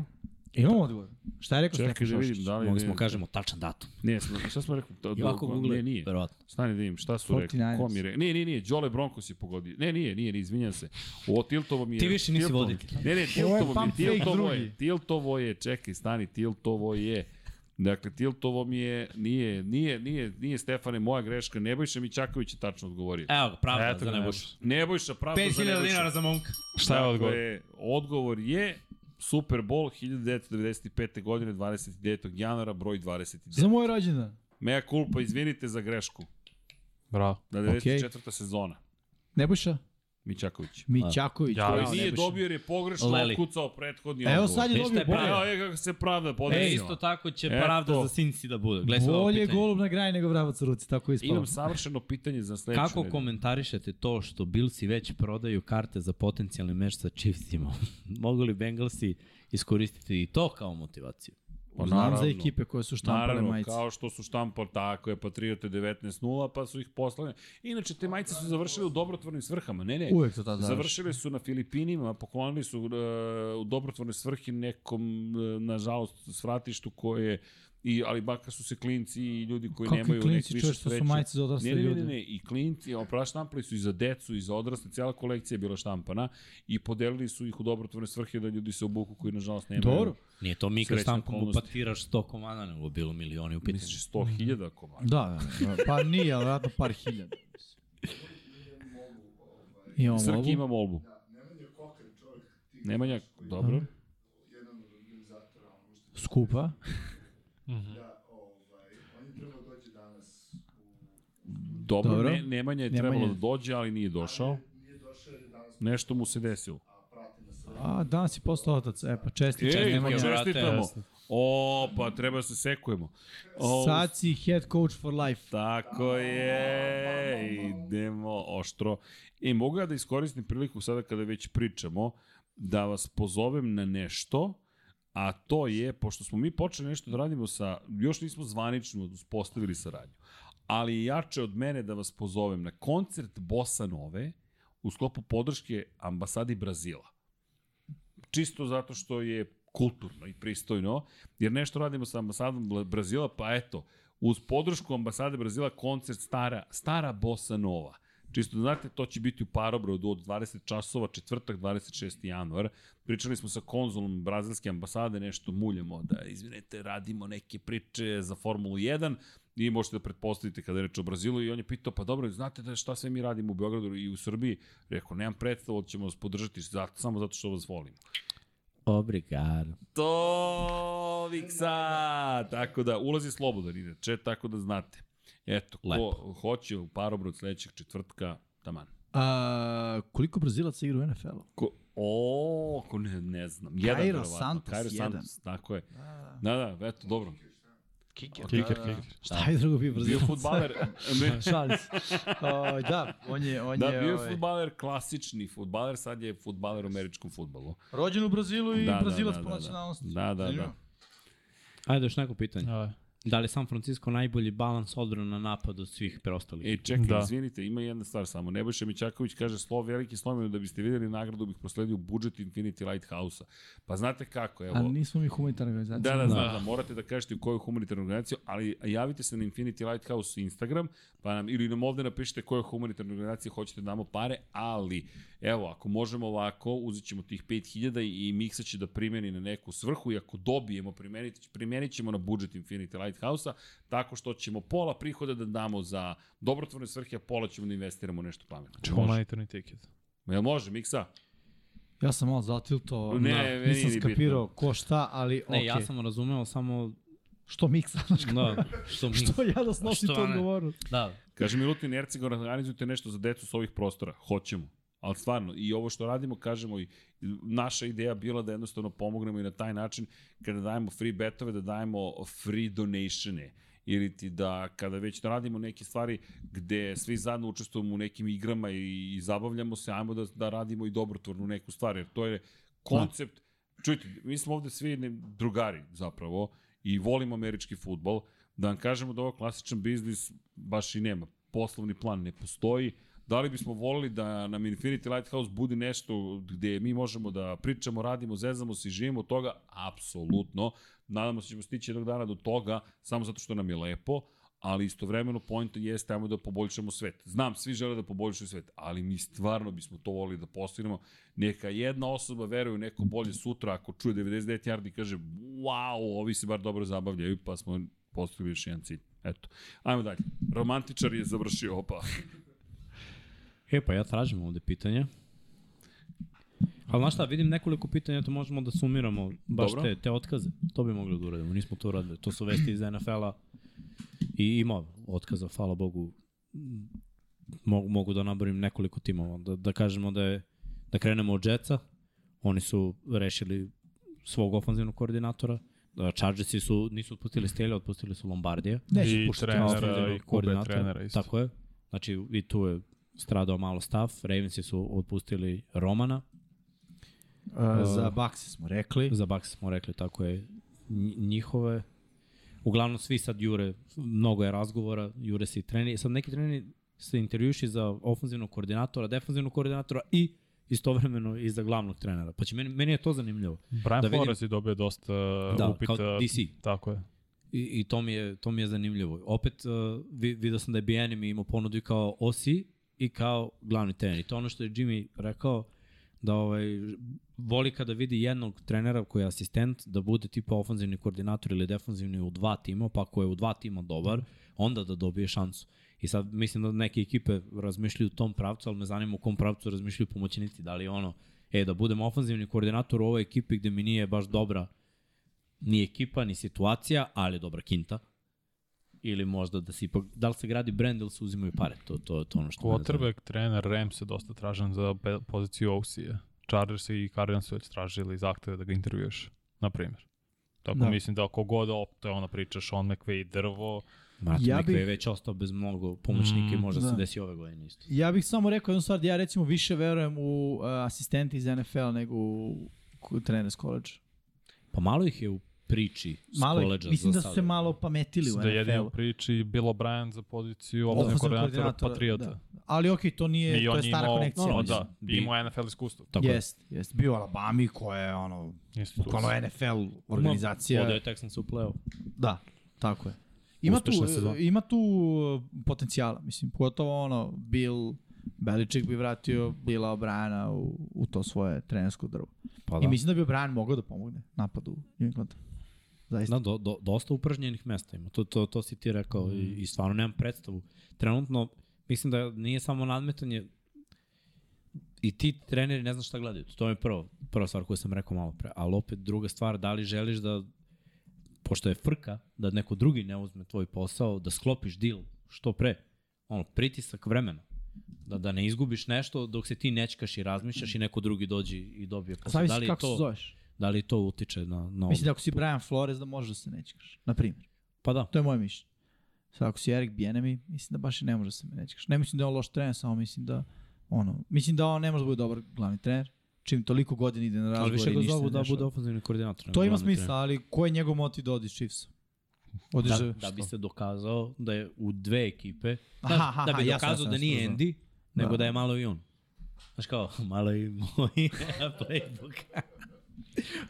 S2: E, Imamo odgovor. Šta je rekao
S1: Čekaj
S2: Stefan
S1: da
S2: Šoškić?
S1: vidim da li...
S3: Mogli smo
S1: ne-
S3: kažemo tačan datum.
S1: Ne, smo, šta smo rekli? To,
S3: I ovako Google,
S1: ne, Pa nije.
S3: verovatno.
S1: Stani da vidim, šta su rekli?
S2: 49ers.
S1: Ko mi je rekao? Ne, ne, nije, Đole Broncos je pogodio. Ne, nije, nije, ne, izvinjam se. O, Tiltovo mi je...
S3: Ti više nisi
S1: Tiltovo-
S3: voditelj.
S1: Ne, ne, Tiltovo mi
S2: pump
S1: je,
S2: fake
S1: Tiltovo
S2: drugi.
S1: je, Tiltovo je, čekaj, stani, Tiltovo je. Dakle, Tiltovo mi je, nije, nije, nije, nije Stefane moja greška, Nebojša Mićaković je tačno odgovorio.
S3: Evo ga, pravda
S4: Eto
S3: za
S4: ga,
S3: nebuš.
S1: Nebojša, pravda za
S3: 5000
S1: Nebojša.
S3: dinara za momka.
S4: Šta je odgovor?
S1: Dakle, odgovor je Super Bowl 1995. godine 29. januara broj 29.
S2: Za moj rođendan.
S1: Mea culpa, izvinite za grešku.
S4: Bravo.
S1: Na 94. Okay. sezona.
S2: Nebojša?
S1: Mićaković.
S2: Mićaković.
S4: Ja,
S2: bravo,
S1: Ali nije
S2: Nebojša.
S1: dobio jer je pogrešno
S3: Leli.
S1: ukucao prethodni
S2: Evo
S1: odgovor.
S2: sad je
S3: Ništa
S2: dobio
S3: je
S2: bolje.
S1: Evo je kako se pravda
S3: E,
S1: podesila.
S3: isto tako će
S1: Eto.
S3: pravda za Sinci da bude. Gledaj sad ovo
S2: Bolje
S3: pitanje.
S2: golub na grani nego vravac u ruci, tako je ispalo.
S1: Imam savršeno pitanje za sledeću
S3: Kako
S1: nedelju.
S3: komentarišete to što Billsi već prodaju karte za potencijalni meč sa Chiefsima? Mogu li Bengalsi iskoristiti i to kao motivaciju?
S1: Pa
S2: Znam za
S1: naravno.
S2: ekipe koje su štampale
S1: Naravno,
S2: majice.
S1: kao što su štampali, tako je, Patriote 19-0, pa su ih poslali. Inače, te majice su završile u dobrotvornim svrhama. Ne, ne,
S2: Uvek to tad završi.
S1: Završili su na Filipinima, poklonili su uh, u dobrotvorne svrhe nekom, uh, nažalost, svratištu koje i ali bakar su se klinci i ljudi koji
S2: Kakvi
S1: nemaju
S2: klinci,
S1: nek više
S2: čovječ, to su
S1: sreću.
S2: majice za odrasle
S1: ne, ne, ne,
S2: ljude.
S1: ne, ne, i klinci, opravo štampali su i za decu i za odrasle, cijela kolekcija je bila štampana i podelili su ih u dobrotvorne svrhe da ljudi se obuku koji nažalost nemaju.
S2: Dobro.
S3: Nije to mi kad
S1: Srećne
S3: štampom
S1: okolnosti.
S3: upatiraš 100 komada, nego bilo milioni u pitanju.
S1: Misliš 100.000 komada.
S2: Da, da, da, pa nije, ali vratno par hiljada. Imamo
S1: Srki
S2: ovu.
S1: ima molbu. Nemanja, dobro.
S2: Skupa.
S1: Dobro,
S2: Dobro.
S1: Ne, Nemanja je
S2: Nemanja.
S1: trebalo da dođe, ali nije došao. Nešto mu se desilo.
S2: A, danas si postao otac. E, pa česti,
S1: Ej,
S2: česti.
S1: pa
S3: Nemanja.
S1: čestitamo.
S4: Jasno.
S1: O, pa treba da se sekujemo. O,
S2: Sad si head coach for life.
S1: Tako je, idemo oštro. E, mogu ja da iskoristim priliku sada kada već pričamo, da vas pozovem na nešto, a to je, pošto smo mi počeli nešto da radimo sa, još nismo zvanično uspostavili saradnju, ali je jače od mene da vas pozovem na koncert Bossa Nove u sklopu podrške ambasadi Brazila. Čisto zato što je kulturno i pristojno, jer nešto radimo sa ambasadom Bla- Brazila, pa eto, uz podršku ambasade Brazila koncert Stara, Stara Bossa Nova. Čisto da znate, to će biti u Parobrodu od 20 časova, četvrtak 26. januar. Pričali smo sa konzulom brazilske ambasade, nešto muljamo da, izvinete, radimo neke priče za Formulu 1 i možete da pretpostavite kada je reč o Brazilu i on je pitao, pa dobro, znate da šta sve mi radimo u Beogradu i u Srbiji? Rekao, nemam predstavu, ali ćemo vas podržati zato, samo zato što vas volim.
S3: Obrigado.
S1: To, Viksa! Tako da, ulazi slobodan inače, tako da znate. Eto, ko
S3: Lepo.
S1: hoće u Parobrod sledećeg četvrtka, taman.
S2: A, koliko Brazilaca igra u NFL-u?
S1: Ko, o, ko ne, ne znam. Jedan,
S2: Cairo
S1: verovatno.
S2: Santos, jedan.
S1: tako je. Da, da, eto, dobro. Kiker.
S4: Kiker, kiker.
S2: Šta je drugo bio
S1: Bio
S2: Brazilac?
S1: futbaler, ne,
S2: Šalim se. O, da, on je, on
S1: da,
S2: je
S1: bio
S2: ovaj,
S1: je futbaler, klasični futbaler, sad je futbaler u američkom futbolu.
S2: rođen u Brazilu i
S1: Da, da,
S2: Brazilac
S1: da, da,
S2: po
S1: da.
S2: nacionalnosti.
S1: Da, da,
S2: Zanimljivo.
S1: da.
S3: Ajde, još neko pitanje.
S4: Da.
S3: Da li je San Francisco najbolji balans odbrana na napad od svih preostalih?
S1: E, čekaj, da.
S4: Da.
S1: izvinite, ima jedna stvar samo. Nebojša Mićaković kaže, slovo veliki slomljeno, da biste videli nagradu, bih prosledio budžet Infinity Lighthouse-a. Pa znate kako, evo...
S2: A nismo mi humanitarna organizacija.
S1: Da, da, znam, da, morate da kažete u koju humanitarnu organizaciju, ali javite se na Infinity Lighthouse Instagram, pa nam, ili nam ovde napišite koju humanitarnu organizaciju hoćete da damo pare, ali, evo, ako možemo ovako, uzet ćemo tih 5000 i Miksa će da primeni na neku svrhu i ako dobijemo, primenit, primenit ćemo na budžet Infinity Lighthouse-a, tako što ćemo pola prihoda da damo za dobrotvorne svrhe, a pola ćemo da investiramo u nešto pametno.
S4: Humanitarni tiket.
S1: Jel može, Miksa?
S2: Ja sam malo zatilto,
S1: Ne,
S2: ne,
S1: meni
S2: nisam
S1: ni bitno.
S2: skapirao ko šta, ali
S3: Ne,
S2: okej.
S3: ja sam razumeo samo...
S2: Što Miksa, znaš kako?
S3: Da, što mi...
S2: Što ja da snosim
S3: Što
S2: tu
S3: ne?
S2: odgovornost?
S3: Da,
S1: Kaže Milutin Erceg, organizujte nešto za decu s ovih prostora. Hoćemo. Ali stvarno, i ovo što radimo, kažemo, i naša ideja bila da jednostavno pomognemo i na taj način, kada dajemo free betove, da dajemo free donatione ili ti da kada već da radimo neke stvari gde svi zajedno učestvujemo u nekim igrama i, i zabavljamo se, ajmo da, da radimo i dobrotvornu neku stvar, jer to je koncept, čujte, mi smo ovde svi ne, drugari zapravo i volimo američki futbol, da vam kažemo da ovo klasičan biznis baš i nema. Poslovni plan ne postoji. Da li bismo volili da nam Infinity Lighthouse bude nešto gde mi možemo da pričamo, radimo, zezamo se i živimo od toga? Apsolutno. Nadamo se da ćemo stići jednog dana do toga, samo zato što nam je lepo, ali istovremeno point jeste ajmo da poboljšamo svet. Znam, svi žele da poboljšaju svet, ali mi stvarno bismo to volili da postignemo. Neka jedna osoba veruje u neko bolje sutra, ako čuje 99 yardi i kaže wow, ovi se bar dobro zabavljaju, pa smo postigli još jedan cilj. Eto. Ajmo dalje. Romantičar je završio, opa.
S3: E, pa ja tražim ovde pitanja. Ali znaš šta, vidim nekoliko pitanja, to možemo da sumiramo baš
S1: Dobro.
S3: te, te otkaze. To bi mogli da uradimo, nismo to uradili. To su vesti iz NFL-a i ima otkaza, hvala Bogu. Mogu, mogu da nabrojim nekoliko timova. Da, da kažemo da je, da krenemo od Jetsa, oni su rešili svog ofanzivnog koordinatora, Da, Chargersi su, nisu otpustili Stelja, otpustili su Lombardija.
S2: Neće
S4: I
S2: puštati
S4: trenera,
S2: ostavljeno.
S3: Ofenzivnog
S4: da i Kube
S3: koordinatora.
S4: trenera isto.
S3: Tako je. Znači, i tu je stradao malo stav. Ravensi su otpustili Romana.
S2: E, za Baxi smo rekli.
S3: Za Bucks smo rekli, tako je, nj- njihove. Uglavnom, svi sad jure, mnogo je razgovora, jure se i treneri. Sad neki treneri se intervjuši za ofenzivnog koordinatora, defenzivnog koordinatora i istovremeno i za glavnog trenera. Pa će, meni, meni je to zanimljivo. Da
S4: Brian da
S3: vidim-
S4: Flores je dobio dosta
S3: Da,
S4: da,
S3: kao
S4: upita.
S3: DC.
S4: Tako je.
S3: I, i to, mi je, to mi je zanimljivo. Opet, uh, vi, vidio sam da je Bijenim imao ponudu i kao osi i kao glavni trener. I to je ono što je Jimmy rekao, da ovaj, voli kada vidi jednog trenera koji je asistent, da bude tipa ofanzivni koordinator ili defanzivni u dva tima, pa ako je u dva tima dobar, onda da dobije šansu. I sad mislim da neke ekipe razmišljaju u tom pravcu, ali me zanima u kom pravcu razmišljaju pomoćnici. Da li je ono, e, da budem ofanzivni koordinator u ovoj ekipi gde mi nije baš dobra ni ekipa, ni situacija, ali je dobra kinta. Ili možda da se ipak, da li se gradi brend ili se uzimaju pare, to, to, to je ono što... mene zanima.
S4: Quarterback, trener, Rams je dosta tražen za pe- poziciju OC-a. Chargers i Cardinals su već tražili zahteve da ga intervjuješ, na primjer. Tako
S2: Da.
S4: da. mislim da ako god, op, to je ona priča Sean McVay i drvo,
S3: Mate,
S2: Ja
S3: ja bih...
S2: bih-
S3: je već ostao bez mnogo pomoćnika i
S4: Mm,
S3: možda da.
S2: da.
S3: se desi ove godine isto.
S2: Ja bih samo rekao jednu stvar, da ja recimo više verujem u uh, asistente iz NFL nego u ku- trener s koleđa.
S3: Pa malo ih je u priči s
S2: Malo, ih-
S3: koleđa
S2: mislim
S3: za
S2: da su
S3: sada.
S2: se malo pametili u
S4: da jedini u
S2: NFL-u.
S4: priči Bill O'Brien za poziciju
S2: Ofenzivnog
S4: obzivnog koordinatora
S2: koordinatora,
S4: Patriota. Da.
S2: Ali okej, to nije,
S4: I
S2: to
S4: on
S2: je
S4: je
S2: stara
S4: imao,
S2: konekcija.
S4: ono,
S2: mislim.
S4: da,
S3: Bi-
S4: imao NFL iskustvo.
S3: Tako yes.
S2: Jest, jest. Bio u Alabami koja je ono, bukvalno
S4: Institucija.
S2: NFL
S3: da.
S2: organizacija.
S3: Odeo je Texans u play-off.
S2: Da, tako je. Ima tu,
S3: Uspešna sezona.
S2: ima tu uh, potencijala, mislim, pogotovo ono, Bill, Beliček bi vratio Bila Obrana u, u to svoje trenersko drvo.
S3: Pa
S2: I
S3: da.
S2: mislim da bi O'Brien mogao da pomogne napadu New Englanda. Zaista.
S3: Da, do, do, dosta upražnjenih mesta ima. To, to, to si ti rekao
S2: Mm.
S3: i, i stvarno nemam predstavu. Trenutno, mislim da nije samo nadmetanje i ti treneri ne znaš šta gledaju. To je prvo, prva stvar koju sam rekao malo pre. Ali opet druga stvar, da li želiš da, pošto je frka, da neko drugi ne uzme tvoj posao, da sklopiš deal što pre. Ono, pritisak vremena. Da, da ne izgubiš nešto dok se ti nečkaš i razmišljaš i neko drugi dođe i dobije posao.
S2: Zavisi
S3: Da li,
S2: kako se
S3: to,
S2: zoveš.
S3: da li to utiče na, na
S2: Mislim da
S3: odluku?
S2: ako si Brian Flores da možeš da se nećekaš. Na primjer.
S3: Pa da.
S2: To je moje mišljenje. Sad ako si Erik Bienemi, mislim da baš i ne može da se me nećekaš. Ne mislim da je on loš trener, samo mislim da ono, mislim da on ne može da bude dobar glavni trener. Čim toliko godina ide na
S3: Ali
S2: razgovor
S3: više
S2: i
S3: ga
S2: ništa
S3: zovu
S2: ne
S3: da
S2: dešava.
S3: bude ofenzivni koordinator.
S2: To
S3: nego
S2: ima
S3: glavni
S2: smisla, ali ko je njegov motiv da odi iz Chiefsa? Odiš
S3: trener. Da, da bi se dokazao da je u dve ekipe, da,
S2: Aha, aha,
S3: da bi
S2: jasno,
S3: dokazao
S2: jasno,
S3: da nije
S2: jasno,
S3: Andy, nego
S2: Da.
S3: da. je malo i on. Znaš kao, malo i moj playbook.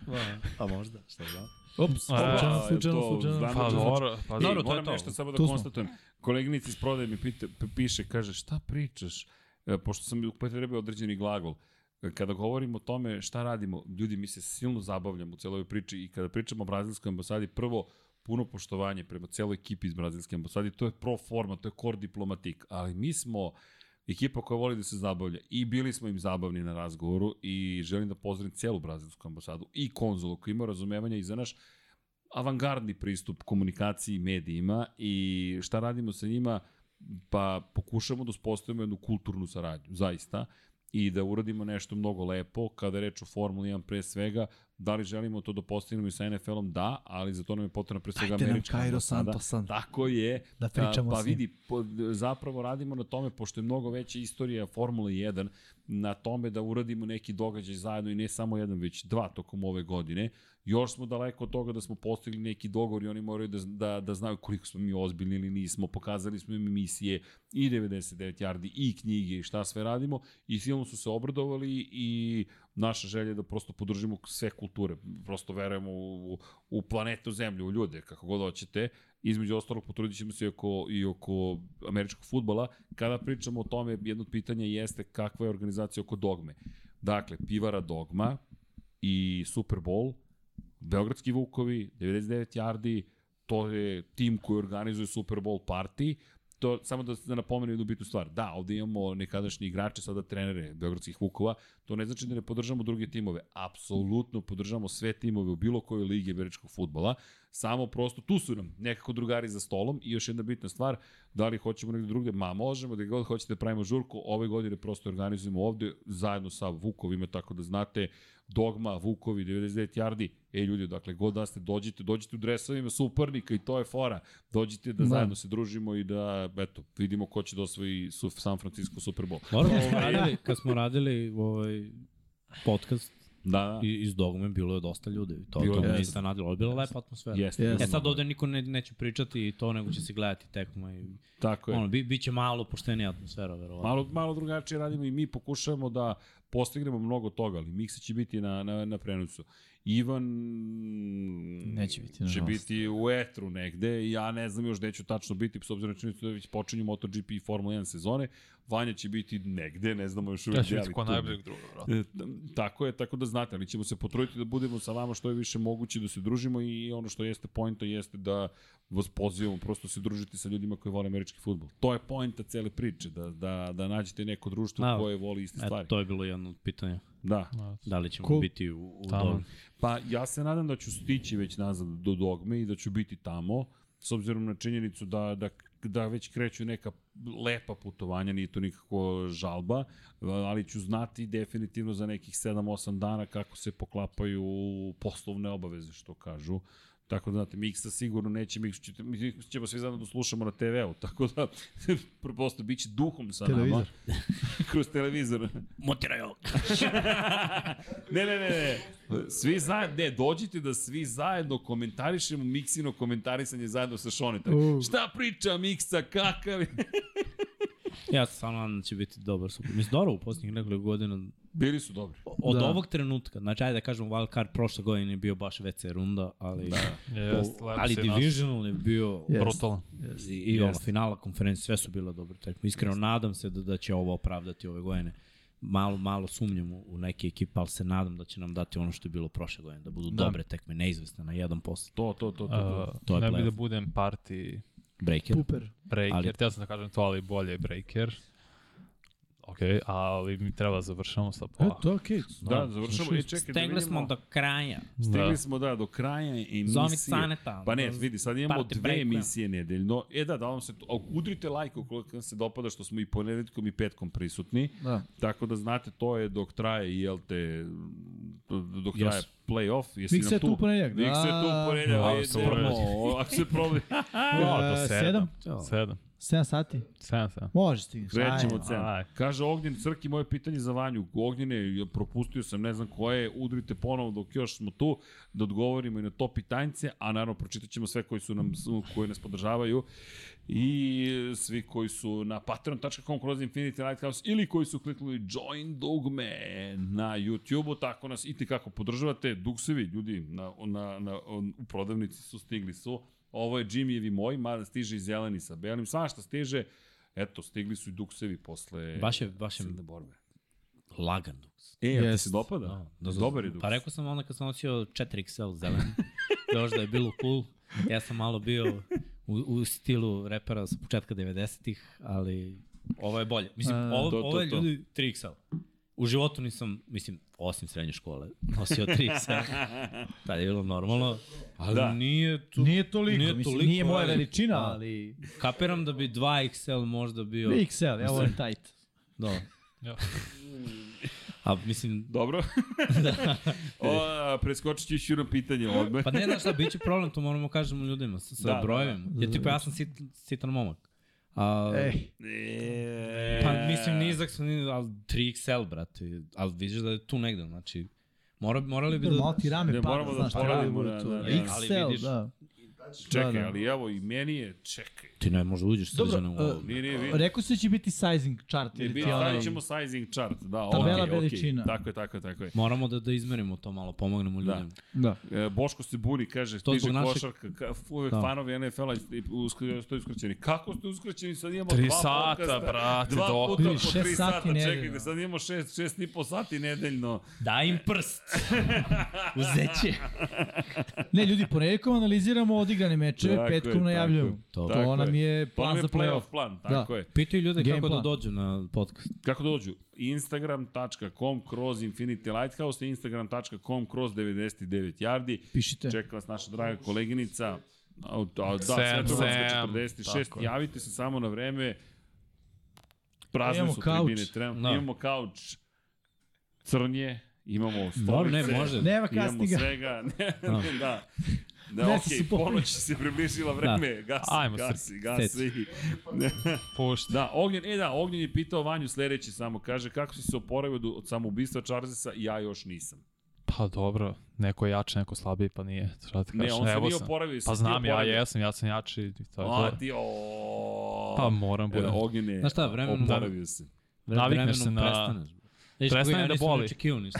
S3: Ma, pa možda, šta znam.
S2: Ups,
S4: A,
S2: slučajno,
S1: je
S2: slučajno,
S1: to
S2: slučajno.
S1: znam-
S4: Pa dobro, pa
S1: Ej,
S4: dobro, to je
S1: moram
S4: to.
S1: nešto samo da
S2: Tu smo.
S1: konstatujem. Koleginica iz prodaje mi pita, p- piše, kaže, šta pričaš? E, pošto sam upotrebio određeni glagol. E, Kada govorimo o tome šta radimo, ljudi, mi se silno zabavljamo u celoj priči i kada pričamo o brazilskoj ambasadi, prvo, puno poštovanje prema celoj ekipi iz brazilske ambasade, to je pro forma, to je kor diplomatik, ali mi smo ekipa koja voli da se zabavlja i bili smo im zabavni na razgovoru i želim da pozdravim celu brazilsku ambasadu i konzulu koji ima razumevanja i za naš avangardni pristup komunikaciji i medijima i šta radimo sa njima, pa pokušamo da uspostavimo jednu kulturnu saradnju, zaista, i da uradimo nešto mnogo lepo, kada je reč o Formuli 1 pre svega, da li želimo to da postignemo i sa NFL-om, da, ali za to nam je potrebna pre svega
S2: Dajte nam
S1: američka
S2: Kairo
S1: ambasada.
S2: Santosan.
S1: Tako je.
S2: Da pričamo
S1: A, pa
S2: s njim.
S1: vidi, po, zapravo radimo na tome, pošto je mnogo veća istorija Formule 1, na tome da uradimo neki događaj zajedno i ne samo jedan, već dva tokom ove godine. Još smo daleko od toga da smo postigli neki dogovor i oni moraju da, da, da znaju koliko smo mi ozbiljni ili nismo. Pokazali smo im emisije i 99 yardi i knjige i šta sve radimo i silno su se obradovali i naša želja je da prosto podržimo sve kulture. Prosto verujemo u, u planetu Zemlju, u ljude, kako god hoćete. Između ostalog, potrudit ćemo se i oko, i oko američkog futbala. Kada pričamo o tome, jedno od pitanja jeste kakva je organizacija oko dogme. Dakle, pivara dogma i Super Bowl, Beogradski Vukovi, 99 yardi, to je tim koji organizuje Super Bowl party, to samo da, da napomenem jednu bitnu stvar. Da, ovde imamo nekadašnji igrače, sada trenere Beogradskih Vukova, to ne znači da ne podržamo druge timove. Apsolutno podržamo sve timove u bilo kojoj ligi američkog futbola, samo prosto tu su nam nekako drugari za stolom i još jedna bitna stvar, da li hoćemo negde drugde, ma možemo, da god hoćete da pravimo žurku, ove godine prosto organizujemo ovde zajedno sa Vukovima, tako da znate, Dogma, Vukovi, 99 yardi, ej ljudi, dakle, god da ste, dođite, dođite u dresovima suparnika i to je fora. Dođite da
S2: Da.
S1: zajedno se družimo i da, eto, vidimo ko će da osvoji su, San Francisco Super Bowl.
S3: Dobro, kad smo radili, kad smo radili ovaj podcast
S1: Da, da.
S3: i- iz Dogme, bilo je dosta ljudi. To,
S1: Bilo
S3: to
S1: je.
S3: me iznenadilo. Ovo je bila lepa atmosfera.
S1: Jeste.
S2: Jeste.
S3: E sad ovde niko ne, neće pričati i to, nego će se gledati tekma i
S1: Tako je.
S3: ono, bi, bit će malo poštenija atmosfera, verovatno.
S1: Malo, malo drugačije radimo i mi pokušavamo da postignemo mnogo toga, ali miksa će biti na, na, na prenosu. Ivan
S2: Neće biti,
S1: će
S2: nažalost.
S1: biti u etru negde, ja ne znam još gde ću tačno biti, s obzirom na činjenicu da već počinju MotoGP i Formula 1 sezone, Vanja će biti negde, ne znamo još uvijek
S4: Ja ću
S1: gde,
S4: biti
S1: ali
S4: ko
S1: tu
S4: najboljeg druga, brate.
S1: E, t- tako je, tako da znate, ali ćemo se potruditi da budemo sa vama što je više moguće da se družimo i ono što jeste poenta jeste da vas pozivamo prosto da se družiti sa ljudima koji vole američki futbol. To je poenta cele priče, da, da, da nađete neko društvo
S3: Da.
S1: koje voli iste
S3: E,
S1: stvari.
S3: to je bilo jedno od pitanja.
S1: Da.
S3: Da li ćemo
S2: Ko-
S3: biti u, u
S4: Tamo.
S3: Dogmi?
S1: Pa ja se nadam da ću stići već nazad do dogme i da ću biti tamo, s obzirom na činjenicu da, da da već kreću neka lepa putovanja, nije to nikako žalba, ali ću znati definitivno za nekih 7-8 dana kako se poklapaju poslovne obaveze, što kažu. Tako da, znate, Miksa sigurno neće, Miksa će, Miksa ćemo svi zajedno da slušamo na TV-u, tako da, prosto, bit će duhom sa
S2: Televizor.
S1: nama. Kroz televizor.
S3: Montiraj ovo.
S1: Ne, ne, ne, ne. Svi zajedno, ne, dođite da svi zajedno komentarišemo Miksino komentarisanje zajedno sa Šonetom.
S2: U.
S1: Šta priča Miksa, kakav je?
S3: Ja sam stvarno nadam da će biti dobar super. Mislim, dobro u posljednjih nekoliko godina.
S1: Bili su dobri.
S3: Od
S2: Da.
S3: da. ovog trenutka, znači ajde da kažem wild card prošle godine je bio baš WC runda, ali... Da.
S4: Jest, lepo
S3: ali
S4: si nas-
S3: divisional je bio
S2: Yes.
S4: Brutalno.
S3: yes. i, i yes. ono, finala konferencije, sve su bile dobre tekme. Iskreno, yes. nadam se da, da će ovo opravdati ove godine. Malo, malo sumnjam u, u neke ekipe, ali se nadam da će nam dati ono što je bilo prošle godine, da budu da.
S4: Da.
S3: dobre tekme, neizvesne na 1%
S1: To, to, to, to. to.
S4: Uh,
S3: to je
S4: ne bi
S3: playoff.
S4: da budem party
S3: breaker.
S2: Puper.
S4: breaker,
S3: Ali-
S4: ali... teo sam da kažem to, ali bolje je breaker. Ok, ali mi treba da završamo sa
S2: E,
S4: pola.
S2: to je okej. Okay.
S1: Da, završamo i čekaj da vidimo.
S3: Stegli smo do kraja.
S1: Stigli smo, da, do kraja emisije.
S3: Zovi Caneta.
S1: Pa ne, vidi, sad imamo
S3: Party
S1: dve
S3: break,
S1: emisije nedeljno. E da, da vam se, to- udrite like ukoliko vam se dopada što smo i ponedetkom i petkom prisutni.
S2: Da.
S1: Tako da znate, to je dok traje, jel te, dok traje
S3: Yes.
S1: playoff. Jesi
S2: Miksa
S1: nam
S2: je tu u ponedjeljak.
S1: Nik se
S2: Da.
S1: tu ponedjeljak.
S4: Malo
S1: Ajde,
S4: se
S1: idemo. Ako se problem.
S4: Ja, do
S2: E,
S4: sedam.
S2: sedam?
S4: Sedam.
S2: Sedam sati.
S4: Sedam, sedam.
S2: Može stigneš.
S1: Krećemo
S2: ajde.
S1: od cena.
S4: Aj.
S1: Kaže Ognjen, Crki, moje pitanje za Vanju. Ognjene, ja propustio sam, ne znam koje, udrite ponovo dok još smo tu, da odgovorimo i na to pitanjce, a naravno pročitat ćemo sve koji su nam, koji nas podržavaju i svi koji su na patreon.com kroz Infinity Lighthouse ili koji su kliknuli Join Dogme na YouTube-u, tako nas i tekako podržavate. Dugsevi, ljudi, na, na, na, u prodavnici su stigli su. Ovo je Jimmyevi moj, mada stiže i zeleni sa belim, svašta stiže. Eto, stigli su i duksevi posle
S3: Baš je, baš je
S1: silne borbe.
S3: lagan duks.
S1: E, jel ti
S2: Jest.
S1: se dopada?
S3: Da,
S1: Da,
S3: da, da,
S1: Dobar je duks.
S3: Pa rekao sam onda kad sam nosio 4XL zelen, još da je bilo cool. Ja sam malo bio u, u stilu repera sa početka 90-ih, ali ovo je bolje. Mislim,
S2: A,
S3: ovo,
S1: to, to,
S3: ovo je
S1: to.
S3: ljudi 3XL. U životu nisam, mislim, osim srednje škole, nosio 3XL. Tad je bilo normalno, ali
S1: Da.
S3: da. nije tu.
S2: Nije toliko, nije, mislim, toliko, nije moja
S3: ali-
S2: veličina,
S3: Da.
S2: ali...
S3: Kapiram da bi 2XL možda bio...
S2: XL, ja volim tight.
S3: Da.
S4: Ja.
S3: A mislim,
S1: Dobro. Da. o, preskočit ću još jedno pitanje odmah.
S3: Da. Pa ne znaš šta, bit će problem, to moramo kažemo ljudima, sa, sa
S1: Da, da,
S3: da,
S1: da.
S3: brojevima. Jer tipa ja sam sit, sitan momak. A,
S2: Ej,
S1: E,
S3: pa mislim nizak sam, ni- ali 3XL, brate. Ali vidiš da je tu negde, znači... Mora, morali bi
S2: dobro, malo
S3: da...
S2: ti rame
S1: Ne,
S2: pada,
S1: moramo da
S2: znaš,
S1: poradimo,
S2: da,
S1: da,
S2: tu.
S1: da, da.
S3: Ali
S2: XL,
S3: vidiš-
S2: da.
S1: Čekaj,
S2: da, da.
S1: ali evo i meni je, čekaj.
S3: Ti ne možeš da uđeš
S2: Dobro,
S3: srđana u
S2: e,
S3: ovo.
S1: Nije, nije, vidi.
S2: Rekao si da će biti sizing chart
S1: Ne,
S2: ili
S1: bi,
S2: ti onaj...
S1: stavit ćemo sizing chart, da, okej,
S2: Tabela
S1: okej.
S2: veličina.
S1: Tako je, tako je, tako je.
S3: Moramo da, da izmerimo to malo, pomognemo
S1: Da.
S3: ljudima.
S2: Da.
S1: E, Boško se buni, kaže,
S3: To
S1: stiže
S3: zbog našeg-
S1: košarka, ka, uvek
S3: Da.
S1: fanovi NFL-a i uskri- stoji uskraćeni. Kako ste uskraćeni, sad imamo
S4: Tri
S1: dva
S4: sata,
S1: podcasta,
S4: brate,
S1: dva
S4: dok-
S1: puta
S2: Vidi,
S1: po tri
S2: šest sati
S1: sata, čekajte,
S2: nedeljno.
S1: sad imamo šest, šest i po sati nedeljno.
S3: Daj im prst! Uzeće.
S2: Ne, ljudi, ponedjeljkom analiziramo odigrane mečeve,
S1: Tako je,
S2: petkom
S1: tako je.
S2: najavljujemo.
S3: To.
S1: Tako
S2: To nam
S1: je.
S2: je
S1: To nam
S2: plan
S1: je
S2: za
S1: playoff
S2: playoff. Da.
S1: plan, tako je.
S3: Pitaju ljude
S2: Game
S3: kako
S2: plan.
S3: da dođu na podcast.
S1: Kako dođu? Instagram.com kroz Infinity Lighthouse i Instagram.com kroz 99 yardi.
S2: Pišite.
S1: Čeka vas naša draga koleginica. A, a, da,
S4: Sam,
S1: Svetozarska
S4: Sam.
S1: 46.
S4: Tako je.
S1: Javite se samo na vreme. Prazne
S2: Imamo
S1: su
S2: kauč.
S1: tribine. Trenutno.
S3: Da.
S1: Imamo kauč crnje, imamo stolice.
S3: Dobro, ne, može.
S2: Nema
S1: Imamo
S2: kastinga.
S1: svega. Ne, ne, da. Da,
S2: Ne,
S1: okej,
S2: se
S1: okay,
S2: popriš.
S1: ponoć se približila vreme. Da. Gasi,
S4: Ajmo,
S1: gasi, gasi.
S4: Pušta.
S1: Da, Ognjen, e da, Ognjen je pitao Vanju sledeće samo, kaže kako si se oporavio od, od samoubistva Charlesa i ja još nisam.
S4: Pa dobro, neko je jači, neko slabiji, pa nije. Šta da ti
S1: Ne,
S4: kažeš,
S1: on se
S4: evo
S1: nije
S4: sam.
S1: oporavio.
S4: Pa
S1: si
S4: znam,
S1: ti
S4: ja
S1: oporavio?
S4: jesam, ja sam jači i to je
S1: A
S4: to.
S1: ti, o.
S4: Pa moram
S1: e, da,
S4: budem.
S1: Ognjen je
S3: Znaš šta, vremenom-
S1: oporavio se.
S4: Navikneš se na-
S3: Prestaneš. Viš,
S4: Prestane
S3: ja
S4: da
S3: nisam
S4: boli.
S3: očekivao ništa.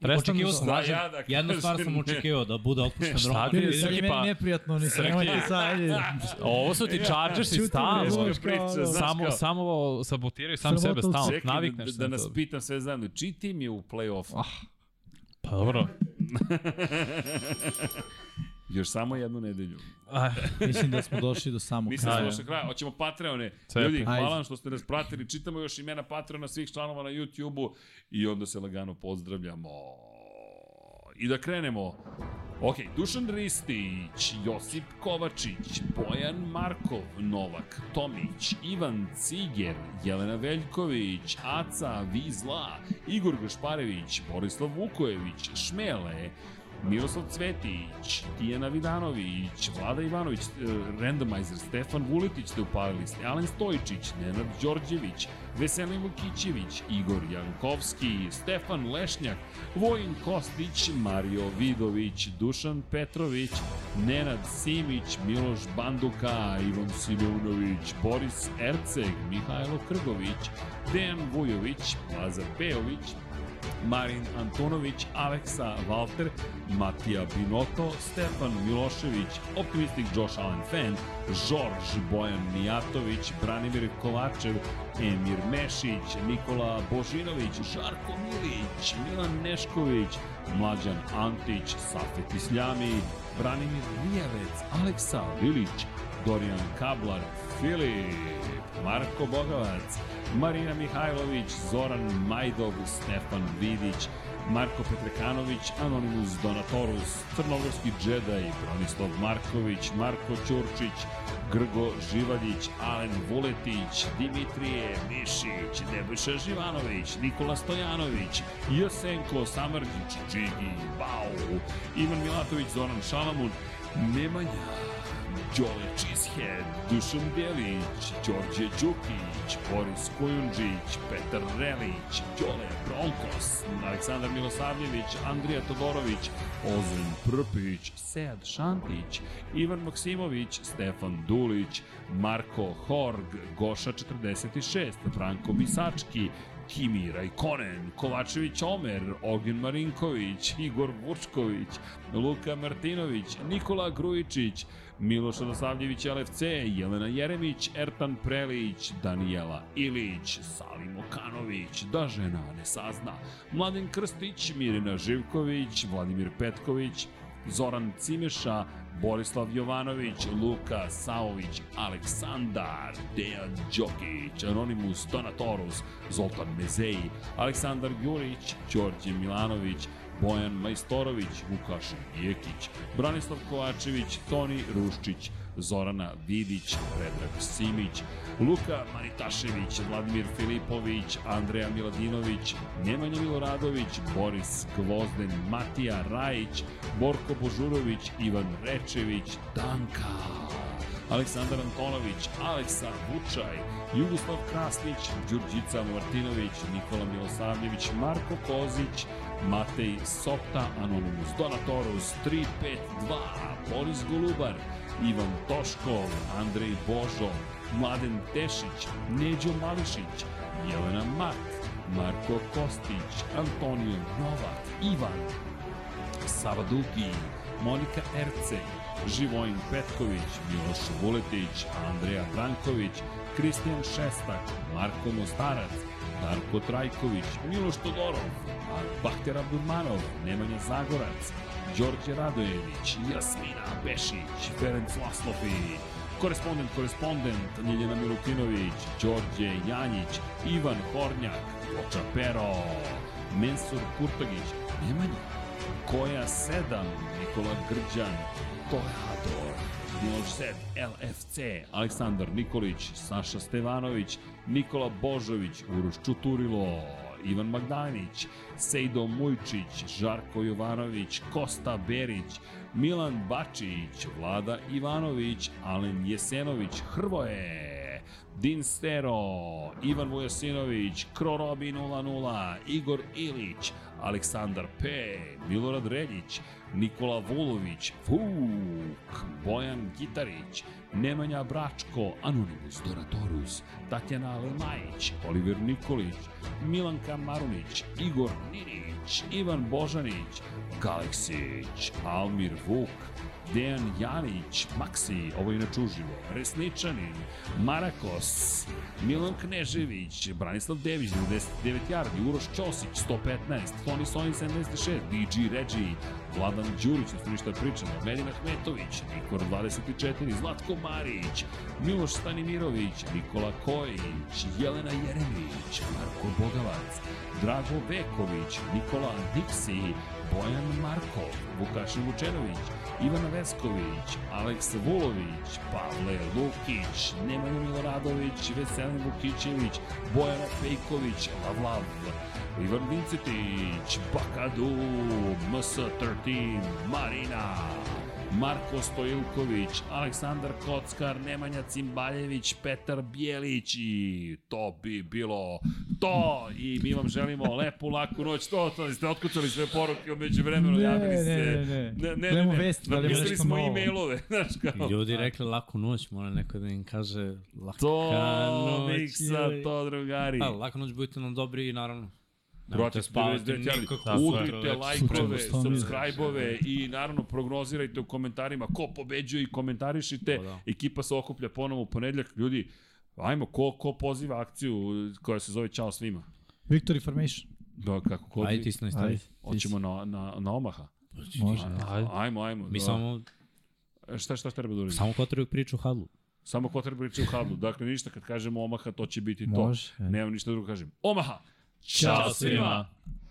S4: Prestaneš
S3: Očekivao
S4: da-
S3: sam,
S1: Da,
S3: lažem.
S1: ja da
S3: Jednu
S1: kažem,
S3: stvar sam
S1: ne.
S3: očekivao, da bude otpušten
S4: Šta
S3: Roman.
S4: ti je
S2: Sad je
S4: Srki,
S2: meni
S4: pa-
S2: neprijatno, ne
S4: Srki.
S2: nemojte sad, ajde.
S4: Ovo su ti
S1: E,
S4: čarđeš i
S2: Ćutim,
S4: stalno.
S2: razumeš,
S1: Teška priča,
S2: kao,
S1: znaš
S4: Samo,
S1: kao.
S4: samo sabotiraju sam
S2: Sramota
S4: sebe
S2: u
S4: stalno.
S1: Čekaj,
S4: Navikneš
S1: da,
S4: se
S1: da
S4: na
S1: nas
S4: to.
S1: pitam sve zajedno, čiji tim je u play-offu?
S4: Pa dobro.
S1: Još samo jednu nedelju.
S4: Aj,
S2: Mislim da smo došli do samog
S1: Mislim
S2: kraja.
S1: da
S4: Ajde.
S1: smo kraja. Hoćemo Patreone.
S4: Cepa.
S1: Ljudi, hvala
S2: Ajde.
S1: vam što ste nas pratili. Čitamo još imena Patreona svih članova na YouTube-u i onda se lagano pozdravljamo. I da krenemo. Ok, Dušan Ristić, Josip Kovačić, Bojan Markov, Novak Tomić, Ivan Ciger, Jelena Veljković, Aca Vizla, Igor Gašparević, Borislav Vukojević, Šmele, Miroslav Cvetić, Tijana Vidanović, Vlada Ivanović, eh, Randomizer, Stefan Vuletić ste upalili, Alen Stojičić, Nenad Đorđević, Veselin Vukićević, Igor Jankovski, Stefan Lešnjak, Vojin Kostić, Mario Vidović, Dušan Petrović, Nenad Simić, Miloš Banduka, Ivan Silunović, Boris Erceg, Mihajlo Krgović, Dejan Vujović, Lazar Pejović, Marin Antonović, Aleksa Valter, Matija Binoto, Stefan Milošević, Optimistic Josh Allen Fan, Žorž Bojan Mijatović, Branimir Kovačev, Emir Mešić, Nikola Božinović, Žarko Milić, Milan Nešković, Mlađan Antić, Safet Isljami, Branimir Mijavec, Aleksa Vilić, Dorijan Kablar, Filip, Marko Bogovac, Marina Mihajlović, Zoran Majdov, Stefan Vidić, Marko Petrekanović, Anonimus Donatorus, Crnogorski džedaj, Branislav Marković, Marko Ćurčić, Grgo Živaljić, Alen Vuletić, Dimitrije Mišić, Nebojša Živanović, Nikola Stojanović, Jasenko Samrđić, Čigi, Bau, Ivan Milatović, Zoran Šalamun, Nemanja, Đole Čishead, Dušan Bjelić, Đorđe Đukić, Boris Kujundžić, Petar Relić, Đole Bronkos, Aleksandar Milosavljević, Andrija Todorović, Ozren Prpić, Sead Šantić, Ivan Maksimović, Stefan Dulić, Marko Horg, Goša 46, Branko Bisački, Kimi Rajkonen, Kovačević Omer, Ognjen Marinković, Igor Vučković, Luka Martinović, Nikola Grujičić, Miloš Radosavljević LFC, Jelena Jeremić, Ertan Prelić, Danijela Ilić, Salim Okanović, Da žena ne sazna, Mladen Krstić, Mirina Živković, Vladimir Petković, Zoran Cimeša, Borislav Jovanović, Luka Saović, Aleksandar, Dejan Đokić, Anonimus Donatorus, Zoltan Mezeji, Aleksandar Jurić, Đorđe Milanović, Bojan Majstorović, Vukašin Jekić, Branislav Kovačević, Toni Ruščić, Zorana Vidić, Predrag Simić, Luka Manitašević, Vladimir Filipović, Andreja Miladinović, Nemanja Miloradović, Boris Gvozden, Matija Rajić, Borko Božurović, Ivan Rečević, Danka. Aleksandar Antonović, Aleksa Vučaj, Jugoslav Krasnić, Đurđica Martinović, Nikola Milosavljević, Marko Kozić, Matej Sopta, Anonymous Donatorus, 352, Boris Golubar, Ivan Toškov, Andrej Božo, Mladen Tešić, Neđo Mališić, Jelena Mat, Marko Kostić, Antonio Novak, Ivan Sava Dugi, Monika Ercej, Živojin Petković, Miloš Vuletić, Andreja Branković, Kristijan Šestak, Marko Mostarac, Darko Trajković, Miloš Todorov, Bahter Abdurmanov, Nemanja Zagorac, Đorđe Radojević, Jasmina Bešić, Ferenc Laslofi, Korespondent, korespondent, Ljiljana Milutinović, Đorđe Janjić, Ivan Hornjak, Oča Pero, Mensur Kurtagić, Nemanja, Koja Sedam, Nikola Grđan, Toreador, Miloš Zed, LFC, Aleksandar Nikolić, Saša Stevanović, Nikola Božović, Uroš Čuturilo, Ivan Magdanić, Sejdo Mujčić, Žarko Jovanović, Kosta Berić, Milan Bačić, Vlada Ivanović, Alen Jesenović, Hrvoje, Din Stero, Ivan Vujasinović, Krorobi 00, Igor Ilić, Aleksandar P, Milorad Reljić, Nikola Vulović, Vuk, Bojan Gitarić, Nemanja Bračko, Anonimus Donatorus, Tatjana Lemajić, Oliver Nikolić, Milanka Marunić, Igor Ninić, Ivan Božanić, Galeksić, Almir Vuk, Dejan Janić, Maksi, ovo je inače uživo, Resničanin, Marakos, Milan Knežević, Branislav Dević, 99 yardi, Uroš Ćosić, 115, Toni Sonin, 76, DJ Regi, Vladan Đurić, ne ništa pričamo, Medina Hmetović, Nikor 24, Zlatko Marić, Miloš Stanimirović, Nikola Kojić, Jelena Jeremić, Marko Bogavac, Drago Veković, Nikola Diksi, Bojan Markov, Vukašin Vučenović, Ivana Vesković, Aleks Vulović, Pavle Lukić, Nemanja Miloradović, Veselin Vukićević, Bojana Fejković, Lavlav, Ivan Vincetić, Bakadu, MS13, Marina, Marko Stojilković, Aleksandar Kockar, Nemanja Cimbaljević, Petar Bijelić i to bi bilo to i mi vam želimo lepu, laku noć. To, to ste otkucali sve poruke, umeđu vremenu javili ste. Ne, ne, ne,
S2: Gledamo
S1: ne.
S2: vesti, da li ima
S1: Napisali
S2: nešto
S1: smo
S2: novo.
S1: e-mailove, znaš kao.
S3: Ljudi rekli laku noć, mora neko da im kaže laka
S1: To,
S3: noć.
S1: miksa, to, drugari.
S3: A, laka noć, budite nam dobri i naravno.
S1: Brate,
S3: Nemojte
S1: spavajte,
S3: spavati
S1: nikako.
S3: nikako. da
S1: Udrite
S3: Sutra
S1: lajkove,
S2: večer. Sutra,
S1: subscribe-ove i naravno prognozirajte u komentarima ko pobeđuje i komentarišite.
S3: O, da.
S1: Ekipa se okuplja ponovo u ponedljak. Ljudi, ajmo, ko, ko poziva akciju koja se zove Ćao svima?
S2: Victor Information.
S1: Da, kako ko
S3: Ajde ti se nastavi.
S2: Ajde.
S1: Hoćemo na, na, na Omaha.
S2: Može.
S4: Ajde.
S1: Ajmo, ajmo.
S3: Mi
S1: da.
S3: samo,
S1: Šta, šta, šta treba da uradimo?
S3: samo kotraju priču hadlu.
S1: Samo ko treba priča u Hablu. Dakle, ništa kad kažemo Omaha, to će biti to.
S2: Može.
S1: да Nemam ništa drugo kažem. Omaha!
S2: Ćao
S1: Ćao svima!